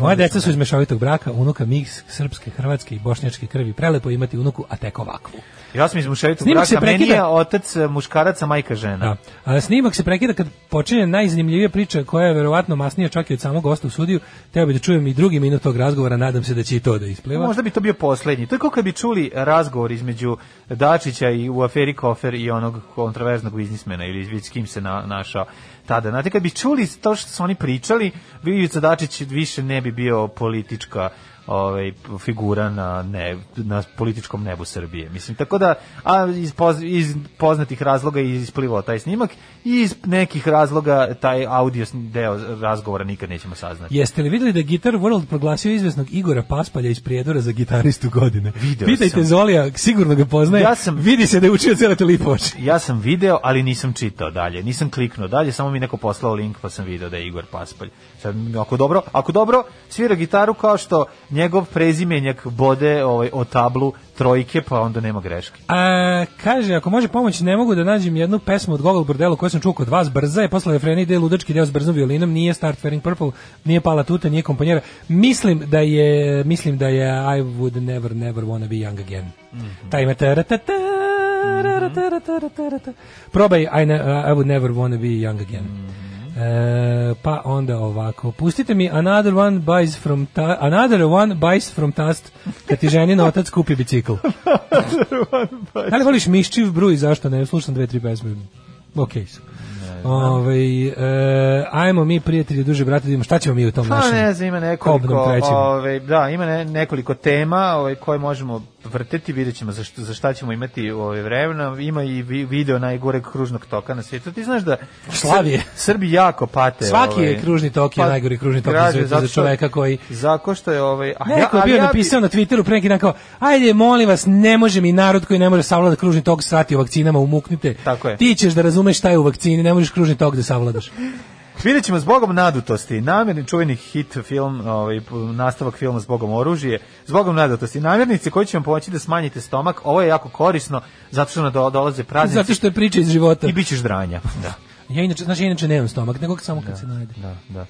[SPEAKER 8] moja deca su iz mešovitog braka, unuka miks srpske, hrvatske i bošnjačke krvi. Prelepo je imati unuku, a tek ovakvu.
[SPEAKER 6] Ja sam iz muševicu
[SPEAKER 8] Snimak se
[SPEAKER 6] braka, meni
[SPEAKER 8] prekida.
[SPEAKER 6] je otac e, muškarac, a majka žena.
[SPEAKER 8] Da. A snimak se prekida kad počinje najzanimljivija priča koja je verovatno masnija čak i od samog gosta u sudiju. Teo bi da čujem i drugi minut tog razgovora, nadam se da će i to da ispliva.
[SPEAKER 6] Možda bi to bio poslednji. To je kao kad bi čuli razgovor između Dačića i u aferi Kofer i onog kontraverznog biznismena ili već s kim se na, našao tada. Znate, kad bi čuli to što su oni pričali, bi Ivica Dačić više ne bi bio politička ovaj figura na ne na političkom nebu Srbije. Mislim tako da a iz, poz- iz poznatih razloga je isplivao taj snimak i iz nekih razloga taj audio sn- deo razgovora nikad nećemo saznati.
[SPEAKER 8] Jeste li vidjeli da je Guitar World proglasio izvesnog Igora Paspalja iz Prijedora za gitaristu godine?
[SPEAKER 6] Video
[SPEAKER 8] Pitajte
[SPEAKER 6] sam.
[SPEAKER 8] Zolija, sigurno ga poznaje.
[SPEAKER 6] Ja sam-
[SPEAKER 8] Vidi se da je učio cele te lipoče.
[SPEAKER 6] Znači, Ja sam video, ali nisam čitao dalje. Nisam kliknuo dalje, samo mi je neko poslao link pa sam video da je Igor Paspalj. Sad, ako dobro, ako dobro svira gitaru kao što njegov prezimenjak bode ovaj o tablu trojke, pa onda nema greške.
[SPEAKER 8] A, kaže, ako može pomoć, ne mogu da nađem jednu pesmu od Gogol Bordelu koju sam čuo kod vas, brza je, posle refrena ide ludački deo s brzom violinom, nije Start Faring Purple, nije Pala Tuta, nije kompanjera. Mislim da je, mislim da je I would never, never wanna be young again. Taj ima taratata, taratata. Probaj I, ne- uh, I would never wanna be young again. E, pa onda ovako pustite mi another one buys from ta another one buys from tast kad ti ženin otac kupi bicikl da li voliš miščiv bruj, zašto ne? Slušam dve, tri pesme. Ok su. Ovaj, e, ajmo mi, prijatelji, duže brate, da vidimo šta ćemo mi u tom
[SPEAKER 6] Pa
[SPEAKER 8] našem
[SPEAKER 6] ne znam, ima nekoliko,
[SPEAKER 8] kobnom trećem.
[SPEAKER 6] ovaj, da, ima ne- nekoliko tema ovaj, koje možemo vrteti, vidjet ćemo za, što, za šta ćemo imati ovaj, vremena. Ima i vi- video najgoreg kružnog toka na svijetu. Ti znaš da
[SPEAKER 8] Slavije.
[SPEAKER 6] Srbi jako pate.
[SPEAKER 8] Svaki je kružni tok je najgori kružni tok na
[SPEAKER 6] građe,
[SPEAKER 8] svetu
[SPEAKER 6] zato
[SPEAKER 8] za
[SPEAKER 6] što-
[SPEAKER 8] čoveka koji-
[SPEAKER 6] Zato što je... Ovaj, a
[SPEAKER 8] Neko je
[SPEAKER 6] ali
[SPEAKER 8] bio
[SPEAKER 6] bi-
[SPEAKER 8] napisao na Twitteru pre neki dan kao, ajde, molim vas, ne može mi narod koji ne može savladati kružni tok srati o vakcinama, umuknite.
[SPEAKER 6] Tako je.
[SPEAKER 8] Ti ćeš da razumeš šta je u vakcini, ne možeš kružni tok da savladaš.
[SPEAKER 6] Vidjet ćemo zbogom nadutosti, namjerni čuveni hit film, ovaj, p- nastavak filma zbogom oružje, zbogom nadutosti, namirnice koje će vam pomoći da smanjite stomak, ovo je jako korisno, zato što nam do- dolaze praznici
[SPEAKER 8] Zato što je priča iz života.
[SPEAKER 6] i bit ćeš dranja. Da,
[SPEAKER 8] Ja inače, znači, ja inače nemam stomak, nego samo kad se najde.
[SPEAKER 6] da, da.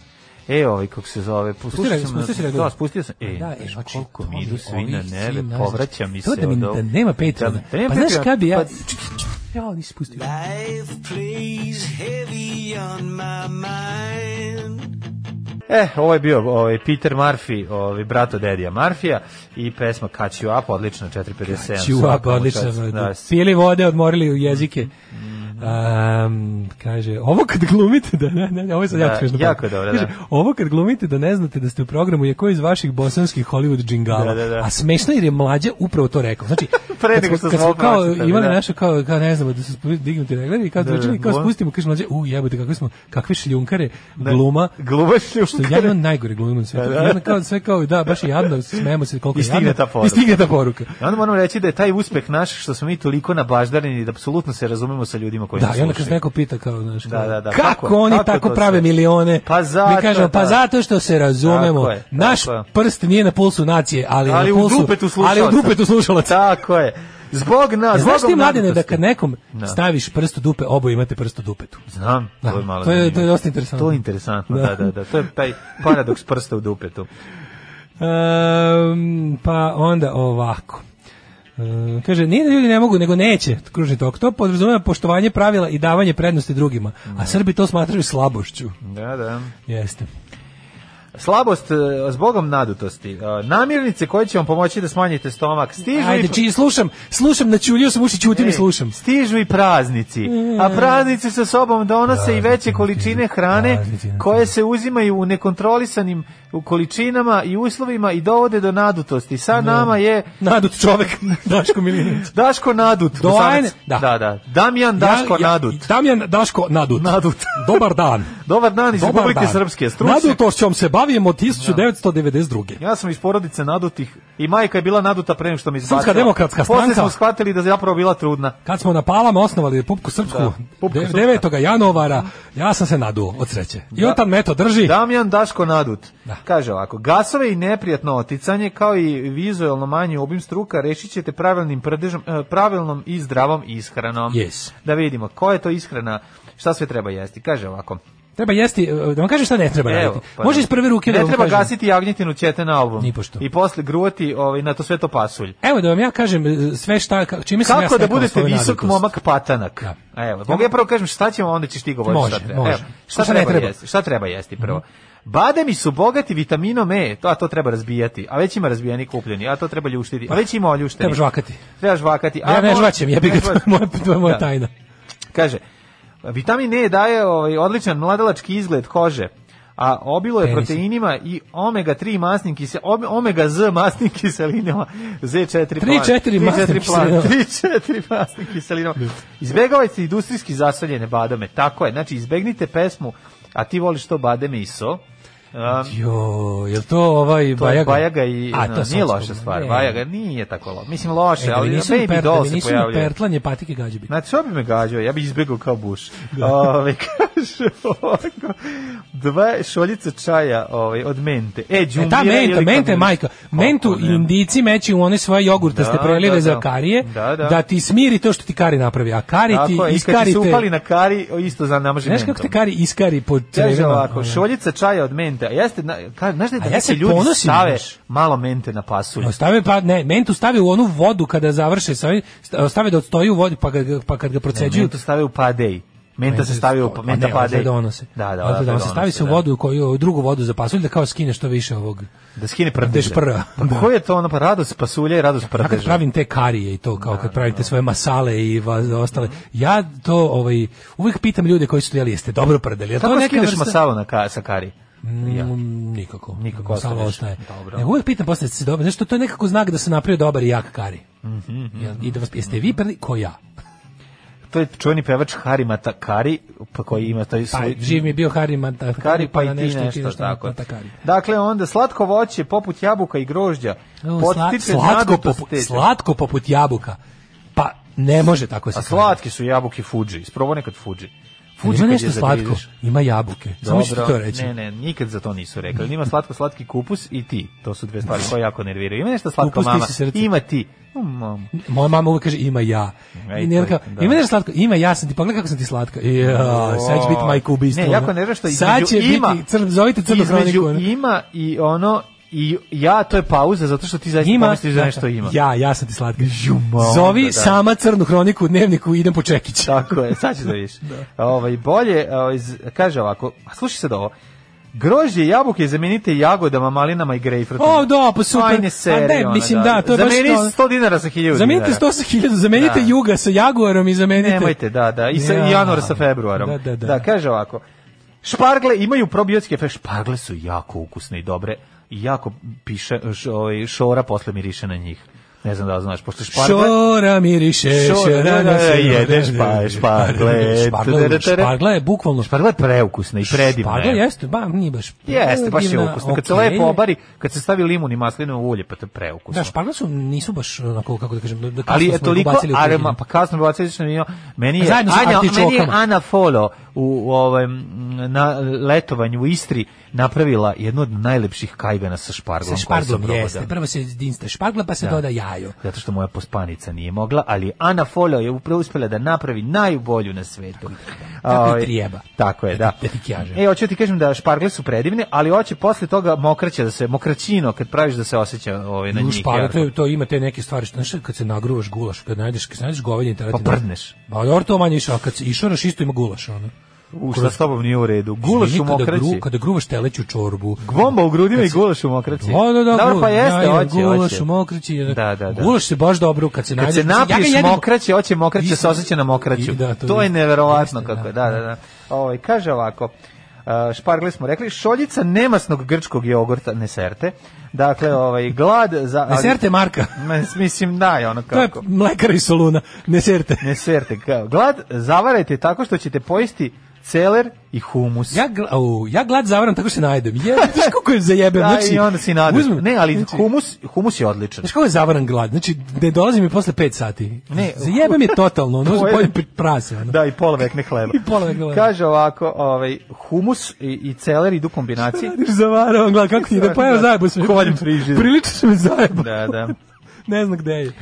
[SPEAKER 6] E, ovaj, kako se zove,
[SPEAKER 8] Pusti
[SPEAKER 6] poslušao
[SPEAKER 8] reg-
[SPEAKER 6] sam,
[SPEAKER 8] pusti si regular.
[SPEAKER 6] da, spustio sam, e,
[SPEAKER 8] Da, e,
[SPEAKER 6] znaš
[SPEAKER 8] znači,
[SPEAKER 6] koliko
[SPEAKER 8] to
[SPEAKER 6] mi
[SPEAKER 8] mi
[SPEAKER 6] idu svi na
[SPEAKER 8] ovih
[SPEAKER 6] neve,
[SPEAKER 8] svih nazad.
[SPEAKER 6] povraća mi se.
[SPEAKER 8] znači, To da mi-
[SPEAKER 6] od ovog-
[SPEAKER 8] da nema Patreona.
[SPEAKER 6] Da, da nema
[SPEAKER 8] Pa znaš
[SPEAKER 6] Patreona,
[SPEAKER 8] kad bi ja-
[SPEAKER 6] pa-
[SPEAKER 8] Ja, ovo nisi pustio.
[SPEAKER 15] Life plays heavy on my mind.
[SPEAKER 6] E, ovo je bio ovaj, Peter Murphy, ovaj, brato Dedija Murphyja i pesma Catch You Up, odlična 457.
[SPEAKER 8] Ćuap,
[SPEAKER 6] svaka mu
[SPEAKER 8] odlično.
[SPEAKER 6] čast. Da, Mm,
[SPEAKER 8] Pili vode, odmorili u jezike. Um, kaže, ovo kad glumite da ne, ne, ovo je sad
[SPEAKER 6] Da,
[SPEAKER 8] jako smiješno.
[SPEAKER 6] jako je dobro, da.
[SPEAKER 8] Kaže, Ovo kad glumite da ne znate da ste u programu je ko iz vaših bosanskih Hollywood džingala.
[SPEAKER 6] Da, da, da.
[SPEAKER 8] A smešno jer je mlađa upravo to rekao. Znači,
[SPEAKER 6] Pre
[SPEAKER 8] kad
[SPEAKER 6] nego
[SPEAKER 8] smo,
[SPEAKER 6] što
[SPEAKER 8] kad
[SPEAKER 6] smo
[SPEAKER 8] smo kao
[SPEAKER 6] opročitali,
[SPEAKER 8] imali
[SPEAKER 6] da.
[SPEAKER 8] nešto kao, kao ne znamo da su spu- dignuti regleri i kao
[SPEAKER 6] Da, da,
[SPEAKER 8] zvučili, kao
[SPEAKER 6] glum.
[SPEAKER 8] spustimo, kaže mlađe, u jebote kakvi smo, kakvi šljunkare, gluma.
[SPEAKER 6] Gluma
[SPEAKER 8] Što je jedno najgore glumimo na svijetu.
[SPEAKER 6] Da, da.
[SPEAKER 8] Jedno kao, sve kao, da, baš je jadno, smemo se koliko
[SPEAKER 6] I
[SPEAKER 8] je
[SPEAKER 6] stigne
[SPEAKER 8] jadno.
[SPEAKER 6] ta poruka.
[SPEAKER 8] I stigne ta poruka.
[SPEAKER 6] I onda moram reći da je taj uspeh naš što smo mi toliko nabaždareni da apsolutno se razumemo sa ljudima koji
[SPEAKER 8] Da,
[SPEAKER 6] nas
[SPEAKER 8] i onda kad
[SPEAKER 6] slušaju.
[SPEAKER 8] neko pita kao, znaš,
[SPEAKER 6] Da, da, da.
[SPEAKER 8] kako,
[SPEAKER 6] Kako-
[SPEAKER 8] oni
[SPEAKER 6] kako
[SPEAKER 8] tako
[SPEAKER 6] to
[SPEAKER 8] prave
[SPEAKER 6] se-
[SPEAKER 8] milione?
[SPEAKER 6] Pa zato,
[SPEAKER 8] Mi kažemo, pa
[SPEAKER 6] da.
[SPEAKER 8] zato što se razumemo.
[SPEAKER 6] Tako je, tako
[SPEAKER 8] Naš
[SPEAKER 6] je.
[SPEAKER 8] prst nije na pulsu nacije, ali,
[SPEAKER 6] ali
[SPEAKER 8] na
[SPEAKER 6] u
[SPEAKER 8] pulsu,
[SPEAKER 6] dupetu slušalaca.
[SPEAKER 8] ali u dupetu slušalaca.
[SPEAKER 6] Tako je. Zbog nas,
[SPEAKER 8] Znaš
[SPEAKER 6] zbog
[SPEAKER 8] ti, mladine, da
[SPEAKER 6] nadutosti.
[SPEAKER 8] kad nekom
[SPEAKER 6] Da.
[SPEAKER 8] staviš prst u dupe, oboje imate prst u dupetu.
[SPEAKER 6] Znam,
[SPEAKER 8] Da,
[SPEAKER 6] to je malo
[SPEAKER 8] to je-
[SPEAKER 6] zanimljivo.
[SPEAKER 8] to je dosta interesantno.
[SPEAKER 6] To je interesantno,
[SPEAKER 8] Da.
[SPEAKER 6] da, da, da. To je taj paradoks prsta u dupetu.
[SPEAKER 8] Um, pa onda ovako. Uh, kaže, nije da ljudi ne mogu, nego neće kružni tok. To podrazumeva poštovanje pravila i davanje prednosti drugima. A Srbi to smatraju slabošću.
[SPEAKER 6] Da, da.
[SPEAKER 8] Jeste.
[SPEAKER 6] Slabost e, zbogom nadutosti. E, Namirnice koje će vam pomoći da smanjite stomak. Stižu
[SPEAKER 8] Ajde,
[SPEAKER 6] i... E,
[SPEAKER 8] čiji slušam, slušam, naćuljio sam uši, ćutim i
[SPEAKER 6] Ej,
[SPEAKER 8] slušam. E.
[SPEAKER 6] Stižu i praznici. A praznici sa sobom donose i veće količine hrane koje se uzimaju u nekontrolisanim u količinama i uslovima i dovode do nadutosti. Sa nama je
[SPEAKER 8] Nadut čovek, Daško Milinović.
[SPEAKER 6] Daško Nadut.
[SPEAKER 8] Do ajne,
[SPEAKER 6] Bosanac.
[SPEAKER 8] da.
[SPEAKER 6] da, da. Damjan Daško
[SPEAKER 8] Ja- ja-
[SPEAKER 6] Nadut.
[SPEAKER 8] Damjan Daško Nadut.
[SPEAKER 6] Nadut.
[SPEAKER 8] Dobar dan.
[SPEAKER 6] Dobar dan iz Republike Srpske. Stručnjak.
[SPEAKER 8] Nadutošćom se bavimo od 1992.
[SPEAKER 6] Ja sam iz porodice nadutih i majka je bila naduta pre nego što mi izbacila.
[SPEAKER 8] Srpska demokratska
[SPEAKER 6] Posle
[SPEAKER 8] stranka.
[SPEAKER 6] smo shvatili da je zapravo bila trudna.
[SPEAKER 8] Kad smo na Palama osnovali Republiku Srpsku,
[SPEAKER 6] Da, Pupku
[SPEAKER 8] de-
[SPEAKER 6] Srpska.
[SPEAKER 8] 9. januara, ja sam se naduo od sreće. I
[SPEAKER 6] Da.
[SPEAKER 8] od tad me to drži.
[SPEAKER 6] Damjan Daško Nadut kaže ovako, gasove i neprijatno oticanje kao i vizualno manji obim struka rešit ćete pravilnim prdežom, eh, pravilnom i zdravom ishranom.
[SPEAKER 8] Yes.
[SPEAKER 6] Da vidimo, koja je to ishrana, šta sve treba jesti. Kaže ovako,
[SPEAKER 8] Treba jesti, e, da vam kažem šta ne treba
[SPEAKER 6] Evo,
[SPEAKER 8] raditi.
[SPEAKER 6] pa
[SPEAKER 8] Može
[SPEAKER 6] da.
[SPEAKER 8] iz prve ruke da
[SPEAKER 6] ne
[SPEAKER 8] vam
[SPEAKER 6] treba
[SPEAKER 8] kažem.
[SPEAKER 6] gasiti jagnjetinu ćete na album.
[SPEAKER 8] Nipošto.
[SPEAKER 6] I posle gruvati ovaj, na to sve to pasulj.
[SPEAKER 8] Evo da vam ja kažem e, sve šta, ka- čime sam ja
[SPEAKER 6] Kako da
[SPEAKER 8] stekao
[SPEAKER 6] budete
[SPEAKER 8] svoju
[SPEAKER 6] visok
[SPEAKER 8] nadutost.
[SPEAKER 6] momak patanak? Evo, mogu ja prvo kažem šta ćemo, onda ćeš ti govoriti
[SPEAKER 8] Može,
[SPEAKER 6] šta treba.
[SPEAKER 8] može.
[SPEAKER 6] Evo, šta,
[SPEAKER 8] Šta ne
[SPEAKER 6] treba,
[SPEAKER 8] treba? Mhm.
[SPEAKER 6] jesti? Šta treba jesti prvo? Bademi su bogati vitaminom E, to, a to treba razbijati. A već ima razbijeni kupljeni, a to treba ljuštiti. A već ima oljušteni.
[SPEAKER 8] Treba žvakati.
[SPEAKER 6] Treba žvakati. A
[SPEAKER 8] Ja ne
[SPEAKER 6] mo-
[SPEAKER 8] žvaćem, jebi ga,
[SPEAKER 6] ne
[SPEAKER 8] to je moja- to je moja
[SPEAKER 6] Da.
[SPEAKER 8] tajna.
[SPEAKER 6] Kaže, vitamin E daje ovaj, odličan mladalački izgled kože, a obilo je
[SPEAKER 8] Penisi.
[SPEAKER 6] proteinima i omega-3 masnim kise, ome- omega-Z masnim kiselinama, Z4
[SPEAKER 8] Tri, četiri masnim kiselinama.
[SPEAKER 6] 3-4 masnim kiselinama. Izbegavajte industrijski zasaljene badame, tako je. Znači, izbegnite pesmu, a ti voliš to bademe i so. Um,
[SPEAKER 8] Jo, je to ovaj
[SPEAKER 6] to je
[SPEAKER 8] Bajaga?
[SPEAKER 6] Bajaga i
[SPEAKER 8] A,
[SPEAKER 6] no,
[SPEAKER 8] to sam
[SPEAKER 6] nije loša
[SPEAKER 8] spomenuo.
[SPEAKER 6] stvar.
[SPEAKER 8] Ne.
[SPEAKER 6] Bajaga nije tako loša. Mislim loše,
[SPEAKER 8] E, da mi
[SPEAKER 6] ali
[SPEAKER 8] nisu ni
[SPEAKER 6] Baby
[SPEAKER 8] pertle,
[SPEAKER 6] Doll
[SPEAKER 8] mi
[SPEAKER 6] se
[SPEAKER 8] nisu ni
[SPEAKER 6] pojavljuje.
[SPEAKER 8] pertlanje, patike gađe bi.
[SPEAKER 6] Znači, što bi me gađao? Ja bi izbjegao kao buš. Ove, kaže ovako, dva šoljica čaja ove, od mente. E,
[SPEAKER 8] E,
[SPEAKER 6] džumbira
[SPEAKER 8] ta menta,
[SPEAKER 6] ili
[SPEAKER 8] menta je
[SPEAKER 6] kamilica.
[SPEAKER 8] majka. Mentu
[SPEAKER 6] Kako ne?
[SPEAKER 8] indici meću u one svoje jogurtaste
[SPEAKER 6] Da,
[SPEAKER 8] prelive
[SPEAKER 6] da,
[SPEAKER 8] za
[SPEAKER 6] da.
[SPEAKER 8] karije,
[SPEAKER 6] Da, da.
[SPEAKER 8] ti smiri to što ti kari napravi. A kari ti
[SPEAKER 6] Tako je, i kad ti se upali
[SPEAKER 8] iskarite...
[SPEAKER 6] na kari, o, isto za namaži
[SPEAKER 8] Znaš
[SPEAKER 6] mentom.
[SPEAKER 8] kako te kari iskari po
[SPEAKER 6] Kaže
[SPEAKER 8] crevima?
[SPEAKER 6] ovako,
[SPEAKER 8] Ono.
[SPEAKER 6] šoljica čaja od mente. A Jeste, na, ka, znaš da,
[SPEAKER 8] A
[SPEAKER 6] da
[SPEAKER 8] ja
[SPEAKER 6] neki
[SPEAKER 8] se
[SPEAKER 6] ljudi
[SPEAKER 8] ponosim,
[SPEAKER 6] stave
[SPEAKER 8] znaš.
[SPEAKER 6] malo mente na pasulju.
[SPEAKER 8] Ostave pa ne, mentu stave u onu vodu kada završe, sa ovim- sta- stave da odstoji u vodi pa kad ga- pa kad ga proceđuju.
[SPEAKER 6] Mentu stave u padej. Menta se stavi u,
[SPEAKER 8] Pa
[SPEAKER 6] menta
[SPEAKER 8] ne,
[SPEAKER 6] padej.
[SPEAKER 8] odatle donose.
[SPEAKER 6] Da, da,
[SPEAKER 8] Odatle
[SPEAKER 6] odatle
[SPEAKER 8] donose. Stavi ono se u
[SPEAKER 6] da.
[SPEAKER 8] vodu koju drugu vodu za pasulj da kao skine što više ovog.
[SPEAKER 6] Da skine prdež.
[SPEAKER 8] Dešprra.
[SPEAKER 6] Pa ko je to ono, pa radost pasulja i radost
[SPEAKER 8] Ja kad
[SPEAKER 6] prdeža.
[SPEAKER 8] pravim te karije i to kao kad pravite svoje masale i vas, ostale. Ja to ovaj uvek pitam ljude koji su jeli jeste dobro prdeli. Je to
[SPEAKER 6] Kako
[SPEAKER 8] neka
[SPEAKER 6] skineš
[SPEAKER 8] vrsta-
[SPEAKER 6] masalo na ka, sa kari? Ja.
[SPEAKER 8] Mm, nikako.
[SPEAKER 6] Nikako
[SPEAKER 8] Masala
[SPEAKER 6] ostaneš.
[SPEAKER 8] ostaje.
[SPEAKER 6] Dobro.
[SPEAKER 8] Nego uvek pitam posle da se dobro, nešto to je nekako znak da se napravio dobar i jak kari.
[SPEAKER 6] Mhm,
[SPEAKER 8] Jel- I da vas jeste vi prdi ko ja.
[SPEAKER 6] To je čuveni pevač Harimata Kari, pa koji ima taj
[SPEAKER 8] Pa,
[SPEAKER 6] svoj...
[SPEAKER 8] živ mi je bio Hari Manta-
[SPEAKER 6] Kari pa i
[SPEAKER 8] na
[SPEAKER 6] ti nešto, tako.
[SPEAKER 8] Matakari.
[SPEAKER 6] Dakle, onda slatko voće poput jabuka i grožđa.
[SPEAKER 8] O, sla-
[SPEAKER 6] Potiče
[SPEAKER 8] slatko,
[SPEAKER 6] nadutost
[SPEAKER 8] poput,
[SPEAKER 6] teća.
[SPEAKER 8] slatko poput jabuka. Pa ne može tako se
[SPEAKER 6] A
[SPEAKER 8] kaže.
[SPEAKER 6] slatki su jabuke Fuji. Isprobao nekad Fuji. Fuji
[SPEAKER 8] Ali Ima
[SPEAKER 6] kad
[SPEAKER 8] nešto
[SPEAKER 6] je
[SPEAKER 8] slatko,
[SPEAKER 6] zagriziš.
[SPEAKER 8] ima jabuke. Samo ću ti to
[SPEAKER 6] Dobro,
[SPEAKER 8] reći.
[SPEAKER 6] Ne, ne, nikad za to nisu rekli. Ima slatko slatki kupus i ti. To su dve stvari koje jako nerviraju. Ima nešto slatko
[SPEAKER 8] Kupus, ti
[SPEAKER 6] mama.
[SPEAKER 8] si srce.
[SPEAKER 6] Ima ti. Mm, mamo.
[SPEAKER 8] Moja mama uvek kaže ima ja.
[SPEAKER 6] Ej,
[SPEAKER 8] I ne,
[SPEAKER 6] to je-
[SPEAKER 8] kao,
[SPEAKER 6] da.
[SPEAKER 8] Ima nešto slatko, ima ja sam ti, pogledaj kako sam ti slatka. Ja, sad će biti majko ubistvo.
[SPEAKER 6] Ne, jako
[SPEAKER 8] ono.
[SPEAKER 6] nervira što
[SPEAKER 8] Sad će
[SPEAKER 6] između ima.
[SPEAKER 8] biti, crn, zovite crnu
[SPEAKER 6] Između
[SPEAKER 8] hroniku. ono.
[SPEAKER 6] ima i ono i ja to je pauza zato što ti zaista pomisliš da
[SPEAKER 8] da,
[SPEAKER 6] nešto ima.
[SPEAKER 8] Ja, ja sam ti slatka.
[SPEAKER 6] Jumao,
[SPEAKER 8] Zovi
[SPEAKER 6] da, da.
[SPEAKER 8] sama crnu hroniku u dnevniku, idem po čekić.
[SPEAKER 6] Tako je, sad ćeš da vidiš. Ovaj bolje ovaj, z- kaže ovako, a slušaj sad ovo. Grožđe i jabuke zamenite jagodama, malinama i grejpfrutom.
[SPEAKER 8] O, da, pa super.
[SPEAKER 6] Aj, ne
[SPEAKER 8] A
[SPEAKER 6] seri,
[SPEAKER 8] ne,
[SPEAKER 6] ono,
[SPEAKER 8] mislim, da, to je baš
[SPEAKER 6] Zameni
[SPEAKER 8] to.
[SPEAKER 6] 100 dinara sa 1000
[SPEAKER 8] Zamenite
[SPEAKER 6] dinara.
[SPEAKER 8] 100 sa 1000, zamenite
[SPEAKER 6] Da.
[SPEAKER 8] juga sa jaguarom i zamenite...
[SPEAKER 6] Nemojte, da, da, i sa
[SPEAKER 8] Ja.
[SPEAKER 6] i januara sa februarom.
[SPEAKER 8] Da, da, da.
[SPEAKER 6] kaže ovako. Špargle imaju probiotske efekte. Špargle su jako ukusne i dobre. I jako piše š, ovaj, šora posle miriše na njih. Ne znam da li znaš, pošto špargle...
[SPEAKER 8] Šora miriše,
[SPEAKER 6] Šora,
[SPEAKER 8] šora
[SPEAKER 6] da, da,
[SPEAKER 8] nosi-
[SPEAKER 6] jedeš pa- špargle.
[SPEAKER 8] Špargle, špargla je bukvalno...
[SPEAKER 6] Špargle je preukusna i predivna.
[SPEAKER 8] Špargla
[SPEAKER 6] je.
[SPEAKER 8] jeste, ba, nije baš...
[SPEAKER 6] Jeste, baš je
[SPEAKER 8] predivna,
[SPEAKER 6] ukusno. Kad se
[SPEAKER 8] okej.
[SPEAKER 6] lepo obari, kad se stavi limun i maslinovo ulje, pa to je preukusno.
[SPEAKER 8] Da, špargle su, nisu baš onako, kako da kažem, da- da
[SPEAKER 6] ali
[SPEAKER 8] kasno
[SPEAKER 6] je
[SPEAKER 8] smo
[SPEAKER 6] toliko pa
[SPEAKER 8] ubacili u kuhinju.
[SPEAKER 6] aroma, pa kasno bacili što nije, meni je,
[SPEAKER 8] Zajedno sa
[SPEAKER 6] Anja, meni je
[SPEAKER 8] artičokama.
[SPEAKER 6] Ana Folo u ovaj na letovanju u Istri napravila jednu od najlepših kajgana sa šparglom.
[SPEAKER 8] Sa šparglom jeste. Prvo se dinsta špargla pa se
[SPEAKER 6] Da.
[SPEAKER 8] doda jajo.
[SPEAKER 6] Zato što moja pospanica nije mogla, ali Ana Folo je upravo uspela da napravi najbolju na svetu.
[SPEAKER 8] Tako
[SPEAKER 6] Ovaj,
[SPEAKER 8] i trijeba.
[SPEAKER 6] Tako je, da.
[SPEAKER 8] Da ti kažem.
[SPEAKER 6] E, hoću ti kažem da špargle su predivne, ali hoće posle toga mokraće da se, mokraćino, kad praviš da se osjeća ovaj, na
[SPEAKER 8] Ju,
[SPEAKER 6] njih.
[SPEAKER 8] šparga,
[SPEAKER 6] jako.
[SPEAKER 8] to, je- to ima te neke stvari, što, znaš, kad se nagruvaš gulaš, kad najdeš, kad najdeš govedin,
[SPEAKER 6] Pa prdneš.
[SPEAKER 8] Pa dobro to manje išao, kad se išoraš isto ima gulaš, ono.
[SPEAKER 6] U, šta s tobom nije u redu? Gulaš u
[SPEAKER 8] Izvini, kada
[SPEAKER 6] mokraći.
[SPEAKER 8] gru- Kada gruvaš teleću čorbu.
[SPEAKER 6] Gvomba u grudima
[SPEAKER 8] Kad
[SPEAKER 6] i
[SPEAKER 8] se-
[SPEAKER 6] gulaš u mokraći.
[SPEAKER 8] Da, da, da.
[SPEAKER 6] Dobro,
[SPEAKER 8] gulaš,
[SPEAKER 6] pa jeste,
[SPEAKER 8] jaja,
[SPEAKER 6] hoće,
[SPEAKER 8] Gulaš
[SPEAKER 6] hoće.
[SPEAKER 8] u mokraći.
[SPEAKER 6] Da, da, da.
[SPEAKER 8] Gulaš se baš dobro kad se
[SPEAKER 6] Kad
[SPEAKER 8] najdeš.
[SPEAKER 6] se napiješ
[SPEAKER 8] ga jedem-
[SPEAKER 6] mokraće, hoće mokraće, se osjeća na mokraću.
[SPEAKER 8] I- da,
[SPEAKER 6] to,
[SPEAKER 8] to
[SPEAKER 6] je
[SPEAKER 8] isto.
[SPEAKER 6] neverovatno
[SPEAKER 8] Jeste,
[SPEAKER 6] kako je. Da,
[SPEAKER 8] da,
[SPEAKER 6] da, da. Ovaj, kaže ovako, uh, špargle smo rekli, šoljica nemasnog grčkog jogurta, neserte, Dakle, ovaj, glad... Za, ali-
[SPEAKER 8] Neserte marka.
[SPEAKER 6] Ma, Mislim, da je ono
[SPEAKER 8] To je
[SPEAKER 6] kako.
[SPEAKER 8] mlekara i soluna. Neserte.
[SPEAKER 6] Neserte, kao. Glad zavarajte tako što ćete pojesti celer i humus.
[SPEAKER 8] Ja, gl- au, ja glad zavaram tako što se najdem. Je, znaš kako je zajebem.
[SPEAKER 6] Da,
[SPEAKER 8] znači,
[SPEAKER 6] i onda si nadaš.
[SPEAKER 8] uzmem- Znači,
[SPEAKER 6] Ne, ali humus, humus je odličan.
[SPEAKER 8] Znaš kako je zavaran glad? Znači, ne dolazi mi posle 5 sati.
[SPEAKER 6] Ne.
[SPEAKER 8] Ne, Zajebe mi totalno, ono,
[SPEAKER 6] To je-
[SPEAKER 8] pojem pri- prase. Ono.
[SPEAKER 6] Da, i pola vekne hleba.
[SPEAKER 8] I pola vekne hleba.
[SPEAKER 6] Kaže ovako, ovaj, humus i, i celer idu u kombinaciji.
[SPEAKER 8] Radiš zavaravam glad, kako ti ide? Pa evo zajebo sam.
[SPEAKER 6] Ko valjem frižider.
[SPEAKER 8] Prilično sam me zajebo.
[SPEAKER 6] Da, da.
[SPEAKER 8] ne znam gde je.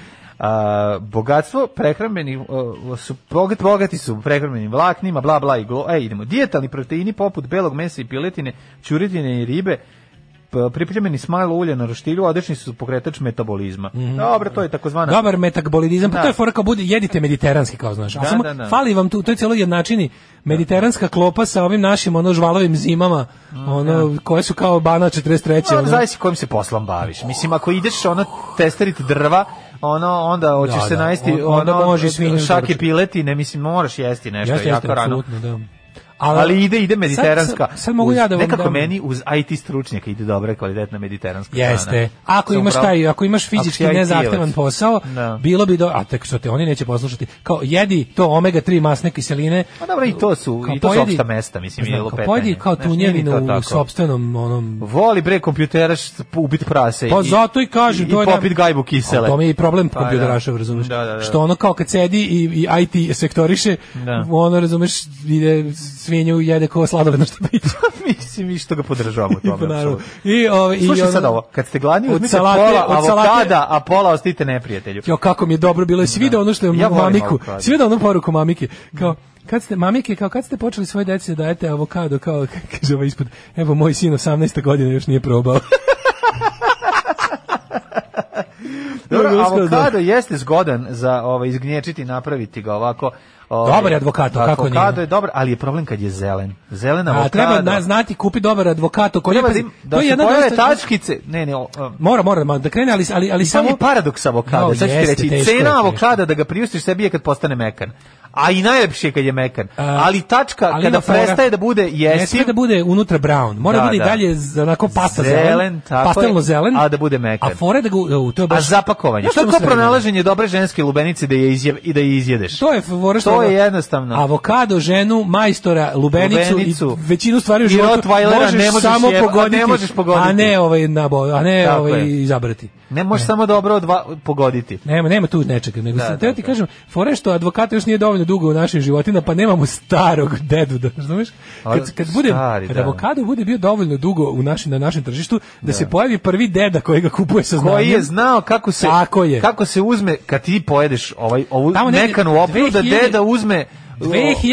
[SPEAKER 6] A, bogatstvo prehrambenih uh, su bogat, bogati su prehrambenim vlaknima, bla bla i glo. E, idemo. Dijetalni proteini poput belog mesa i piletine, ćuretine i ribe, p- pripremljeni s malo ulja na roštilju, odlični su pokretač metabolizma.
[SPEAKER 8] Mhm.
[SPEAKER 6] Dobro, to je takozvana
[SPEAKER 8] Dobar metabolizam,
[SPEAKER 6] Da.
[SPEAKER 8] pa to je fora kao bude, jedite mediteranski kao znaš. A
[SPEAKER 6] Da,
[SPEAKER 8] samo
[SPEAKER 6] da, da.
[SPEAKER 8] fali vam tu, to je cijelo jednačini mediteranska klopa sa ovim našim ono žvalovim zimama,
[SPEAKER 6] Mm,
[SPEAKER 8] ono koje su kao bana 43.
[SPEAKER 6] Ono,
[SPEAKER 8] ono.
[SPEAKER 6] zavisi kojim se poslom baviš. Mislim, ako ideš ono testerit drva, ono, onda hoćeš
[SPEAKER 8] Da,
[SPEAKER 6] se
[SPEAKER 8] da.
[SPEAKER 6] najesti
[SPEAKER 8] Onda-
[SPEAKER 6] ono,
[SPEAKER 8] onda može svinju
[SPEAKER 6] šake
[SPEAKER 8] doručak.
[SPEAKER 6] piletine, mislim, moraš jesti nešto
[SPEAKER 8] Jeste,
[SPEAKER 6] jako
[SPEAKER 8] jeste,
[SPEAKER 6] rano.
[SPEAKER 8] apsolutno, da.
[SPEAKER 6] Ali, ide, ide mediteranska.
[SPEAKER 8] Sad, sad, sad mogu
[SPEAKER 6] Uz-
[SPEAKER 8] ja da vam
[SPEAKER 6] Nekako
[SPEAKER 8] dam-
[SPEAKER 6] meni uz IT stručnjaka ide dobra i kvalitetna mediteranska hrana.
[SPEAKER 8] Jeste. Ako
[SPEAKER 6] Sam
[SPEAKER 8] imaš
[SPEAKER 6] pravo-
[SPEAKER 8] taj, ako imaš fizički
[SPEAKER 6] ako si
[SPEAKER 8] nezahtevan
[SPEAKER 6] IT-evac.
[SPEAKER 8] posao,
[SPEAKER 6] Da.
[SPEAKER 8] bilo bi do, a tek što te oni neće poslušati. Kao jedi to omega 3 masne kiseline.
[SPEAKER 6] Pa dobro, i to su, i to su opšta mesta, mislim,
[SPEAKER 8] Znam,
[SPEAKER 6] je
[SPEAKER 8] kao
[SPEAKER 6] lupetanje.
[SPEAKER 8] pojedi kao
[SPEAKER 6] Znaš, nije ni to
[SPEAKER 8] tunjevinu u
[SPEAKER 6] tako.
[SPEAKER 8] sopstvenom onom
[SPEAKER 6] Voli bre kompjutera št- ubit prase.
[SPEAKER 8] Pa zato i kažem, to je
[SPEAKER 6] E, I
[SPEAKER 8] nam-
[SPEAKER 6] popit gajbu kisele.
[SPEAKER 8] A To mi je i problem
[SPEAKER 6] Pa,
[SPEAKER 8] kompjuteraša,
[SPEAKER 6] da.
[SPEAKER 8] razumeš?
[SPEAKER 6] Da, da, da.
[SPEAKER 8] Što ono kao kad sedi i, i IT sektoriše,
[SPEAKER 6] Da.
[SPEAKER 8] ono, razumeš, ide svinju, jede ko sladoledno što piće.
[SPEAKER 6] Mislim, i što ga podržavamo u tome.
[SPEAKER 8] Pa, naravno.
[SPEAKER 6] apsolutno.
[SPEAKER 8] I, ovaj, i
[SPEAKER 6] Slušaj
[SPEAKER 8] ono-
[SPEAKER 6] sad ovo, kad ste gladni
[SPEAKER 8] Od
[SPEAKER 6] uzmite
[SPEAKER 8] salate-
[SPEAKER 6] pola
[SPEAKER 8] od salate-
[SPEAKER 6] avokada, a pola ostite neprijatelju.
[SPEAKER 8] Jo, kako mi je dobro bilo, svi video ono što je
[SPEAKER 6] Ja volim
[SPEAKER 8] mamiku,
[SPEAKER 6] avokado.
[SPEAKER 8] svi video onu poruku mamike, kao, kad ste, mamike, kao kad ste počeli svoje deci da dajete avokado, kao, kaže ovaj ispod, evo, moj sin 18. godine još nije probao.
[SPEAKER 6] Dobro,
[SPEAKER 8] Dobro, uskoro
[SPEAKER 6] avokado jeste zgodan za ovaj izgnječiti i napraviti ga ovako. Ovaj,
[SPEAKER 8] Dobar je advokato, kako
[SPEAKER 6] avokado
[SPEAKER 8] nije?
[SPEAKER 6] je dobar, ali je problem kad je zelen. Zelen
[SPEAKER 8] A
[SPEAKER 6] avokado.
[SPEAKER 8] treba na, znati kupi dobar advokato koji je,
[SPEAKER 6] Treba da,
[SPEAKER 8] pazi,
[SPEAKER 6] im-
[SPEAKER 8] to
[SPEAKER 6] da
[SPEAKER 8] je
[SPEAKER 6] se
[SPEAKER 8] jedna od
[SPEAKER 6] pojave
[SPEAKER 8] osnovnih-
[SPEAKER 6] tačkice. Ne, ne, o, o,
[SPEAKER 8] Mora, mora ma, da krene, ali, ali, ali
[SPEAKER 6] I samo
[SPEAKER 8] samo...
[SPEAKER 6] je paradoks avokada,
[SPEAKER 8] No,
[SPEAKER 6] sad ću ti
[SPEAKER 8] jeste,
[SPEAKER 6] reći,
[SPEAKER 8] teško je,
[SPEAKER 6] cena
[SPEAKER 8] teško.
[SPEAKER 6] avokada da ga priuštiš sebi je kad postane mekan. A i najlepše je kad je mekan. pa- ali tačka
[SPEAKER 8] ali
[SPEAKER 6] kada
[SPEAKER 8] ima fora.
[SPEAKER 6] prestaje da bude
[SPEAKER 8] Ne
[SPEAKER 6] jestiv,
[SPEAKER 8] sme da bude unutra brown. Mora
[SPEAKER 6] Da,
[SPEAKER 8] da, bude i
[SPEAKER 6] da.
[SPEAKER 8] dalje z- onako pasta zelen,
[SPEAKER 6] Zelen, tako je,
[SPEAKER 8] pastelno zelen.
[SPEAKER 6] a da bude mekan.
[SPEAKER 8] A fore da ga, u- u, to je baš...
[SPEAKER 6] a zapakovanje.
[SPEAKER 8] Znaš
[SPEAKER 6] Što je
[SPEAKER 8] čemu
[SPEAKER 6] kao
[SPEAKER 8] sve ide?
[SPEAKER 6] pronalaženje dobre ženske lubenice da je izje, i da je izjedeš?
[SPEAKER 8] To je fora što
[SPEAKER 6] To je
[SPEAKER 8] ono,
[SPEAKER 6] jednostavno.
[SPEAKER 8] Avokado, ženu, majstora, lubenicu,
[SPEAKER 6] Lubenicu.
[SPEAKER 8] i većinu stvari u
[SPEAKER 6] I
[SPEAKER 8] životu
[SPEAKER 6] Rottweilera
[SPEAKER 8] možeš,
[SPEAKER 6] ne možeš
[SPEAKER 8] samo
[SPEAKER 6] jeba-
[SPEAKER 8] pogoditi,
[SPEAKER 6] ne možeš pogoditi.
[SPEAKER 8] a ne ovaj nabo, a ne
[SPEAKER 6] Tako
[SPEAKER 8] ovaj
[SPEAKER 6] je.
[SPEAKER 8] izabrati.
[SPEAKER 6] Ne možeš samo dobro odva, pogoditi.
[SPEAKER 8] Nema, nema tu nečega, nego
[SPEAKER 6] Da,
[SPEAKER 8] sam
[SPEAKER 6] da,
[SPEAKER 8] teo ti
[SPEAKER 6] da.
[SPEAKER 8] kažem, fore što advokata još nije dovoljno dugo u našim životima, pa nemamo starog dedu, da, znaš?
[SPEAKER 6] Ali
[SPEAKER 8] Kad, kad, bude,
[SPEAKER 6] stari,
[SPEAKER 8] kad
[SPEAKER 6] da.
[SPEAKER 8] avokado bude bio dovoljno dugo u našem, na našem tržištu, da, se pojavi prvi deda koji ga kupuje sa znanjem.
[SPEAKER 6] Koji je znao kako se
[SPEAKER 8] Tako je.
[SPEAKER 6] kako se uzme kad ti pojedeš ovaj ovu
[SPEAKER 8] Tamo negde
[SPEAKER 6] mekanu opnu da
[SPEAKER 8] 2000
[SPEAKER 6] deda uzme o,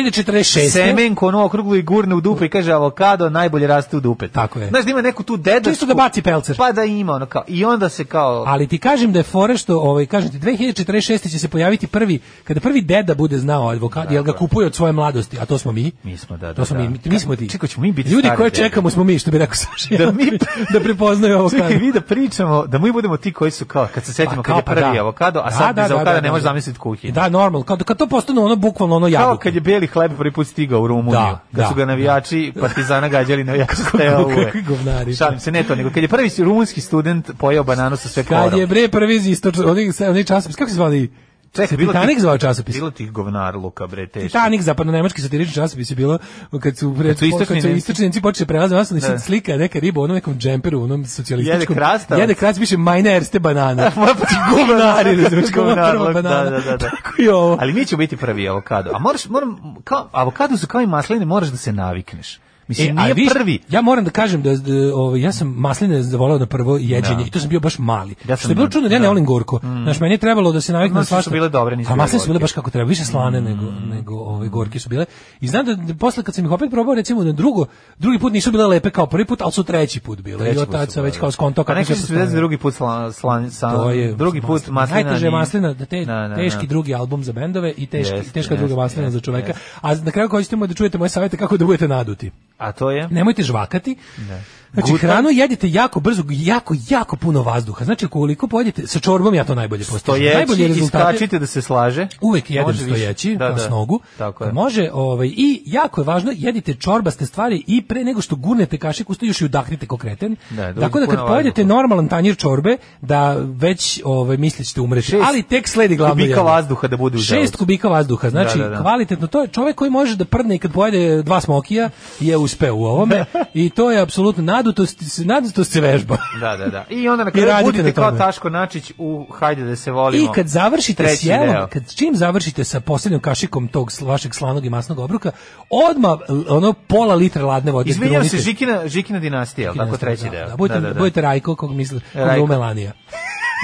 [SPEAKER 8] 2046.
[SPEAKER 6] semenko ono okruglo i gurne u dupe i kaže avokado najbolje raste u dupe.
[SPEAKER 8] Tako je.
[SPEAKER 6] Znaš da ima neku tu dedu.
[SPEAKER 8] Čisto da baci pelcer.
[SPEAKER 6] Pa da ima ono kao i onda se kao
[SPEAKER 8] Ali ti kažem da je fore što, ovaj, kažem ti, 2046. će se pojaviti prvi, kada prvi deda bude znao advokat, jel ga kupuje od svoje mladosti, a to smo mi.
[SPEAKER 6] mi smo da, da
[SPEAKER 8] To smo
[SPEAKER 6] da.
[SPEAKER 8] mi, mi smo ti.
[SPEAKER 6] Čekaj, ćemo mi biti
[SPEAKER 8] Ljudi
[SPEAKER 6] stari
[SPEAKER 8] koje
[SPEAKER 6] dede.
[SPEAKER 8] čekamo smo mi, što bi rekao Saša.
[SPEAKER 6] Da mi-
[SPEAKER 8] da prepoznaju ovo
[SPEAKER 6] Čekaj, vi da pričamo, da mi budemo ti koji su kao,
[SPEAKER 8] Pa
[SPEAKER 6] kad se setimo kad je prvi avokado, a sad bez avokada ne možeš zamisliti kuhinju.
[SPEAKER 8] Da, normal, kad, kad to postane ono bukvalno ono
[SPEAKER 6] Kao
[SPEAKER 8] jabuka.
[SPEAKER 6] kad je beli hleb prvi put stigao u Rumuniju,
[SPEAKER 8] Da,
[SPEAKER 6] kad
[SPEAKER 8] da,
[SPEAKER 6] su ga navijači Partizana gađali na jače steo
[SPEAKER 8] kako-
[SPEAKER 6] uve.
[SPEAKER 8] kakvi govnari.
[SPEAKER 6] Šalim se, ne to, nego kad je prvi rumunski student pojeo bananu sa sve
[SPEAKER 8] Kad
[SPEAKER 6] korom.
[SPEAKER 8] je bre prvi iz istočno, oni, oni časopis, kako se zvali? Čekaj, se Titanic zvao časopis.
[SPEAKER 6] Bilo ti govnar Luka bre teško.
[SPEAKER 8] Titanic zapadno nemački satirični časopis je bilo kad su pre
[SPEAKER 6] Kad su istočni
[SPEAKER 8] kad su
[SPEAKER 6] Nemci-
[SPEAKER 8] istočni Nemci počeli prelaze masovno
[SPEAKER 6] Da.
[SPEAKER 8] da. slika neka riba u onom nekom džemperu, u onom socijalističkom.
[SPEAKER 6] Jede krastavec.
[SPEAKER 8] Jede krastavec, piše majne erste banane. pa Ti govnari, razumeš, kao
[SPEAKER 6] Govnar,
[SPEAKER 8] prva
[SPEAKER 6] luk,
[SPEAKER 8] banana.
[SPEAKER 6] Da, da, da.
[SPEAKER 8] Tako i ovo.
[SPEAKER 6] Ali mi ćemo biti prvi avokado. A moraš, moram, kao, avokado su kao i masline, moraš da se navikneš. Mislim,
[SPEAKER 8] E, a
[SPEAKER 6] nije
[SPEAKER 8] viš,
[SPEAKER 6] prvi. Pa
[SPEAKER 8] Ja moram da kažem da, da ovaj, ja sam masline zavoleo na prvo jeđenje
[SPEAKER 6] Da.
[SPEAKER 8] i to sam bio baš mali.
[SPEAKER 6] Ja sam
[SPEAKER 8] što je bilo
[SPEAKER 6] da,
[SPEAKER 8] čudno, da ja ne
[SPEAKER 6] da.
[SPEAKER 8] volim gorko.
[SPEAKER 6] Mm.
[SPEAKER 8] Znaš, meni je trebalo da se naviknem
[SPEAKER 6] Masline
[SPEAKER 8] na
[SPEAKER 6] su
[SPEAKER 8] svašta.
[SPEAKER 6] bile dobre, nisu
[SPEAKER 8] A
[SPEAKER 6] bile
[SPEAKER 8] masline su bile
[SPEAKER 6] gorke. Mm.
[SPEAKER 8] baš kako treba, više slane nego nego ove gorke su bile. I znam da, da posle kad sam ih opet probao recimo na drugo, drugi put nisu bile lepe kao prvi put, ali su treći put bile.
[SPEAKER 6] Treći
[SPEAKER 8] I od
[SPEAKER 6] put
[SPEAKER 8] tad
[SPEAKER 6] su
[SPEAKER 8] sam već
[SPEAKER 6] bile.
[SPEAKER 8] kao skonto
[SPEAKER 6] Pa
[SPEAKER 8] kako
[SPEAKER 6] neki
[SPEAKER 8] se
[SPEAKER 6] su
[SPEAKER 8] postavljaju.
[SPEAKER 6] se drugi put slan, slan, slan,
[SPEAKER 8] To je
[SPEAKER 6] drugi put
[SPEAKER 8] maslina.
[SPEAKER 6] maslina.
[SPEAKER 8] Najteže je
[SPEAKER 6] nije-
[SPEAKER 8] maslina, da te,
[SPEAKER 6] Da, da,
[SPEAKER 8] teški
[SPEAKER 6] da.
[SPEAKER 8] drugi album za bendove i teški,
[SPEAKER 6] Jeste,
[SPEAKER 8] teška druga
[SPEAKER 6] jeste,
[SPEAKER 8] maslina za
[SPEAKER 6] jeste,
[SPEAKER 8] čoveka.
[SPEAKER 6] jeste.
[SPEAKER 8] A na kraju hoćete moje da čujete moje savete kako da budete naduti.
[SPEAKER 6] A to je?
[SPEAKER 8] Nemojte žvakati.
[SPEAKER 6] Da.
[SPEAKER 8] Znači,
[SPEAKER 6] Gutan?
[SPEAKER 8] hranu jedite jako brzo, jako, jako puno vazduha. Znači, koliko pojedete, sa čorbom ja to najbolje postižem.
[SPEAKER 6] Stojeći
[SPEAKER 8] najbolje
[SPEAKER 6] i skačite da se slaže.
[SPEAKER 8] Uvek jedem
[SPEAKER 6] Može više.
[SPEAKER 8] stojeći
[SPEAKER 6] Da,
[SPEAKER 8] na
[SPEAKER 6] da.
[SPEAKER 8] snogu.
[SPEAKER 6] Tako je.
[SPEAKER 8] Može, ovaj i jako je važno jedite čorbaste stvari i pre nego što gurnete kašiku, ste još i udahnite ko kreten.
[SPEAKER 6] Da, da
[SPEAKER 8] Tako da
[SPEAKER 6] uzme
[SPEAKER 8] kad
[SPEAKER 6] puno
[SPEAKER 8] pojedete normalan tanjir čorbe, da već ovaj mislite umreti,
[SPEAKER 6] Šest
[SPEAKER 8] ali tek sledi glavno
[SPEAKER 6] kubika
[SPEAKER 8] jedno.
[SPEAKER 6] vazduha da bude u
[SPEAKER 8] Šest
[SPEAKER 6] želucu.
[SPEAKER 8] kubika vazduha, znači
[SPEAKER 6] Da, da, da.
[SPEAKER 8] kvalitetno to je čovjek koji može da prdne i kad pojede dva smokija je uspeo u ovome i to je apsolutno nadutost, nadutost se vežba.
[SPEAKER 6] Da, da, da. I onda na
[SPEAKER 8] I
[SPEAKER 6] kraju
[SPEAKER 8] radite
[SPEAKER 6] budete
[SPEAKER 8] na
[SPEAKER 6] kao
[SPEAKER 8] tome.
[SPEAKER 6] Taško Načić u Hajde da se volimo.
[SPEAKER 8] I kad završite
[SPEAKER 6] Treći
[SPEAKER 8] s jelom,
[SPEAKER 6] deo.
[SPEAKER 8] kad čim završite sa posljednjom kašikom tog sl- vašeg slanog i masnog obruka, odma ono pola litra ladne vode.
[SPEAKER 6] Izvinjam se,
[SPEAKER 8] grunite.
[SPEAKER 6] Žikina, Žikina dinastija, jel tako treći
[SPEAKER 8] Da,
[SPEAKER 6] deo.
[SPEAKER 8] Da, budite, budite Rajko kog misli, kog
[SPEAKER 6] Rajko.
[SPEAKER 8] zove Melanija.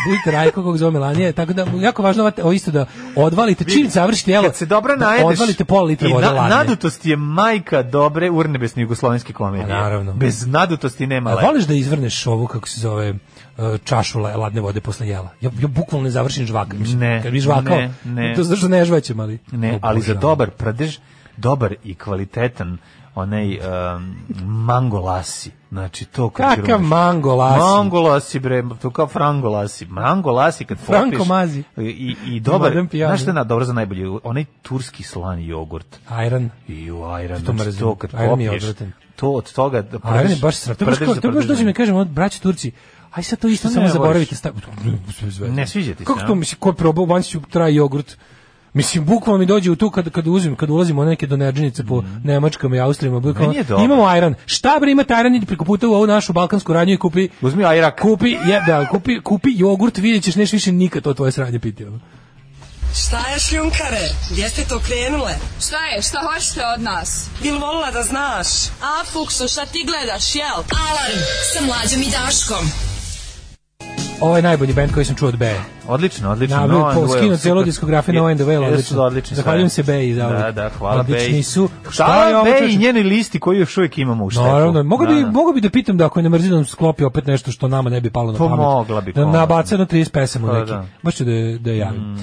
[SPEAKER 8] budite Rajko kog zove Melanija, tako da jako važno ovo isto da odvalite čim završite jelo.
[SPEAKER 6] Kad se dobro
[SPEAKER 8] da
[SPEAKER 6] najedeš.
[SPEAKER 8] Odvalite pola litra
[SPEAKER 6] i
[SPEAKER 8] vode
[SPEAKER 6] na,
[SPEAKER 8] ladne.
[SPEAKER 6] Nadutost je majka dobre urnebesne jugoslovenske komedije.
[SPEAKER 8] A, Pa naravno.
[SPEAKER 6] Bez nadutosti nema
[SPEAKER 8] A
[SPEAKER 6] leba.
[SPEAKER 8] voliš da izvrneš ovu, kako se zove, e, čašu la- ladne vode posle jela? Ja, ja bukvalno ne završim žvakam. mislim.
[SPEAKER 6] Ne,
[SPEAKER 8] Kad bi žvakao,
[SPEAKER 6] ne, ne.
[SPEAKER 8] to zašto ne žvaćem, ali...
[SPEAKER 6] Ne,
[SPEAKER 8] O,
[SPEAKER 6] ali
[SPEAKER 8] Bože, ono.
[SPEAKER 6] za dobar prdež, dobar i kvalitetan onaj um, mangolasi. Znači to kad
[SPEAKER 8] Kakav
[SPEAKER 6] ćeš-
[SPEAKER 8] mangolasi?
[SPEAKER 6] Mangolasi bre, to kao frangolasi. Mangolasi kad popiš.
[SPEAKER 8] Franko mazi.
[SPEAKER 6] I, i dobar,
[SPEAKER 8] Modern pijani.
[SPEAKER 6] znaš što je na, dobro za najbolje? Onaj turski slani jogurt.
[SPEAKER 8] Ajran.
[SPEAKER 6] I u ajran.
[SPEAKER 8] To
[SPEAKER 6] To, znači,
[SPEAKER 8] mrzim.
[SPEAKER 6] to kad
[SPEAKER 8] Ajran mi je
[SPEAKER 6] popiješ,
[SPEAKER 8] odvratan.
[SPEAKER 6] to od toga da
[SPEAKER 8] A meni je baš sram. To je baš
[SPEAKER 6] prdež
[SPEAKER 8] kao-
[SPEAKER 6] za
[SPEAKER 8] to je baš
[SPEAKER 6] prdež.
[SPEAKER 8] dođe mi kažem, od braće Turci, aj sad to isto
[SPEAKER 6] Šta
[SPEAKER 8] samo
[SPEAKER 6] ne
[SPEAKER 8] zaboravite.
[SPEAKER 6] voliš?
[SPEAKER 8] Stav...
[SPEAKER 6] Ne sviđa ti se,
[SPEAKER 8] Kako
[SPEAKER 6] a?
[SPEAKER 8] to, mislim, ko je probao, vanci ću traj jogurt. Mislim, bukvalno mi dođe u tu kad, kad uzim, kad ulazimo u neke donerđenice po Nemačkama i Austrijama. bukvalno,
[SPEAKER 6] Mhm. Meni je dobro.
[SPEAKER 8] imamo ajran. Šta bre, imate ajran, idi preko puta u ovu našu balkansku radnju i kupi...
[SPEAKER 6] Uzmi ajrak.
[SPEAKER 8] Kupi, je, da, kupi, kupi jogurt, vidjet ćeš, neš više nikad to tvoje sranje piti. ono.
[SPEAKER 16] Šta je šljunkare? Gdje ste to krenule?
[SPEAKER 17] Šta je, šta hoćete od nas?
[SPEAKER 16] Bil volila da znaš?
[SPEAKER 17] A, Fuksu, šta ti gledaš, jel?
[SPEAKER 11] Alarm sa mlađom i Daškom.
[SPEAKER 8] Ovo je najbolji band koji sam čuo od Beja.
[SPEAKER 6] Odlično, odlično.
[SPEAKER 8] Na,
[SPEAKER 6] No and
[SPEAKER 8] po-
[SPEAKER 6] Well,
[SPEAKER 8] skinu
[SPEAKER 6] super.
[SPEAKER 8] celu diskografiju No and the Well,
[SPEAKER 6] Jesu
[SPEAKER 8] odlično.
[SPEAKER 6] odlični
[SPEAKER 8] Zahvaljujem
[SPEAKER 6] stvari.
[SPEAKER 8] se Beji za
[SPEAKER 6] Da,
[SPEAKER 8] ovo.
[SPEAKER 6] da, hvala Beji.
[SPEAKER 8] Odlični su. Šta je
[SPEAKER 6] Hvala
[SPEAKER 8] ovo,
[SPEAKER 6] Beji
[SPEAKER 8] čoveče?
[SPEAKER 6] i njeni listi koji još uvijek imamo u štefu.
[SPEAKER 8] Naravno, mogu bi,
[SPEAKER 6] Da, da.
[SPEAKER 8] mogu bi da pitam da ako je ne mrzi da nam sklopi opet nešto što nama ne bi palo na pamet.
[SPEAKER 6] Pomogla Pa bi,
[SPEAKER 8] Da nam
[SPEAKER 6] pomogla.
[SPEAKER 8] nabaca na 30 pesama
[SPEAKER 6] Pa,
[SPEAKER 8] neki.
[SPEAKER 6] da. Mm.
[SPEAKER 8] Baš ću da, je- da je javim.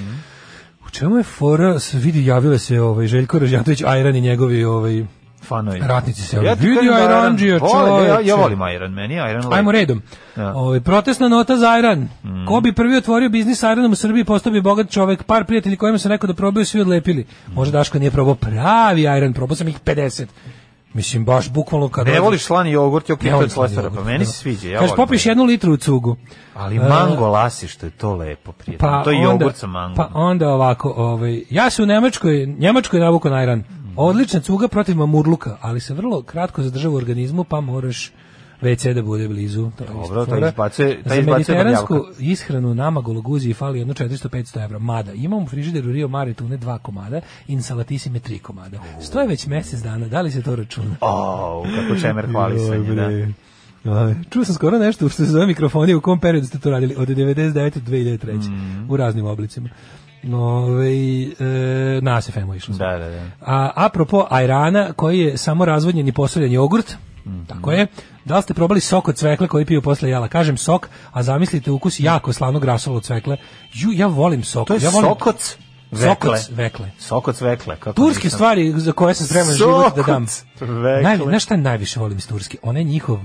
[SPEAKER 8] U čemu je fora, S- vidi, javile se ovaj, Željko Ražnjatović, Ajran i njegovi ovaj,
[SPEAKER 6] Fanovi.
[SPEAKER 8] ratnici se. Ja
[SPEAKER 6] Ja ti
[SPEAKER 8] vidi,
[SPEAKER 6] kažem da Iron-
[SPEAKER 8] Ajranđija,
[SPEAKER 6] Volim, ja, ja
[SPEAKER 8] čoveče.
[SPEAKER 6] volim Iron, meni je Iron
[SPEAKER 8] Ajmo redom.
[SPEAKER 6] Da. Mm.
[SPEAKER 8] Ovaj protestna nota za Ajran. Ko bi prvi otvorio biznis sa Ajranom u Srbiji, postao bi bogat čovek. Par prijatelji kojima sam rekao da probaju, svi odlepili. Možda
[SPEAKER 6] Mm.
[SPEAKER 8] Daško nije probao pravi Ajran, probao sam ih 50. Mislim, baš bukvalno kad...
[SPEAKER 6] Ne
[SPEAKER 8] dođe-
[SPEAKER 6] voliš slani jogurt, ok,
[SPEAKER 8] Ne
[SPEAKER 6] to
[SPEAKER 8] volim
[SPEAKER 6] je
[SPEAKER 8] slani
[SPEAKER 6] slestara, pa
[SPEAKER 8] jogurt,
[SPEAKER 6] meni
[SPEAKER 8] da.
[SPEAKER 6] se sviđa. Ja
[SPEAKER 8] Kaže,
[SPEAKER 6] volim.
[SPEAKER 8] popiješ jednu litru u cugu.
[SPEAKER 6] Ali
[SPEAKER 8] E,
[SPEAKER 6] mango lasi, što je to lepo, prijatno. to je jogurt sa mangom.
[SPEAKER 8] Pa onda ovako, ovaj, ja se u Nemačkoj, Njemačkoj navuko na Iran.
[SPEAKER 6] Mhm.
[SPEAKER 8] Odlična cuga protiv mamurluka, ali se vrlo kratko zadržava u organizmu, pa moraš WC da bude blizu. To je isto
[SPEAKER 6] Dobro, taj
[SPEAKER 8] fora.
[SPEAKER 6] izbacuje- taj
[SPEAKER 8] Za
[SPEAKER 6] izbacuje
[SPEAKER 8] mediteransku
[SPEAKER 6] prljavka.
[SPEAKER 8] ishranu nama gologuziji fali jedno 400-500 evra. Mada, imam u frižideru Rio Mare tune dva komada, insalatisime tri komada. Stoje već mesec dana, da li se to računa?
[SPEAKER 6] O, kako čemer hvalisanje, da.
[SPEAKER 8] Aj, Ovaj, Čuo sam skoro nešto što se zove mikrofonija, u kom periodu ste to radili? Od 99. do 2003.
[SPEAKER 6] Mhm.
[SPEAKER 8] U raznim oblicima. Ove, e, na SFM-u išlo. sam.
[SPEAKER 6] Da, da, da.
[SPEAKER 8] A apropo ajrana, koji je samo razvodnjen i posoljen jogurt,
[SPEAKER 6] Mhm.
[SPEAKER 8] tako je, da li ste probali sok od cvekle koji piju posle jela? Kažem sok, a zamislite ukus jako slanog rasola od cvekle. Ju, ja volim sok.
[SPEAKER 6] To je
[SPEAKER 8] ja volim...
[SPEAKER 6] sokoc
[SPEAKER 8] Sokoc
[SPEAKER 6] vekle.
[SPEAKER 8] vekle.
[SPEAKER 6] Sokoc vekle. Kako
[SPEAKER 8] Turske
[SPEAKER 6] nisam-
[SPEAKER 8] stvari za koje sam spreman život da dam.
[SPEAKER 6] Sokoc vekle.
[SPEAKER 8] Najvi, znaš šta najviše volim iz Turske? Onaj njihov,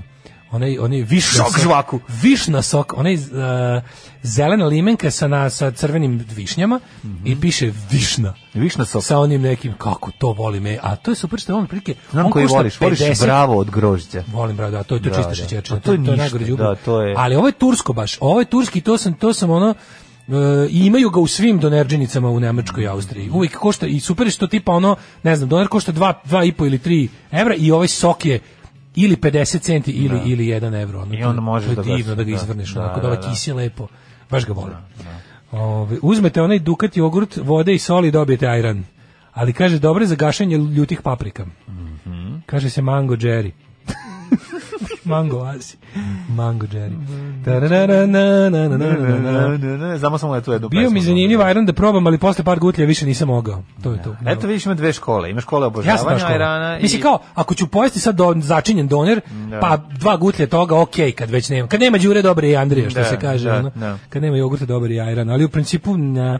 [SPEAKER 8] onaj, onaj višna
[SPEAKER 6] Šok žvaku.
[SPEAKER 8] Višna sok, onaj uh, zelena limenka sa, na, sa crvenim višnjama i piše višna.
[SPEAKER 6] Mhm. Višna sok.
[SPEAKER 8] Sa onim nekim, kako to volim, e, a to je super što je on prilike.
[SPEAKER 6] Znam
[SPEAKER 8] on
[SPEAKER 6] koji
[SPEAKER 8] košta
[SPEAKER 6] voliš, voliš
[SPEAKER 8] 50
[SPEAKER 6] bravo od grožđa.
[SPEAKER 8] Volim bravo, da, to je to
[SPEAKER 6] Da,
[SPEAKER 8] čista
[SPEAKER 6] da.
[SPEAKER 8] šećerčina.
[SPEAKER 6] A to je ništa,
[SPEAKER 8] najgore đubre.
[SPEAKER 6] da, to je-
[SPEAKER 8] Ali ovo je tursko baš. Ovo je turski, to sam to sam ono E, i imaju ga u svim donerđenicama u Nemačkoj i Austriji. Uvijek košta i super je što tipa ono, ne znam, doner košta 2 2,5 ili 3 evra i ovaj sok je ili 50 centi ili
[SPEAKER 6] Da.
[SPEAKER 8] ili 1 evro. Ono,
[SPEAKER 6] I
[SPEAKER 8] to-
[SPEAKER 6] onda možeš da
[SPEAKER 8] to je
[SPEAKER 6] ga-
[SPEAKER 8] divno da
[SPEAKER 6] da,
[SPEAKER 8] ga izvrneš,
[SPEAKER 6] da,
[SPEAKER 8] onako
[SPEAKER 6] da,
[SPEAKER 8] da ovaj
[SPEAKER 6] da.
[SPEAKER 8] kisi lepo. Baš ga volim. Ove, uzmete onaj dukat jogurt, vode i sol i dobijete ajran. Ali kaže, dobro je za gašenje ljutih paprika. Kaže se mango Jerry. mango Asi. Mango Jerry. Tarararana-na-na-na-na-na.
[SPEAKER 6] Znamo samo da je tu jednu
[SPEAKER 8] Bio mi
[SPEAKER 6] pesmu.
[SPEAKER 8] zanimljiv ajran da probam, ali posle par gutlja više nisam mogao. To je to.
[SPEAKER 6] Eto vidiš ima dve škole, ima škole
[SPEAKER 8] Ja sam
[SPEAKER 6] obožavanja
[SPEAKER 8] našao.
[SPEAKER 6] ajrana i
[SPEAKER 8] Mislim kao, ako ću pojesti sad do, začinjen doner,
[SPEAKER 6] Da.
[SPEAKER 8] pa dva gutlje toga, ok, kad već nema. Kad nema đure dobre i Andrija, što
[SPEAKER 6] Da,
[SPEAKER 8] se kaže.
[SPEAKER 6] da,
[SPEAKER 8] ono.
[SPEAKER 6] da.
[SPEAKER 8] Kad nema jogurta dobar i ajran, ali u principu na...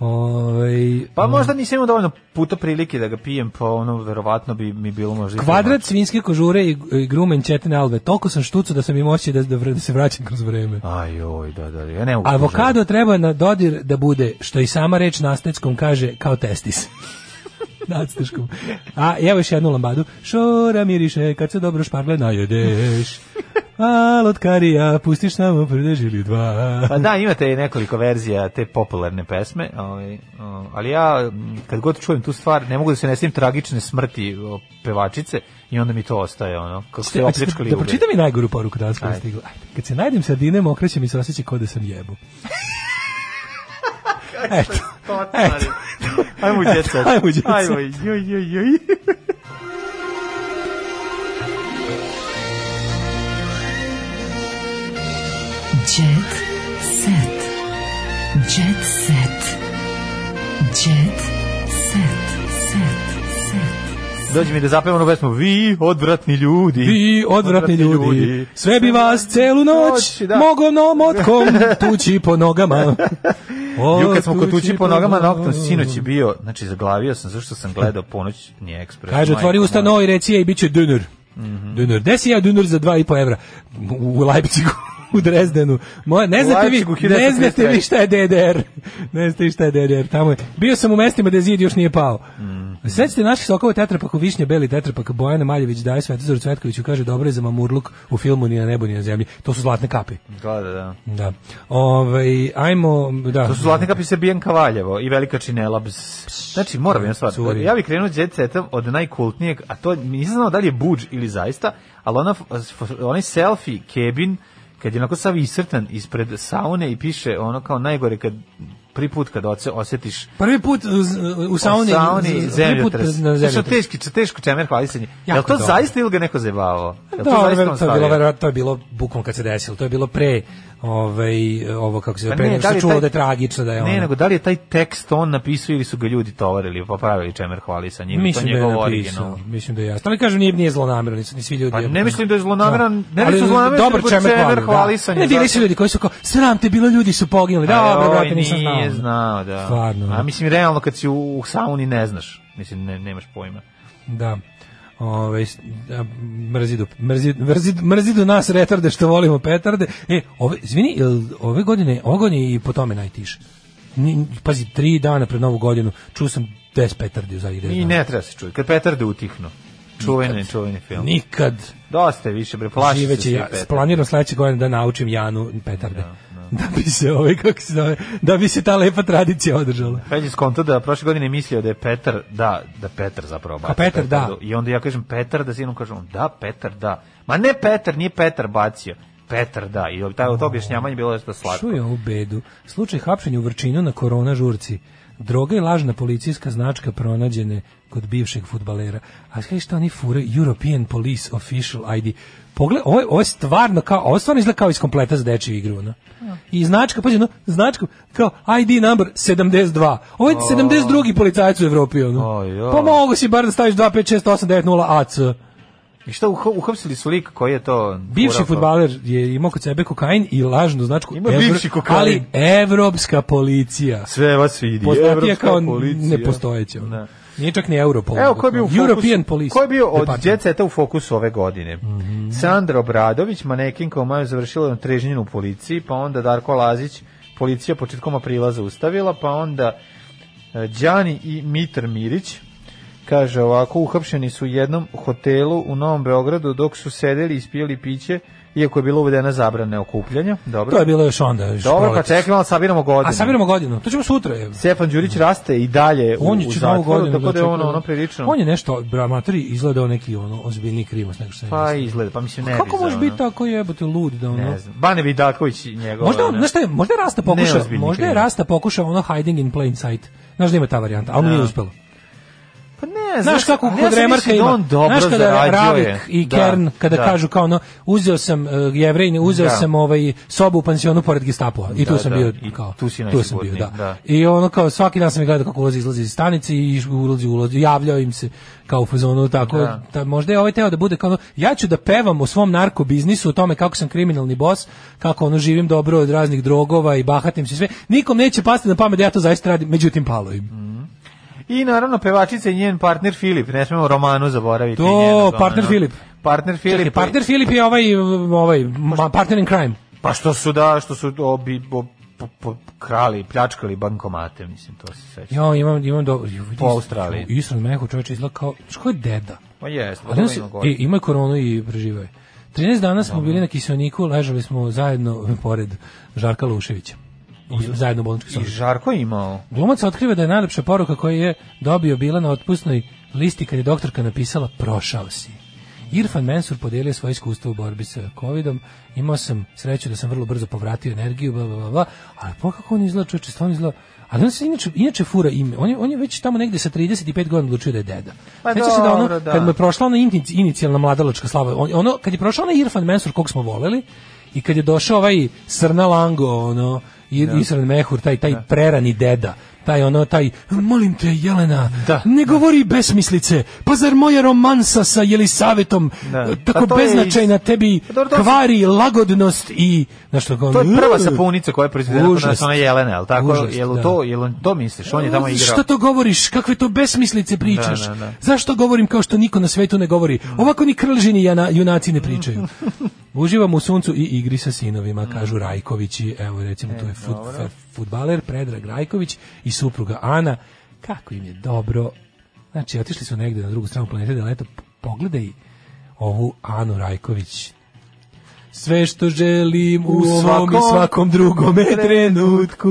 [SPEAKER 8] Ovaj,
[SPEAKER 6] Pa možda nisam imao dovoljno puta prilike da ga pijem, pa ono, verovatno bi mi bilo možda... i
[SPEAKER 8] Kvadrat svinjske kožure i, i grumen četine alve. Toliko sam štucu da sam im osjećaj da, da, vr- da se vraćam kroz vreme.
[SPEAKER 6] prema- Aj, joj, da, da, ja ne mogu...
[SPEAKER 8] Avokado treba na dodir da bude, što i sama reč na astetskom kaže, kao testis. na aztečkom. A evo još jednu lambadu. Šora miriše kad se dobro špargle najedeš. A lotkarija, pustiš nam prdež ili dva.
[SPEAKER 6] Pa da, imate i nekoliko verzija te popularne pesme, ovaj, o, ali ja m, kad god čujem tu stvar, ne mogu da se ne sjetim tragične smrti o, pevačice i onda mi to ostaje, ono, kako ste
[SPEAKER 8] Hoćete
[SPEAKER 6] opljačkali
[SPEAKER 8] Da
[SPEAKER 6] ugled.
[SPEAKER 8] pročitam i najgoru poruku danas koja je
[SPEAKER 6] Ajde.
[SPEAKER 8] stigla. Ajde. Kad se najdem sa Dinem, okrećem i se osjeća kao da sam jebu. Eto. Eto.
[SPEAKER 6] Ajmo u jet set.
[SPEAKER 8] Ajmo u jet set.
[SPEAKER 6] Ajmo, joj, joj, joj.
[SPEAKER 11] Jet set. Jet set. Jet set. Set. Set.
[SPEAKER 6] Dođi mi da zapevamo onu pesmu, vi odvratni ljudi.
[SPEAKER 8] Vi odvratni ljudi, sve bi vas celu noć
[SPEAKER 6] Noć, da.
[SPEAKER 8] mogom motkom tući po nogama. O,
[SPEAKER 6] Ju kad smo kod tuči po nogama noktom, sinoć je bio, znači zaglavio sam zašto sam gledao ponoćni ekspres.
[SPEAKER 8] Kaže, otvori
[SPEAKER 6] Majko
[SPEAKER 8] usta
[SPEAKER 6] moja. Mhm.
[SPEAKER 8] no i reci, ej, bit će döner. Döner. Gde si ja döner za 2,5 evra? U Leipzigu u Drezdenu. Moje, ne
[SPEAKER 6] U
[SPEAKER 8] znate vi,
[SPEAKER 6] Leipzigu,
[SPEAKER 8] ne
[SPEAKER 6] 1933.
[SPEAKER 8] znate vi šta je DDR. Ne znate vi šta je DDR. Tamo je. Bio sam u mestima gde zid još nije pao.
[SPEAKER 6] Mhm.
[SPEAKER 8] Sećate naših sokova tetrapaku Višnja, Beli tetrapak, Bojana Maljević, daje Svetozar Cvetkoviću, kaže dobro je za mamurluk u filmu Ni na nebu, ni na zemlji. To su zlatne kapi.
[SPEAKER 6] Da, da, da.
[SPEAKER 8] Da. Ovaj ajmo, da.
[SPEAKER 6] To su zlatne kapi Bijan Kavaljevo i Velika Činela. Bzz. Znači, moram jedna stvar.
[SPEAKER 8] Curi.
[SPEAKER 6] Ja bih krenuo jet setom od najkultnijeg, a to nisam znao da li je budž ili zaista, ali ona, f- f- onaj selfie Kebin, kad je onako sav isrtan ispred saune i piše ono kao najgore kad prvi put kad oce, osjetiš
[SPEAKER 8] Prvi put uz- u sauni,
[SPEAKER 6] sauni
[SPEAKER 8] prvi put
[SPEAKER 6] zemljotres.
[SPEAKER 8] na
[SPEAKER 6] Znači,
[SPEAKER 8] zemljotres.
[SPEAKER 6] teški, teško čemer hvalisanje. Je
[SPEAKER 8] Jako
[SPEAKER 6] li to
[SPEAKER 8] dobro.
[SPEAKER 6] zaista ili ga neko zajebavao? Je li
[SPEAKER 8] Da,
[SPEAKER 6] zaista
[SPEAKER 8] verovatno
[SPEAKER 6] on
[SPEAKER 8] to je bilo
[SPEAKER 6] stavio?
[SPEAKER 8] verovatno to je bilo bukom kad se desilo. To je bilo pre ovaj ovo kako se
[SPEAKER 6] Pa
[SPEAKER 8] zove, pre nego što
[SPEAKER 6] li
[SPEAKER 8] se
[SPEAKER 6] je
[SPEAKER 8] čulo
[SPEAKER 6] taj-
[SPEAKER 8] da je tragično da je ono.
[SPEAKER 6] Ne, nego da li je taj tekst on napisao ili su ga ljudi tovarili, pa pravili čemer hvalisanje, ili to
[SPEAKER 8] Mislim da je
[SPEAKER 6] njegov
[SPEAKER 8] napisao,
[SPEAKER 6] original.
[SPEAKER 8] mislim da je jasno. Ali kažem, nije, nije zlonamerno, nisu ni svi ljudi.
[SPEAKER 6] Pa ne mislim da je zlonameran, ne mislim zlonameran,
[SPEAKER 8] dobar
[SPEAKER 6] nego
[SPEAKER 8] čemer
[SPEAKER 6] čemer
[SPEAKER 8] hvalio, da.
[SPEAKER 6] hvalisanje,
[SPEAKER 8] Ne, bili
[SPEAKER 6] zato-
[SPEAKER 8] su ljudi koji su kao, sram te, bilo ljudi su poginuli. Da,
[SPEAKER 6] Aj,
[SPEAKER 8] dobro,
[SPEAKER 6] oj,
[SPEAKER 8] brate, nisam znao.
[SPEAKER 6] Pa Nije znao, da.
[SPEAKER 8] Stvarno.
[SPEAKER 6] A mislim, realno, kad si u, u sauni ne znaš. Mislim, ne, nemaš pojma.
[SPEAKER 8] Da. Ove, s- a, mrzi do, mrzi, mrzi, mrzi do nas retarde što volimo petarde. E, ove, izvini, jel ove godine, ove godine i po tome najtiše. Ni- Pazi, tri dana pred novu godinu čuo sam 10 petardi u zadnjih 10
[SPEAKER 6] I
[SPEAKER 8] dana.
[SPEAKER 6] ne treba se čuti. Kad Petar da utihnu. Čuveni, čuveni film.
[SPEAKER 8] Nikad.
[SPEAKER 6] Dosta je više, bre, plaši se
[SPEAKER 8] Živeće
[SPEAKER 6] svi
[SPEAKER 8] ja,
[SPEAKER 6] Petar.
[SPEAKER 8] planiram sledeće godine da naučim Janu petarde. Da, bi se ovaj, kako se zove, da bi se ta lepa tradicija održala.
[SPEAKER 6] Fred je skonto da prošle godine je mislio da je Petar, da, da Petar zapravo bacio.
[SPEAKER 8] A Petar, da.
[SPEAKER 6] Petardu. I onda ja kažem Petar, da sinom kažem, da, Petar, da. Ma ne Petar, nije Petar bacio. Petar, da. I taj, to objašnjavanje bilo je što slatko.
[SPEAKER 8] Čuje ovu bedu. Slučaj hapšenja u Vrčinu na korona žurci. Droga i lažna policijska značka pronađene kod bivšeg futbalera. A kaj šta oni fure? European Police Official ID. Pogled, ovo je, ovo je stvarno kao, ovo stvarno izgleda kao iz kompleta za dečiju igru. No? I značka, pađe, no, značka, kao ID number 72. Ovo je 72. policajac u Evropi. Ono.
[SPEAKER 6] Oj, oj.
[SPEAKER 8] Pa mogu si bar da staviš 256890 AC.
[SPEAKER 6] I šta, uho- uhapsili su lik koji je to...
[SPEAKER 8] Bivši
[SPEAKER 6] furao?
[SPEAKER 8] fudbaler je imao kod sebe kokain i lažnu značku.
[SPEAKER 6] Ima
[SPEAKER 8] Evro-
[SPEAKER 6] bivši kokain.
[SPEAKER 8] Ali evropska policija.
[SPEAKER 6] Sve vas vidi.
[SPEAKER 8] Poznatija
[SPEAKER 6] evropska
[SPEAKER 8] kao
[SPEAKER 6] policija.
[SPEAKER 8] nepostojeća.
[SPEAKER 6] Da.
[SPEAKER 8] Nije čak ni Europol.
[SPEAKER 6] Evo ko je bio u
[SPEAKER 8] European
[SPEAKER 6] fokusu,
[SPEAKER 8] Police.
[SPEAKER 6] Ko je bio od
[SPEAKER 8] Department. Mhm.
[SPEAKER 6] djeceta u fokusu ove godine? Sandra Obradović, manekinka u maju završila na trežnjinu u policiji, pa onda Darko Lazić, policija početkom aprila zaustavila, pa onda e, Đani i Mitar Mirić, Kaže ovako, uhapšeni su u jednom hotelu u Novom Beogradu dok su sedeli i ispijali piće, iako je bilo uvedena zabrana okupljanja. Dobro.
[SPEAKER 8] To je bilo još onda. Još
[SPEAKER 6] Dobro, pa
[SPEAKER 8] proletos.
[SPEAKER 6] čekaj malo, sabiramo godinu.
[SPEAKER 8] A sabiramo godinu, to ćemo sutra. Je.
[SPEAKER 6] Stefan Đurić raste i dalje u,
[SPEAKER 8] On je
[SPEAKER 6] u
[SPEAKER 8] čitavu
[SPEAKER 6] zatvoru,
[SPEAKER 8] godinu.
[SPEAKER 6] tako da je
[SPEAKER 8] dočekao.
[SPEAKER 6] ono, ono prilično.
[SPEAKER 8] On je nešto, bramatori, izgledao neki ono, ozbiljni krimos nego što sam ja
[SPEAKER 6] Pa
[SPEAKER 8] mislio.
[SPEAKER 6] izgleda, pa mislim ne bi
[SPEAKER 8] Kako
[SPEAKER 6] za
[SPEAKER 8] može
[SPEAKER 6] ono.
[SPEAKER 8] biti tako jebote lud da ono...
[SPEAKER 6] Ne znam. Bane Vidaković i njegova.
[SPEAKER 8] Možda, on,
[SPEAKER 6] ono-
[SPEAKER 8] znaš šta je, možda je Rasta pokušao,
[SPEAKER 6] Neozbiljni
[SPEAKER 8] možda je
[SPEAKER 6] kriminal.
[SPEAKER 8] Rasta pokušao ono hiding in plain sight. Znaš da ima ta varijanta, ali mu nije
[SPEAKER 6] Da.
[SPEAKER 8] uspelo.
[SPEAKER 6] Pa ne,
[SPEAKER 8] Znaš kako
[SPEAKER 6] ali ja
[SPEAKER 8] kod
[SPEAKER 6] sam
[SPEAKER 8] Remarka
[SPEAKER 6] mislio da
[SPEAKER 8] ima,
[SPEAKER 6] on dobro
[SPEAKER 8] znaš kada
[SPEAKER 6] zarađuje.
[SPEAKER 8] Ravik i
[SPEAKER 6] Da,
[SPEAKER 8] Kern, kada
[SPEAKER 6] da.
[SPEAKER 8] kažu kao ono, uzeo sam uh, jevrejne, uzeo
[SPEAKER 6] Da.
[SPEAKER 8] sam ovaj, sobu u pansionu pored gestapova i tu
[SPEAKER 6] Da,
[SPEAKER 8] sam
[SPEAKER 6] da,
[SPEAKER 8] bio,
[SPEAKER 6] i
[SPEAKER 8] kao,
[SPEAKER 6] tu si
[SPEAKER 8] sam bio,
[SPEAKER 6] najsigurniji,
[SPEAKER 8] da.
[SPEAKER 6] da.
[SPEAKER 8] I ono kao, svaki dan sam ih gledao kako ulazi, izlazi iz stanice i iš- ulazi, ulazi, javljao im se kao u fazonu, tako,
[SPEAKER 6] Da.
[SPEAKER 8] ta, možda je ovaj teo da bude kao ono, ja ću da pevam o svom narkobiznisu, o tome kako sam kriminalni bos, kako ono, živim dobro od raznih drogova i bahatim se sve, nikom neće pasti na pamet da ja to zaista radim, međutim, palo im.
[SPEAKER 6] I naravno pevačica i njen partner Filip, ne smemo Romanu zaboraviti.
[SPEAKER 8] To,
[SPEAKER 6] njenog,
[SPEAKER 8] partner
[SPEAKER 6] ono.
[SPEAKER 8] Filip.
[SPEAKER 6] Partner Filip.
[SPEAKER 8] Čekaj, partner Filip je ovaj, ovaj ma- partner in crime.
[SPEAKER 6] Pa što su da, što su obi, bo- po- po- krali, pljačkali bankomate, mislim, to se sveća.
[SPEAKER 8] Jo, imam, imam dobro. Jo, vidi,
[SPEAKER 6] Po Australiji.
[SPEAKER 8] jo, Isran Meho čovječe izgleda kao, što je deda?
[SPEAKER 6] Ma jesmo,
[SPEAKER 8] Ali on
[SPEAKER 6] dobro
[SPEAKER 8] se,
[SPEAKER 6] Pa ima gore.
[SPEAKER 8] e, ima koronu i preživao je. 13 dana smo bili na kiselniku, ležali smo zajedno pored Žarka Luševića. U- zajedno u bolničkoj
[SPEAKER 6] I
[SPEAKER 8] sobi.
[SPEAKER 6] Žarko je imao.
[SPEAKER 8] Glumac otkriva da je najlepša poruka koju je dobio bila na otpusnoj listi kad je doktorka napisala prošao si. Irfan Mensur podijelio svoje iskustvo u borbi sa covidom. Imao sam sreću da sam vrlo brzo povratio energiju, bla, bla, bla, bla. Ali po kako on izgleda, čovječe, stvarno izgleda... Ali on se inače, inače fura ime. On je, on je već tamo negde sa 35 godina odlučio da je deda.
[SPEAKER 6] Pa
[SPEAKER 8] Sjeća se da ono,
[SPEAKER 6] dobro, da.
[SPEAKER 8] kad mu je prošla ona inti- inicijalna mladalačka slava, on, ono, kad je prošao onaj Irfan Mensur kog smo voleli, i kad je došao ovaj Srna Lango, ono, i, Isran Mehur, taj, taj prerani deda, taj ono, taj, molim te Jelena, ne govori besmislice, pa zar moja romansa sa Jelisavetom,
[SPEAKER 6] Da.
[SPEAKER 8] eh, tako
[SPEAKER 6] Pa to je iz-
[SPEAKER 8] beznačajna tebi
[SPEAKER 6] Pa dobro, to su-
[SPEAKER 8] kvari lagodnost i, znaš što, kao,
[SPEAKER 6] To je prva
[SPEAKER 8] "Ugh."
[SPEAKER 6] sapunica koja je proizvedena kod nas,
[SPEAKER 8] Užas.
[SPEAKER 6] ona Jelena, jel tako?
[SPEAKER 8] Užas,
[SPEAKER 6] jel u
[SPEAKER 8] da.
[SPEAKER 6] to, jel u to misliš? On je tamo igrao.
[SPEAKER 8] Šta to govoriš? Kakve to besmislice pričaš?
[SPEAKER 6] Da, da, da.
[SPEAKER 8] Zašto govorim kao što niko na svetu ne govori? Ovako ni krlžini jana, junaci ne pričaju. Uživam u suncu i igri sa sinovima, kažu Rajkovići. Evo recimo tu je fut,
[SPEAKER 6] Mm. E, dobro.
[SPEAKER 8] futbaler Predrag Rajković i supruga Ana. Kako im je dobro. Znači, otišli su negde na drugu stranu planete da leto p- pogledaj ovu Anu Rajković. Sve što želim u,
[SPEAKER 6] U
[SPEAKER 8] svom i
[SPEAKER 6] svakom
[SPEAKER 8] svakom drugome trenutku.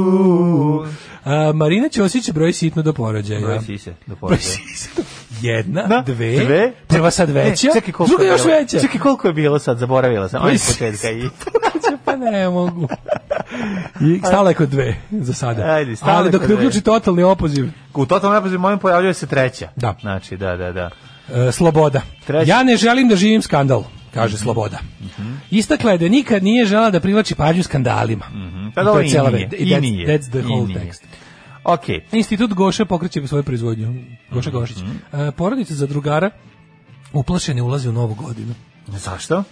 [SPEAKER 8] A, Marina će osjeća broj sitno do porođaja.
[SPEAKER 6] Broj sise do
[SPEAKER 8] Broj
[SPEAKER 6] porođaja.
[SPEAKER 8] sise. Jedna,
[SPEAKER 6] Da,
[SPEAKER 8] dve, prva sad veća,
[SPEAKER 6] Ne, čekaj, koliko
[SPEAKER 8] druga
[SPEAKER 6] je
[SPEAKER 8] još
[SPEAKER 6] bilo?
[SPEAKER 8] veća.
[SPEAKER 6] Čekaj, koliko je bilo sad, zaboravila sam.
[SPEAKER 8] Broj
[SPEAKER 6] Ajde,
[SPEAKER 8] sise.
[SPEAKER 6] početka i...
[SPEAKER 8] pa ne mogu. I stala je kod dve za sada.
[SPEAKER 6] Ajde, stala
[SPEAKER 8] Ali
[SPEAKER 6] je
[SPEAKER 8] dok
[SPEAKER 6] kod
[SPEAKER 8] ne
[SPEAKER 6] dve.
[SPEAKER 8] uključi totalni opoziv,
[SPEAKER 6] U totalnom nepozivu mojim pojavljuje se treća.
[SPEAKER 8] Da.
[SPEAKER 6] Znači, da, da, da.
[SPEAKER 8] e, sloboda.
[SPEAKER 6] Treći. Mhm.
[SPEAKER 8] Ja ne želim da živim skandal, kaže sloboda. Istakla je da nikad nije žela da privlači pažnju skandalima.
[SPEAKER 6] Mhm.
[SPEAKER 8] I
[SPEAKER 6] Pa
[SPEAKER 8] to
[SPEAKER 6] dobro,
[SPEAKER 8] je
[SPEAKER 6] i
[SPEAKER 8] cijela
[SPEAKER 6] nije.
[SPEAKER 8] ve-
[SPEAKER 6] I
[SPEAKER 8] that's-
[SPEAKER 6] nije.
[SPEAKER 8] that's the
[SPEAKER 6] I
[SPEAKER 8] whole
[SPEAKER 6] nije.
[SPEAKER 8] text.
[SPEAKER 6] Okej.
[SPEAKER 8] Institut Goše pokreće svoju proizvodnju. Goša Gošić.
[SPEAKER 6] Mhm.
[SPEAKER 8] E, porodica za drugara uplašene ulazi u novu godinu.
[SPEAKER 6] Zašto?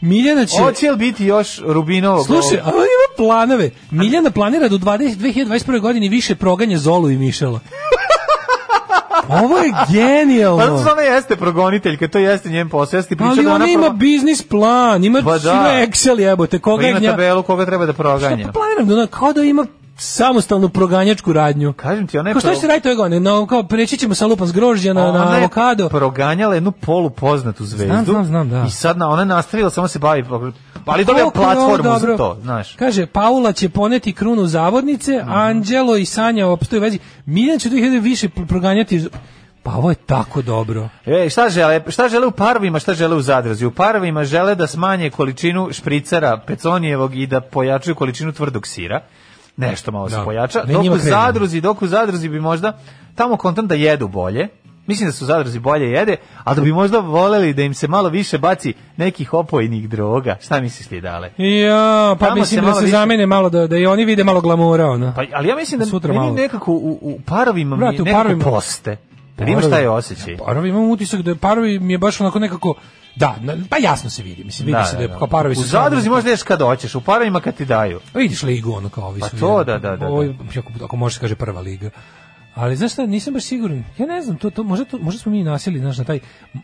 [SPEAKER 8] Miljana će...
[SPEAKER 6] Hoće li biti još Rubinovog?
[SPEAKER 8] Slušaj, a on ima planove. Miljana planira do 20, 2021. godini više proganje Zolu i Mišela. Ovo je
[SPEAKER 6] Pa zato
[SPEAKER 8] genijalno.
[SPEAKER 6] što ona jeste progoniteljka, to jeste njen posao. Jeste priča
[SPEAKER 8] ono- Ali
[SPEAKER 6] da
[SPEAKER 8] ona
[SPEAKER 6] ona
[SPEAKER 8] ima
[SPEAKER 6] progon-
[SPEAKER 8] biznis plan, ima
[SPEAKER 6] Pa da.
[SPEAKER 8] sve Excel jebote, koga
[SPEAKER 6] Pa
[SPEAKER 8] je
[SPEAKER 6] ima
[SPEAKER 8] gnja...
[SPEAKER 6] tabelu koga treba da proganja.
[SPEAKER 8] Pa planiram da ona kao da ima samostalnu proganjačku radnju.
[SPEAKER 6] Kažem ti, ona je
[SPEAKER 8] Kao što
[SPEAKER 6] pro-
[SPEAKER 8] ćete raditi ove godine? No, kao preći ćemo sa lupan s grožđa na, na
[SPEAKER 6] Ona je
[SPEAKER 8] avokado.
[SPEAKER 6] proganjala jednu polupoznatu zvezdu.
[SPEAKER 8] Znam, znam, znam, da. Pa
[SPEAKER 6] I sad na, ona je nastavila, samo se bavi. Ali dobija
[SPEAKER 8] Koliko je ovo
[SPEAKER 6] platformu
[SPEAKER 8] dobro.
[SPEAKER 6] za to, znaš. Mhm.
[SPEAKER 8] Kaže, Paula će poneti krunu zavodnice, Anđelo i Sanja opstoju u vezi. Miljan će 2000 više pr- proganjati. Pa ovo je tako dobro.
[SPEAKER 6] E, šta žele? Šta žele u parovima, šta žele u zadruzi? U parovima žele da smanje količinu špricera peconijevog i da pojačaju količinu tvrdog sira. Nešto malo se
[SPEAKER 8] Da.
[SPEAKER 6] pojača.
[SPEAKER 8] Da i
[SPEAKER 6] Dok
[SPEAKER 8] njima
[SPEAKER 6] u
[SPEAKER 8] krenu.
[SPEAKER 6] zadruzi, dok u zadruzi bi možda tamo kontam da jedu bolje. Mislim da su u zadruzi bolje jede, ali da bi možda voleli da im se malo više baci nekih opojnih droga. Šta misliš li dale?
[SPEAKER 8] Ja, pa
[SPEAKER 6] Tamo
[SPEAKER 8] mislim
[SPEAKER 6] se
[SPEAKER 8] da
[SPEAKER 6] malo
[SPEAKER 8] se
[SPEAKER 6] više-
[SPEAKER 8] zamene malo, da, da i oni vide malo glamura. ono. Ona.
[SPEAKER 6] Pa, ali ja mislim da
[SPEAKER 8] Sutra
[SPEAKER 6] meni
[SPEAKER 8] malo.
[SPEAKER 6] nekako u, u parovima mi
[SPEAKER 8] Brate, u
[SPEAKER 6] nekako
[SPEAKER 8] parovima-
[SPEAKER 6] poste. Jer imaš taj osjećaj.
[SPEAKER 8] Parovi, Pa, imam utisak da parovi mi je baš onako nekako... Da, na- pa jasno se vidi. Mislim, vidi se da, je kao parovi
[SPEAKER 6] U
[SPEAKER 8] su...
[SPEAKER 6] zadruzi možda ješ kad hoćeš, u parovima kad ti daju.
[SPEAKER 8] Pa Vidiš ligu ono kao ovi
[SPEAKER 6] Pa
[SPEAKER 8] su,
[SPEAKER 6] to,
[SPEAKER 8] jel?
[SPEAKER 6] da, da, da,
[SPEAKER 8] Ovo je,
[SPEAKER 6] da.
[SPEAKER 8] ako, ako može se kaže prva liga. Ali znaš šta, nisam baš siguran. Ja ne znam, to, to, možda, to, možda smo mi nasili znaš, na taj...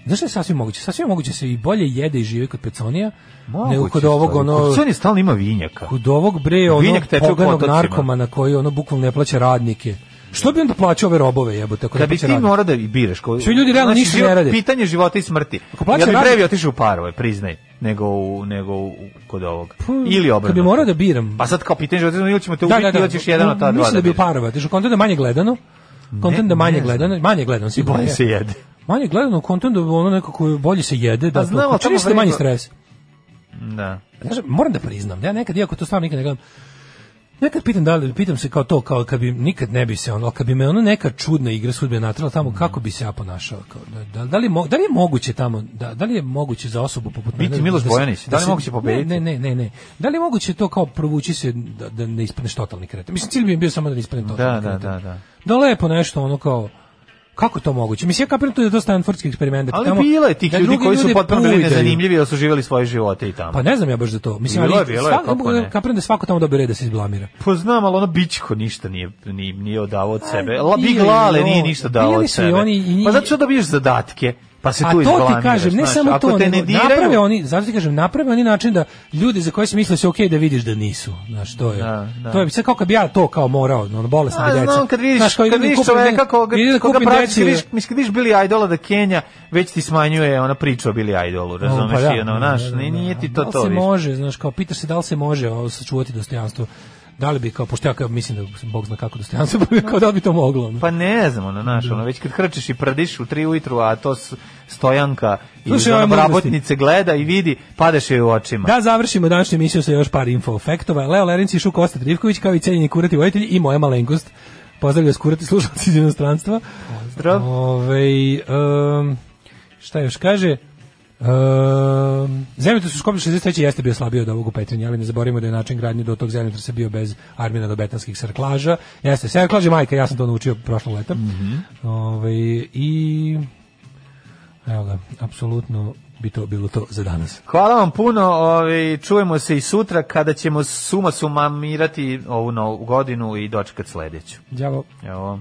[SPEAKER 8] Znaš šta je sasvim moguće? Sasvim je moguće se i bolje jede i žive kod Peconija, nego kod ovog, ono,
[SPEAKER 6] Kurcon je stalno ima vinjaka.
[SPEAKER 8] kod ovog bre, ono,
[SPEAKER 6] Vinjak teče u
[SPEAKER 8] poganog
[SPEAKER 6] potocima.
[SPEAKER 8] narkomana koji, ono, bukvalno ne plaća radnike. Što bi onda plaćao ove robove, jebote, ako
[SPEAKER 6] da
[SPEAKER 8] ne
[SPEAKER 6] bi
[SPEAKER 8] plaća
[SPEAKER 6] ti
[SPEAKER 8] radnik?
[SPEAKER 6] mora da i biraš. Ko, Znači,
[SPEAKER 8] Svi ljudi realno ništa ne
[SPEAKER 6] život-
[SPEAKER 8] rade.
[SPEAKER 6] Pitanje života i smrti. Ako
[SPEAKER 8] plaća
[SPEAKER 6] plaća ja bi
[SPEAKER 8] radnik-
[SPEAKER 6] previ otišao u parove, priznaj, nego u, nego u, kod ovog. Ili
[SPEAKER 8] Pa, Kad bi
[SPEAKER 6] obrnuto.
[SPEAKER 8] morao da biram.
[SPEAKER 6] Pa sad kao pitanje života i smrti, ili ćemo te ubiti, ili ćeš jedan od ta dva.
[SPEAKER 8] Mislim da bi
[SPEAKER 6] biraš.
[SPEAKER 8] u parova, tiš u kontentu da je manje gledano, kontent da je manje
[SPEAKER 6] ne znam.
[SPEAKER 8] gledano, manje gledano
[SPEAKER 6] I
[SPEAKER 8] sigurno.
[SPEAKER 6] bolje
[SPEAKER 8] je.
[SPEAKER 6] se jede.
[SPEAKER 8] Manje gledano kontent da ono nekako bolje se jede, da
[SPEAKER 6] Pa znam,
[SPEAKER 8] to
[SPEAKER 6] ali
[SPEAKER 8] čini
[SPEAKER 6] tamo
[SPEAKER 8] se da je manji
[SPEAKER 6] vreme-
[SPEAKER 8] stres.
[SPEAKER 6] Da.
[SPEAKER 8] Znaš, moram da priznam, ja nekad, iako to stvarno nikad ne gledam, nekad pitam da li, pitam se kao to, kao kad bi, nikad ne bi se ono, kad bi me ono neka čudna igra sudbe natrala
[SPEAKER 6] Mm.
[SPEAKER 8] tamo, kako bi se ja ponašao? Kao, da, da, da, li, mo- da li je moguće tamo, da, da li je moguće za osobu poput mene?
[SPEAKER 6] Biti Miloš
[SPEAKER 8] da se-
[SPEAKER 6] Bojanić, da li je
[SPEAKER 8] se-
[SPEAKER 6] moguće pobediti?
[SPEAKER 8] Ne, ne, ne, ne. Da li je moguće to kao provući se da, da ne ispaneš totalni kretan? Mislim, cilj bi mi bio samo da ne ispaneš
[SPEAKER 6] Da,
[SPEAKER 8] totalni
[SPEAKER 6] da,
[SPEAKER 8] kretan.
[SPEAKER 6] da, da.
[SPEAKER 8] Da lepo nešto, ono kao, Kako je to moguće? Mislim, ja kapiram to da je to stanfordski eksperiment. da
[SPEAKER 6] Ali
[SPEAKER 8] tamo-
[SPEAKER 6] bilo je tih
[SPEAKER 8] da
[SPEAKER 6] ljudi
[SPEAKER 8] drugi
[SPEAKER 6] koji su
[SPEAKER 8] ljude
[SPEAKER 6] potpuno bili
[SPEAKER 8] pujdaju.
[SPEAKER 6] nezanimljivi, ali su živjeli svoje živote i tamo.
[SPEAKER 8] Pa ne znam ja baš za to. Mislim,
[SPEAKER 6] Bilo je,
[SPEAKER 8] ali
[SPEAKER 6] bilo je,
[SPEAKER 8] svako-
[SPEAKER 6] kako ne.
[SPEAKER 8] kapiram da svako tamo dobije red da se izblamira.
[SPEAKER 6] Pa znam, ali ono bićko ništa nije, nije, nije odavao od sebe. La,
[SPEAKER 8] Pa, bio
[SPEAKER 6] Big
[SPEAKER 8] je
[SPEAKER 6] Lale
[SPEAKER 8] on.
[SPEAKER 6] nije ništa dao
[SPEAKER 8] Bili
[SPEAKER 6] od
[SPEAKER 8] su i
[SPEAKER 6] sebe.
[SPEAKER 8] oni i-
[SPEAKER 6] Pa zato što dobiješ zadatke, pa se
[SPEAKER 8] A
[SPEAKER 6] tu
[SPEAKER 8] to
[SPEAKER 6] izglamiraš.
[SPEAKER 8] ti kažem, ne
[SPEAKER 6] znaš.
[SPEAKER 8] samo
[SPEAKER 6] Ako
[SPEAKER 8] to,
[SPEAKER 6] te
[SPEAKER 8] nego
[SPEAKER 6] ne diraju,
[SPEAKER 8] naprave oni, zato ti kažem, naprave oni način da ljudi za koje si mislio se ok da vidiš da nisu. Znaš, to je.
[SPEAKER 6] Da, da.
[SPEAKER 8] To je sad kao kad bi ja to kao morao, ono, bolesna
[SPEAKER 6] A,
[SPEAKER 8] deca.
[SPEAKER 6] Pa, znam, kad vidiš,
[SPEAKER 8] Znaš, kao
[SPEAKER 6] kad
[SPEAKER 8] idem da
[SPEAKER 6] vidiš
[SPEAKER 8] kupim
[SPEAKER 6] čoveka
[SPEAKER 8] neki-
[SPEAKER 6] koga,
[SPEAKER 8] idem da
[SPEAKER 6] koga
[SPEAKER 8] kupim
[SPEAKER 6] praviš,
[SPEAKER 8] deci-
[SPEAKER 6] kad vidiš, mislim, kad vidiš Billy Idola da Kenja, već ti smanjuje ona priča o Billy Idolu, razumeš?
[SPEAKER 8] Pa da,
[SPEAKER 6] i ono,
[SPEAKER 8] da,
[SPEAKER 6] znaš,
[SPEAKER 8] da, da,
[SPEAKER 6] nije, nije ti
[SPEAKER 8] da
[SPEAKER 6] to
[SPEAKER 8] li
[SPEAKER 6] to.
[SPEAKER 8] se
[SPEAKER 6] više.
[SPEAKER 8] može, znaš, kao pitaš se da li se može ovo, sačuvati dostojanstvo. Da li bi kao pošto ja kao mislim da Bog zna kako dostojanstvo, pa bi kao da li bi to moglo. ono.
[SPEAKER 6] Pa ne znam, ono, znaš, ono, već kad hrčeš i prdiš u tri ujutru, a to s- stojanka iz
[SPEAKER 8] Slušaj, ove
[SPEAKER 6] ono
[SPEAKER 8] mudrosti.
[SPEAKER 6] brabotnice gleda i vidi, padeš joj u očima.
[SPEAKER 8] Da završimo današnju emisiju sa još par infofektova. Leo Lerenci i Šuko Osta Trivković kao i cenjeni kurati vojitelji i moja malenkost. Pozdravlja skurati slušalci iz inostranstva.
[SPEAKER 6] Pozdrav.
[SPEAKER 8] Ovej, em, šta još kaže? Um, zemljotres u Skoplju 63. jeste bio slabiji od ovog u Petrinji, ali ne zaboravimo da je način gradnje do tog zemljotresa bio bez armina do betanskih sarklaža. Jeste, sarklaže majka, ja sam to naučio prošlo leta. Ovaj, I evo ga, apsolutno bi to bilo to za danas.
[SPEAKER 6] Hvala vam puno, ovaj, čujemo se i sutra kada ćemo suma sumamirati ovu novu godinu i dočekati sledeću.
[SPEAKER 8] Đavo.
[SPEAKER 6] Evo.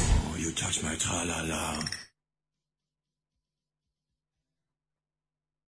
[SPEAKER 15] You touch my tra-la-la.